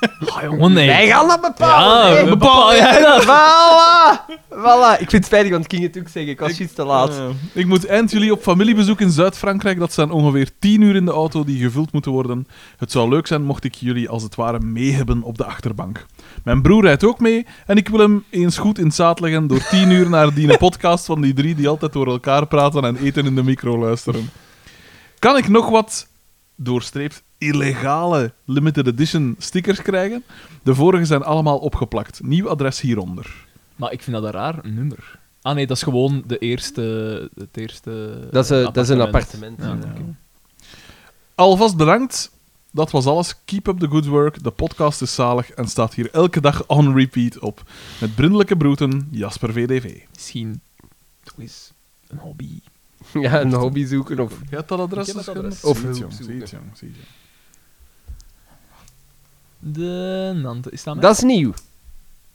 Ah,
Oh,
jongen, nee.
Wij gaan dat
Ja,
bepalen! hè.
we *laughs* bepaal jij dat.
Voilà! Voilà! Ik vind het spijtig, want ik ging het ook zeggen. Ik was juist te laat.
Eh, ik moet eind juli op familiebezoek in Zuid-Frankrijk. Dat zijn ongeveer 10 uur in de auto die gevuld moeten worden. Het zou leuk zijn mocht ik jullie als het ware mee hebben op de achterbank. Mijn broer rijdt ook mee en ik wil hem eens goed in het zaad leggen door 10 uur naar die podcast van die drie die altijd door elkaar praten en eten in de micro luisteren. Kan ik nog wat doorstreept illegale limited edition stickers krijgen? De vorige zijn allemaal opgeplakt. Nieuw adres hieronder.
Maar ik vind dat een raar nummer. Ah nee, dat is gewoon de eerste... Het eerste
Dat is, een-
eh,
dat is een
appartement.
appartement. Ja.
Ja, oké.
Alvast bedankt. Dat was alles. Keep up the good work. De podcast is zalig en staat hier elke dag on repeat op. Met brindelijke broeten, Jasper VDV.
Misschien toch eens een hobby.
*laughs* Ja, een hobby zoeken of...
Jij hebt dat adres?
Ik heb
eens
dat adres.
kunnen?
Of
Zie het,
hulp
jong, zie
zoeken.
het, jong, zie het, jong.
De Nante. Is dat mij?
Dat is nieuw.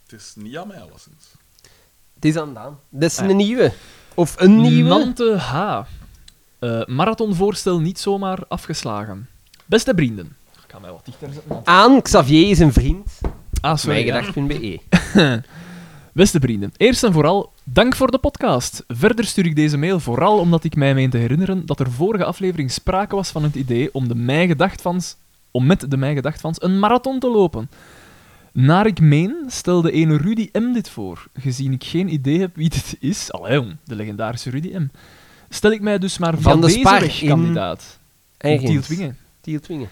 Het is niet aan mij, alleszins.
Het is aan Daan. Dat is
Ah, ja.
een nieuwe. Of een nieuwe.
Nante H. Eh, marathonvoorstel niet zomaar afgeslagen. Beste vrienden. Ik ga mij wat dichter zetten.
Aan Xavier is een vriend.
Ah, sorry. ja. *laughs*
Mijgedacht.be.
Beste vrienden, eerst en vooral dank voor de podcast. Verder stuur ik deze mail vooral omdat ik mij meen te herinneren dat er vorige aflevering sprake was van het idee om, de mijn Gedacht Fans- om met de Mijn Gedacht Fans een marathon te lopen. Naar ik meen stelde een Rudy M. dit voor, gezien ik geen idee heb wie dit is. Allee, jong, de legendarische Rudy M. Stel ik mij dus maar via
Van de
deze
Spaar
weg
in-
kandidaat. In
Ergens.
Tieltwingen.
Tieltwingen.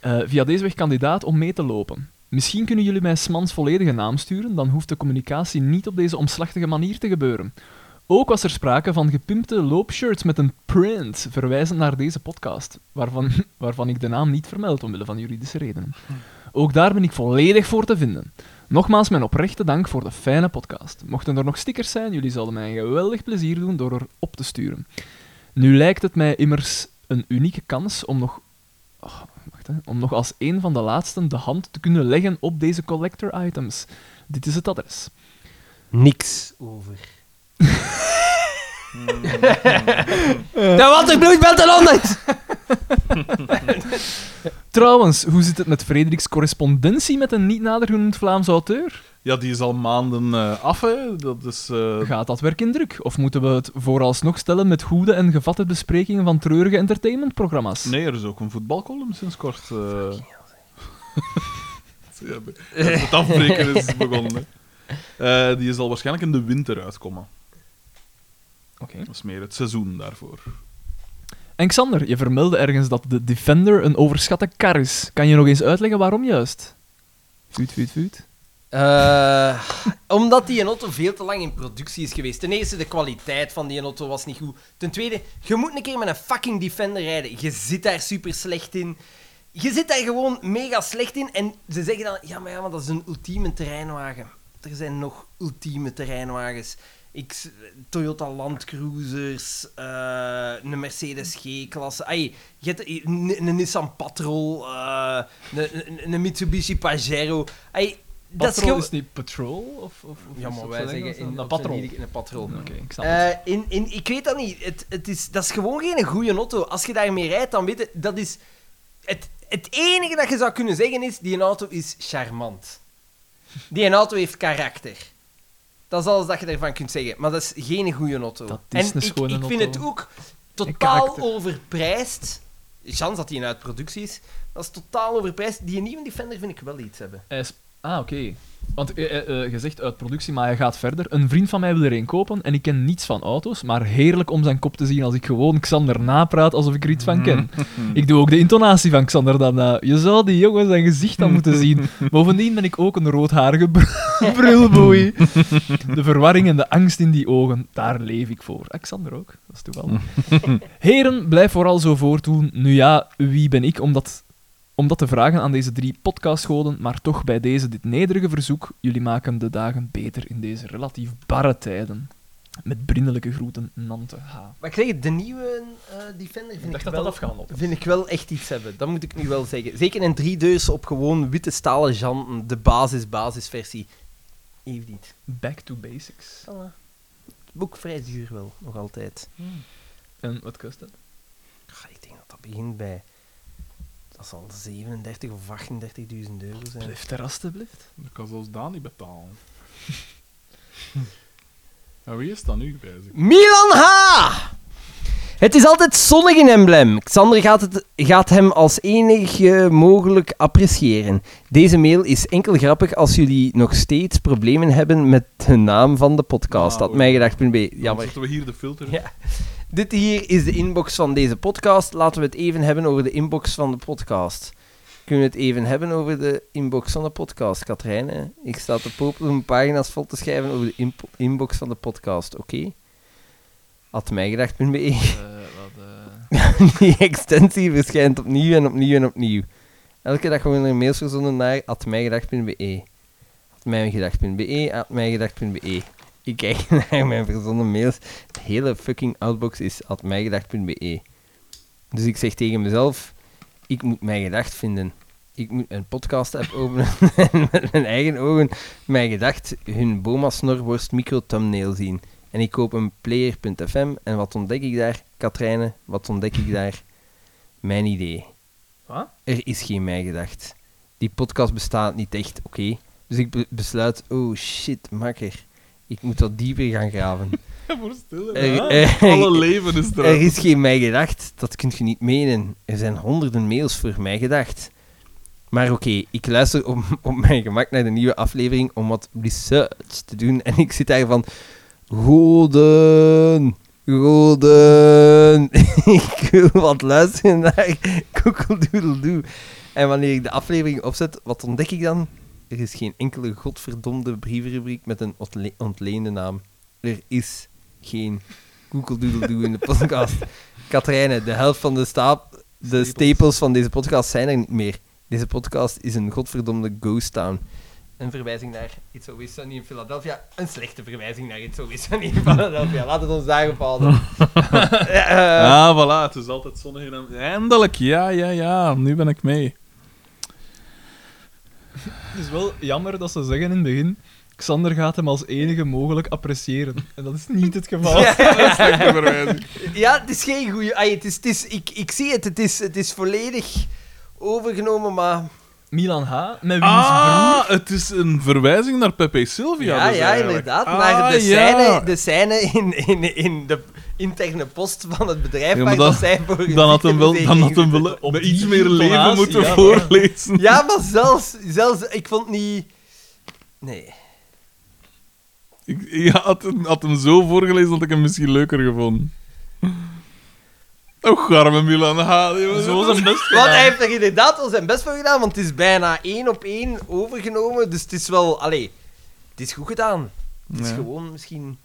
Eh, via deze weg kandidaat om mee te lopen. Misschien kunnen jullie mij Smans volledige naam sturen, dan hoeft de communicatie niet op deze omslachtige manier te gebeuren. Ook was er sprake van gepimpte loopshirts met een print, verwijzend naar deze podcast, waarvan, *laughs* waarvan ik de naam niet vermeld omwille van juridische redenen. Ook daar ben ik volledig voor te vinden. Nogmaals mijn oprechte dank voor de fijne podcast. Mochten er nog stickers zijn, jullie zouden mij een geweldig plezier doen door er op te sturen. Nu lijkt het mij immers een unieke kans om nog Wacht, hè. Om nog als een van de laatsten de hand te kunnen leggen op deze collector items. Dit is het adres.
Niks
*laughs*
over.
Hmm.
*laughs* Dat was de bloedbelt in
*laughs*
Londen!
Trouwens, hoe zit het met Frederiks correspondentie met een niet nader genoemd Vlaams auteur?
Ja, die is al maanden eh, af, hè. Dat is... eh,
Gaat dat werk in druk? Of moeten we het vooralsnog stellen met goede en gevatte besprekingen van treurige entertainmentprogramma's?
Nee, er is ook een voetbalcolumn sinds kort. eh. *laughs* Ja, het afbreken
*laughs*
is begonnen. hè. Eh, die zal waarschijnlijk in de winter uitkomen.
Oké.
Dat is meer het seizoen daarvoor.
En Xander, je vermeldde ergens dat de Defender een overschatte kar is. Kan je nog eens uitleggen waarom juist? Vuut, vuut, vuut.
Eh, omdat die auto veel te lang in productie is geweest. Ten eerste, de kwaliteit van die auto was niet goed. Ten tweede, je moet een keer met een fucking Defender rijden. Je zit daar super slecht in. Je zit daar gewoon mega slecht in. En ze zeggen dan, ja, maar ja, maar dat is een ultieme terreinwagen. Er zijn nog ultieme terreinwagens. Ik, s- Toyota Land Cruisers, eh, een Mercedes G-klasse. Ai, je hebt een, een Nissan Patrol, eh, een, een, een Mitsubishi Pajero. Ai, dat is
Patrol
gewoon...
is niet patrol? Of, of, of
Ja,
is
maar
dat
wij
zo
zeggen
Engels?
in,
Een
op
patrol.
zijn Ier- in een patrol.
Oké, ik snap het.
Eh, in, in, ik weet dat niet. Het, het is, dat is gewoon geen goede auto. Als je daarmee rijdt, dan weet je... Dat is het, het enige dat je zou kunnen zeggen is... Die auto is charmant. Die auto heeft karakter. Dat is alles dat je ervan kunt zeggen. Maar dat is geen goede auto.
Dat is
en ik,
een schone
ik vind
auto.
het ook
karakter.
totaal overprijsd. Chance dat die uit productie is. Dat is totaal overprijsd. Die nieuwe Defender vind ik wel iets hebben.
Hij is- Ah, oké. Want eh, eh, eh, je zegt uit productie, maar hij gaat verder. Een vriend van mij wil er een kopen en ik ken niets van auto's, maar heerlijk om zijn kop te zien als ik gewoon Xander napraat alsof ik er iets van ken. Ik doe ook de intonatie van Xander dan na. Je zou die jongen zijn gezicht dan moeten zien. Bovendien ben ik ook een roodharige br- brulboei. De verwarring en de angst in die ogen, daar leef ik voor. Ah, Xander ook, dat is toevallig. Heren, blijf vooral zo voortdoen. Nu ja, wie ben ik om dat om dat te vragen aan deze drie podcastgoden, maar toch bij deze dit nederige verzoek. Jullie maken de dagen beter in deze relatief barre tijden. Met vriendelijke groeten, Nante H.
Maar ik zeg het, de nieuwe eh, Defender vind ik, wel...
op.
Vind ik wel echt iets hebben, dat moet ik nu wel zeggen. Zeker een driedeurs op gewoon witte stalen janten, de basis-basisversie. Heeft niet.
Back to basics.
Voilà. Ook vrij duur wel, nog altijd.
Hmm. En wat kost dat?
Ah, ik denk dat dat begint bij... Dat zal 37 of 38.000 euro zijn.
Blijf er alstublieft.
Ik kan zelfs Daan niet betalen. *laughs* En wie is dat nu bezig?
Milan H! Het is altijd zonnig in Emblem. Xander gaat, het, gaat hem als enig eh, mogelijk appreciëren. Deze mail is enkel grappig als jullie nog steeds problemen hebben met de naam van de podcast.
Ah,
Dat
oei.
mijgedacht.be.
Dan
Jammer.
zetten we hier de filter.
Ja. Dit hier is de inbox van deze podcast. Laten we het even hebben over de inbox van de podcast. Kunnen we het even hebben over de inbox van de podcast, Katrijn? hè? Ik sta te popelen om pagina's vol te schrijven over de impo- inbox van de podcast, oké? Had
Eh,
mijgedacht.be. *laughs* Die extensie verschijnt opnieuw en opnieuw en opnieuw. Elke dag worden er mails verzonden naar atmijgedacht.be. Atmijgedacht.be, atmijgedacht.be. Ik kijk *laughs* naar mijn verzonden mails. De hele fucking outbox is atmijgedacht.be. Dus ik zeg tegen mezelf, ik moet mijn gedacht vinden. Ik moet een podcast-app openen *laughs* en met mijn eigen ogen mijn gedacht hun Boma Snorworst micro-thumbnail zien. En ik koop een player.fm en wat ontdek ik daar? Katrijne, wat ontdek ik daar? Mijn idee.
Wat?
Er is geen mij gedacht. Die podcast bestaat niet echt, oké? Dus ik be- besluit, oh shit, makker. Ik moet wat dieper gaan graven.
Ja, voor stil, hè.
Er- er-
Alle leven is
Er
eruit.
is geen mij gedacht, dat kunt je niet menen. Er zijn honderden mails voor mij gedacht. Maar oké, ik luister op, *laughs* op mijn gemak naar de nieuwe aflevering om wat research te doen. En ik zit daar van... Golden... Golden... *laughs* ik wil wat luisteren naar Koekeldoedeldoe. En wanneer ik de aflevering opzet, wat ontdek ik dan? Er is geen enkele godverdomde brievenrubriek met een ontle- ontleende naam. Er is geen Koekeldoedeldoe in de podcast. Katrijne, de helft van de, staap, de
Stapels.
stapels van deze podcast zijn er niet meer. Deze podcast is een godverdomde ghost town. Een verwijzing naar It's Always Sunny in Philadelphia. Een slechte verwijzing naar It's Always Sunny in Philadelphia. Laat het ons daarop houden. Eh, eh,
Ah, voilà, het is altijd zonnig in hem. Eindelijk, ja, ja, ja, nu ben ik
*laughs*
mee.
Het is wel jammer dat ze zeggen in het begin. Xander gaat hem als enige mogelijk appreciëren. En dat is niet het geval.
Slechte verwijzing.
*laughs* ja, het is geen goede... ai, het is, het is, ik, ik zie het. Het is, het is volledig overgenomen, maar...
Milan H. Met wiens broer.
Ah, het is een verwijzing naar Pepe Silvia.
Ja,
dus
ja,
eigenlijk.
inderdaad.
Ah,
maar de
ja.
scène, de scène in, in, in de interne post van het bedrijf
Ja, maar
waar
dan-
dat zij voor hun
Dan had hem wel, dan had hem wel
Op
met
die
iets meer leven
intonatie,
moeten *laughs*
ja,
voorlezen.
Ja, maar zelfs, zelfs... Ik vond niet... Nee.
Ik ik had, hem- had hem zo voorgelezen dat ik hem misschien leuker gevonden. Och, arme Milan H. jongen.
Zo zijn
Want
best
hij
gedaan.
heeft er inderdaad al zijn best voor gedaan, want het is bijna één op één overgenomen. Dus het is wel... Allee, het is goed gedaan. Het is
Ja.
gewoon misschien...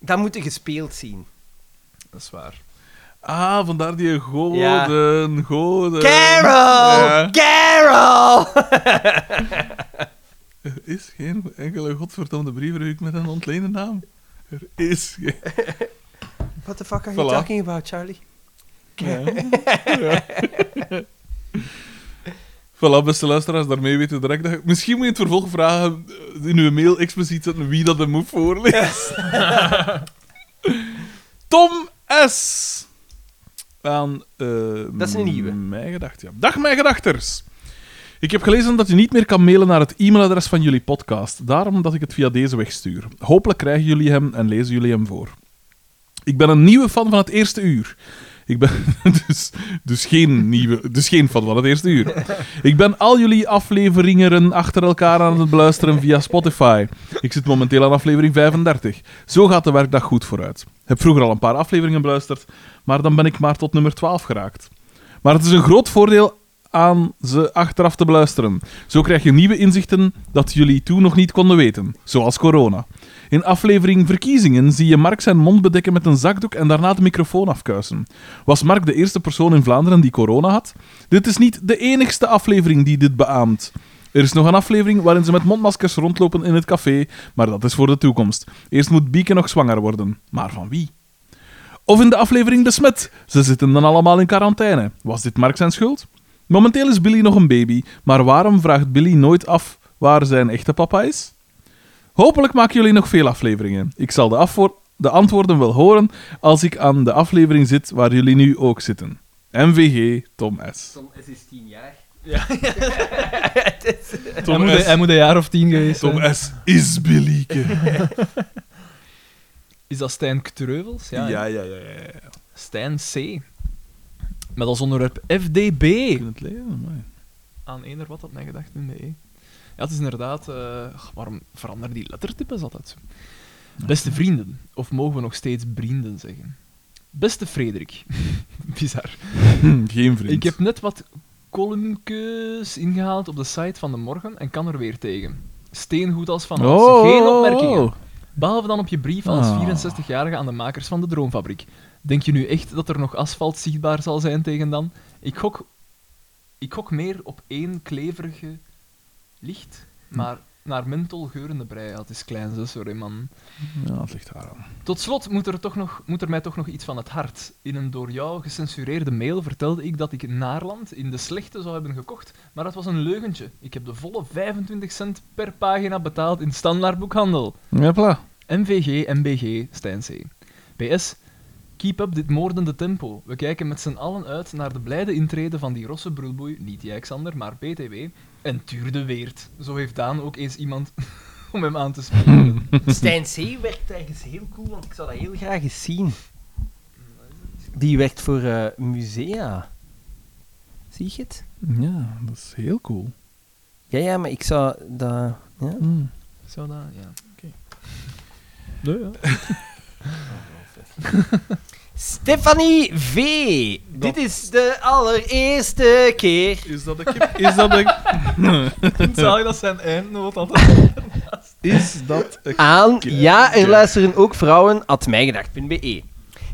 Dat moet je gespeeld zien.
Dat is waar.
Ah, vandaar die goden, goden.
Carol!
Eh, Ja.
Carol!
Er is geen enkele godverdomde brievenruik met een ontleende naam. Er is geen...
What the fuck are
Voilà.
you talking about, Charlie?
Voilà, beste luisteraars, daarmee weten we direct dat... je- Misschien moet je het vervolg vragen eh, in uw mail expliciet zetten wie dat hem moet voorlezen. *laughs* Tom S. Aan eh,
Dat is een nieuwe.
Mijn gedachten, ja. Dag, mijn gedachters. Ik heb gelezen dat je niet meer kan mailen naar het e-mailadres van jullie podcast. Daarom dat ik het via deze weg stuur. Hopelijk krijgen jullie hem en lezen jullie hem voor. Ik ben een nieuwe fan van het eerste uur. Ik ben *laughs* dus, dus, geen nieuwe, dus geen fan van het eerste uur. Ik ben al jullie afleveringen achter elkaar aan het beluisteren via Spotify. Ik zit momenteel aan aflevering 35. Zo gaat de werkdag goed vooruit. Heb vroeger al een paar afleveringen beluisterd, maar dan ben ik maar tot nummer 12 geraakt. Maar het is een groot voordeel aan ze achteraf te beluisteren. Zo krijg je nieuwe inzichten dat jullie toen nog niet konden weten, zoals corona. In aflevering Verkiezingen zie je Mark zijn mond bedekken met een zakdoek en daarna de microfoon afkuisen. Was Mark de eerste persoon in Vlaanderen die corona had? Dit is niet de enigste aflevering die dit beaamt. Er is nog een aflevering waarin ze met mondmaskers rondlopen in het café, maar dat is voor de toekomst. Eerst moet Bieke nog zwanger worden. Maar van wie? Of in de aflevering De Smet. Ze zitten dan allemaal in quarantaine. Was dit Mark zijn schuld? Momenteel is Billy nog een baby, maar waarom vraagt Billy nooit af waar zijn echte papa is? Hopelijk maken jullie nog veel afleveringen. Ik zal de, afvoor- de antwoorden wel horen als ik aan de aflevering zit waar jullie nu ook zitten. MVG Tom S.
Tom S is 10 jaar.
Ja.
Het is-
hij, moet, hij moet een jaar of tien geweest zijn.
Tom S. is Billyke.
Is dat Stijn Treuvels? Ja,
Ja,
hè?
ja, ja. ja, ja.
Stijn C. Met als onderwerp FDB.
Ik kan het lezen, amai.
Aan eender wat had mijn gedachten mee. Ja, het is inderdaad... eh, ach, waarom veranderen die lettertypes altijd zo? Beste vrienden. Of mogen we nog steeds vrienden zeggen? Beste Frederik. *laughs* Bizar.
Hm, Geen vriend.
Ik heb net wat columnkes ingehaald op de site van de morgen en kan er weer tegen. Steengoed
Oh,
als van Geen opmerkingen. Behalve dan op je brief als
Ah.
64-jarige aan de makers van de Droomfabriek. Denk je nu echt dat er nog asfalt zichtbaar zal zijn tegen dan? Ik gok, ik gok meer op één kleverige licht, maar naar menthol geurende brei. Ja, Het is klein, zo, sorry man.
Ja, het ligt daar aan.
Tot slot moet er, toch nog, moet er mij toch nog iets van het hart. In een door jou gecensureerde mail vertelde ik dat ik Naarland in de slechte zou hebben gekocht, maar dat was een leugentje. Ik heb de volle 25 cent per pagina betaald in standaardboekhandel.
Ja, pla.
MVG, MBG, Stijn C. PS, keep up dit moordende tempo. We kijken met z'n allen uit naar de blijde intrede van die rosse broelboei, niet jij Xander, maar BTW, en Tuur de Weert. Zo heeft Daan ook eens iemand *laughs* om hem aan te spelen.
Stijn C. werkt ergens heel cool, want ik zou dat heel graag eens zien. Die werkt voor eh, musea. Zie je het?
Ja, dat is heel cool.
Ja, ja, maar ik zou dat... Ja.
*laughs*
Mm.
Zo dat, ja. Oké.
Nou
Nee, ja.
Stefanie V. Dit is de allereerste keer.
Is dat de kip? Is dat de...
Zalig dat zijn eindnoot altijd.
Is dat *laughs* een
Aan,
kip?
ja, er luisteren ook vrouwen, at mijgedacht.be. E.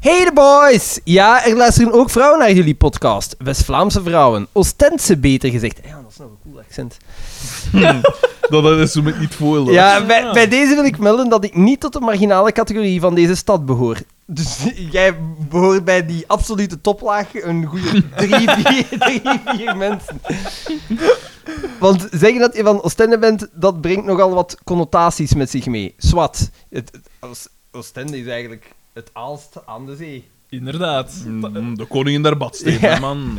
Hey de boys! Ja, er luisteren ook vrouwen naar jullie podcast. West-Vlaamse vrouwen. Oostendse beter gezegd. Ja, dat is nog een cool accent.
Nou, Dat is zo met niet veel. Ja.
Ja, bij, bij deze wil ik melden dat ik niet tot de marginale categorie van deze stad behoor. Dus *laughs* jij behoort bij die absolute toplaag een goede drie, vier, drie, vier mensen. Want zeggen dat je van Oostende bent, dat brengt nogal wat connotaties met zich mee. Swat. Het, het- Oost- Oostende is eigenlijk het aalst aan de zee.
*laughs* Inderdaad.
Mm, de koningin der badsteden,
Ja. *laughs*
man.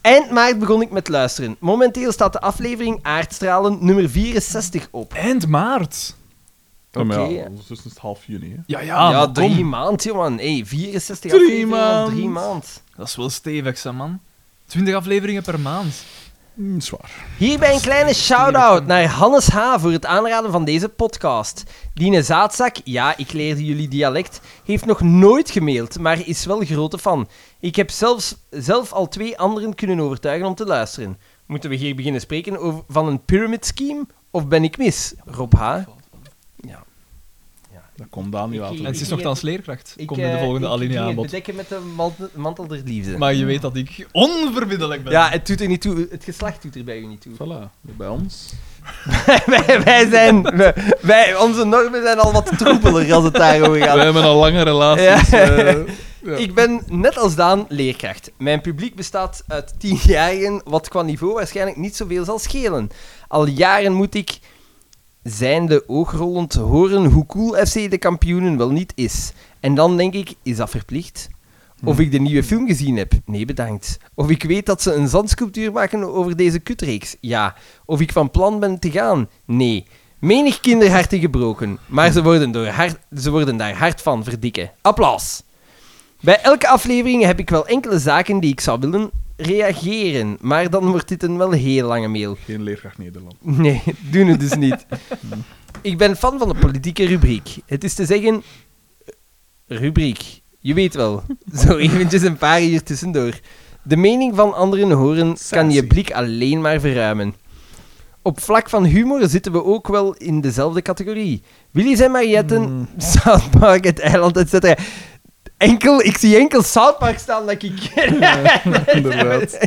Eind maart begon ik met luisteren. Momenteel staat de aflevering Aardstralen nummer 64 op.
Eind maart.
*laughs* Ja, maar
Oké,
ja,
ja.
ondertussen is het half juni, hè.
Ja, ja.
ja,
maar kom.
drie maand, jongen. Hey, 64
Drie
afleveringen op
maand.
drie maand.
Dat is wel stevig, hè, man. 20 afleveringen per maand.
Mm, zwaar.
Hierbij een kleine shout-out naar Hannes H. voor het aanraden van deze podcast. Dine Zaadzak, ja, ik leerde jullie dialect, heeft nog nooit gemaild, maar is wel grote fan. Ik heb zelfs, zelf al twee anderen kunnen overtuigen om te luisteren. Moeten we hier beginnen spreken over, van een pyramid scheme? Of ben ik mis? Rob H. Ja. ja.
Dat komt Daan niet
Ik-
later.
En ze is
Ik-
nogthans leerkracht.
Ik,
Komt in de
eh,
volgende
ik ging
alinea
het
aan bod.
bedekken met de mantel, mantel der liefde.
Maar je weet dat ik onverbiddelijk ben.
Ja, het doet er niet toe. Het geslacht doet er bij u niet toe.
Voilà, bij
*laughs*
ons.
*laughs* wij, wij zijn... Wij, wij- onze normen zijn al wat troepeler als het daarover
We
gaat.
hebben al lange *laughs* relaties.
Ja.
eh, ja.
Ik ben, net als Daan, leerkracht. Mijn publiek bestaat uit tienjarigen, wat qua niveau waarschijnlijk niet zoveel zal schelen. Al jaren moet ik, zijnde oogrollend, horen hoe cool FC de kampioenen wel niet is. En dan denk ik, is dat verplicht? Of ik de nieuwe film gezien heb? Nee, bedankt. Of ik weet dat ze een zandsculptuur maken over deze kutreeks? Ja. Of ik van plan ben te gaan? Nee. Menig kinderharten gebroken, maar ze worden, door hard, ze worden daar hard van verdikken. Applaus! Bij elke aflevering heb ik wel enkele zaken die ik zou willen reageren, maar dan wordt dit een wel heel lange mail.
Geen leerkracht Nederland.
*laughs* Nee, doen het dus niet. Ik ben fan van de politieke rubriek. Het is te zeggen... Rubriek. Je weet wel. Zo eventjes een paar uur tussendoor. De mening van anderen horen kan je
Sassy.
blik alleen maar verruimen. Op vlak van humor zitten we ook wel in dezelfde categorie. Willy's en Marietten, South Park, het eiland, etc. Enkel, ik zie enkel South Park staan dat ik...
*laughs* Inderdaad.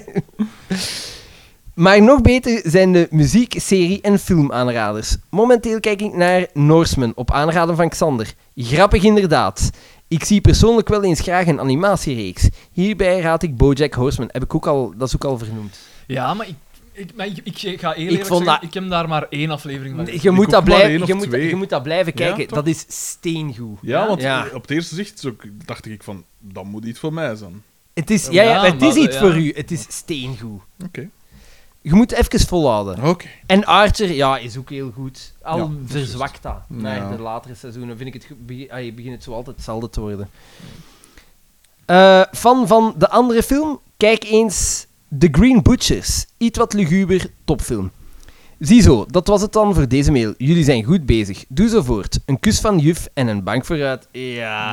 Maar nog beter zijn de muziek, serie en filmaanraders. Momenteel kijk ik naar Norseman op aanraden van Xander. Grappig inderdaad. Ik zie persoonlijk wel eens graag een animatiereeks. Hierbij raad ik BoJack Horseman. Heb ik ook al, dat is ook al vernoemd.
Ja, maar ik, ik, maar ik, ik ga heel
Ik
eerlijk
vond
zeggen,
dat-
ik heb daar maar één aflevering van.
Je moet,
ook
dat
maar
blijven,
één of
je, moet,
twee.
je moet dat blijven
Ja,
kijken.
toch?
dat is steengoed.
Ja, want
Ja.
eh, op het eerste zicht zo- dacht ik van, dat moet iets voor mij zijn.
Het is, ja, ja,
Ja,
maar het
maar
is
dat-
iets
ja.
voor u. Het is steengoed.
Oké.
Je moet even volhouden.
Oké.
En Archer, ja, is ook heel goed. Al
Ja, dat is
verzwakt dat. Naar
Ja.
de latere seizoenen vind ik het... ge- Begin, ah, begint het zo altijd hetzelfde te worden. Eh, fan van de andere film? Kijk eens The Green Butchers. Iets wat luguber, topfilm. Ziezo, dat was het dan voor deze mail. Jullie zijn goed bezig. Doe zo voort. Een kus van juf en een bank vooruit. Ja,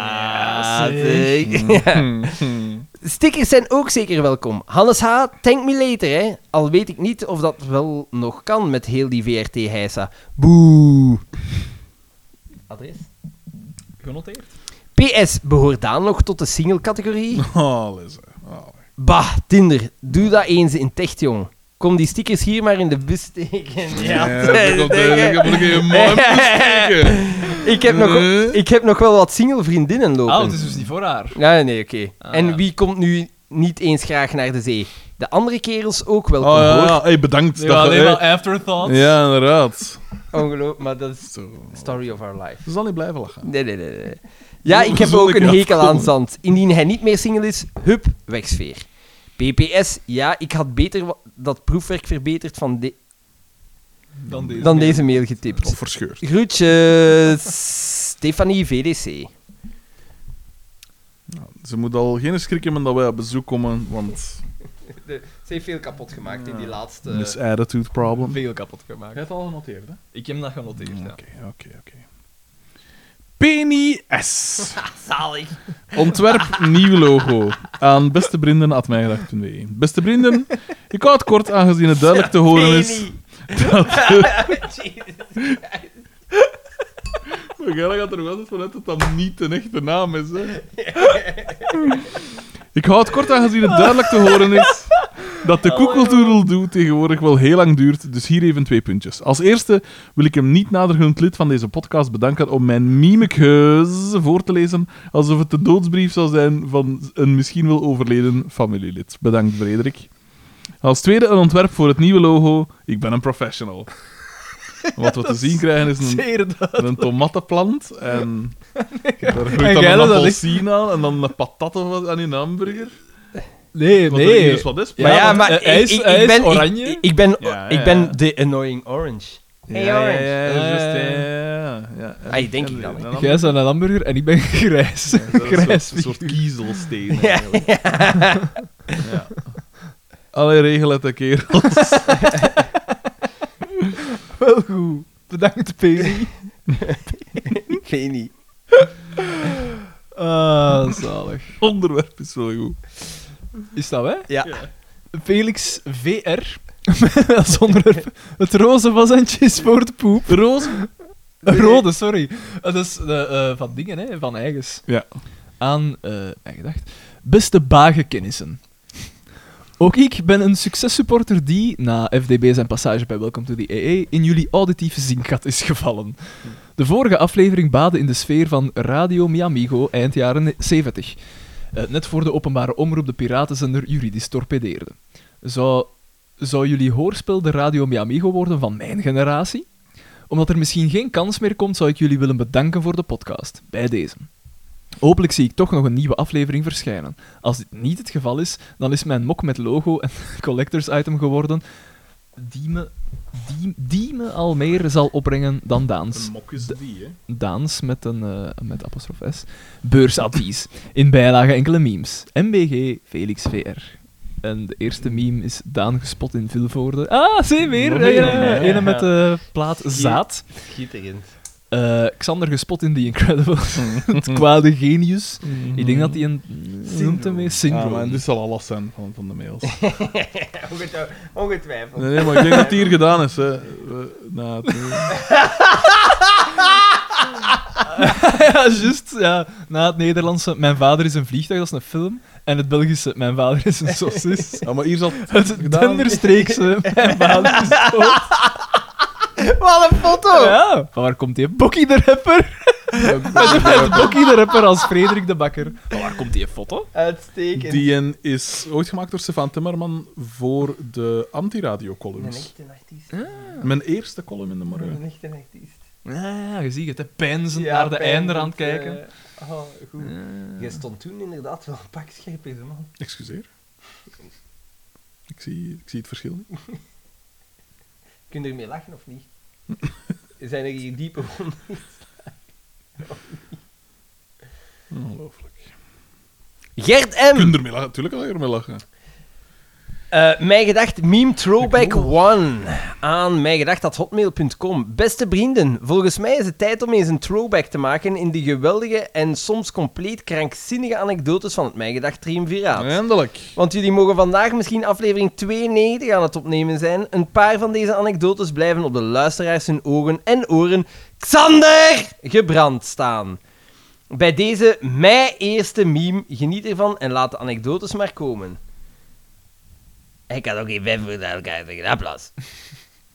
Ah,
Ja,
zeker. *laughs* Ja.
Mm.
Stickers zijn ook zeker welkom. Hannes H., thank me later, hè. Al weet ik niet of dat wel nog kan met heel die VRT-heisa. Boe. Adres?
Genoteerd.
PS, behoort Daan nog tot de single-categorie?
*laughs* Alles. hè. Allee.
Bah, Tinder, doe dat eens in Techt, jong. Kom die stickers hier maar in de bus steken.
*laughs* Ja, dat komt, eh, dat moet ik even *laughs* mooi bespreken.
*laughs* ik, heb nog,
Eh?
ik heb nog wel wat single-vriendinnen lopen.
Ah, het is dus niet voor haar.
Nee, nee, oké.
Ah,
en
ja.
wie komt nu niet eens graag naar de zee? De andere kerels ook welkom,
Oh ja,
hoor.
ja. Hey, bedankt.
Nee,
dat je-
alleen maar afterthoughts.
Ja, inderdaad.
Ongelooflijk, maar dat is
Zo.
story of our life.
Ze zal niet blijven lachen.
Nee, nee, nee. nee. Ja, ik heb
Zal
ook
ik
een hekel
afkomen?
aan zand. Indien hij niet meer single is, hup, wegsfeer. PPS, ja, ik had beter wa- dat proefwerk verbeterd van de-
Dan deze.
dan deze mail getipt.
Of verscheurd.
Groetjes, Stefanie VDC.
Ze moet al geen schrik hebben dat wij op bezoek komen, want
De, ze heeft veel kapot gemaakt in die laatste...
eh,
Miss
Dus-
attitude problem.
Veel kapot
Je
gemaakt.
hebt al genoteerd, hè?
Ik heb dat genoteerd, ja.
Oké, oké, oké. Penny S.
Zalig.
Ontwerp nieuw logo aan bestevrienden.mijgedacht.be. E. Beste vrienden, ik hou het kort aangezien het duidelijk te horen is.
Penny.
Maar Gerda gaat er nog altijd vanuit dat dat niet een echte naam is. Hè? Ik hou het kort aangezien het duidelijk te horen is dat de koekeltoedeldoe tegenwoordig wel heel lang duurt, dus hier even twee puntjes. Als eerste wil ik hem niet nadergund lid van deze podcast bedanken om mijn mimekeus voor te lezen alsof het de doodsbrief zou zijn van een misschien wel overleden familielid. Bedankt, Frederik. Als tweede een ontwerp voor het nieuwe logo. Ik ben een professional. Wat we te zien krijgen is een
*laughs* Zeer dat.
met een tomatenplant en daar
En
groeit dan
jij
een
dat
appelsien aan en dan een patat of wat aan een hamburger.
Nee,
Wat er hier
nee.
dus wat is.
Ja, want, eh, hij is- hij is oranje.
Ik, ik ben,
Ja, ja,
ik ben
ja.
de annoying orange.
Ja,
Hey,
ja,
orange.
ja, ja,
Eh.
juist, ja, ja, ja, ja. En-
Ah, denk
en-
ik dan,
en
hè.
dan-
Jij is een hamburger en ik ben grijs.
Ja, dat is een
grijs
soort- een soort
figuur.
kiezelsteen. eigenlijk. Ja. Allee, regel het een keer.
Wel goed. Bedankt, Penny.
Ik weet niet.
Ah, zalig.
Onderwerp is wel goed.
Is dat wij?
Ja.
Felix *laughs* VR. Als onderwerp. Het roze washandje is voor de poep.
Roze.
Rode, sorry. Dat is eh, eh, van dingen, hè, van eigens.
Ja.
Aan, eh mijn gedacht. Beste bagenkennissen. Ook ik ben een successupporter die, na FDB zijn passage bij Welcome to the EE, in jullie auditieve zinkgat is gevallen. De vorige aflevering baadde in de sfeer van Radio Miamigo eind jaren 70. Eh, net voor de openbare omroep de piratenzender juridisch torpedeerde. Zou, zou jullie hoorspel de Radio Miamigo worden van mijn generatie? Omdat er misschien geen kans meer komt, zou ik jullie willen bedanken voor de podcast. Bij deze. Hopelijk zie ik toch nog een nieuwe aflevering verschijnen. Als dit niet het geval is, dan is mijn mok met logo en *laughs* collectors item geworden die me, die, die me al meer zal opbrengen dan Daans.
mok is die, hè.
Daans met een eh, met apostrof S. Beursadvies. In bijlage enkele memes. MBG Felix VR. En de eerste meme is Daan gespot in Vilvoorde. Ah, zie weer.
Nog
eh,
een,
eh,
ja, ja,
ene
ja.
met de plaat Zaad.
Schitterend. *laughs*
Eh, Xander gespot in The
*laughs*
Incredibles. het kwade genius. Ik denk dat hij een... Noemt hem mee?
Ja,
Syndrome.
maar dus- dit zal alles zijn van, van de mails.
Ongetwij- Ongetwijfeld.
Nee, nee, maar ik denk dat het hier gedaan is, hè. We- na het-
*laughs* ja, juist. Ja. Na het Nederlandse Mijn vader is een vliegtuig, dat is een film. En het Belgische Mijn vader
*laughs*
is een saucis.
Ja, maar hier zat
Het
gedaan. *laughs*
Denderstreekse Mijn vader is dood.
Wat een foto!
Ja. Van waar komt die? Bokkie de *laughs* rapper. Met Bokkie de rapper als Frederik de Bakker. Van waar komt die foto?
Uitstekend.
Die een is ooit gemaakt door Stefan Timmerman voor de
Een
anti-radio-columns.
echte artiest.
Mijn eerste column in de morgen.
Een echte artiest.
Ja, je ziet het, hè. Pijnzend
Ja,
naar de
pijn,
einder aan het
dat,
kijken.
eh, oh, goed. Je stond toen inderdaad wel een pak scherper, man.
Excuseer. Ik zie, ik zie het verschil niet.
Kun je ermee lachen of
*laughs*
niet? Zijn er hier diepe wonden?
Ongelooflijk.
Gert
Je
M.
kunt ermee lachen. Tuurlijk kan je ermee lachen.
Eh, mijn gedacht, meme throwback 1 aan mijngedacht.hotmail.com. Beste vrienden, volgens mij is het tijd om eens een throwback te maken in die geweldige en soms compleet krankzinnige anekdotes van het Mijngedacht Triumviraat.
Eindelijk.
Want jullie mogen vandaag misschien aflevering 92 aan het opnemen zijn. Een paar van deze anekdotes blijven op de luisteraars hun ogen en oren Xander gebrand staan. Bij deze mijn eerste meme, geniet ervan en laat de anekdotes maar komen. Ik had ook geen vijf voor elkaar tegen dat plas.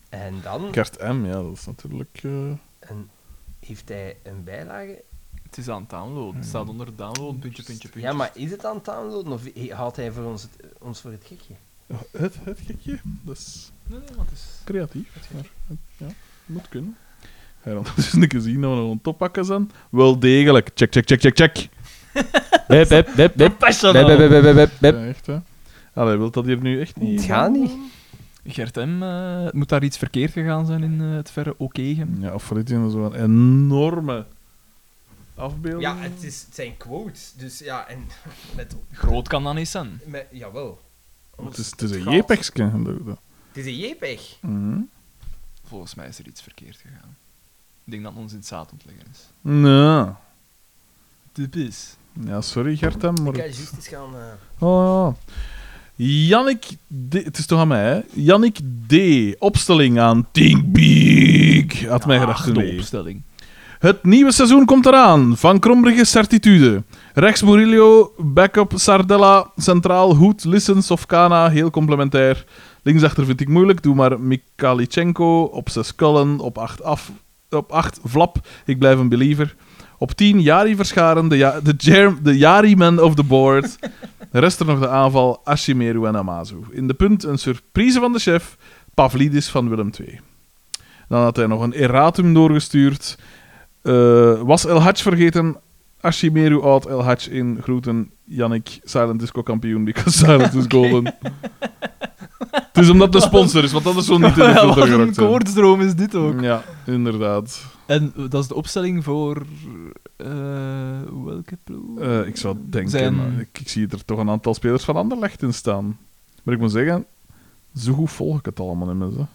En dan
Kert M, ja, dat is natuurlijk... eh,
een- heeft hij een bijlage.
Het is aan het downloaden. Het staat onder downloaden, puntje, puntje, puntje.
Ja, maar is het aan het downloaden of houdt hij voor ons, het, ons voor het gekje?
het, het gekje. Dat is
Nee, nee, want het is...
creatief. Maar, eh, ja, moet kunnen. Ga *laughs* je ondertussen een keer zien dat we nog een toppakken zijn? Wel degelijk. Check, check, check, check, check.
Bep, bep, bep, bep. Bep, bep,
Professional.
bep, bep, bep, bep.
Ja, echt, hè. Allee, wilt dat hier nu echt niet...
Het gaat niet.
Gert M, eh, moet daar iets verkeerd gegaan zijn in eh, het verre Okegem?
Ja, of voor dit is zo'n enorme afbeelding.
Ja, het, is, het zijn quotes. Dus ja, en *laughs* met,
Groot kan dat niet zijn.
met jawel.
Het is, het is een JPEG-scan, geloof ik.
Het is een JPEG.
Mhm.
Volgens mij is er iets verkeerd gegaan. Ik denk dat ons in het zaad ontleggen is.
Ja.
Typisch.
ja, sorry Gertem,
Ik
maar...
ga juist eens gaan... eh,
Oh, ja. Jannik D. Het is toch aan mij, hè? Jannik D. Opstelling aan Think Big. Had mij gedacht.
Ah, de
nee.
opstelling.
Het nieuwe seizoen komt eraan. Van Krombrugge certitude. Rechts Murillo, backup Sardella, centraal Hoed, Lissen, Sofkana, heel complementair. Linksachter vind ik moeilijk, doe maar Mikalichenko. Op 6 Cullen, op 8 af, op 8 Vlap, ik blijf een believer. Op 10 Jari Verscharen, de, ja, de, Jer- de Jari-man of the board. De rest er nog de aanval Ashimeru en Amazu. In de punt een surprise van de chef, Pavlidis van Willem II. Dan had hij nog een erratum doorgestuurd. Eh, was El Hadj vergeten? Ashimeru out, El Hadj in. Groeten, Yannick, Silent Disco kampioen,
*laughs*
because Silent is golden. Het is omdat de sponsor is, want anders zou
*laughs*
niet in de
Wel,
filter
Wat een
geraakt zijn.
koordsdroom is dit ook.
Ja, inderdaad.
En dat is de opstelling voor... eh, welke ploeg?
Eh, ik zou denken,
Zijn-
maar ik, ik zie er toch een aantal spelers van Anderlecht in staan. Maar ik moet zeggen, zo goed volg ik het allemaal niet meer. zo.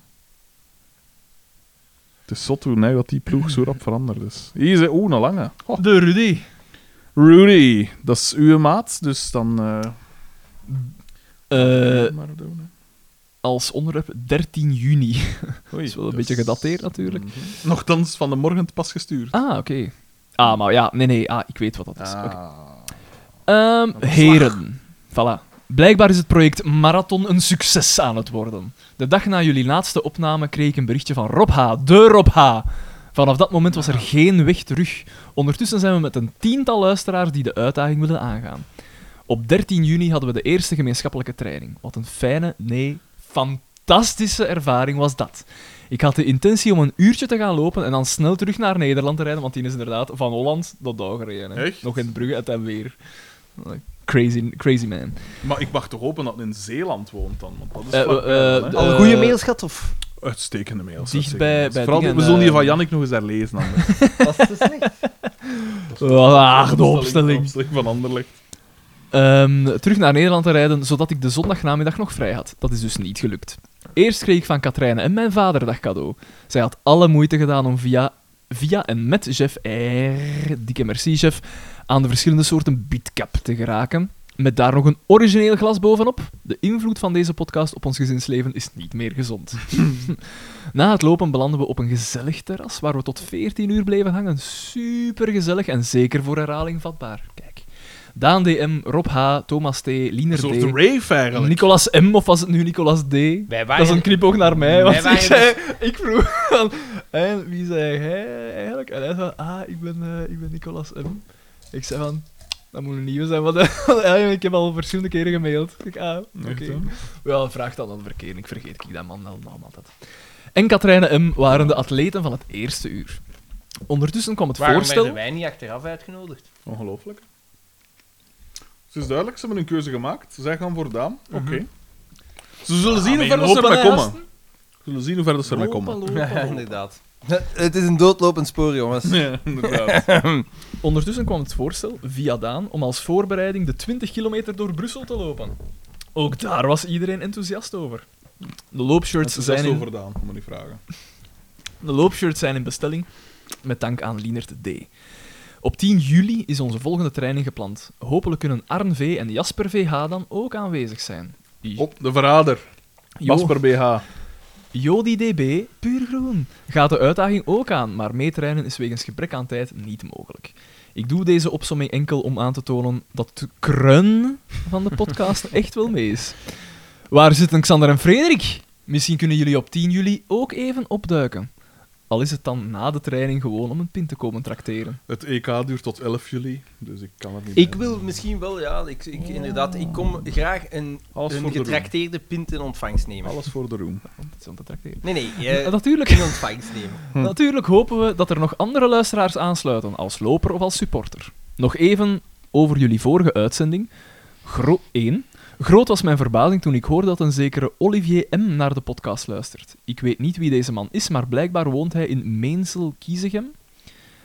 Het is zot hoe nee, dat die ploeg zo rap veranderd is. Hier is hij, oeh, een lange. Oh.
De Rudy.
Rudy, dat is uw maat, dus dan... eh,
Eh,
maar doen, hè.
als onderwerp 13 juni. *laughs*
Oei,
is Mm. wel een beetje gedateerd natuurlijk.
Mhm. Nochtans van de morgen te pas gestuurd.
Ah, oké. Ah, maar ja, nee, nee, ah, ik weet wat dat is. Oké.
Ah.
Ehm,
slag.
heren, voilà. Blijkbaar is het project Marathon een succes aan het worden. De dag na jullie laatste opname kreeg ik een berichtje van Rob H., de Rob H. Vanaf dat moment was er geen weg terug. Ondertussen zijn we met een tiental luisteraars die de uitdaging willen aangaan. Op 13 juni hadden we de eerste gemeenschappelijke training. Wat een fijne, nee, fantastische ervaring was dat. Ik had de intentie om een uurtje te gaan lopen en dan snel terug naar Nederland te rijden, want die is inderdaad van Holland tot daar gereden. hè.
Echt?
Nog in Brugge en dan weer. Crazy, crazy man.
Maar ik mag toch hopen dat hij in Zeeland woont dan, want dat is
Eh,
vlak
eh,
bij
eh,
dan, hè.
de-
Al goede mails gehad, of?
Uitstekende mails.
dicht
uitstekende
bij-
mails.
bij
Vooral,
dingen,
we zullen die
eh,
van Jannik nog eens herlezen. anders.
*laughs*
Was het te slecht?
Laag Ah, de
De
opstelling.
opstelling van Anderlecht.
Ehm, terug naar Nederland te rijden, zodat ik de zondagnamiddag nog vrij had. Dat is dus niet gelukt. Eerst kreeg ik van Katrijne en mijn vader dat cadeau. Zij had alle moeite gedaan om via, via en met chef R, dikke merci chef, aan de verschillende soorten bietcap te geraken. Met daar nog een origineel glas bovenop. De invloed van deze podcast op ons gezinsleven is niet meer gezond. *laughs* Na het lopen belanden we op een gezellig terras waar we tot 14 uur bleven hangen. Super gezellig en zeker voor herhaling vatbaar. Kijk. Daan DM, Rob H, Thomas T,
Een
Liener
soort
D,
rave eigenlijk.
Nicolas M of was het nu Nicolas D?
Wij
Dat is een knipoog naar mij, want
Wij
ik, zei,
waren
ik vroeg van, en wie zei hij eigenlijk? En hij zei, ah, ik ben, eh, ik ben Nicolas M. Ik zei van, dat moet een nieuwe zijn, want *laughs* eh, ik heb al verschillende keren gemaild. Ik, ah, oké.
Echt, hè?
Wel, vraag dan aan verkeer, ik vergeet ik dat man dan dan altijd. En Katrijne M. waren de atleten van het eerste uur. Ondertussen kwam het
Waarom
voorstel...
werden wij niet achteraf uitgenodigd?
Ongelooflijk. Het is duidelijk, ze hebben een keuze gemaakt. Zij gaan voor Daan.
Mhm.
Oké. Ze
Ah,
zullen zien hoe ver dat ze ermee komen. Ze zullen zien hoe ver dat ze ermee
Lopen,
komen.
lopen,
*laughs* Ja, *laughs*
lopen.
inderdaad. Het is een doodlopend spoor, jongens.
Ja,
*laughs*
inderdaad.
Ondertussen kwam het voorstel via Daan om als voorbereiding de 20 kilometer door Brussel te lopen. Ook daar was iedereen enthousiast over. De loopshirts,
Ze zijn
zijn in,
over Daan, moet niet vragen.
de loopshirts zijn in bestelling, met dank aan Lienert D. Op 10 juli is onze volgende training gepland. Hopelijk kunnen Arn V en Jasper VH dan ook aanwezig zijn.
Op de verrader.
Jo-
Jasper BH.
Jody DB, puur groen, gaat de uitdaging ook aan, maar meetrainen is wegens gebrek aan tijd niet mogelijk. Ik doe deze opsomming enkel om aan te tonen dat de krun van de podcast echt wel mee is. Waar zitten Xander en Frederik? Misschien kunnen jullie op 10 juli ook even opduiken. Al is het dan na de training gewoon om een pint te komen trakteren.
Het EK duurt tot 11 juli, dus ik kan het niet
Ik
bij.
wil misschien wel, ja, ik, ik, inderdaad, ik kom graag een,
Alles
een
voor de roem.
getrakteerde pint in ontvangst nemen.
Alles voor de roem.
Want het is om te trakteren.
Nee, nee, eh,
Ja, natuurlijk.
in ontvangst nemen.
Hm.
Natuurlijk hopen we dat er nog andere luisteraars aansluiten, als loper of als supporter. Nog even over jullie vorige uitzending. Gro 1. Groot was mijn verbazing toen ik hoorde dat een zekere Olivier M. naar de podcast luistert. Ik weet niet wie deze man is, maar blijkbaar woont hij in Meensel-Kiezegem,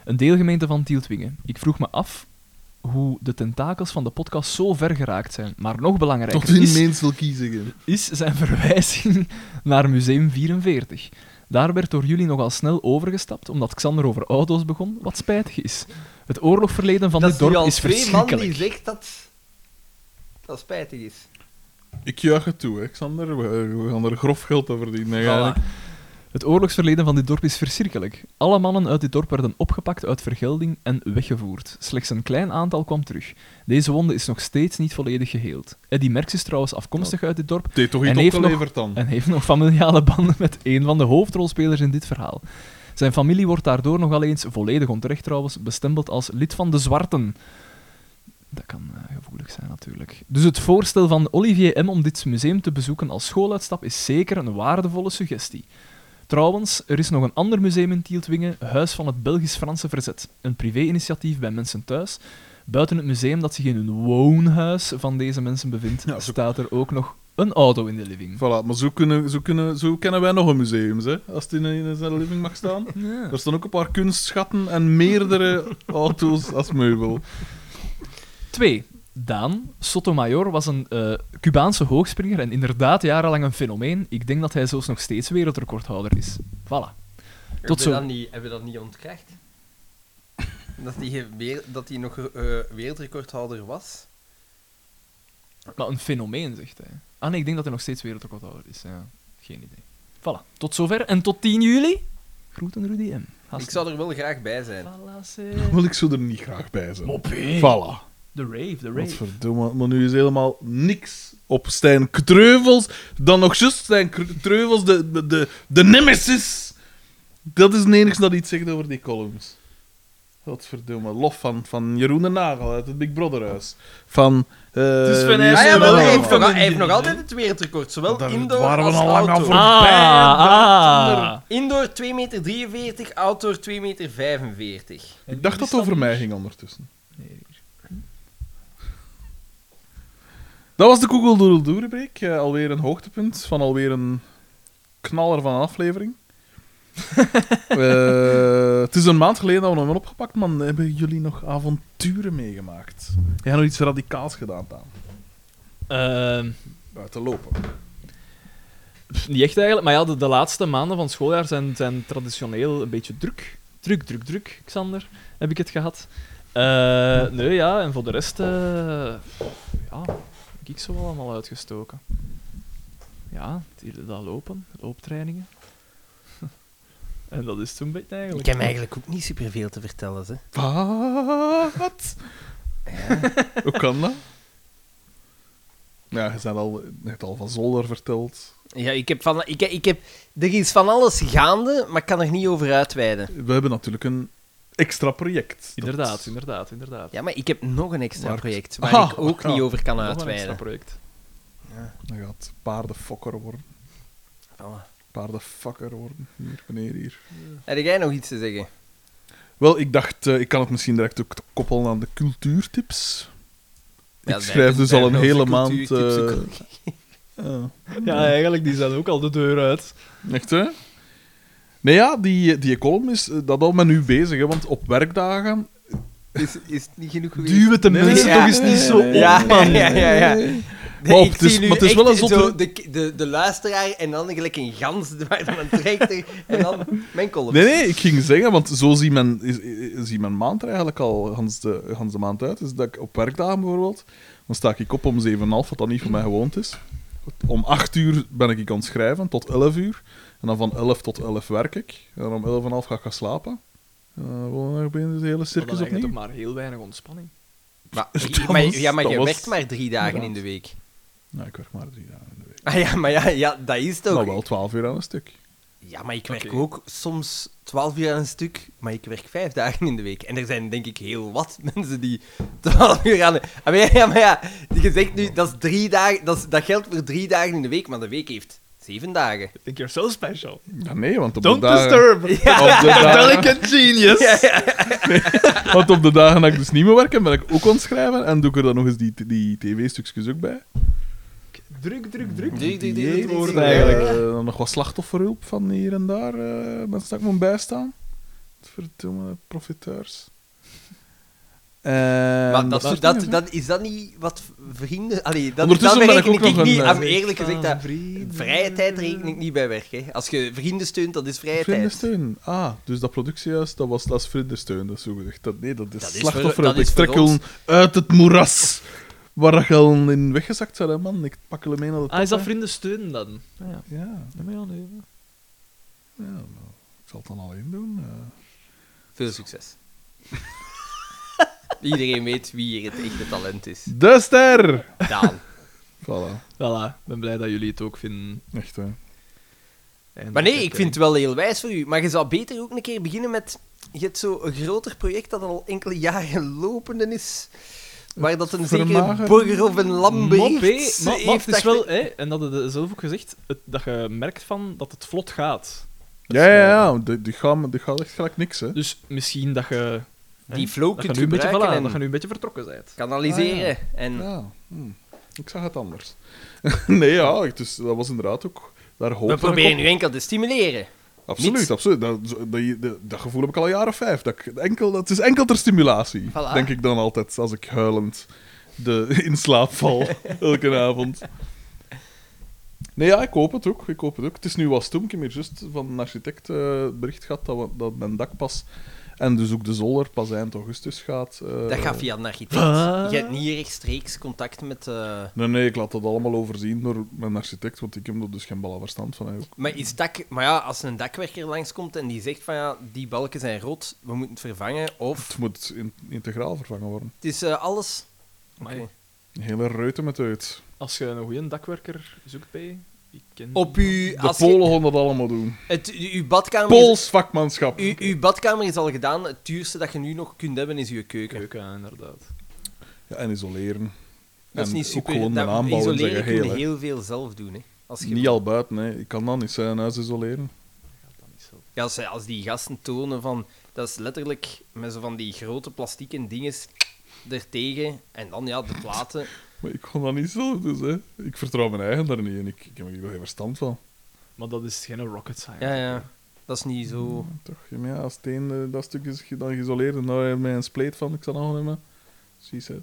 een deelgemeente van Tieltwingen. Ik vroeg me af hoe de tentakels van de podcast zo ver geraakt zijn. Maar nog belangrijker
Tot in
is,
menselkiezingen.
is zijn *laughs* verwijzing naar Museum 44. Daar werd door jullie nogal snel overgestapt, omdat Xander over auto's begon, wat spijtig is. Het oorlogverleden van
dat
dit
nu
dorp
al
is
twee man die
verschrikkelijk.
zegt dat dat spijtig is.
Ik juich het toe, hè, Xander. We, we gaan er grof geld aan verdienen. eigenlijk.
Het oorlogsverleden van dit dorp is verschrikkelijk. Alle mannen uit dit dorp werden opgepakt uit vergelding en weggevoerd. Slechts een klein aantal kwam terug. Deze wonde is nog steeds niet volledig geheeld. Eddie Merckx is trouwens afkomstig uit dit dorp
Het heeft toch
En
iets
heeft nog-
opgeleverd dan?
en heeft nog familiale banden met een van de hoofdrolspelers in dit verhaal. Zijn familie wordt daardoor nogal eens, volledig onterecht trouwens, bestempeld als lid van de Zwarten. Dat kan eh, gevoelig zijn natuurlijk. Dus het voorstel van Olivier M. om dit museum te bezoeken als schooluitstap is zeker een waardevolle suggestie. Trouwens, er is nog een ander museum in Tieltwingen, Huis van het Belgisch-Franse Verzet. Een privé-initiatief bij mensen thuis. Buiten het museum dat zich in hun woonhuis van deze mensen bevindt,
Ja, zo-
staat er ook nog een auto in de living.
Voilà, maar zo, kunnen, zo, kunnen, zo kennen wij nog een museum, hè? als het in, een- in zijn living mag staan.
Ja.
Er staan ook een paar kunstschatten en meerdere auto's als meubel.
2. Daan Sotomayor was een eh, Cubaanse hoogspringer en inderdaad jarenlang een fenomeen. Ik denk dat hij zelfs nog steeds wereldrecordhouder is. Voilà.
Hebben we
zo.
dat niet, hebben we dat niet *laughs* ontkracht? Dat hij ge- weer- dat hij nog eh, wereldrecordhouder was?
Maar een fenomeen, zegt hij. Ah nee, ik denk dat hij nog steeds wereldrecordhouder is. Ja. Geen idee. Voilà. Tot zover en tot 10 juli. Groeten Rudy M.
Ik zou er wel graag bij zijn.
Wil ik zo er niet graag bij zijn.
Moppie.
Voilà.
De rave, de
Wat
rave.
verdomme, maar nu is helemaal niks op Stijn Treuvels. Dan nog just Stijn Kr- Treuvels, de, de, de, de nemesis. Dat is het enigste dat iets zegt over die columns. Wat verdomme, lof van, van Jeroen de Nagel uit het Big Brother huis. Van... eh
is Van
wie
Eijsel
Ah, ja,
er
wel,
nog
hij, heeft
allemaal?
nog, hij heeft nog altijd het wereldrecord, zowel
Daar
indoor
waren we
als
al lang aan
outdoor.
voor.
Ah,
Indoor 2,43 meter, outdoor 2,45 meter.
Ik dacht dat het over mij ging ondertussen.
Nee.
Dat was de Google Doodle Doerebreek. eh, alweer een hoogtepunt van alweer een knaller van een aflevering. Eh, het is een maand geleden dat we hem hebben opgepakt, maar hebben jullie nog avonturen meegemaakt? Jij hebt nog iets radicaals gedaan, Daan.
Ehm,
Buiten lopen.
Pff, Niet echt eigenlijk, maar ja, de, de laatste maanden van het schooljaar zijn, zijn traditioneel een beetje druk. Druk, druk, druk, Xander, heb ik het gehad. Eh, nee, ja, en voor de rest... eh, ja, heb ik zo wel allemaal uitgestoken. Ja, die, dat lopen, looptrainingen. *laughs* en dat is toen een beetje eigenlijk.
eigenlijk ook niet superveel te vertellen. Hè.
Wat? Hoe kan dat? Ja, je bent al, je hebt al van Zolder verteld.
Ja, ik heb van, ik, ik heb, er is van alles gaande, maar ik kan er niet over uitweiden.
We hebben natuurlijk een extra project. Dat-
Inderdaad, inderdaad, inderdaad.
Ja, maar ik heb nog een extra
Waar-
project waar
Ah,
ik ook
ah.
niet over kan
Nog een extra
uitweiden.
project.
Dan gaat paardenfokker worden.
Voilà.
Paardenfokker worden. Hier, meneer, hier.
Heb jij nog iets te zeggen?
Wel, ik dacht, eh, ik kan het misschien direct ook koppelen aan de cultuurtips.
Ja,
ik
wij
schrijf
doen-
dus
wij
al een
hebben
hele
onze
maand.
cultuurtips
eh, eh,
Ja, eigenlijk, die zijn ook al de deur uit.
Echt, hè? Nee, ja, die, die column is eh, dat al met nu bezig, hè, want op werkdagen.
Is, is het niet genoeg geweest?
Duw het de
Nee,
mensen
nee,
toch
ja.
eens niet zo op,
Ja,
man.
ja, ja, ja.
Maar op, het is- maar het is wel een zotte-
zo de, de, de luisteraar en dan gelijk een gans *laughs* waar dan een trechter en dan mijn column.
Nee, nee, ik ging zeggen, want zo zie men, is, is- zie mijn maand er eigenlijk al gans de, gans de maand uit. Is dat ik op werkdagen bijvoorbeeld, dan sta ik op om 7,5, wat dat niet voor mij gewoond is. Om 8 uur ben ik aan het schrijven, tot 11 uur. En dan van 11 tot 11 werk ik. En dan om 11 en half ga ik gaan slapen. Eh, En dan beginnen begint de hele
Maar dan
circus
heb je toch
opnieuw.
maar heel weinig ontspanning.
Maar,
*laughs* Dat
maar-
was-
ja, maar
dat
je
was-
werkt maar drie dagen in
inderdaad.
de week.
Nou, ik werk maar drie dagen in de week.
Ah ja, maar ja, ja dat is het ook.
Nou, wel 12 uur aan een stuk.
Ja, maar ik werk
Oké.
ook soms twaalf uur aan een stuk, maar ik werk vijf dagen in de week. En er zijn denk ik heel wat *laughs* mensen die twaalf uur aan... Ah, maar ja, ja, maar ja, je zegt nu, dat, is drie dagen, dat, is- dat geldt voor drie dagen in de week, maar de week heeft zeven
*laughs*
dagen.
Think you're so special.
Ja, nee, want op
Don't
de dagen...
disturb. *laughs*
Op de dagen...
Delicate genius.
Ja, ja.
Want op de dagen dat ik dus niet meer werk, ben ik ook aan het schrijven. En doe ik er dan nog eens die, die tv-stukjes ook bij.
Druk, druk, druk.
Die- die- die-
Dieet
die- die-
worden
die-
eigenlijk.
die-
Eh, dan nog wat slachtofferhulp van hier en daar. eh mensen dat ik moet bijstaan. Verdomme profiteurs.
Maar Ehm, dat,
is
dat, dat, is dat niet wat vrienden... Allee, dat, dat
Ondertussen ben ik
bereken
ook
ik,
nog eh, aan
niet...
het
aan-
lezen.
eerlijk gezegd, dat, vrije tijd reken ik niet bij weg. Hè. Als je vrienden steunt, dat is vrije tijd.
Vriendensteun. Ah, dus dat productiehuis, dat was Las Vriendensteun, dat is zo gezegd. Dat, nee, dat is
Dat is
slachtoffer.
voor- dat
ik
is
trek
voor
je uit het moeras. Waar je al in weggezakt bent, hè, man. Ik pak hem mee naar de
Ah, is dat
top, hè.
vrienden steunen dan? Ah, ja.
Ja,
Ja, maar ja, nee.
ja wel, ik zal het dan alleen doen. eh.
Veel *laughs* succes. Iedereen weet wie hier het echte talent *laughs* is.
De ster!
Daan.
Voilà.
Voilà, ik ben blij dat jullie het ook vinden.
Echt, hè.
En
Maar
dat
nee, ik vind het wel heel wijs voor u. Maar je zou beter ook een keer beginnen met... Je hebt zo'n groter project dat al enkele jaren lopende is. Waar dat een zekere
Vermagen.
burger of een lam
Mop, hé.
bericht
maar, maar
heeft
het is
dat-
wel, hè, en dat hadden ze zelf ook gezegd, het- dat je merkt van dat het vlot gaat.
Ja, ja, ja.
eh,
Die, die, gaan, die gaan echt gelijk niks, hè.
Dus misschien dat je,
Die flow
dat je,
kunt
nu, een beetje,
gebruiken
voilà,
en
dat je nu een beetje vertrokken bent.
kanaliseren.
Ah,
En
Ja. hm. Ik zag het anders. *laughs* nee, ja. Dus dat was inderdaad ook... Daar hoop
we
ik op.
proberen nu enkel te stimuleren.
Absoluut,
Niet?
absoluut. Dat, zo- dat, je- dat- dat gevoel heb ik al een jaar of vijf. Dat, ik enkel, dat is enkel ter stimulatie,
Voilà.
denk ik dan altijd, als ik huilend de, in slaap
*laughs*
val elke avond. Nee, ja, ik hoop het ook. Ik hoop het ook. Het is nu wel stom. Ik heb hier juist van een architect eh, bericht gehad dat, we, dat mijn dak pas en dus ook de zolder pas eind augustus gaat. eh,
Dat gaat via een architect.
Wat?
Je hebt niet rechtstreeks contact met... eh,
Nee, nee, ik laat dat allemaal overzien door mijn architect, want ik heb er dus geen ballen verstand van. hè, ook.
Maar, is dak, maar ja, als een dakwerker langskomt en die zegt van ja, die balken zijn rot, we moeten het vervangen. Of
Het moet in- integraal vervangen worden.
het is eh, alles.
Maar
Een hele reuten met uit.
als je een goede dakwerker zoekt bij, ik ken...
Op uw,
De
als je-
Polen gaan dat allemaal doen.
het, uw, badkamer is,
Pools vakmanschap.
uw, uw badkamer is al gedaan. Het duurste dat je nu nog kunt hebben is uw keuken.
keuken, ja, inderdaad.
Ja, en isoleren.
Dat is
En
niet super.
Ook gewoon de
dat,
aanbouw in zijn
isoleren kun
geheel.
je
hè.
heel veel zelf doen. Hè. Als je,
Niet al buiten, hè. Ik kan dat niet zijn huis isoleren.
Ja, als, als die gasten tonen van... Dat is letterlijk met zo van die grote plastieke dinges ertegen. En dan ja, de platen.
Maar ik kan dat niet zelf, dus hè. Ik vertrouw mijn eigen daar niet in. Ik, ik heb er geen verstand van.
Maar dat is geen rocket science.
Ja, ja. Dat is niet zo...
Toch, ja, maar ja, als het een, eh, dat stuk is ge- dan geïsoleerd en daar heb je een spleet van, ik zal nog nemen. Precies, hè.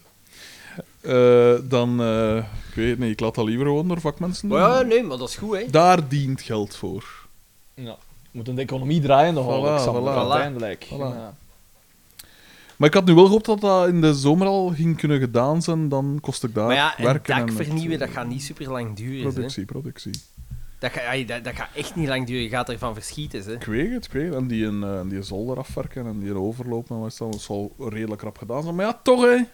Eh, dan, eh, ik weet het niet, ik laat dat liever gewoon door vakmensen doen.
Maar Oh ja, nee, maar dat is goed, hè.
Daar dient geld voor.
Ja. We moeten de economie draaien nog
Voilà,
Alexander,
voilà.
uiteindelijk.
Voilà.
Ja.
Maar ik had nu wel gehoopt dat dat in de zomer al ging kunnen gedaan zijn, dan kost ik daar
Maar ja, een
werken.
dak
en het,
vernieuwen, dat
eh,
gaat niet super lang duren. hè.
Productie, productie.
Dat, ga, ai, dat, dat gaat echt niet lang duren. Je gaat ervan verschieten. Hè.
Ik weet het, ik weet het. En die, een, eh, die zolder afwerken en die overlopen en wat is dat. Dat zal redelijk rap gedaan zijn. Maar ja, toch, hè.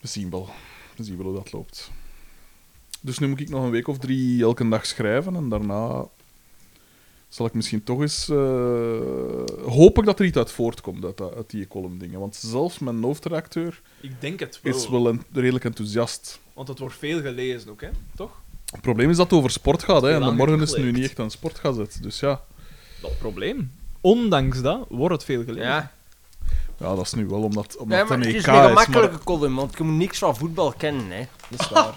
We zien wel. We zien wel hoe dat loopt. Dus nu moet ik nog een week of drie elke dag schrijven. En daarna zal ik misschien toch eens... eh, hoop ik dat er iets uit voortkomt, uit, dat- uit die column dingen. Want zelfs mijn hoofdredacteur
Ik denk het wel,
is wel en- redelijk enthousiast.
want het wordt veel gelezen ook, hè? Toch?
Het probleem is dat het over sport gaat, hè. En de
Belangrijk
morgen is het nu
geleerd.
niet echt een sportgazet. Dus ja...
Dat probleem. Ondanks dat wordt het veel gelezen.
Ja.
Ja, dat is nu wel omdat, omdat
Ja, maar
een
het
EK
is
is.
een
maar- Hm?
gemakkelijke column, want je moet niks van voetbal kennen. Hè.
Dat is waar.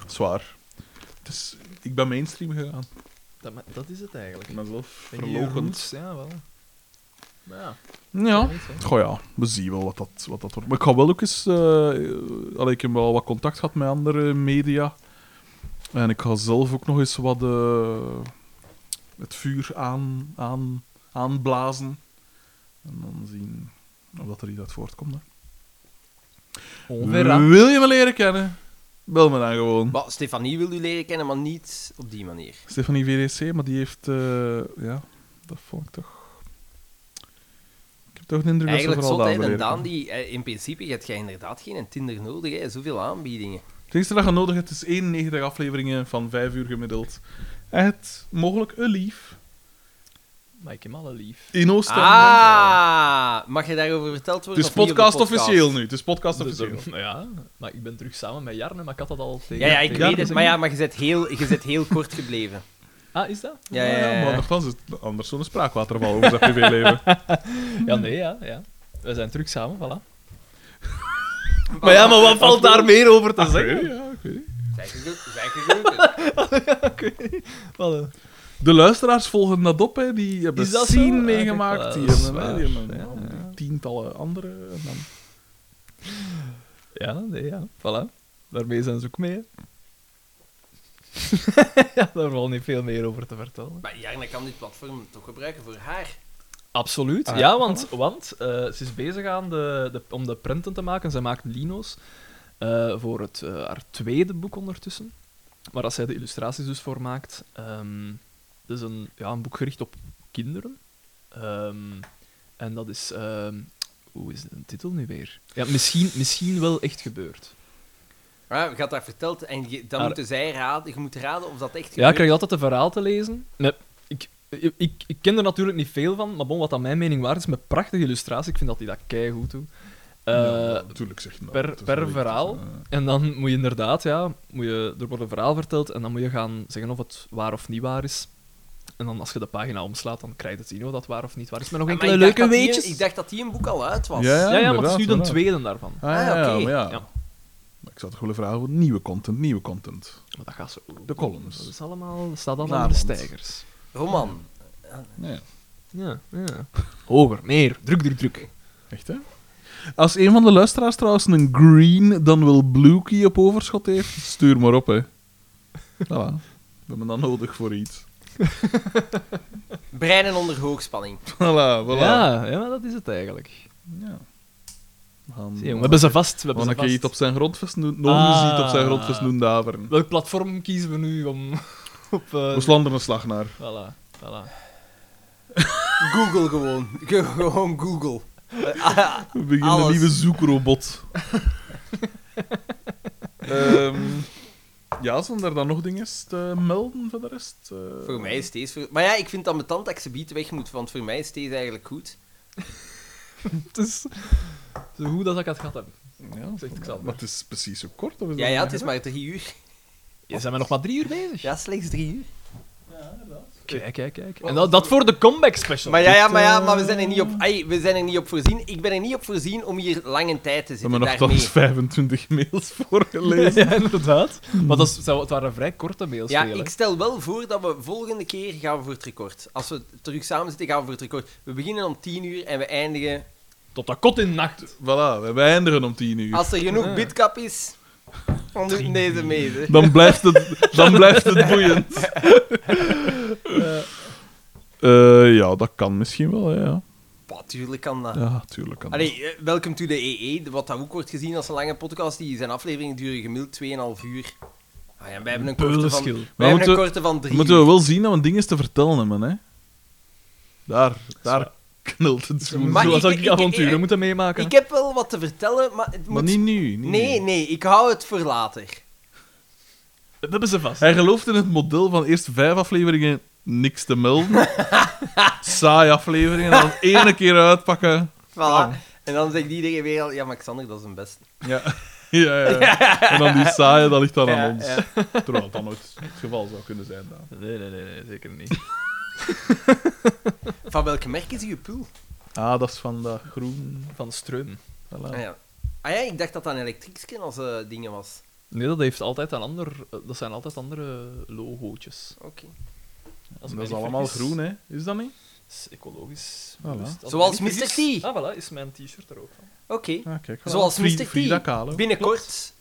dat is waar. Het is- ik ben mainstream gegaan.
Dat, maar dat is het eigenlijk.
Ik ben zelf
Ben je
verlogend.
roots? Ja, wel. Maar ja,
Ja.
weet je.
Goh ja, we zien wel wat dat, wat dat wordt. Maar ik ga wel ook eens... eh, eh, allee, ik heb wel wat contact gehad met andere media. En ik ga zelf ook nog eens wat eh, het vuur aan, aan, aanblazen. En dan zien of dat er iets uit voortkomt. hè.
Onverra.
Wil je me leren kennen? Bel me dan gewoon.
Maar Stefanie wil u leren kennen, maar niet op die manier.
Stefanie VDC, maar die heeft... eh, ja, dat vond ik toch... Ik heb toch de indruk
Eigenlijk
dat ze
zot,
vooral
hè.
daar
En
leren.
Daan, die, eh, in principe, je hebt jij inderdaad geen Tinder nodig. Hè. Zoveel aanbiedingen.
Het enige dat je nodig hebt is 91 afleveringen van 5 uur gemiddeld. En het mogelijk een lief.
Maar ik heb alle lief.
In Oostende.
Ah! Mag je daarover verteld
het
worden?
is
of niet op de
podcast officieel nu. Het is podcast
Dus,
officieel.
eh, *laughs* ja, maar ik ben terug samen met Jarne, maar ik had dat al
Ja,
tegen.
ja, ik
tegen-
weet het. Maar ja, maar je bent heel, je bent heel kort gebleven.
Ah, is dat?
Ja,
Ah,
ja, ja.
Maar nogthans is het anders zo'n spraakwaterval over zijn privéleven.
Ja, nee, ja, ja. We zijn terug samen,
*laughs*
voilà. Maar ja, maar wat valt daar meer over te
Ik weet
zeggen?
niet, ja, ik weet niet.
Zijn gelukkig. Zijn
*laughs*
gelukkig.
Wel, eh,
De luisteraars volgen dat op, hè. die hebben
Is dat zo?
scene
Ah, kijk,
meegemaakt.
wel,
Die
dat is
hebben, hè,
waar.
die hebben-
Ja, ja.
tientallen andere. En dan...
Ja, nee, ja. Voilà. Daarmee zijn ze ook mee. hè. *laughs* ja, daar valt niet veel meer over te vertellen.
Maar Jarna kan dit platform toch gebruiken voor haar.
Absoluut.
Ah,
ja, want, want eh, ze is bezig aan de, de, om de prenten te maken. Zij maakt lino's eh, voor het, eh, haar tweede boek ondertussen. Maar als zij de illustraties dus voor maakt, ehm het is een, ja, een boek gericht op kinderen. Ehm, en dat is, ehm, hoe is de titel nu weer? Ja, misschien, misschien wel echt gebeurd.
Ja, je had dat verteld en je- dan
Ah.
moeten zij raden. Je moet raden of dat echt gebeurt.
Ja, ik krijg altijd een verhaal te lezen. Nee, ik, ik, ik, ik ken er natuurlijk niet veel van, maar bon, wat aan mijn mening waar is, met prachtige illustraties, ik vind dat hij dat keigoed doet. Eh,
Ja, natuurlijk zeg maar.
per-
Het is
per
wel echt,
verhaal?
eh,
En dan moet je inderdaad, ja, moet je, er wordt een verhaal verteld en dan moet je gaan zeggen of het waar of niet waar is. En dan als je de pagina omslaat, dan krijg je het zien of dat waar of niet waar is. Met nog
Ah, maar
enkele
ik dacht
leuke
dat die-
weetjes.
ik dacht dat die een boek al uit was.
Ja, ja.
ja, ja, maar het
inderdaad,
is nu de
inderdaad.
tweede daarvan.
Ah, ja,
Ah,
ja,
oké.
maar ja.
Ja.
Maar ik zou toch willen vragen voor nieuwe content, nieuwe content.
Maar dat gaat zo.
De columns.
Dat is allemaal, dat staat allemaal in de
Vlaanderen.
stijgers.
Roman.
Ja,
Ja, ja. Hoger, meer, druk, druk, druk.
echt hè? Als een van de luisteraars trouwens een green dan wel blue key op overschot heeft, stuur maar
*laughs*
op hè. Voilà. We hebben dat nodig voor iets.
Breinen onder hoogspanning.
*laughs* Voilà, voilà.
Ja, ja, maar dat is het eigenlijk.
Ja. We gaan,
Zie, jongen, we hebben ze vast.
we
We
gaan een
hebben ze
keer
vast.
iets op zijn grondvest doen, nog eens
Ah.
iets op zijn grondvest doen daveren.
Welk platform kiezen we nu om *laughs* op... eh,
We slaan er een slag naar.
voilà, voilà.
Google gewoon. *laughs* Ge- gewoon Google. Eh, ah,
We beginnen
Alles.
een nieuwe
*laughs*
zoekrobot. Ehm, ja, zijn er dan nog dingen te melden voor de rest? Eh,
voor mij is deze... Voor... Maar ja, ik vind het ambetant dat ik ze biedt weg moet, want voor mij is deze eigenlijk goed.
Het is zo goed als ik het gehad heb.
Ja,
zegt Xander.
Maar het is precies zo kort. Of is
Ja,
dat-
ja, het is maar drie uur.
Je zijn we nog maar drie uur bezig.
Ja, slechts drie uur.
Kijk, kijk, kijk. En dat, dat voor de comeback
*laughs*
special.
Maar ja, ja, maar, ja,
eh,
maar we, zijn er niet op, ai, we zijn er niet op voorzien. Ik ben er niet op voorzien om hier lang in tijd te
We
zitten.
hebben nog
daarmee.
eens 25 *laughs* mails voorgelezen.
*laughs*
*laughs* ja, inderdaad. Maar dat, is, zou- het waren vrij korte mails.
Ja,
veel, hè.
ik stel wel voor dat we volgende keer gaan we voor het record. Als we terug samen zitten, gaan we voor het record. We beginnen om 10 uur en we eindigen.
Tot de kot in de nacht.
Voilà, we eindigen om 10 uur.
Als er genoeg
Ja.
bitkap is, dan doen deze mee. hè.
Dan blijft het, dan blijft het boeiend.
*laughs*
Eh, ja, dat kan misschien wel, hè, ja.
Bah, tuurlijk kan dat.
Ja, tuurlijk kan dat.
Allee, eh, welcome to the EE, wat dat ook wordt gezien als een lange podcast. Die zijn afleveringen duren gemiddeld 2,5 uur. Ah ja, wij hebben een korte van,
Peulenschil.
wij hebben
moeten-
een korte van
Dan
3
moeten we wel zien dat we dingen te vertellen hebben, hè. Daar, daar knelt het zo.
Maar
Zoals
ik-
ik,
ik-
avonturen
ik-
moeten meemaken.
Ik heb wel wat te vertellen, maar het
Maar
moet...
niet nu. Niet
nee,
nu.
nee, ik hou het voor later.
dat hebben ze vast.
Hij gelooft in het model van eerst vijf afleveringen niks te
*laughs*
melden. Saai afleveringen, dan ene keer uitpakken.
Voilà.
Ah.
En dan zegt iedereen weer al, ja, maar Xander, dat is een beste.
Ja. Ja, ja, En dan die saaie, dat ligt dan
Ja,
aan ons.
ja.
Terwijl dat nooit het geval zou kunnen zijn. Dan.
Nee, nee, nee, nee, zeker niet.
Van welke merk is uw pul?
Ah, dat is van dat groen.
Van Streum.
Voilà.
Ah ja. Ah ja, ik dacht dat dat een elektriekje als eh dingen was.
Nee, dat, heeft altijd een ander, eh, dat zijn altijd andere logootjes.
Oké.
Als
dat
ik me
is
niet
allemaal
vergis.
groen, hè? Is dat niet?
is ecologisch.
Voilà.
bewust. Als
Zoals
ik me niet
Mr.
vergis-
T.
Ah, voilà, is mijn t-shirt er ook van.
Oké.
Ah, kijk, voilà.
Zoals
Fri-
Mr. T.
Frida Kahlo.
Binnenkort...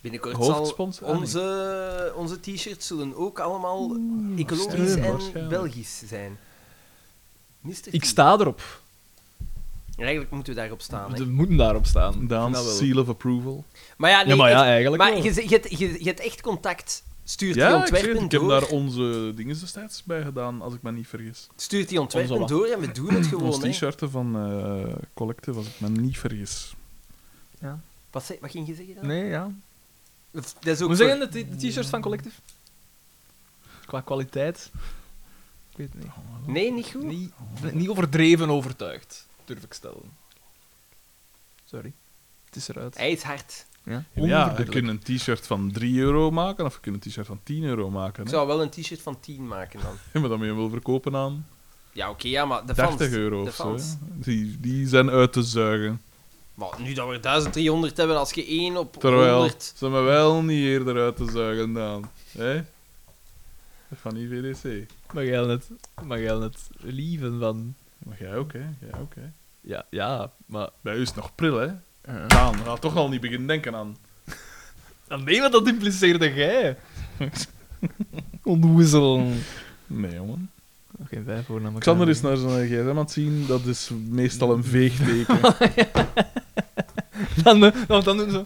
Binnenkort zal
Hoofdsponsor? Ah, nee.
onze, onze t-shirts zullen ook allemaal ecologisch
waarschijnlijk,
en
waarschijnlijk.
Belgisch zijn. Mr. T.
Ik sta erop.
Eigenlijk moeten we daarop staan. hè.
We moeten daarop staan.
Daan,
Nou,
Ik vind dat wel.
seal of approval.
Maar ja, nee,
Ja, maar ja,
het-
eigenlijk
maar
wel.
je, je, hebt- je, je hebt echt contact. Stuurt die
Ja, ik, zeg
ontwerpen
het, ik heb
door.
daar onze dingen destijds bij gedaan, als ik me niet vergis.
Stuurt die
Onze
ontwerpen
wat?
door en we doen het
Ons
gewoon. hè.
t-shirten van eh Collective, als ik me niet vergis.
Wat, zei- wat ging je zeggen? Dan?
Nee, ja.
Of, dat is ook
Hoe
voor-
zeggen de t- de t-shirts van Collective? Qua kwaliteit? Ik weet het niet.
Oh.
Nee, niet goed.
Niet, niet overdreven overtuigd, durf ik stellen. Sorry. Het is eruit.
Hij is hard.
Ja.
Ja, je kunt een t-shirt van 3 euro maken, of je kunt een t-shirt van 10 euro maken.
Ik
Hè?
zou wel een t-shirt van 10 maken dan.
Maar dan moet je hem wel verkopen aan
Ja, oké, ja, maar de fans.
30 euro
de
of zo. hè.
fans.
Die, die zijn uit te zuigen.
Maar nu dat we er 1300 hebben, als je 1 op
Terwijl *laughs*
100...
ze me wel niet eerder uit te zuigen dan. Hè? Van IVDC.
Mag jij net, mag jij net lieven van...
Maar jij ook, hè? Jij ook, hè?
Ja, ja, maar...
Bij u is het nog pril, hè?
Ja.
Daan, ga toch al niet beginnen denken aan.
Ah, Nee, want dat
*laughs*
impliceerde jij. Ondoezel.
Nee, jongen.
Oké, wij voor naar elkaar.
Xander is naar zijn gsm aan het zien, dat is meestal een
*laughs*
veegteken.
Dan, eh, dan, dan doen ze...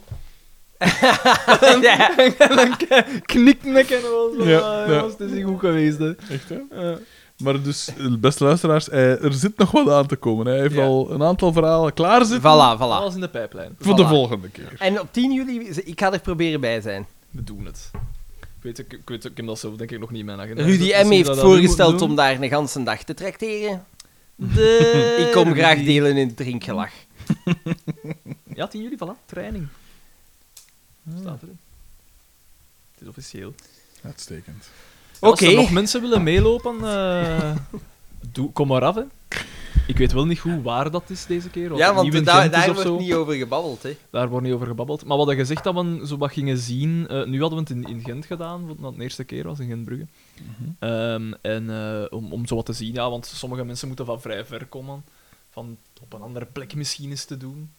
Ja.
en *laughs* dan k- knikt nek en wel zo.
Ja,
Ja,
ja.
Het is niet goed geweest, hè.
Echt, hè?
Ja.
Maar dus, eh, beste luisteraars, eh, er zit nog wat aan te komen. Hij heeft
Ja.
al een aantal verhalen klaar zitten
*laughs* Voilà, voilà.
Alles in de pijplijn.
voor de
voilà.
volgende keer.
En op 10 juli, ik ga er proberen bij zijn.
We doen het. Ik weet, ik, ik, weet, ik heb dat zelf denk ik nog niet in mijn agenda.
Rudy M. heeft voorgesteld om daar een ganse dag te tracteren.
De...
Ik kom graag delen in het drinkgelag.
Ja, 10 juli, voilà. Training. Staat erin. Het is officieel.
Uitstekend.
Als er
Oké.
nog mensen willen meelopen, eh, doe, kom maar af, hè. Ik weet wel niet goed waar dat is deze keer. of
Ja,
het
want
nieuw in
daar-
Gent is
daar
of
wordt
zo.
niet over gebabbeld, hè.
Daar wordt niet over gebabbeld. Maar wat je gezegd dat we zo wat gingen zien... eh, nu hadden we het in, in Gent gedaan, want dat de eerste keer was in Gentbrugge.
Mhm.
Ehm, en eh, om, om zo wat te zien, ja, want sommige mensen moeten van vrij ver komen. Van op een andere plek misschien eens te doen.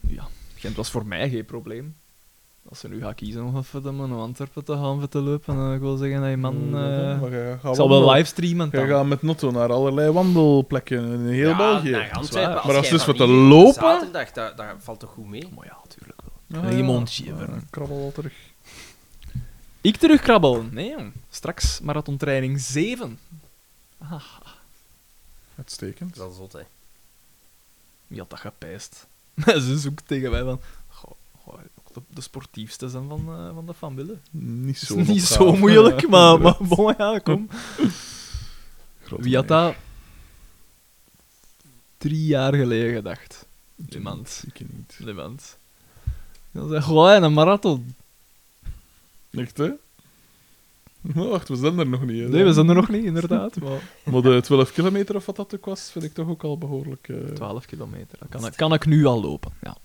Ja, Gent was voor mij geen probleem. Als ze nu gaat kiezen om even naar Antwerpen te gaan voor te lopen, dan wil ik wel zeggen, hey
Mm,
man, eh,
Maar jij gaat
ik zal wel
wandelen.
livestreamen
Jij
dan.
gaat met Notto naar allerlei wandelplekken in heel
Ja,
België.
naar Antwerpen,
Zwaar.
als
Maar als
jij
het is
van
voor te
hier
lopen?
Zaterdag, daar, daar valt toch goed mee?
Maar ja, tuurlijk wel.
Ja,
Hey,
ja.
mond, Sjever.
Ja, Krabbel al terug.
Ik terugkrabbelen? Nee, jong. Straks marathontraining 7. Ah,
Uitstekend.
Dat is zot, hè.
wie had dat gepijst? *laughs* Ze zoekt tegen mij van... Goh, goh, ook de, de sportiefste zijn van, eh, van de familie.
Niet
Het
zo,
is *laughs* niet
opgave.
zo
*laughs*
moeilijk, *laughs* maar, maar
Grote
bon, ja, *laughs* kom. Wie
meneer.
had dat drie jaar geleden gedacht? Niemand.
Ik niet.
Niemand. Dan zei goh, en een marathon.
Echt, hè? Maar wacht, we zijn er nog niet. Hè?
Nee, we zijn er nog niet, inderdaad. Maar *laughs*
Maar de 12 kilometer of wat dat ook was, vind ik toch ook al behoorlijk... eh,
12 kilometer. Dat kan, ik- kan ik nu al lopen, ja.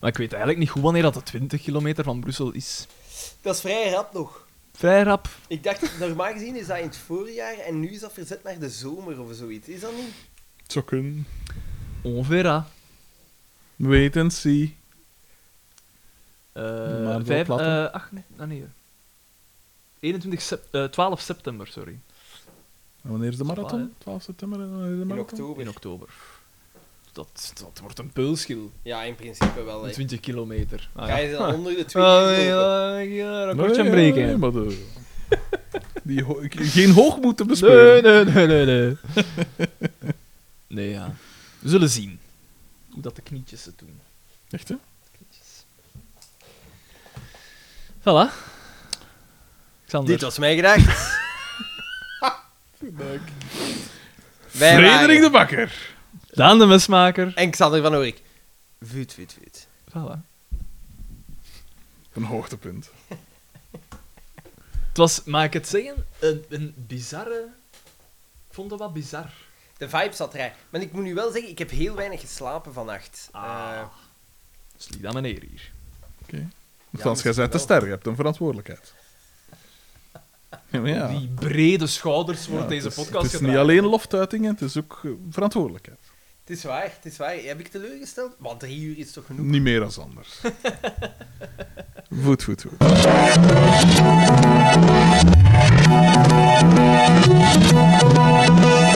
Maar ik weet eigenlijk niet goed wanneer dat de 20 kilometer van Brussel is.
Dat is vrij rap nog.
Vrij rap.
Ik dacht, normaal gezien is dat in het voorjaar en nu is dat verzet naar de zomer of zoiets. Is dat niet?
Het zou kunnen.
Ongeveer, ah.
Wait and see.
Eh,
Maar
vijf,
wel platte.
eh, ach, nee, ah, nee. 21 sep- eh, 12 september, sorry.
En wanneer is de
Dat is waar,
marathon? 12 september en wanneer is de
In
marathon?
oktober.
In oktober. Dat, dat wordt een peulschil.
Ja, in principe wel, hè.
20 kilometer. Ah,
Ga
ja.
je
*laughs*
dan onder de twee
Ah,
uur
nee,
lopen?
ja, ja,
Nee,
recordje
nee,
breken.
nee, maar de- *laughs* Die ho- geen hoogmoed te bespeuren.
Nee, nee, nee, nee, nee. *laughs* nee, ja. We zullen zien hoe dat de knietjes het doen.
Echt, hè?
Knietjes. Voilà. Xander.
Dit was mijn gedacht.
Dank.
Wij
Frederik
waren-
de Bakker.
Daan de mesmaker.
En Xander van Oorik. Vuut, vuut, vuut.
Voilà.
Een hoogtepunt.
Het was, mag ik het zeggen, een, een bizarre... Ik vond dat wat bizar.
De vibe zat raar. Maar ik moet nu wel zeggen, ik heb heel weinig geslapen vannacht. Eh,
Ah. Sliep aan meneer hier.
Oké.
dat is
Althans, jij bent de
wel.
ster, je hebt een verantwoordelijkheid. Ja, maar ja.
Die brede schouders wordt
Ja,
deze
het is-
podcast
Het is niet
gedragen.
alleen loftuitingen, het is ook eh, verantwoordelijkheid.
het is waar, het is waar. Heb ik teleurgesteld? Maar drie uur is toch genoeg?
Niet meer als anders. Voet, voet, voet.